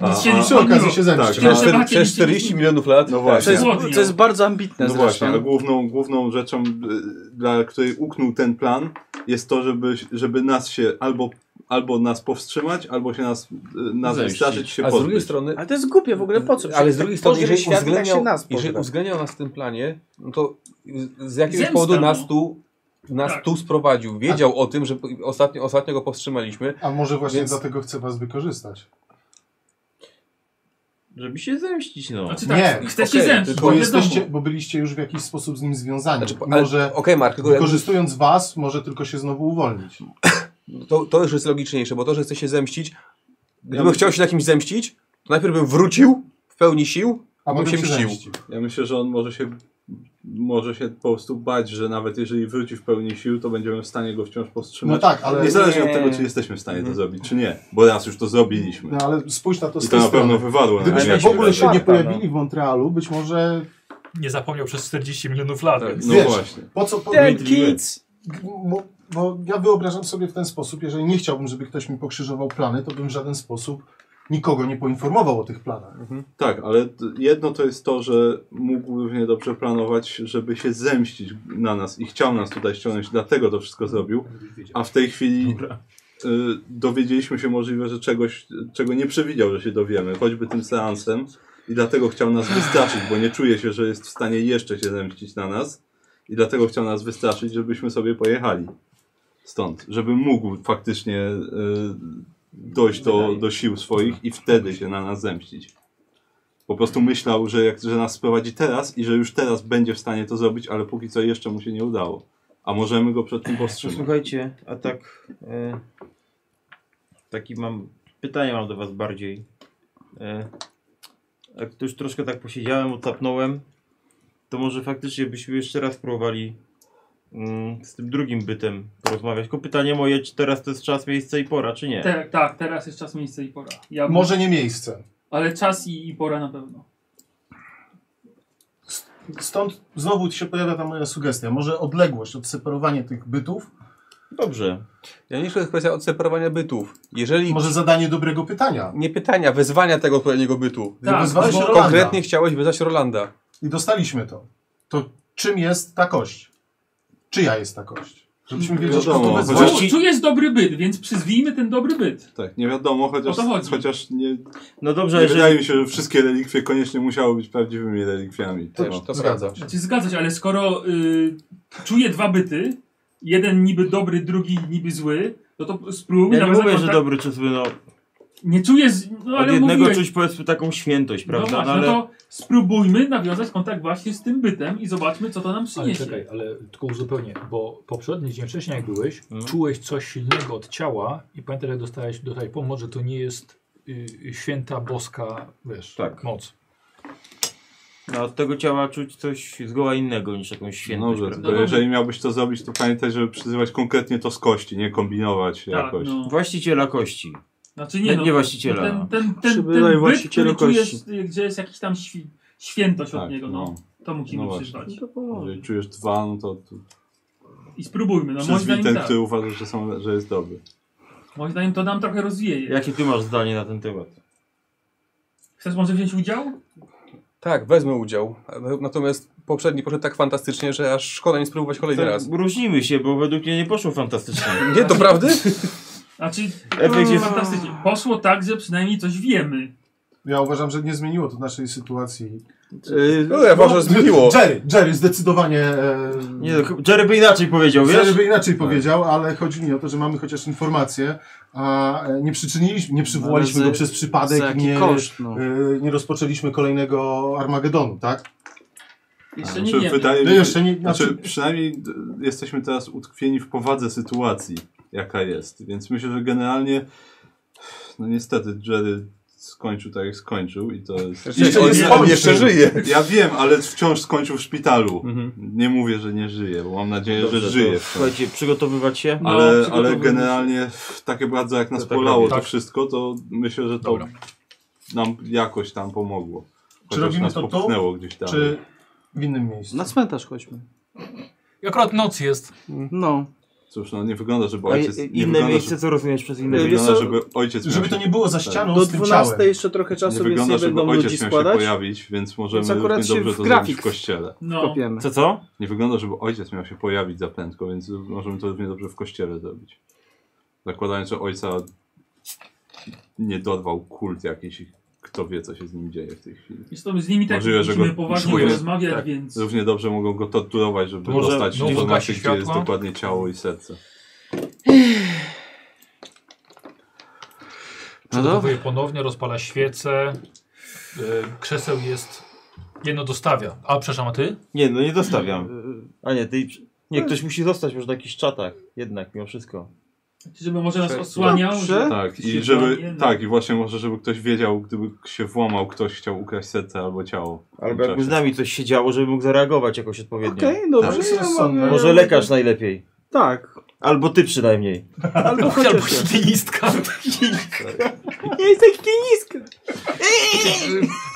A-
Nic się
a- tak,
nie
przy okazji się
zmieniło.
zemści. no.
Przecież
A-
zobaczcie,
przez
nic się nie
40
zmieniło.
milionów lat. No
To
właśnie.
jest, to jest bardzo ambitne
No
zresztą.
właśnie, a główną, główną rzeczą, y, dla której uknął ten plan, jest to, żeby, żeby nas się albo, albo nas powstrzymać, albo się nas, y, nas
Zemścić.
wystraszyć, się
A z
pozbyć.
drugiej strony
Ale to jest głupie w ogóle po co?
Ale
Przecież
z drugiej
tak
strony,
pożre
jeżeli
świat, tak
uwzglęniał,
się nas
jeżeli
pożre.
uwzglęniał nas w tym planie, no to z- z jakiegoś
Zemsta,
powodu
no.
nas tu, nas
Tak.
tu sprowadził. Wiedział o tym, że po- ostatnio, ostatnio go powstrzymaliśmy.
A może właśnie
Więc-
dlatego chce was wykorzystać?
Żeby się zemścić, no.
Znaczy tak,
nie,
chce się
okej,
zemścić,
Bo,
wiadomo.
jesteście, bo byliście już w jakiś sposób z nim związani. I
Znaczy, ale-
może
okej, Mark, tylko-
wykorzystując was, może tylko się znowu uwolnić.
To, to już jest logiczniejsze, bo to, że chce się zemścić, gdybym
bym-
chciał się na kimś zemścić, to najpierw bym wrócił w pełni sił, a bym się mścił.
Ja myślę, że on może się, może się po prostu bać, że nawet jeżeli wróci w pełni sił, to będziemy w stanie go wciąż powstrzymać.
No tak, ale-
Niezależnie
Nie.
od tego, czy jesteśmy w stanie to zrobić, czy nie. Bo raz już to zrobiliśmy.
No ale spójrz na to
I
z
to
tej
na
strony.
pewno wywarło na
Gdybyśmy
mnie
w ogóle
jakieś
się nie
wrażenie.
pojawili w Montrealu, być może
Nie zapomniał przez 40 milionów lat. więc-
No
Wiesz,
właśnie.
Po co po...
Ten kids!
Bo, bo ja wyobrażam sobie w ten sposób, jeżeli nie chciałbym, żeby ktoś mi pokrzyżował plany, to bym w żaden sposób nikogo nie poinformował o tych planach.
Tak, ale t- jedno to jest to, że mógł równie dobrze planować, żeby się zemścić na nas i chciał nas tutaj ściągnąć, dlatego to wszystko zrobił. A w tej chwili y, dowiedzieliśmy się możliwe, że czegoś, czego nie przewidział, że się dowiemy, choćby tym seansem. I dlatego chciał nas wystraszyć, bo nie czuje się, że jest w stanie jeszcze się zemścić na nas. I dlatego chciał nas wystraszyć, żebyśmy sobie pojechali stąd, żeby mógł faktycznie y, dojść do, do sił swoich i wtedy się na nas zemścić. Po prostu myślał, że, jak, że nas sprowadzi teraz i że już teraz będzie w stanie to zrobić, ale póki co jeszcze mu się nie udało. A możemy go przed tym powstrzymać.
Słuchajcie, a tak. E, taki mam. Pytanie mam do Was bardziej. E, jak tu już troszkę tak posiedziałem, odsapnąłem, to może faktycznie byśmy jeszcze raz próbowali mm, z tym drugim bytem porozmawiać. Tylko pytanie moje, czy teraz to jest czas, miejsce i pora, czy nie?
Te, tak, teraz jest czas, miejsce i pora. Ja bym-
Może nie miejsce.
Ale czas i, i pora na pewno.
Stąd znowu się pojawia ta moja sugestia. Może odległość, odseparowanie tych bytów
Dobrze. Janiszu jest kwestia odseparowania bytów. Jeżeli...
Może zadanie dobrego pytania.
Nie pytania, wezwania tego odpowiedniego bytu.
Tak, wezwałeś
bo
Rolanda.
konkretnie chciałeś wezwać Rolanda.
I dostaliśmy to. To czym jest ta kość? Czyja jest ta kość? Żebyśmy wiedzieli, kto to
Wiadomo,
wezwał.
chociaż-
Tu, tu jest dobry byt, więc przyzwijmy ten dobry byt.
Tak, nie wiadomo, chociaż,
O to chodzi.
chociaż nie,
No dobrze,
nie
jeżeli-
wydaje mi się, że wszystkie relikwie koniecznie musiały być prawdziwymi relikwiami. No.
Też, to zgadza się.
Znaczy, zgadzać, ale skoro y, czuję dwa byty, jeden niby dobry, drugi niby zły, no to spróbuj
Ja nie
nam
mówię, że
zakontakt-
dobry czy zły, no.
Nie czuję, z- no
Od
ale
jednego
mówiłeś,
czuć powiedzmy taką świętość, prawda?
No,
No,
właśnie,
ale...
no to spróbujmy nawiązać kontakt właśnie z tym bytem i zobaczmy, co to nam
Ale
przyniesie.
czekaj, ale tylko uzupełnię, bo poprzedni dzień wcześniej jak byłeś,
No.
czułeś coś silnego od ciała i pamiętaj, jak dostałeś tutaj pomoc, że to nie jest y, święta boska, wiesz,
Tak.
moc.
no od tego ciała czuć coś zgoła innego niż jakąś
No
świętość,
dobrze,
prawda?
tylko jeżeli miałbyś to zrobić, to pamiętaj, żeby przyzywać konkretnie to z kości, nie kombinować jakoś.
no.
Właściciela kości.
Znaczy nie,
Nie-
no,
nie właściciela.
Ten, ten, ten,
Przybywaj
ten byt,
właścicielu
który czujesz,
kości.
y, gdzie jest jakiś tam świ- świętość od
Tak,
niego, no. To musimy
No właśnie.
przyznać.
Jeżeli czujesz dwa, no to tu
I spróbujmy, no moim
przyzwij
zdaniem
ten,
tak.
który uważasz, że, są, że jest dobry.
Moim zdaniem to nam trochę rozwieje.
Jakie ty masz zdanie na ten temat?
Chcesz może wziąć udział?
Tak, wezmę udział. Natomiast poprzedni poszedł tak fantastycznie, że aż szkoda nie spróbować kolejny
Tak,
raz.
Różnimy się, bo według mnie nie poszło fantastycznie.
No Nie, to prawdy?
Znaczy,
Efekt jest-
fantastycznie. Poszło tak, że przynajmniej coś wiemy.
Ja uważam, że nie zmieniło to naszej sytuacji.
Yy, no, ja uważam, że zmieniło.
Jerry, Jerry zdecydowanie. E,
Nie, no, ch- Jerry by inaczej powiedział, wiesz?
Jerry by inaczej powiedział, ale chodzi mi o to, że mamy chociaż informację, a e, nie przyczyniliśmy, nie przywołaliśmy
Ale za-
go przez
za
przypadek,
jaki
nie,
koszt, no.
e, nie rozpoczęliśmy kolejnego Armagedonu, tak?
Jeszcze nie
Znaczy,
wiemy.
wydaje mi
No
się,
jeszcze nie-
znaczy,
znaczy-
przynajmniej d- jesteśmy teraz utkwieni w powadze sytuacji, jaka jest. Więc myślę, że generalnie, no niestety, Jerry skończył tak jak skończył i to jest...
Jeszcze
on-
nie
on
skończył.
Ja wiem, ale wciąż skończył w szpitalu.
Mhm.
Nie mówię, że nie żyje, bo mam nadzieję, że
Dobrze,
żyje.
to
wciąż.
Słuchajcie, przygotowywać się.
No,
ale, ale
przygotowujmy się.
generalnie takie bardzo jak nas
To tak
bolało
robię.
to wszystko, to myślę, że to
Dobra.
nam jakoś tam pomogło.
Czy
Chociaż
robimy
nas
to tu,
popchnęło gdzieś tam.
czy w innym miejscu?
No,
Na cmentarz chodźmy.
I akurat noc jest.
No.
Cóż, no nie wygląda, żeby
A i-
ojciec... nie
inne
wygląda,
miejsce,
żeby,
co rozumiesz przez
nie
inne miejsce?
wygląda,
co?
żeby ojciec miał
Y, Żeby
się-
to nie było za
tak.
ścianą
Do
z tym ciałem.
12 jeszcze trochę
Nie
czasu, więc
wygląda,
nie
żeby
będą ludzi
ojciec miał się
składać.
pojawić, więc możemy
Więc akurat
równie
się
dobrze
w
to zrobić
grafik
w kościele.
No,
Kopiemy.
Co, co?
Nie wygląda, żeby ojciec miał się pojawić za prędko, więc możemy to równie dobrze w kościele zrobić. Zakładając, że ojca nie dorwał kult jakiś i kto wie, co się z nim dzieje w tej chwili.
zresztą z nimi tak
Możliwe, że
musimy
go
poważnie
czujesz.
rozmawiać,
Tak.
więc...
Równie dobrze mogą go torturować, żeby
To może
dostać
znowu
informację,
gasi
gdzie jest
światła?
dokładnie ciało i serce.
No
Przygotowuje ponownie, rozpala świece. Y, krzeseł jest... Jedno dostawia. A przepraszam, a ty?
Nie, no nie dostawiam. A nie, ty... Nie, ktoś musi zostać może na jakichś czatach. Jednak, mimo wszystko.
Żeby może nas osłaniał.
Dobrze.
że-
Tak, i
się
żeby,
złamie, no.
tak, i właśnie może, żeby ktoś wiedział, gdyby się włamał, ktoś chciał ukraść serce albo ciało. w tym
Albo jakby
czasie.
z nami coś się działo, żeby mógł zareagować jakoś odpowiednio.
Okej,
Tak.
dobrze.
jest
no
rozsądne.
mogę-
Może lekarz najlepiej.
Tak.
Albo ty przynajmniej.
Albo
Albo
chociaż...
higienistka.
Nie jesteś niska.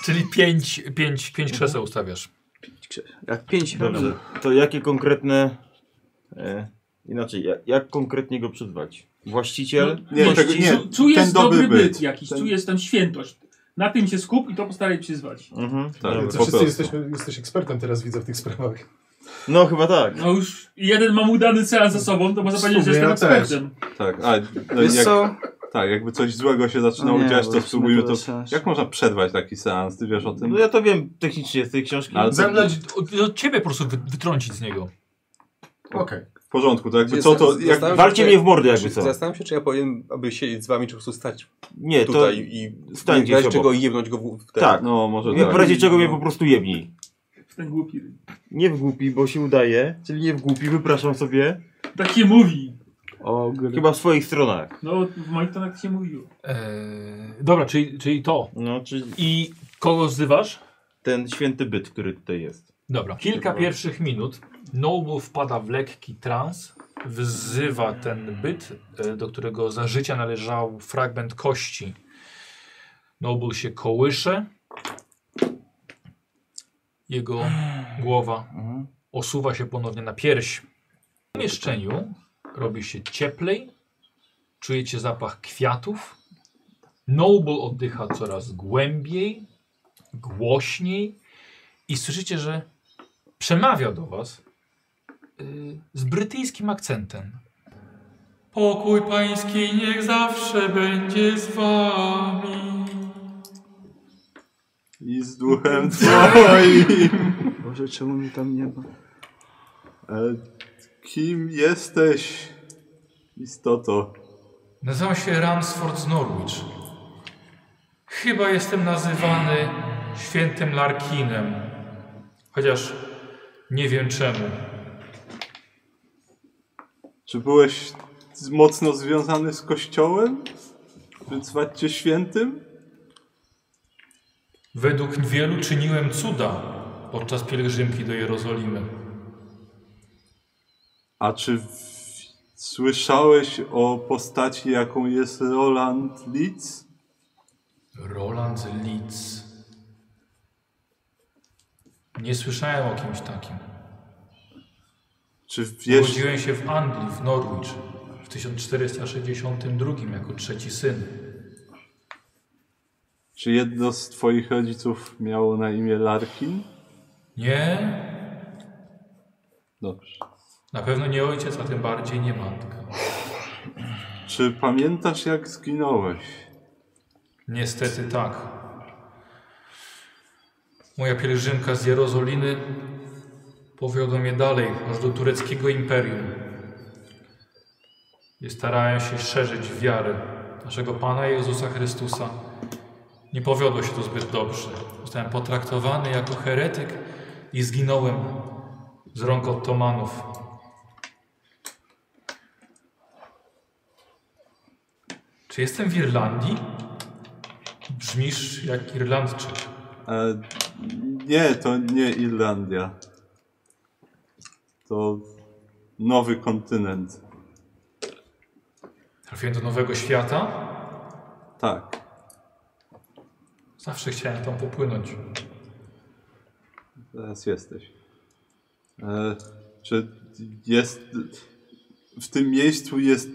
Czyli pięć, pięć, pięć krzeseł ustawiasz.
Jak pięć
Dobrze. To jakie konkretne... E, inaczej, jak, jak konkretnie go przyzwać? Właściciel?
Nie,
Wiesz,
tego- nie,
czu- czujesz
ten
dobry
dobry
byt,
byt.
jakiś,
Ten-
czujesz tam świętość. Na tym się skup i to postaraj przyzwać.
Mhm,
Tak.
dobra.
Ty
Po
wszyscy
prostu.
jesteśmy, jesteś ekspertem teraz widzę w tych sprawach.
No chyba tak.
No już jeden mam udany seans za sobą, to można
W
powiedzieć, że
sumie
jestem
ja też.
ekspertem.
Tak, a no,
Wiesz
jak,
co?
tak, jakby coś złego się zaczynało
No nie,
dziać,
bo
to
już
spróbujmy
my
to...
to seans.
Jak można przerwać taki seans, ty wiesz o tym?
No ja to wiem technicznie z tej książki.
No, Ale tak, to,
Zemleć.
Od, od No, ciebie po prostu wy, wytrącić z niego.
Okej.
w porządku, to jakby co to... Jak,
Zastanawiam się,
Walcie
czy-
mnie w mordę jakby
czy-
co.
Zastanawiam się, czy ja powinien, aby siedzieć z wami, czy po prostu stać
Nie, to...
tutaj i
stań
nie dać
gdzieś
czego
obok.
i jebnąć go w, w ten.
Tak.
no może
Nie,
tak.
w razie czego mnie po prostu jebnij.
W ten głupi.
Nie w głupi, bo się udaje. Czyli nie w głupi, wypraszam sobie.
Tak się mówi.
O, gry.
Chyba w swoich stronach.
No w moich to tak się mówiło.
Eee, dobra, czyli, czyli to.
No, czyli
I kogo wzywasz?
ten święty byt, który tutaj jest.
Dobra, kilka pierwszych minut Noble wpada w lekki trans, wzywa ten byt, e, do którego za życia należał fragment kości. Noble się kołysze, jego głowa osuwa się ponownie na pierś. W pomieszczeniu Robi się cieplej. Czujecie zapach kwiatów. Noble oddycha coraz głębiej, głośniej i słyszycie, że przemawia do was y, z brytyjskim akcentem.
Pokój pański niech zawsze będzie z wami.
I z duchem twoim.
Boże, czemu mnie tam nie ma?
Ale kim jesteś, istoto?
Nazywam się Ransford z Norwich. Chyba jestem nazywany świętym Larkinem. Chociaż nie wiem czemu.
Czy byłeś z- mocno związany z kościołem? Czy zwać cię świętym?
Według wielu czyniłem cuda podczas pielgrzymki do Jerozolimy.
A czy w... słyszałeś o postaci, jaką jest Roland Leeds?
Roland Leeds. Nie słyszałem o kimś takim.
Czy wiesz,
Urodziłem się w Anglii, w Norwich w 1462 jako trzeci syn.
czy jedno z twoich rodziców miało na imię Larkin?
Nie,
Dobrze.
na pewno nie ojciec, a tym bardziej nie matka.
Czy pamiętasz, jak zginąłeś?
Niestety tak. Moja pielgrzymka z Jerozolimy powiodła mnie dalej, aż do tureckiego imperium. I starałem się szerzyć wiarę naszego Pana Jezusa Chrystusa. Nie powiodło się to zbyt dobrze. Zostałem potraktowany jako heretyk i zginąłem z rąk Ottomanów. Czy jestem w Irlandii? Brzmisz jak Irlandczyk.
E, nie, to nie Irlandia. To nowy kontynent.
Trafiłem do Nowego Świata?
Tak.
Zawsze chciałem tam popłynąć.
Teraz jesteś. E, czy jest. W tym miejscu jest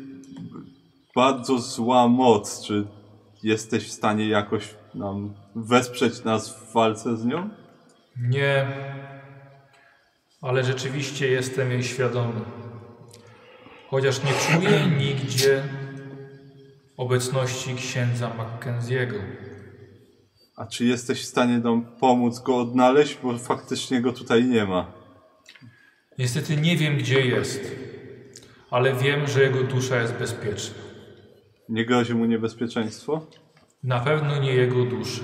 bardzo zła moc. Czy jesteś w stanie jakoś nam wesprzeć nas w walce z nią?
Nie, ale rzeczywiście jestem jej świadomy. Chociaż nie czuję nigdzie obecności księdza Mackenziego.
A czy jesteś w stanie nam pomóc go odnaleźć? Bo faktycznie go tutaj nie ma.
Niestety nie wiem, gdzie jest, ale wiem, że jego dusza jest bezpieczna.
Nie grozi mu niebezpieczeństwo?
Na pewno nie jego duszy.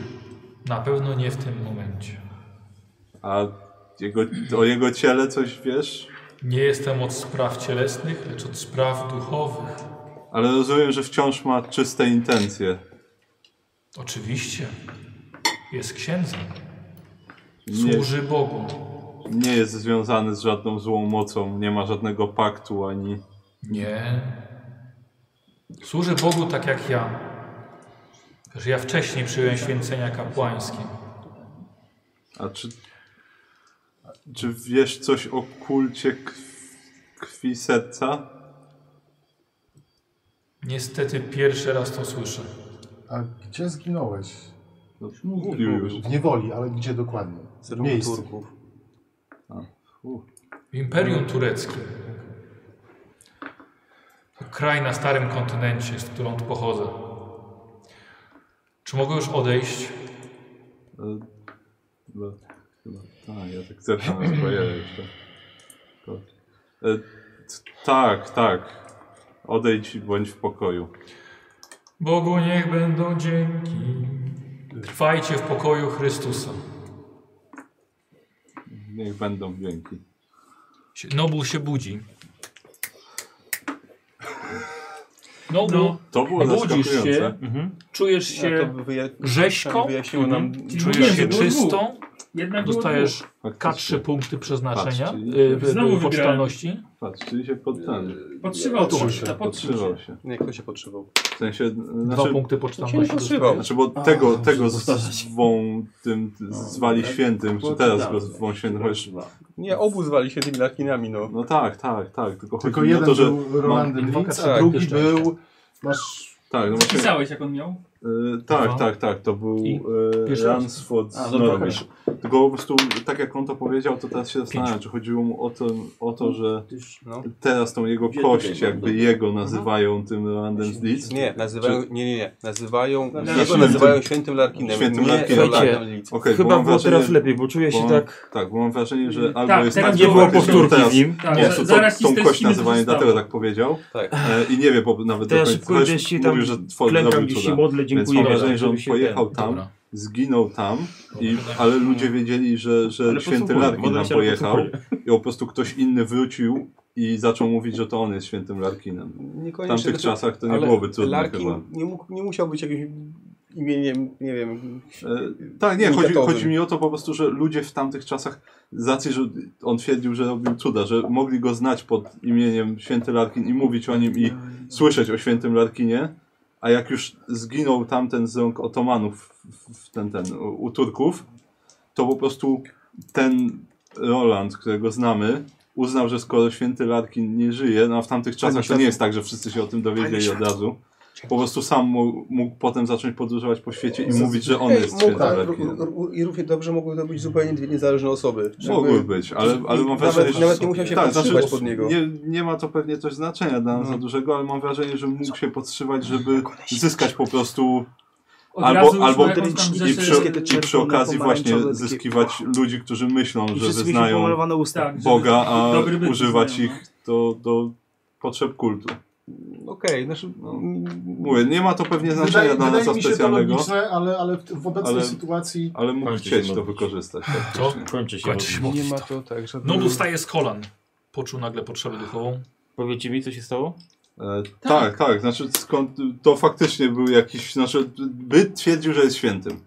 Na pewno nie w tym momencie.
A jego, o jego ciele coś wiesz?
Nie jestem od spraw cielesnych, lecz od spraw duchowych.
Ale rozumiem, że wciąż ma czyste intencje.
Oczywiście. Jest księdzem.
Nie-
Służy Bogu.
Nie jest związany z żadną złą mocą, nie ma żadnego paktu ani.
Nie. Służy Bogu tak jak ja. Że ja wcześniej przyjąłem święcenia kapłańskie.
A czy. Czy wiesz coś o kulcie krw- krwi serca?
Niestety pierwszy raz to słyszę.
A gdzie zginąłeś?
No, mówił już.
W niewoli, ale gdzie dokładnie?
rąk
Miejsce.
W Imperium Tureckim. To kraj na starym kontynencie, z którą tu pochodzę. Czy mogę już odejść?
E, Chyba, chyba. Tak, ja tak zerkam na swoje jeszcze. tak. To- e, t- Tak, tak. Odejdź i bądź w pokoju.
Bogu niech będą dzięki. Trwajcie w pokoju Chrystusa.
Niech będą dzięki.
Si- Noble się budzi. Noble,
No, to było
budzisz się,
zaskakujące. Mhm.
czujesz
A
się
to wyja-
rzeźką,
wyjaśniło nam-
No, czujesz się
Dwóch.
czystą,
Jednak było
Dostajesz
dwóch.
K3 punkty przeznaczenia,
Patrz,
y, y,
Znowu wygrałem.
pocztalności.
Patrz, czyli się pod ten.
Podtrzymał
Podtrzymał
się,
się.
podtrzymał
Podtrzymał
się.
się.
Nie, kto się podszywał?
W sensie,
Dwa punkty pocztalności
Się nie podszywał. Znaczy, bo
A,
tego,
muszę
tego
powtarzać. No,
zwą tym zwali
tak.
świętym, czy
Bo
teraz
czytałem.
go zwą świętym, chociaż
Nie, obu zwali się tymi lakinami, no.
No tak, tak, tak. Tylko,
Tylko
chodzi mi
jeden
o to, że
był
mam
Rolandem Litz, a
inwokację-
drugi
Tak,
jeszcze-
był-
Masz...
Tak, no właśnie-
Pisałeś jak on miał?
Y, tak,
Aha.
tak, tak. To był
I?
y,
Pierwszy raz?
Ransford
A,
z
no to
Norway.
też.
Tylko po prostu, tak jak on to powiedział, to teraz się zastanawiam, czy chodziło mu o to, o to że
no.
teraz tą jego
Gdzie
kość,
tutaj
jakby
mam,
jego nazywają tym Rolandem z Leeds.
Nie, nazywają,
Czy-
nie, nie, nie. Nazywają,
Znaczy,
jego
świętym-
nazywają świętym Larkinem.
Świętym
nie
Larkinem.
Rolandem
Okej,
Leeds.
okej, bo mam wrażenie- bo mam- Tak, bo mam wrażenie, że albo
tak,
jest
teraz
tak,
nie
że
było
faktycznie
powtórki
teraz-
w nim. Tak,
Nie,
za-
to,
zaraz
to, tą
histerycznie
kość
nie
nazywają,
zostało.
dlatego tak powiedział.
Tak.
E, I nie wie po, nawet
To ja
do końca.
szybko
Chociaż
idę się tam
mówił, że tworzy
klękam
robił
gdzieś
cuda.
się modlę,
Więc
dziękuję
mam
Bogu,
wrażenie, że on
żeby się
pojechał
ten-
tam,
Dobra.
zginął tam, i, ale ludzie wiedzieli, że, że
Ale
święty
podsłuchuję,
Larkin tam
modlę się, ale
pojechał
podsłuchuję.
i po prostu ktoś inny wrócił i zaczął mówić, że to on jest świętym Larkinem. W
Niekoniecznie
tamtych
dlatego-
czasach to nie
ale
byłoby trudne
Larkin
chyba.
Nie, mógł, nie musiał być jakimś imieniem, nie wiem.
E, Tak, nie, chodzi, chodzi mi o to po prostu, że ludzie w tamtych czasach, z racji, że on twierdził, że robił cuda, że mogli go znać pod imieniem Święty Larkin i mówić o nim i słyszeć o Świętym Larkinie, a jak już zginął tamten z rąk otomanów, w- w ten, ten, u- u Turków, to po prostu ten Roland, którego znamy, uznał, że skoro Święty Larkin nie żyje, no a w tamtych czasach to nie jest tak, że wszyscy się o tym dowiedzieli od razu, po prostu sam mógł, mógł potem zacząć podróżować po świecie i mówić, że on
Ej,
jest
mógł,
świętym
tak,
Larkinem.
ró- ró- I równie dobrze mogły to być zupełnie dwie niezależne osoby.
Mogły
Jakby-
być, ale, ale mam
nawet,
wrażenie, że...
Nawet nie musiał się
tak,
podszywać
znaczy,
pod niego.
Nie, nie ma to pewnie też znaczenia dla nas
No.
za dużego, ale mam wrażenie, że mógł się podszywać, żeby zyskać po prostu...
Od razu
albo
już
albo
ma jakąś tam
i,
Tak,
rzeszę-
przy,
wszystkie te
i przy
czerwone,
okazji właśnie
pomarańczowe, takie-
zyskiwać ludzi, którzy myślą,
I
że
wszyscy mieli
wyznają
pomalowane usta. Tak, żeby-
Boga, a
dobry byt no.
używać
wyznają,
ich do, do potrzeb kultu. No,
Okej, znaczy...
Mówię, nie ma to pewnie znaczenia
Wydaje,
dla
wydaje
nas
mi się to
specjalnego.
logiczne, ale, ale w, w obecnej
Ale-
sytuacji...
Ale mógł
Kończy się
no.
chcieć to
modlitwa.
wykorzystać.
To
faktycznie.
kończy się, kończy się
Nie
modlitwa.
ma to tak, że...
Nudu staje z kolan. Poczuł nagle potrzebę duchową.
Powiedzcie mi, co się stało?
E, tak, tak, znaczy skąd, to faktycznie był jakiś, znaczy byt twierdził, że jest świętym.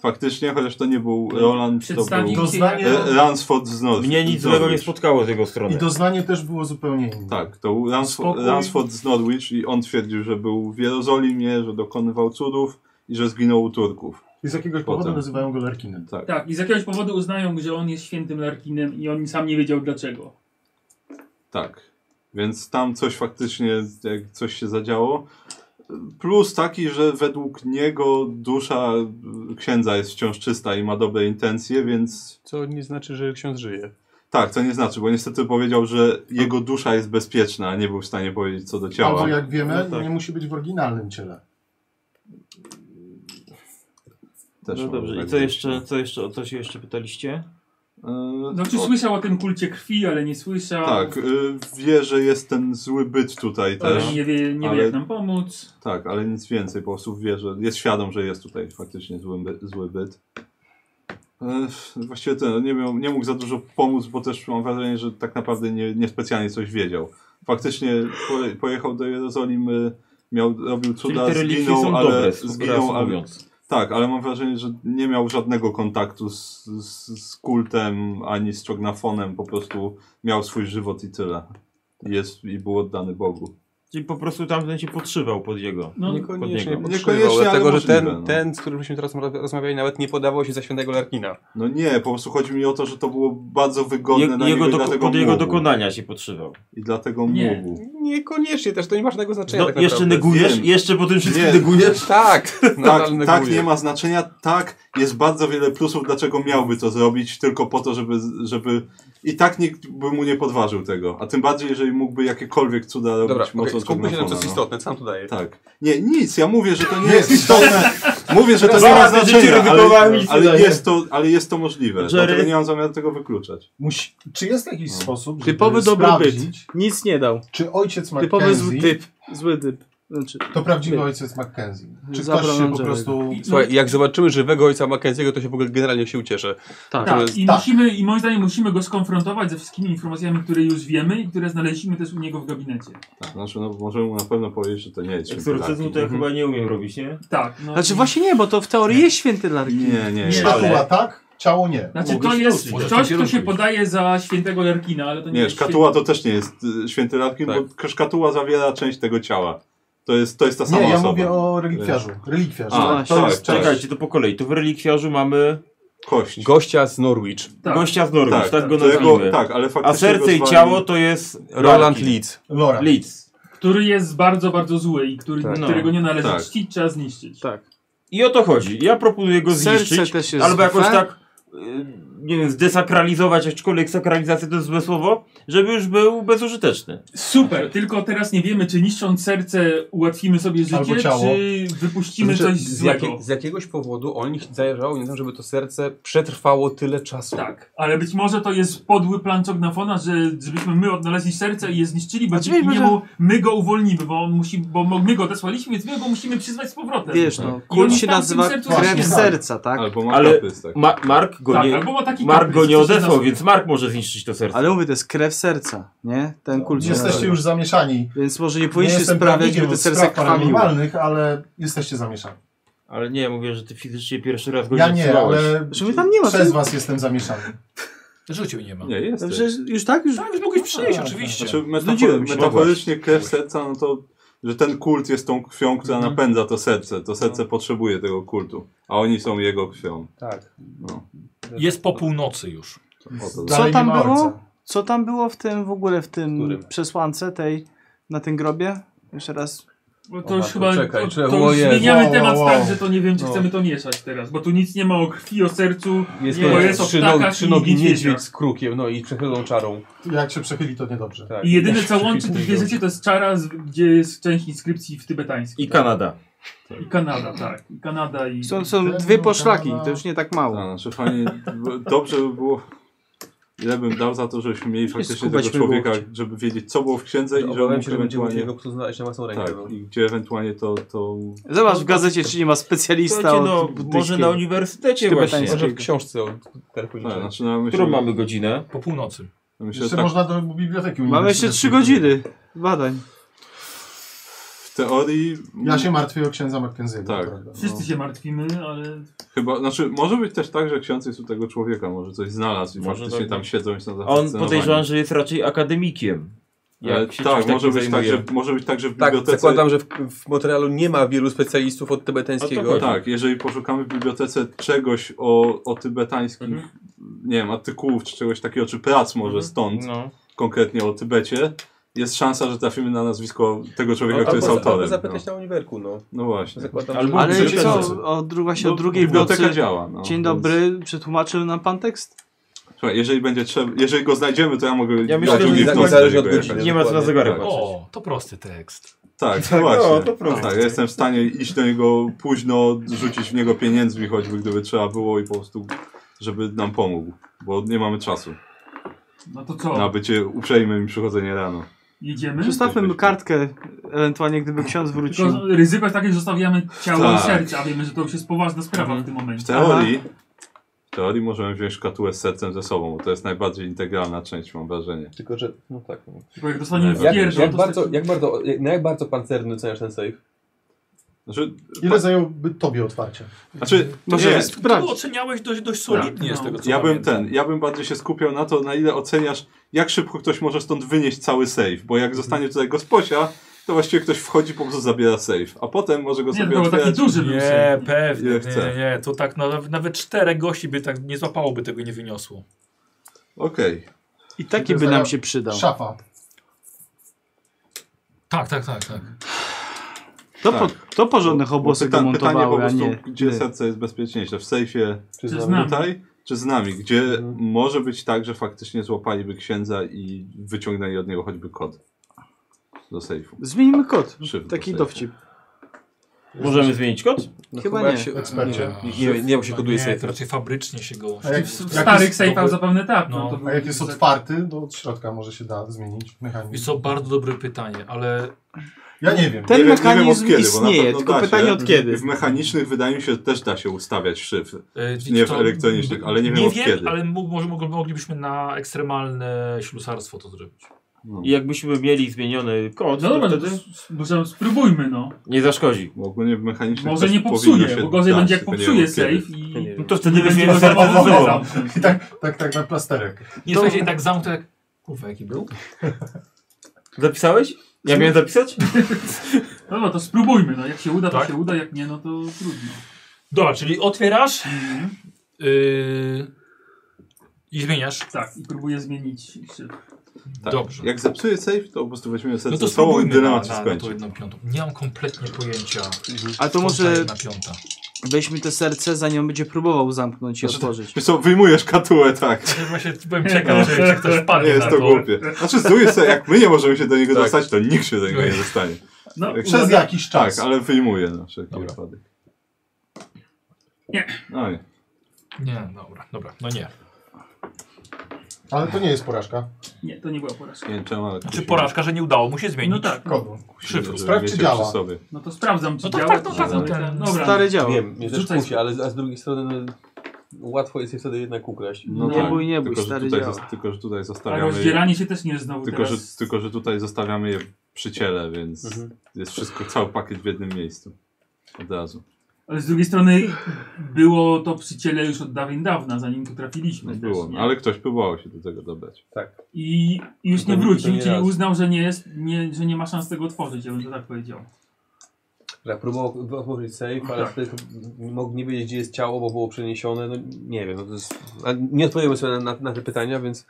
Faktycznie, chociaż to nie był Roland, to
Przedstawił
był
się jako-
e, Ransford z Norwich.
Mnie nic złego nie spotkało z jego strony.
I doznanie też było zupełnie inne.
Tak, to był Ransford,
Spokój.
Ransford z Norwich i on twierdził, że był w Jerozolimie, że dokonywał cudów i że zginął u Turków.
I z jakiegoś
Potem.
powodu nazywają go Larkinem.
Tak.
Tak, i z jakiegoś powodu uznają, że on jest świętym Larkinem i on sam nie wiedział dlaczego.
Tak. Więc tam coś faktycznie, jak coś się zadziało. Plus taki, że według niego dusza y, księdza jest wciąż czysta i ma dobre intencje, więc.
Co nie znaczy, że ksiądz żyje.
Tak, to nie znaczy, bo niestety powiedział, że jego dusza jest bezpieczna, a nie był w stanie powiedzieć co do ciała.
Albo jak wiemy,
No tak,
nie musi być w oryginalnym ciele.
też
no
może
dobrze, i
tak
co
być.
jeszcze, co jeszcze, o co się jeszcze pytaliście?
Znaczy słyszał o tym kulcie krwi, ale nie słyszał.
E, Tak, y, wie, że jest ten zły byt tutaj
Ale
też.
nie wie- nie wie,
ale-
jak nam pomóc.
Tak, ale nic więcej, po prostu wie, że jest świadom, że jest tutaj faktycznie zły, by, zły byt. E, Właściwie ten, nie, miał, nie mógł za dużo pomóc, bo też mam wrażenie, że tak naprawdę nie, niespecjalnie coś wiedział. Faktycznie poje- pojechał do Jerozolimy, miał, robił cuda,
te religie
zginął,
są
ale
dobre,
zginął, ale,
mówiąc.
tak, ale mam wrażenie, że nie miał żadnego kontaktu z, z, z kultem ani z czognafonem, po prostu miał swój żywot i tyle. Jest i był oddany Bogu.
Czyli po prostu tamten się podszywał pod jego.
No,
no. Niekoniecznie,
pod niego.
podszywał, dlatego, że ten,
możliwe, no.
ten, z którym myśmy teraz rozmawiali, nawet nie podawał się za świętego Larkina.
No nie, po prostu chodzi mi o to, że to było bardzo wygodne
Je-
dla
jego
niego i
doko-
dlatego
pod jego
mógł.
dokonania się podszywał.
Znaczy,
I dlatego
Nie.
mógł.
Niekoniecznie też, to nie ma żadnego znaczenia
No,
tak
jeszcze
naprawdę.
negujesz?
Wiem.
Jeszcze po tym wszystkim
Nie.
negujesz?
Tak,
Tak,
nadal
tak,
neguję.
nie ma znaczenia, tak, jest bardzo wiele plusów, dlaczego miałby to zrobić, tylko po to, żeby, żeby i tak nikt by mu nie podważył tego, a tym bardziej, jeżeli mógłby jakiekolwiek cuda robić
Dobra,
mocą
okej, skupmy się na tym, co jest
czarnofona, no.
istotne, co nam to daje?
Tak. Nie, nic, ja mówię, że to nie jest istotne, mówię, że to nie ma
Zaraz będziecie
Znaczy,
znaczenia,
redukowałem
ale,
i
ale,
cudaje.
jest to, ale jest to możliwe,
Jerry.
dlatego nie mam zamiaru tego wykluczać.
Musi, czy jest jakiś
No.
sposób, żeby
Typowy dobry
sprawdzić,
Nic nie dał.
czy ojciec
Typowy zły
Mackenzie-
typ. Zły typ. Znaczy,
to prawdziwy
typ.
ojciec Mackenzie? Czy
Zabrał
ktoś się
nam
po
Jerry'ego.
prostu...
No.
Słuchaj, jak zobaczymy żywego ojca Mackenzie'ego, to się w ogóle generalnie się ucieszę.
Tak,
Natomiast-
i musimy, i moim zdaniem musimy go skonfrontować ze wszystkimi informacjami, które już wiemy i które znaleźliśmy też u niego w gabinecie.
Tak, znaczy, no, możemy mu na pewno powiedzieć, że to nie jest
Eksorcyzmu to ja chyba nie umiem robić, nie?
Tak, no.
Znaczy właśnie nie, bo to w teorii jest święty Larkin.
Nie, nie,
Nie,
nie.
Szatula,
tak? Ciało nie.
Znaczy
Mogłeś
to jest
ruszyć.
coś, co się podaje za świętego Lerkina, ale to nie,
Nie,
jest
szkatuła to też nie jest y, święty Radkin, bo szkatuła zawiera część tego ciała. To jest, to jest ta sama
Nie, ja
osoba.
mówię o relikwiarzu. Relikwiarz.
No
A,
To
tak,
jest-
tak.
Czekajcie, to po kolei. Tu w relikwiarzu mamy...
Kość.
Gościa z Norwich.
Gościa z Norwich, tak, go
którego-
nazwijmy.
tak, ale
A
faktycznie
serce
go
i
zwali-
ciało to jest...
Roland
Larkin.
Leeds.
Leeds.
Który jest bardzo, bardzo zły i który,
Tak.
którego nie należy
Tak.
czcić, trzeba zniszczyć.
Tak.
I o to chodzi. Ja proponuję go
Serce
zniszczyć,
też jest
albo jakoś
złe.
tak, y, nie wiem, zdesakralizować, aczkolwiek sakralizacja to jest złe słowo, żeby już był bezużyteczny.
Super, tylko teraz nie wiemy, czy niszcząc serce ułatwimy sobie życie, czy wypuścimy coś
Znaczy, z,
złego.
jakie- z jakiegoś powodu o nich zależało, nie wiem, żeby to serce przetrwało tyle czasu.
Tak. Ale być może to jest podły plan Cognafona, że żebyśmy my odnaleźli serce i je zniszczyli, bo dzięki
może-
niemu my go uwolnimy, bo, on musi, bo my go odesłaliśmy, więc my go musimy przyzwać z powrotem.
Wiesz, no, kult się nazywa krew serca, tak?
Ale Ma Mark go
Tak,
nie, Mark go nie odesłał, więc Mark może zniszczyć to serce.
Ale mówię, to jest krew serca, nie? Ten kult się
Jesteście
nazywa.
już zamieszani.
Więc może nie powinniście
jestem
sprawiać,
prawnikiem
żeby to
od
serce
spraw
krwawiło.
paranormalnych, ale jesteście zamieszani.
Ale nie, mówię, że ty fizycznie pierwszy raz go
Ja
nie
nie,
odsyłałeś.
ale
Znaczy, tam nie ma,
przez
ty-
was jestem zamieszany.
Życiu nie ma.
Nie, jest.
Przecież już tak? Już...
Tak, już mogłeś przyjść, oczywiście.
Znaczy, metafor
Znudziłem się.
metaforycznie krew serca, no to, że ten kult jest tą krwią, która napędza to serce. To serce potrzebuje tego kultu, a oni są jego krwią.
Tak.
No.
Jest po północy już.
Co tam było? Co tam było w tym w ogóle, w tym przesłance tej, na tym grobie? Jeszcze raz.
Bo to już chyba to, to już zmieniamy temat tak, że to nie wiem, czy chcemy to mieszać teraz, bo tu nic nie ma o krwi, o sercu,
Jest
nie,
to
bo jest o
trzyno,
ptakach
trzynogi
i niedźwiedziach.
niedźwiedź z krukiem, no i przechylą czarą.
Jak się przechyli, to niedobrze.
Tak.
I jedyne co
Przechyli
łączy te dwie
tego.
rzeczy to jest czara, z- gdzie jest część inskrypcji w tybetańskiej.
I Kanada.
I Kanada, tak. I Kanada i...
Są, są dwie poszlaki, to już nie tak mało.
A, znaczy, fajnie, b- dobrze by było. Ile bym dał za to, żebyśmy mieli faktycznie
skubać
tego człowieka,
mygłówki.
żeby wiedzieć, co było w księdze
No,
i żeby
Obawiam
mógł
się, że będzie
ewentualnie...
musiał go kto znaleźć na własną rękę.
tak,
no.
i gdzie ewentualnie to... to...
Zobacz w gazecie, czy nie ma specjalista
Słuchajcie, no,
od buddyjskiego.
może na uniwersytecie
Tybetańskiego.
właśnie.
Może w książce o terapii.
Tak, znaczy, no, ja myślę,
Którą mamy godzinę?
Po północy.
Myślę, że
Jeszcze
tak,
można do biblioteki
Mamy jeszcze trzy godziny badań.
w teorii...
Ja się martwię o księdza Mackenzie'ego.
Tak.
prawda?
Wszyscy się martwimy, ale...
Chyba, znaczy, może być też tak, że ksiądz jest u tego człowieka, może coś znalazł i
Może
faktycznie
tak
tam
być.
siedzą i są
A on
zafascynowani.
podejrzewam, że jest raczej akademikiem. Jak
Ale
się czymś
tak,
takim
może być tak,
zajmuje.
że, może być tak, że w
Tak,
bibliotece...
zakładam, że w, w Montrealu nie ma wielu specjalistów od tybetańskiego.
Tak, jeżeli poszukamy w bibliotece czegoś o, o tybetańskich,
Mhm.
nie wiem, artykułów czy czegoś takiego, czy prac może stąd,
No.
konkretnie o Tybecie, jest szansa, że trafimy na nazwisko tego
No,
człowieka,
Albo
który jest
za-
autorem.
Albo zapytać na uniwerku, no.
No właśnie.
Zakładam,
Albo
że-
Ale
bibliotece.
co, odruga się
No,
od drugiej w
biblioteka
nocy.
działa, no,
Dzień
więc-
dobry, przetłumaczył nam pan tekst?
Słuchaj, jeżeli będzie trzeba, jeżeli go znajdziemy, to ja mogę...
Ja myślę, że
drugiej
nie tak
w nocy
zależy
do
od
niego
godziny,
jechać.
Znaczy, nie ma co na zegarek
Tak.
patrzeć.
O, to prosty tekst.
Tak,
Tak,
tak właśnie.
no, to proste.
Tak, ja jestem w stanie iść do niego późno, rzucić w niego pieniędzmi choćby, gdyby trzeba było i po prostu, żeby nam pomógł, bo nie mamy czasu
No to co?
na bycie uprzejmym i przychodzenie rano.
Jedziemy?
Przestawmy mu kartkę, ewentualnie gdyby ksiądz wrócił.
Tylko ryzyko jest takie, że zostawiamy ciało
Tak.
i serce, a wiemy, że to już jest poważna sprawa w tym
W
momencie.
teorii, w teorii możemy wziąć szkatułę z sercem ze sobą, bo to jest najbardziej integralna część, mam wrażenie.
Tylko, że... No tak. no.
Bo jak dostaniemy
Najważniejsze.
Jak,
pierdol,
jak,
to
bardzo, jak, bardzo, jak, na jak bardzo pancerny oceniasz ten save?
Znaczy,
Ile zająłby tobie otwarcie?
znaczy
Może
nie,
jest sprawdź.
To oceniałeś dość, dość solidnie
Tak,
z
no.
tego, co
ja bym
pamiętam.
ten, ja bym bardziej się skupiał na to, na ile oceniasz, jak szybko ktoś może stąd wynieść cały save, bo jak zostanie tutaj gosposia, to właściwie ktoś wchodzi, po prostu zabiera save, a potem może go
Nie,
sobie
to był taki
otwierać.
duży był
Nie,
sejf.
pewnie, nie,
Ile chce.
nie, nie. To tak nawet, nawet czterech gości by tak nie złapałoby tego, nie wyniosło.
Okej.
I taki by nam się przydał.
Szafa.
Tak, tak, tak, tak.
To,
Tak.
po, to porządnych obosek
Pyta- pytanie po
domontowały, a
prostu,
nie...
gdzie serce jest bezpieczniejsze? W sejfie
Czy
czy
z
z
nami?
nami? tutaj, czy z nami? Gdzie
Mhm.
może być tak, że faktycznie złapaliby księdza i wyciągnęli od niego choćby kod do sejfu.
Zmienimy kod.
Szyfr
Taki
do sejfu.
dowcip.
Możemy zmienić kod?
No
Chyba
jak
nie.
Się,
Ekspercie.
nie, nie, nie, bo się
No
koduje
nie,
save.
to Raczej fabrycznie się go...
A jak-
W,
jak
w starych
jest-
sejfach zapewne tak. No,
No.
to był-
A jak jest otwarty, to od środka może się da zmienić
I
mechanizm.
co, bardzo dobre pytanie, ale
Ja nie wiem.
Ten
Nie wiem- nie wiem od
mechanizm
kiedy, bo na
istnieje,
pewno
tylko
da się.
pytanie od
I
kiedy.
W mechanicznych wydaje mi się, że też da się ustawiać szyfr.
E,
Nie w
to-
elektronicznych, ale nie wiem
nie
od kiedy.
ale mógł, może mogli- moglibyśmy na ekstremalne ślusarstwo to zrobić.
I jakbyśmy mieli zmieniony kod,
No
to
dobra,
wtedy
to s- może spróbujmy, no.
nie zaszkodzi.
Bo ogólnie w mechanicznych
Może
też
nie
powinno
popsuje,
się
bo gorzej
dać,
będzie jak
tylko nie
popsuje
wiem od kiedy.
sejf i...
Nie wiem. To wtedy
Nie
byśmy
będzie
jego serce
można
ze sobą.
zamknąć.
I tak, tak, tak na plasterek.
Nie, słuchajcie, i tak zamknął, jak... Kurwa, jaki był?
Zapisałeś? Ja miałem zapisać?
No, no to spróbujmy, no jak się uda, to
Tak?
się uda, jak nie, no to trudno.
Dobra, czyli otwierasz yy, i zmieniasz.
Tak, i próbuję zmienić się.
Tak.
Dobrze.
Jak zepsuję safe, to po prostu weźmiemy serce
No to
ze sobą i
spróbujmy na,
dylemat się
na, na tą
skończy.
jedną piątą. Nie mam kompletnie pojęcia.
A to
co
może-
ta jedna piąta.
Weźmy to serce, zanim będzie próbował zamknąć i
Znaczy,
otworzyć.
Wiesz co, wyjmujesz katułę, tak.
Właśnie byłem ciekaw, że jak ktoś
Tak,
padnie
Nie jest
na
no.
to głupie. Znaczy, z drugiej strony, jak my nie możemy się do niego
Tak.
dostać, to nikt się do niego nie
Oj.
dostanie.
No,
Jak-
Przez jakiś czas.
Tak, ale wyjmuję na wszelki wypadek.
Nie.
No nie.
Nie, dobra, dobra, no nie.
Ale to nie jest porażka.
Nie, to nie była porażka.
Nie wiem czemu, ale...
Czy porażka, że nie udało mu się zmienić?
No tak,
Kogo?
Szyfru.
Sprawdź, czy działa.
Sobie.
no to sprawdzam, czy
No tak,
działa.
tak, no
czy
tak,
nie.
no ten
Dobra,
Stary dział.
Wiem, mnie też
Rzucaj
kusi, ale a z drugiej strony no, łatwo jest je wtedy jednak ukraść.
No
Nie
tak,
bój, nie bój,
tylko, że
stary
tutaj
działa.
zas- Tylko, że tutaj
a
zostawiamy...
rozdzielanie się też nie jest znowu
Tylko,
teraz. Mhm.
że, tylko, że tutaj zostawiamy je przy ciele, więc jest wszystko, cały pakiet w jednym miejscu. Od razu.
Ale z drugiej strony było to przy ciele już od dawien dawna, zanim tu trafiliśmy.
No
też,
było,
nie?
no, ale ktoś próbował się do tego dobrać.
Tak.
I już
To
nie
nie- to
wrócił,
nie
czyli
raz.
uznał, że nie, jest, nie, że nie ma szans tego otworzyć, ja bym to tak powiedział.
Jak próbował otworzyć safe, ale
Tak.
wtedy to nie mógł nie wiedzieć, gdzie jest ciało, bo było przeniesione. No nie wiem, no to jest... a nie odpowiemy sobie na, na, na te pytania, więc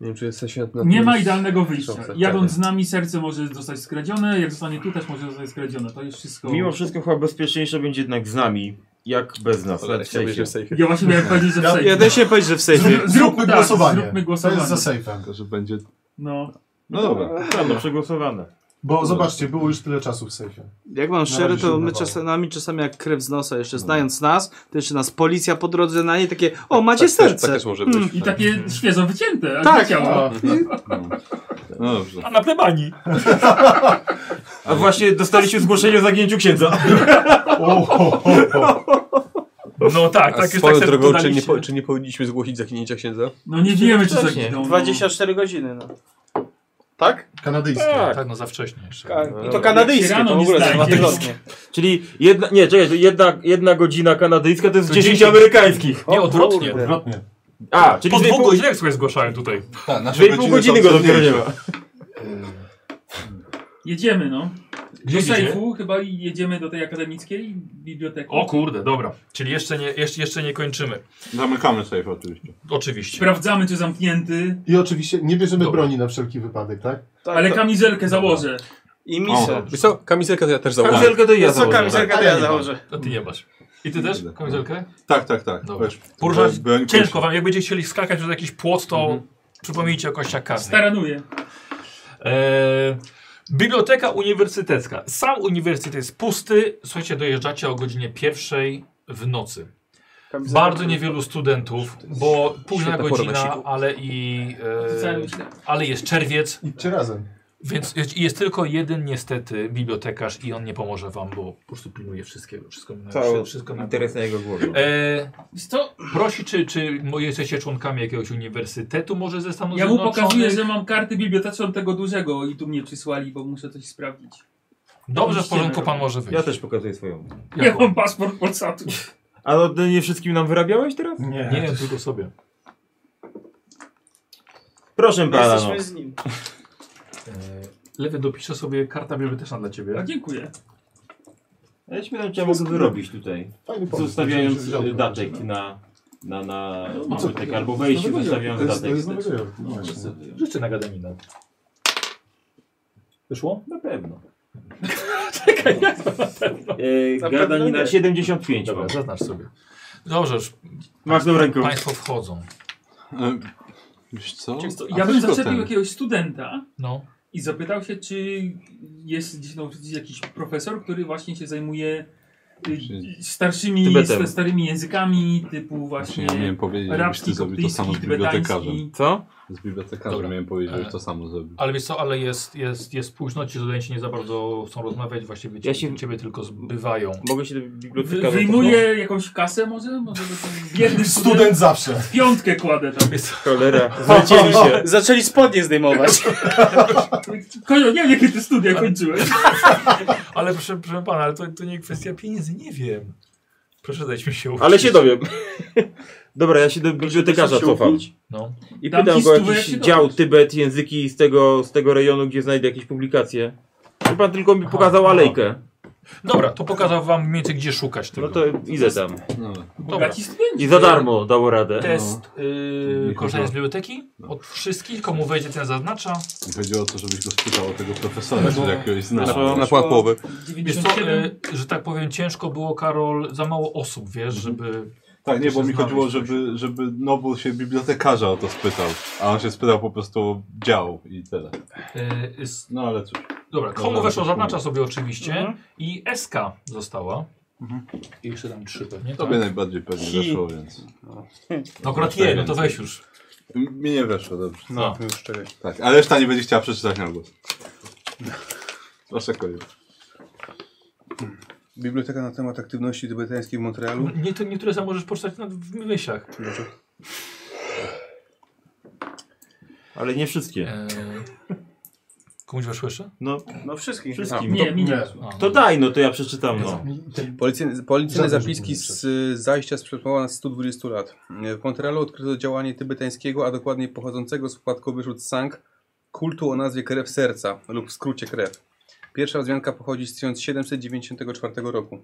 nie wiem, czy jesteś na, na
Nie
tym
ma idealnego wyjścia.
książce.
Jadąc z nami serce może zostać skradzione, jak zostanie tu też może zostać skradzione. To jest wszystko...
Mimo wszystko chyba bezpieczniejsze będzie jednak z nami, jak bez nas.
Ale
Ale w
chciałbym,
sensie.
że w sejfie.
Ja właśnie miałem powiedzieć, że w
Ja-
sejfie.
Ja też się powiedzieć, że w sejfie.
Zrób-
Zróbmy
tak,
głosowanie.
Zróbmy
To
głosowanie.
jest za sejfem.
Tylko, że będzie...
No.
No dobra.
Dobra, przegłosowane.
Bo zobaczcie, było już tyle czasu w sejfie.
Jak mam szczery,
razie się
to my
udawało.
czasami, nami czasami jak krew z nosa, jeszcze
No.
znając nas, to jeszcze nas policja po drodze na niej takie, o macie
Tak też-
serce.
tak też może być.
Mm.
I takie świeżo wycięte, a
Tak.
nie ciało.
No dobrze.
A na plebanii.
A właśnie dostaliśmy zgłoszenie o zaginięciu księdza.
O, ho, ho, ho.
No tak,
A
tak jest tak
swoją
sobie
drogą, czy nie,
dodaliście.
po, czy nie powinniśmy zgłosić zaginięcia księdza?
No nie wiemy, czy
Wcześniej.
zaginą. no.
24 godziny, no.
Tak? Kanadyjskie.
Tak, no za wcześnie jeszcze.
No,
I to kanadyjskie,
Rano
to w
nie
ogóle
znajdziesz.
dwutygodnie.
Czyli jedna, nie, czekaj, to jedna, jedna godzina kanadyjska to jest 10, amerykańskich.
Nie, odwrotnie.
Odwrotnie.
A, czyli
Po
dwie
dwóch
pół,
godzinach słuchaj zgłaszałem tutaj.
Tak, nasze
dwie pół
są
godziny go dopiero nie
cenniejsze.
ma.
Jedziemy, no.
Gdzie
Do
idzie?
sejfu chyba i jedziemy do tej akademickiej biblioteki.
O kurde, dobra. Czyli jeszcze nie, jeszcze, jeszcze nie kończymy.
Zamykamy safe oczywiście.
Oczywiście.
Sprawdzamy, czy zamknięty,
I oczywiście nie bierzemy
Dobra.
broni na wszelki wypadek, tak?
ale kamizelkę założę.
I
O,
misę.
dobrze.
Wiesz co, kamizelkę to ja też założę.
Kamizelkę to ja
Co
założę.
kamizelka to ja założę?
A ty nie masz. I ty też? Kamizelkę?
Tak, tak, tak.
Dobra.
Weź,
Poruszać
broń
ciężko wam. Jak będziecie chcieli skakać przez jakiś płot, to przypomnijcie o kościach karnych.
Staranuję.
E, biblioteka uniwersytecka. Sam uniwersytet jest pusty. Słuchajcie, dojeżdżacie o godzinie pierwszej w nocy. Bardzo niewielu studentów, bo późna
świetna pora na
godzina,
siku.
ale i
Rzucałem
e,
myślę.
ale jest czerwiec,
Idźcie razem.
więc jest, jest tylko jeden niestety bibliotekarz i on nie pomoże wam, bo po prostu pilnuje wszystkiego, wszystko mi na,
Cały
wszystko mi na
interes na jego głowie.
E,
Wiesz Co?
prosi, czy, czy mo- jesteście członkami jakiegoś uniwersytetu może ze Stanów
Ja mu
Zjednoczonych?
pokazuję, że mam karty biblioteczną tego dużego i tu mnie przysłali, bo muszę coś sprawdzić.
Dobrze, w porządku, pan może wyjść.
Ja też pokazuję swoją.
Jak
Ja
on?
mam paszport Polsatu.
A no, to nie wszystkim nam wyrabiałeś teraz?
Nie, nie, tylko sobie.
Proszę
My
pana, no.
jesteśmy z nim.
E, Lewy, dopiszę sobie karta biblioteczna dla ciebie.
A, No, dziękuję.
Ja się pytam, czy ja mogę wyrobić tutaj.
Fajny pomysł.
Zostawiając
Myślę, że
y,
wziął
datek
to.
na, na, na
Co?
bibliotekę albo wejście,
To jest
zostawiając
nowego
datek.
Jorku. To jest nowego Jorku.
No,
Właśnie.
zdecyduję.
Życzę na gadaninę. Wyszło?
Na pewno.
Czekaj, jak
E,
Na pewno
Gadanina
nie.
75.
Dobra, zaznacz sobie. Dobrze, już
Machną ręką.
państwo wchodzą.
E, Wiesz co? A
Ja bym
wszystko
zaczepił
ten.
jakiegoś studenta
No.
i zapytał się, czy jest gdzieś na ulicy jakiś profesor, który właśnie się zajmuje y, y, starszymi,
Tybetem.
sta- starymi językami, typu właśnie...
Właśnie nie miałem powiedzieć, żebyś
Arabski,
ty zrobił to samo z
koptyjski,
bibliotekarzem.
tybetański.
Co?
Z bibliotekarzem
Dobra.
miałem powiedzieć, żebyś
E.
to samo zrobił.
Ale wiesz co, ale jest, jest, jest późno, ci studenci nie za bardzo chcą rozmawiać, właściwie
Ja
ci-
się-
ciebie tylko zbywają.
Mogę się do
Wy,
biblioteka...
wyjmuję jakąś kasę może? Może to ten biedny student
Student zawsze.
piątkę kładę tam.
Cholera, zlecieli się.
Zaczęli spodnie zdejmować.
Kolio, nie wiem, jakie ty studia kończyłeś.
Ale proszę, proszę pana, ale to, to nie kwestia pieniędzy, nie wiem.
Proszę dać mi się uczyć.
Ale się dowiem. Dobra, ja się do bibliotekarza
się
cofam.
upilić.
No.
No.
I
Dam
pytam
ci
go o
stówę,
jakiś
jak się
dział
dowiesz.
Tybet, języki z tego, z tego rejonu, gdzie znajdę jakieś publikacje. I pan tylko mi pokazał alejkę.
Dobra, to pokazał wam mniej więcej gdzie szukać tego.
No to idę tam.
Dobra.
I za darmo dało radę.
y,
Test yy,
Nie
korzystania z
chodziło.
biblioteki od wszystkich, komu wejdzie ten zaznacza.
Nie Chodziło o to, żebyś go spytał o tego profesora, czy jakiegoś zna.
Wiesz co,
e,
yy, że tak powiem ciężko było Karol, za mało osób, wiesz, żeby...
Tak, nie, bo mi
znaleźć
chodziło,
coś.
żeby, żeby Nobu się bibliotekarza o to spytał, a on się spytał po prostu o dział i tyle.
Yy, z-
No ale cóż.
Dobra, komu
Dobra,
weszło
dobra.
zaznacza sobie oczywiście i SK została. I jeszcze tam trzy pewnie,
Tobie
Tak.
najbardziej pewnie weszło, więc...
No akurat
Cztery
je, no to
więcej.
weź już.
Mi nie weszło, dobrze.
No,
już czekaj.
Tak, ale reszta nie będzie chciała przeczytać na głos. Proszę koniec.
Biblioteka na temat aktywności tybetańskiej w Montrealu.
Nie, to niektóre sam możesz poczytać na- w myślach.
Ale nie wszystkie.
E, Komuś weszło jeszcze?
No,
No wszystkich.
wszystkim.
Nie,
to,
mi nie.
to daj, no to ja przeczytam. No.
Policyjne, policyjne
Żadne
zapiski z y, zajścia sprzed ponad 120 lat. Y, W Montrealu odkryto działanie tybetańskiego, a dokładniej pochodzącego z wpadkowy rzut Sang, kultu o nazwie krew serca, lub w skrócie krew. Pierwsza wzmianka pochodzi z 1794 roku.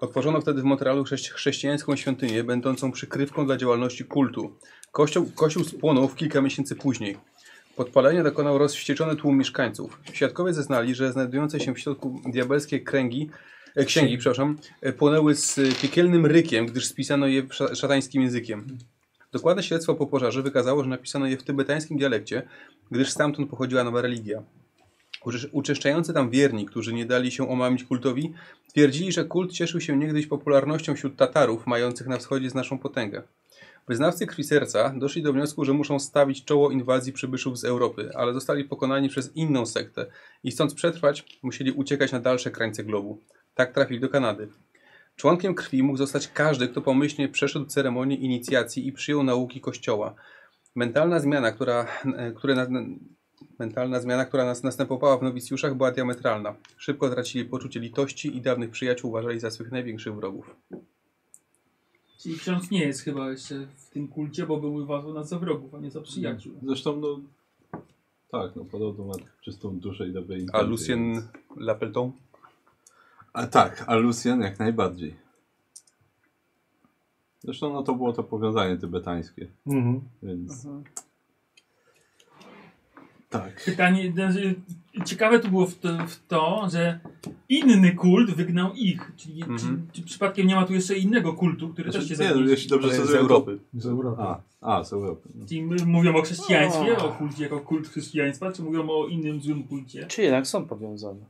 Otworzono wtedy w Montrealu chrześci- chrześcijańską świątynię, będącą przykrywką dla działalności kultu. Kościół, kościół spłonął w kilka miesięcy później. Podpalenia dokonał rozwścieczony tłum mieszkańców. Świadkowie zeznali, że znajdujące się w środku diabelskie kręgi, e, księgi przepraszam, e, płonęły z e, piekielnym rykiem, gdyż spisano je sza- szatańskim językiem. Dokładne śledztwo po pożarze wykazało, że napisano je w tybetańskim dialekcie, gdyż stamtąd pochodziła nowa religia. Uczesz- Uczeszczający tam wierni, którzy nie dali się omamić kultowi, twierdzili, że kult cieszył się niegdyś popularnością wśród Tatarów mających na wschodzie znaczną potęgę. Wyznawcy krwi serca doszli do wniosku, że muszą stawić czoło inwazji przybyszów z Europy, ale zostali pokonani przez inną sektę i chcąc przetrwać, musieli uciekać na dalsze krańce globu. Tak trafili do Kanady. Członkiem krwi mógł zostać każdy, kto pomyślnie przeszedł ceremonię inicjacji i przyjął nauki Kościoła. Mentalna zmiana, która, e, które na, Mentalna zmiana, która nas następowała w nowicjuszach, była diametralna. Szybko tracili poczucie litości i dawnych przyjaciół uważali za swych największych wrogów.
Czyli ksiądz nie jest chyba jeszcze w tym kulcie, bo był uważał nas za wrogów, a nie za przyjaciół.
Zresztą no... Tak, no podobno ma czystą duszę i dobre
A
intencje.
Lucien Lapelton?
A tak, a Lucien jak najbardziej. Zresztą no to było to powiązanie tybetańskie.
Mhm.
Więc
Aha.
tak.
Pytanie, znaczy, ciekawe to było w to, w to, że inny kult wygnał ich. Czyli czy, czy przypadkiem nie ma tu jeszcze innego kultu, który też się
Mhm. Znaczy, nie, no,
zaniesie?
jeśli dobrze
Ale z
zrozumiałem,
Europy.
to-
Z Europy.
A, a, z Europy. No.
Czyli my mówią o chrześcijaństwie, o kulcie jako kult chrześcijaństwa, czy mówią o innym złym kulcie?
Czy jednak są powiązane?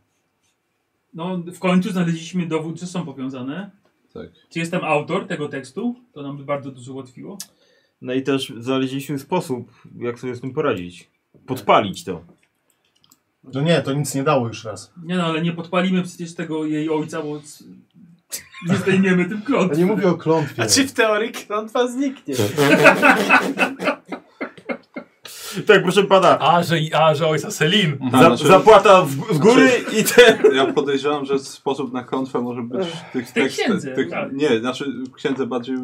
No, w końcu znaleźliśmy dowód, że są powiązane.
Tak.
Czy jest tam autor tego tekstu? To nam by bardzo dużo ułatwiło.
No i też znaleźliśmy sposób, jak sobie z tym poradzić. Podpalić to.
No nie, to nic nie dało już raz.
Nie no, ale nie podpalimy przecież tego jej ojca, bo c- nie zdejmiemy tym klątw.
Ja nie mówię o klątwie.
A czy w teorii klątwa zniknie?
Tak, proszę pana.
A, że, a, że ojca Selin.
Tak,
no,
znaczy-
zapłata w- z góry i ten.
Ja podejrzewam, że sposób na klątwę może być w tych
tej
tekstach.
księdze,
tych,
tak.
Nie, znaczy księdze bardziej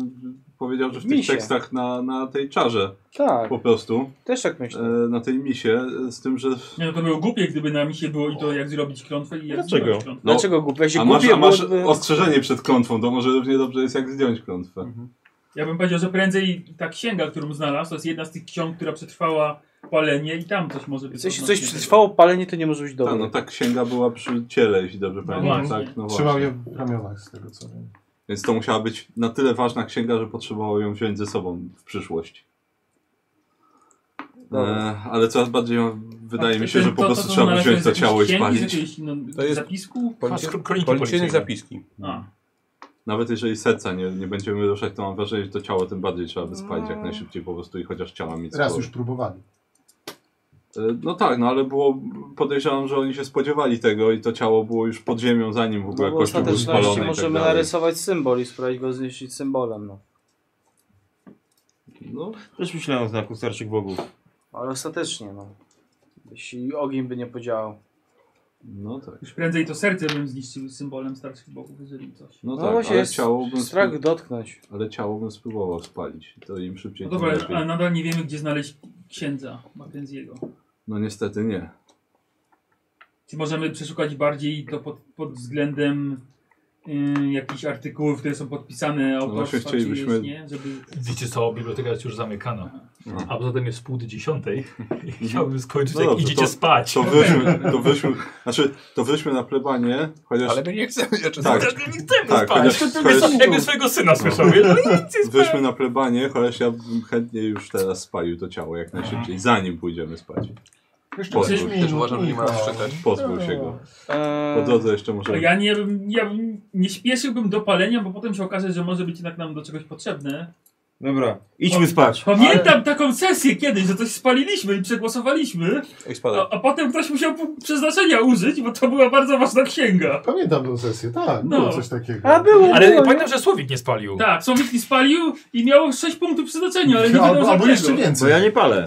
powiedział, że w tych
Misie.
tekstach na, na tej czarze.
Tak.
Po prostu.
Też tak myślę.
E, na tej misie, e, z tym, że.
Nie no, to było głupie, gdyby na mi się było i to jak zrobić klątwę i jak
Dlaczego?
zdobyć klątwę.
Znaczy,
No,
Dlaczego głupie? Ja się
a masz,
głupie,
a masz
bo-
ostrzeżenie przed klątwą, to może równie dobrze jest jak zdjąć klątwę.
Ja bym powiedział, że prędzej ta księga, którą znalazł, to jest jedna z tych ksiąg, która przetrwała palenie i tam coś może być.
Coś, coś
odnośnie
przetrwało palenie, to nie może być
Ta,
dobre.
no ta księga była przy ciele, jeśli dobrze pamiętam.
właśnie.
Tak, no
Trzymał
właśnie.
je w ramionach z tego co wiem.
Więc to musiała być na tyle ważna księga, że potrzebało ją wziąć ze sobą w przyszłość. E,
Dobra.
ale coraz bardziej mam- wydaje mi się, że po prostu trzeba
znalazłeś
wziąć Tak, to
jakieś
ciało i
księgi,
spalić.
jakieś, no,
To jest
zapisku?
policy-
A, skro-
Policyjne
policyjne.
zapiski.
A.
Nawet jeżeli serca nie, nie będziemy ruszać, to mam wrażenie, że to ciało tym bardziej trzeba by spalić jak najszybciej po prostu i chociaż ciała mieć.
Raz
sporo.
już próbowali.
E, No tak, no ale było, podejrzewam, że oni się spodziewali tego i to ciało było już pod ziemią, zanim w ogóle
No bo
kościół był spalony i
ostateczności
tak
możemy
dalej.
narysować symbol i spróbować go zniszczyć symbolem, no.
No.
Też myślałem o znaku starszych bogów.
Ale ostatecznie, no. Jeśli ogień by nie podziałał.
No tak.
Już prędzej to serce bym zniszczył symbolem starszych bogów, jeżeli coś.
No,
No
tak,
właśnie
ale
jest
ciało bym
strach
spró-
dotknąć.
Ale ciało bym spróbował spalić. To im szybciej.
No
tym
dobra,
lepiej.
ale nadal nie wiemy, gdzie znaleźć księdza Mackenzie'ego.
No niestety nie.
Czy możemy przeszukać bardziej to pod, pod względem y, jakichś artykułów, które są podpisane autorstwa, czy jest, nie? Żeby...
Wiecie co, biblioteka jest już zamykana.
No.
A poza tym jest pół do dziesiątej. I chciałbym skończyć,
No
jak
dobrze,
idziecie
to-
spać.
To wyszmy, to wyszmy, znaczy, to wyszmy na plebanie, chociaż...
Ale my nie chcemy jeszcze
tak,
spać. Też nie chcemy
tak,
spać.
Chociaż,
To ty byś jakby swojego syna słyszał, wiesz? No i nic nie spałem.
Wyszmy na plebanie, chociaż ja bym chętnie już teraz spalił to ciało jak najszybciej, zanim pójdziemy spać.
Jeszcze
Pozbył
pięć
się-
minut, Też uważam, że nie ma Michał. jeszcze też.
Pozbył się go.
Eee.
Po drodze jeszcze może...
A ja nie, bym- ja bym, nie śpieszyłbym do palenia, bo potem się okaże, że może być jednak nam do czegoś potrzebne.
Dobra, idźmy spać.
Pamiętam taką sesję kiedyś, że coś spaliliśmy i przegłosowaliśmy,
Eee,
I spadaj.
Tak.
a, a potem ktoś musiał pu- przeznaczenia użyć, bo to była bardzo ważna księga.
Pamiętam tę sesję, tak,
No.
było coś takiego.
A było,
Ale
było,
pamiętam, że Słowik nie spalił.
Tak, Słowik nie spalił i miał 6 punktów przeznaczenia, No, ale nie wiadomo tak. za czego.
Bo ja nie palę.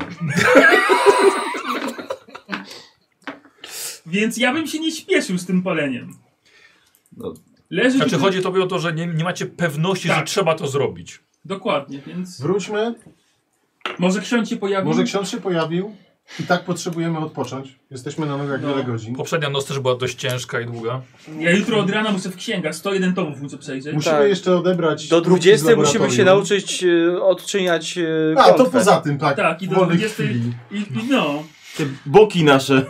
Więc ja bym się nie śpieszył z tym paleniem.
No.
Leży
Znaczy
tu-
chodzi tobie o to, że nie, nie macie pewności, że trzeba to zrobić.
Dokładnie, więc...
Wróćmy.
Może ksiądz się pojawił?
Może ksiądz się pojawił i tak potrzebujemy odpocząć. Jesteśmy na nogach
No.
wiele godzin.
Tak.
Poprzednia noc też była dość ciężka i długa.
Ja jutro od rana muszę w księgach, 101 tomów muszę przejrzeć.
Musimy jeszcze odebrać
Do
próbki z
20 musimy
laboratorium.
się nauczyć e, odczyniać e,
A, to
klątwę.
poza tym, tak.
Tak, i do
W wolnej
20...
chwili.
I, i no.
Te boki nasze.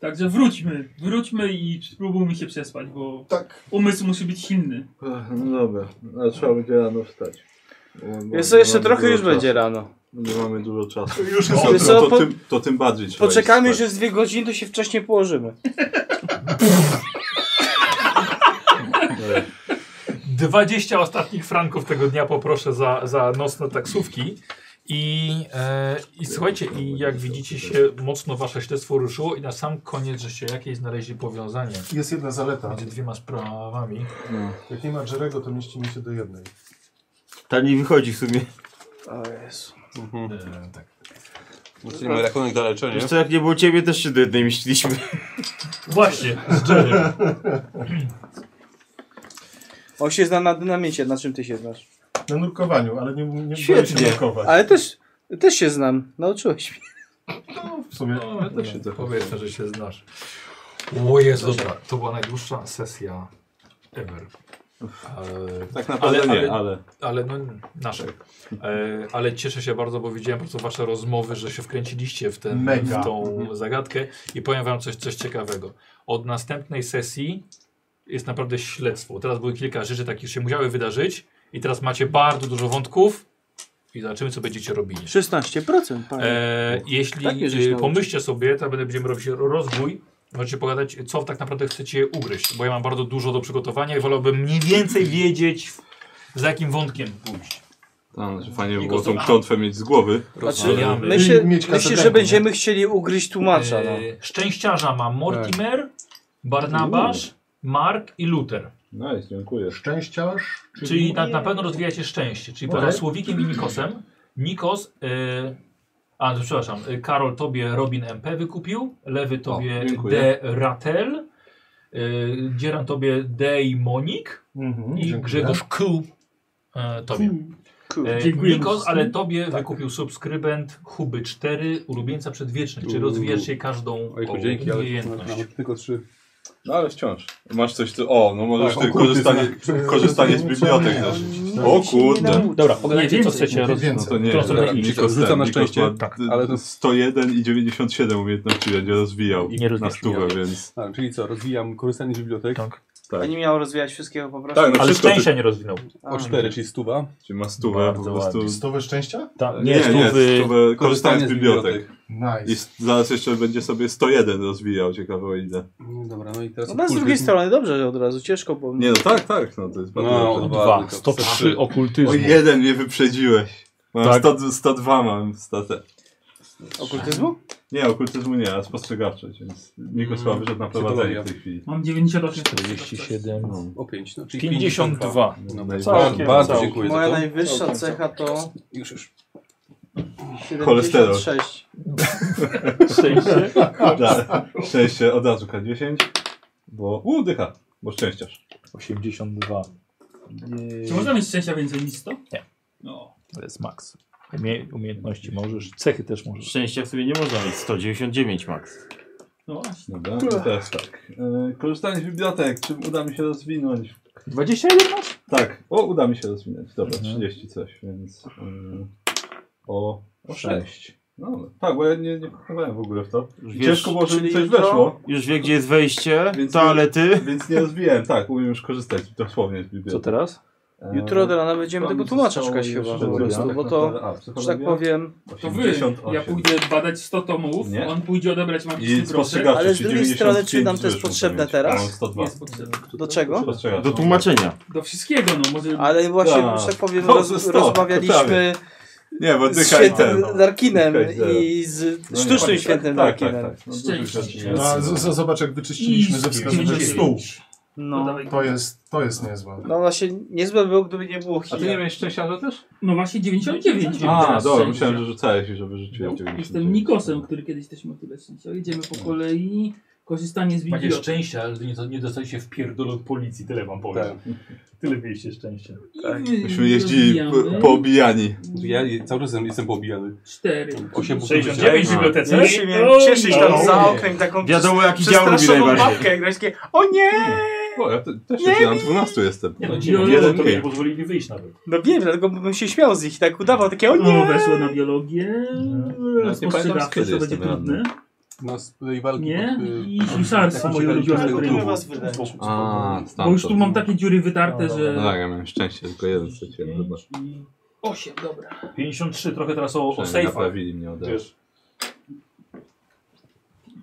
Także wróćmy, wróćmy i spróbujmy się przespać, bo
Tak,
umysł musi być silny.
Ach, No dobra, ale trzeba będzie rano wstać. Bo- Eee, bo
Jest
nie
jeszcze
mamy
trochę
dużo
już będzie
czasu.
rano.
Nie mamy dużo czasu.
Już
No,
jest
to,
rano.
to,
Po-
tym, to tym bardziej trzeba iść
Poczekamy
spać.
jeszcze z dwie godziny, to się wcześniej położymy.
Ale
20 ostatnich franków tego dnia poproszę za, za nocne taksówki. I, e, I słuchajcie, i jak widzicie się, mocno wasze śledztwo ruszyło i na sam koniec, żeście jakieś znaleźli powiązanie
Jest jedna zaleta.
między dwiema sprawami.
Jak nie ma Jerego, to mieścimy się do jednej.
Ta nie wychodzi w sumie.
O Jezu.
E, tak.
Musimy rachunek za leczenie.
Wiesz co, jak nie było ciebie, też się do jednej myśleliśmy.
Właśnie, z Jerem.
On się zna na dynamicie, na czym ty się znasz?
Na nurkowaniu, ale nie, nie
Świetnie.
boję się nurkować.
Ale też, też się znam, nauczyłeś mnie.
W sumie.
No, ja
tak
też się trochę powiedzmy, że się znasz. O Jezu, dobra, to była najdłuższa sesja ever. E,
Tak naprawdę nie, ale-
ale no, nasze. E, ale cieszę się bardzo, bo widziałem po prostu wasze rozmowy, że się wkręciliście w, ten,
Mega.
w tą zagadkę i powiem wam coś, coś ciekawego. Od następnej sesji jest naprawdę śledztwo. Teraz były kilka rzeczy takich, że się musiały wydarzyć i teraz macie bardzo dużo wątków i zobaczymy, co będziecie robili.
16%, panie.
E, jeśli
Tak mnie żeś
e,
nauczył.
pomyślcie sobie, to będę- będziemy robić ro- rozwój. Możecie pogadać, co tak naprawdę chcecie ugryźć, bo ja mam bardzo dużo do przygotowania i wolałbym mniej więcej wiedzieć, w- za jakim wątkiem pójść.
Tam, że No, fajnie by
Jego
było tą
to-
klątwę mieć z głowy.
Znaczy,
Ale-
Myślę,
I mieć
myślę że
kasetę,
będziemy chcieli ugryźć tłumacza. No.
E, szczęściarza ma Mortimer,
Tak.
Barnabasz, Mark i Luther.
Nice, No dziękuję.
Szczęściarz?
Czyli tak na, na pewno rozwijacie szczęście. Czyli poza Słowikiem i Nikosem. Nikos. Y, a, no, przepraszam. y, Karol tobie Robin MP wykupił. Lewy tobie
dziękuję.
D. Ratel. Y, Dzieran tobie D. i Monik.
Mhm,
I
dziękuję.
Grzegorz Ku. Y, tobie. Y,
Dziękuję.
Nikos, ale tobie wykupił subskrybent Huby 4 ulubieńca przedwiecznych. Czyli
Uuu.
rozwijasz jej każdą
Ojku, dzięki, ale
umiejętność.
nawet tylko trzy.
No ale wciąż. Masz coś, co... O, no możesz
Tak,
ty
o kurde,
korzystanie,
tak.
korzystanie z bibliotek
Nie,
narzucić.
nie,
O
nie
kurde.
nauczy.
Dobra, pogadajcie, co chcecie roz-
No to nie,
którą stronę
Nikos
iść.
ten,
Rzucam na
Nikos
szczęście.
ma
Tak,
d-
ale to-
101 i 97 umiejętności będzie rozwijał
I nie
na
rozwijasz
stówę,
mnie.
więc...
A, czyli co, rozwijam korzystanie z bibliotek. Tak.
A nie miał rozwijać wszystkiego po prostu.
Tak, no wszystko ty-
O cztery, czyli stuwa.
Czyli ma stówę po prostu.
Stowę szczęścia?
Nie, nie, stówę korzystanie z bibliotek.
Nice.
I s- zaraz jeszcze będzie sobie 101 rozwijał, ciekawe o ile.
No Dobra, no i teraz...
No, no, z drugiej strony dobrze, że od razu ciężko, bo...
Nie no tak, tak, no to jest bardzo
No,
dobrze.
dwa, Dwa, 103
Stary.
okultyzmu.
O jeden mnie wyprzedziłeś. Mam
Tak?
100, 102 mam statę.
Okultyzmu?
Nie, okultyzmu nie, a spostrzegawczość, więc Nikosław wyszedł na prowadzenie w tej chwili.
Mam 98.
47.
O 5, no, czyli
52.
No, bardzo- bardzo dziękuję za
Moja
to.
najwyższa
Całkiem,
cecha to...
Już, już.
Cholesterol.
76.
Szczęście? tak. Szczęście od razu K10. Bo udycha, bo szczęściarz.
82.
Czy można mieć szczęścia więcej niż 100?
Nie. No. To jest maks. Umie, umiejętności możesz, cechy też możesz.
Szczęścia w sobie nie można mieć, 199 max.
No właśnie.
Dobra, no teraz tak. E, korzystanie z bibliotek, czym uda mi się rozwinąć?
21 masz?
Tak, o, uda mi się rozwinąć. Dobra,
Mhm.
30 coś, więc. ym, o, o 6. No, dobra. tak, bo ja nie, nie pochowałem w ogóle w to. I
wiesz,
Ciężko było, żeby
czyli
mi coś
jutro?
weszło.
Już wie, gdzie jest wejście, toalety.
Więc nie rozwijałem, tak, umiem już korzystać dosłownie z E, bibliotek.
Co teraz?
Jutro od rana będziemy
to
tego
mi
tłumacza
zostało
szukać
jeszcze
chyba po
dwie,
prostu,
tak
bo to,
naprawdę. A,
że
psychologia?
tak powiem...
To wy, ja
88.
pójdę badać 100 tomów,
Nie.
on pójdzie odebrać mam
I
3 grosze.
spostrzegawczość,
Ale z drugiej strony,
95
czy nam to jest
zwyższą
potrzebne
powinien.
teraz?
Mam 102.
Jest potrzebne.
Do czego?
Spostrzegawczość.
Do tłumaczenia.
Do wszystkiego, no może...
Ale właśnie,
Tak.
że tak powiem,
To
roz,
ze sto,
rozmawialiśmy
prawie. Nie, bo
z
dycha i ten.
świętym Darkinem
Dycha i zero.
i z
No nie,
sztucznym
tak,
świętym
tak, tak,
Darkinem.
tak, tak. No, dużo rzeczy
No, a z- z- zobacz, jak wyczyściliśmy ze wskazówek stół.
No.
To jest, to jest niezłe.
No właśnie, niezłe było, gdyby nie było
A
Chiny.
ty nie miałeś szczęścia też?
No właśnie 99.
A,
teraz
dobra,
szczęścia.
myślałem, że rzucałeś i żeby rzuciłem
No, Jestem
99.
Nikosem, który kiedyś też miał tyle szczęścia. Idziemy po
No.
kolei, korzystanie z
Macie
bibliotek.
szczęścia, ale nie, nie dostaliście w pierdol od policji, tyle wam powiem. Tyle mieliście szczęścia.
Tak.
Myśmy jeździli
Rozbijamy.
po- poobijani.
Ja je- cały czas jestem- jestem poobijany.
4.
8
69 w
No,
bibliotece?
Ja się miałem cieszyć tam za oknem taką
Wiadomo,
przes-
jaki dział lubi
przestraszoną
najbardziej.
babkę, jak grałeś takie, o nie!
O, ja te- też
Nie
jeszcze na 12 jestem.
Nie no, ci
Jeden
jeden to
mniej.
nie pozwolili wyjść nawet.
No wiem, dlatego bym się śmiał z nich i tak udawał, takie o
No,
nie!
weszło na biologię,
pamiętam,
spostrzegawczość,
kiedy
to będzie
jestem ranny.
trudne.
Nas tej walki
Nie?
pod, y,
I
Tak,
ślusarstwo, moje ulubione, które
Próbuję was wydać.
A,
Bo już tu
stamtąd.
mam takie dziury wytarte,
No
że...
tak, ja miałem szczęście, tylko jeden straciłem chyba.
8, dobra.
53, trochę teraz o, o
Przynajmniej
sejfach.
naprawili mnie od razu.
Wiesz,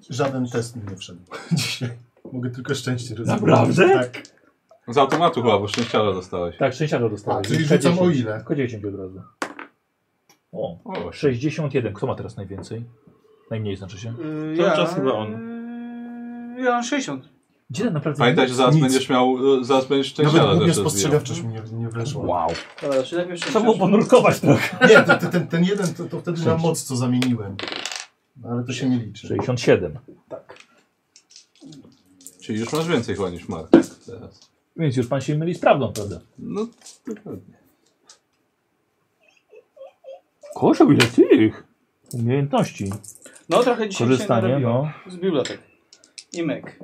Żaden test mi nie wszedł dzisiaj. Mogę tylko szczęście rozwijać.
Naprawdę?
Tak.
Z automatu chyba, bo szczęściara dostałeś.
tak, 60 dostałeś.
A, czyli rzucam o ile?
Tylko 10 od razu. O,
O.
61. Kto ma teraz najwięcej? Najmniej znaczy się.
Cały
Cały czas chyba on.
Ja mam 60.
Gdzie tak naprawdę
Pamiętaj, że zaraz
nic?
będziesz miał, e, zaraz będziesz
Nawet
szczęściara
głupio
też rozwijał.
spostrzegawczość mi nie, nie weszła.
Dobra, czyli najpierw
Trzeba było
60.
ponurkować trochę.
Nie, to, to, ten, ten jeden to, to wtedy na moc co zamieniłem. No, Ale to się nie liczy.
67.
Czyli już masz więcej chyba niż Mark teraz.
Więc już pan się myli z prawdą, prawda?
No, dokładnie.
Koszu, ile tych umiejętności.
No trochę dzisiaj się
Korzystanie,
narobiło.
no.
Z bibliotek. I mek.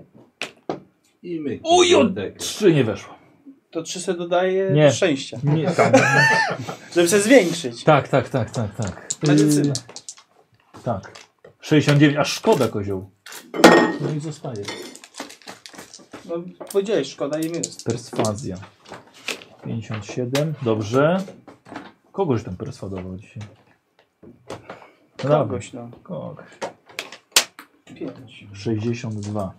I my.
Uj, o-
Trzy nie weszło.
To 300 dodaje
Nie.
do szczęścia.
Nie, tak.
Żeby się zwiększyć.
tak, tak, tak, tak, tak.
Medycyna.
Yy, tak. 69, aż szkoda kozioł. No i zostaje.
No powiedziałeś, szkoda im jest.
Perswazja. 57, dobrze. Kogoś tam perswadował dzisiaj. No dobra,
Kogoś no.
Kogoś.
Pięć.
62.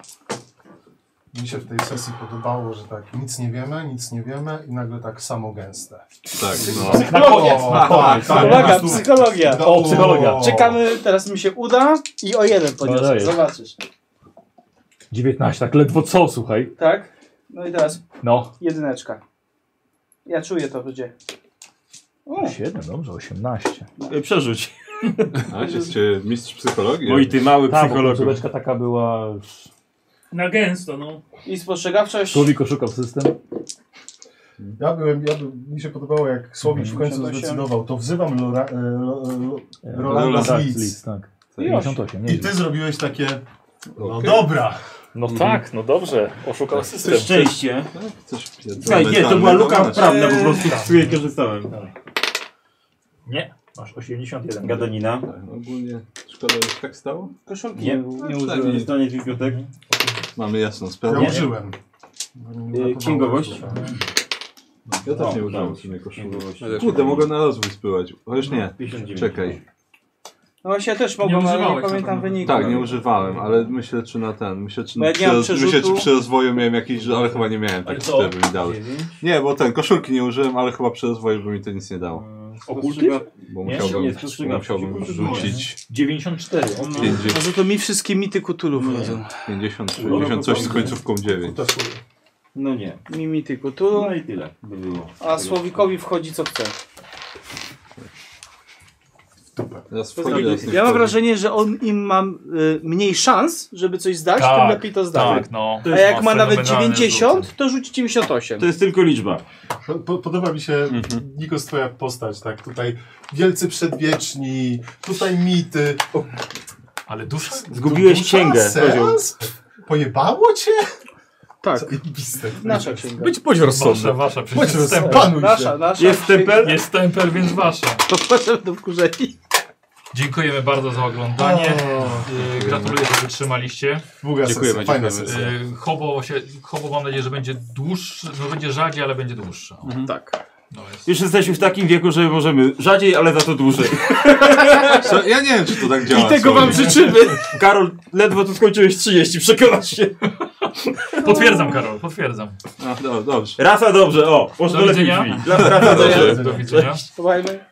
Mi się w tej sesji podobało, że tak nic nie wiemy, nic nie wiemy i nagle tak samo gęste.
Tak, no.
Na koniec!
tak,
Uwaga, psychologia.
O, psychologia.
Czekamy, teraz mi się uda i o jeden
No
podniosę,
dajesz.
zobaczysz.
19, tak ledwo co, słuchaj.
Tak? No i teraz
No.
jedyneczka. Ja czuję to, ludzie. O,
7, dobrze, 18.
E, Przerzuć.
A jest cię mistrz psychologii?
Oj, ty mały
Ta, Tak, bo
psycholog.
końcóweczka taka była...
Na gęsto, no.
I spostrzegawczość.
Człowiek oszukał system.
Ja byłem, ja by, mi się podobało jak Słowik w końcu
88.
zdecydował, to wzywam Lora, e, lo, e, lo, Rolanda
Rolanda
z
tak,
Leeds.
tak.
I
58,
I
nieźle.
ty zrobiłeś takie, no
Okej.
dobra,
No tak, no dobrze, oszukał system.
Szczęście.
Tak, coś tak,
Ej,
pierdolone
nie, to była
zdalne
luka
wykonać.
prawna, po prostu z której korzystałem.
Nie, masz 81.
Gadanina.
Tak, no ogólnie szkoda, że się tak stało.
Koszulki No
Nie.
nie, nie
Tak,
użyłem.
nie.
Korzystanie z bibliotek.
Mamy jasną
ja
sprawę.
użyłem. Bo mi
E,
uratowało
księgowość.
życie.
Ja też nie
O,
użyłem
dało
w sumie koszuli.
Księgowość.
Kurde, mogę na rozwój spływać. Chociaż nie,
59.
czekaj.
No właśnie, ja też mogłem, ale nie
używałeś na
pamiętam
pewno.
wyniku. No.
Tak, nie używałem, ale myślę czy na ten, myślę czy,
Bo jak nie
przy,
mam
roz- myślę, czy
przerzutu-
przy rozwoju miałem jakiś, że- ale chyba nie miałem
Ale
takich,
co?
które by mi dały. Nie, bo ten, koszulki nie użyłem, ale chyba przy rozwoju by mi to nic nie dało.
Okultyzm?
Bo
Nie,
musiałbym,
nie, przestrzegam.
bo
No.
musiałbym rzucić
94.
50,
Poza No to mi wszystkie mity Cthulhu wchodzą.
50, 60 coś z końcówką 9.
No nie.
Mi mity
No
Cthulhu,
i tyle by było.
a Słowikowi wchodzi co chce.
dupę.
Teraz
To
wchodzi do
znaczy,
tych
Ja mam
wchodzi.
wrażenie, że on im ma y, mniej szans, żeby coś zdać,
Tak,
tym lepiej to zda.
tak, no.
A
To
jak
jest
ma
ma
nawet
fenomenalny
90, to rzuci 98.
To
jest tylko liczba.
Po- Po, podoba mi się, Nikos, twoja postać, tak? Tutaj wielcy przedwieczni, tutaj mity.
Ale dusza?
Zgubiłeś księgę, kozioł.
Seans? Pojebało cię?
Tak.
Zajebiste.
Nasza księga.
Być bądź rozsądny.
Wasza, wasza, przecież
Bądź
jest
rozsądny.
tempel.
Panuj się.
Nasza, nasza.
Jest tempel?
Jest tempel, więc wasza.
To potem do wkurzeni.
Dziękujemy bardzo za oglądanie.
O,
Yy, Gratuluję, że wytrzymaliście.
Długa Dziękujemy, sesja, fajna dziękujemy. sesja.
Yy, Hobo, się, hobo mam nadzieję, że będzie dłuższy, no będzie rzadziej, ale będzie No dłuższa.
Mhm.
Tak.
Już jesteśmy w takim wieku, że możemy rzadziej, ale za to dłużej.
Co? Ja nie wiem, czy to tak działa.
I tego wam
słuchaj.
życzymy. Karol, ledwo tu skończyłeś 30, przekonasz się.
Potwierdzam, Karol, potwierdzam.
No, dobrze.
Rafa dobrze, o. Może
Do
lepiej
widzenia.
brzmi. Rafa dobrze.
Do widzenia.
Słuchajmy.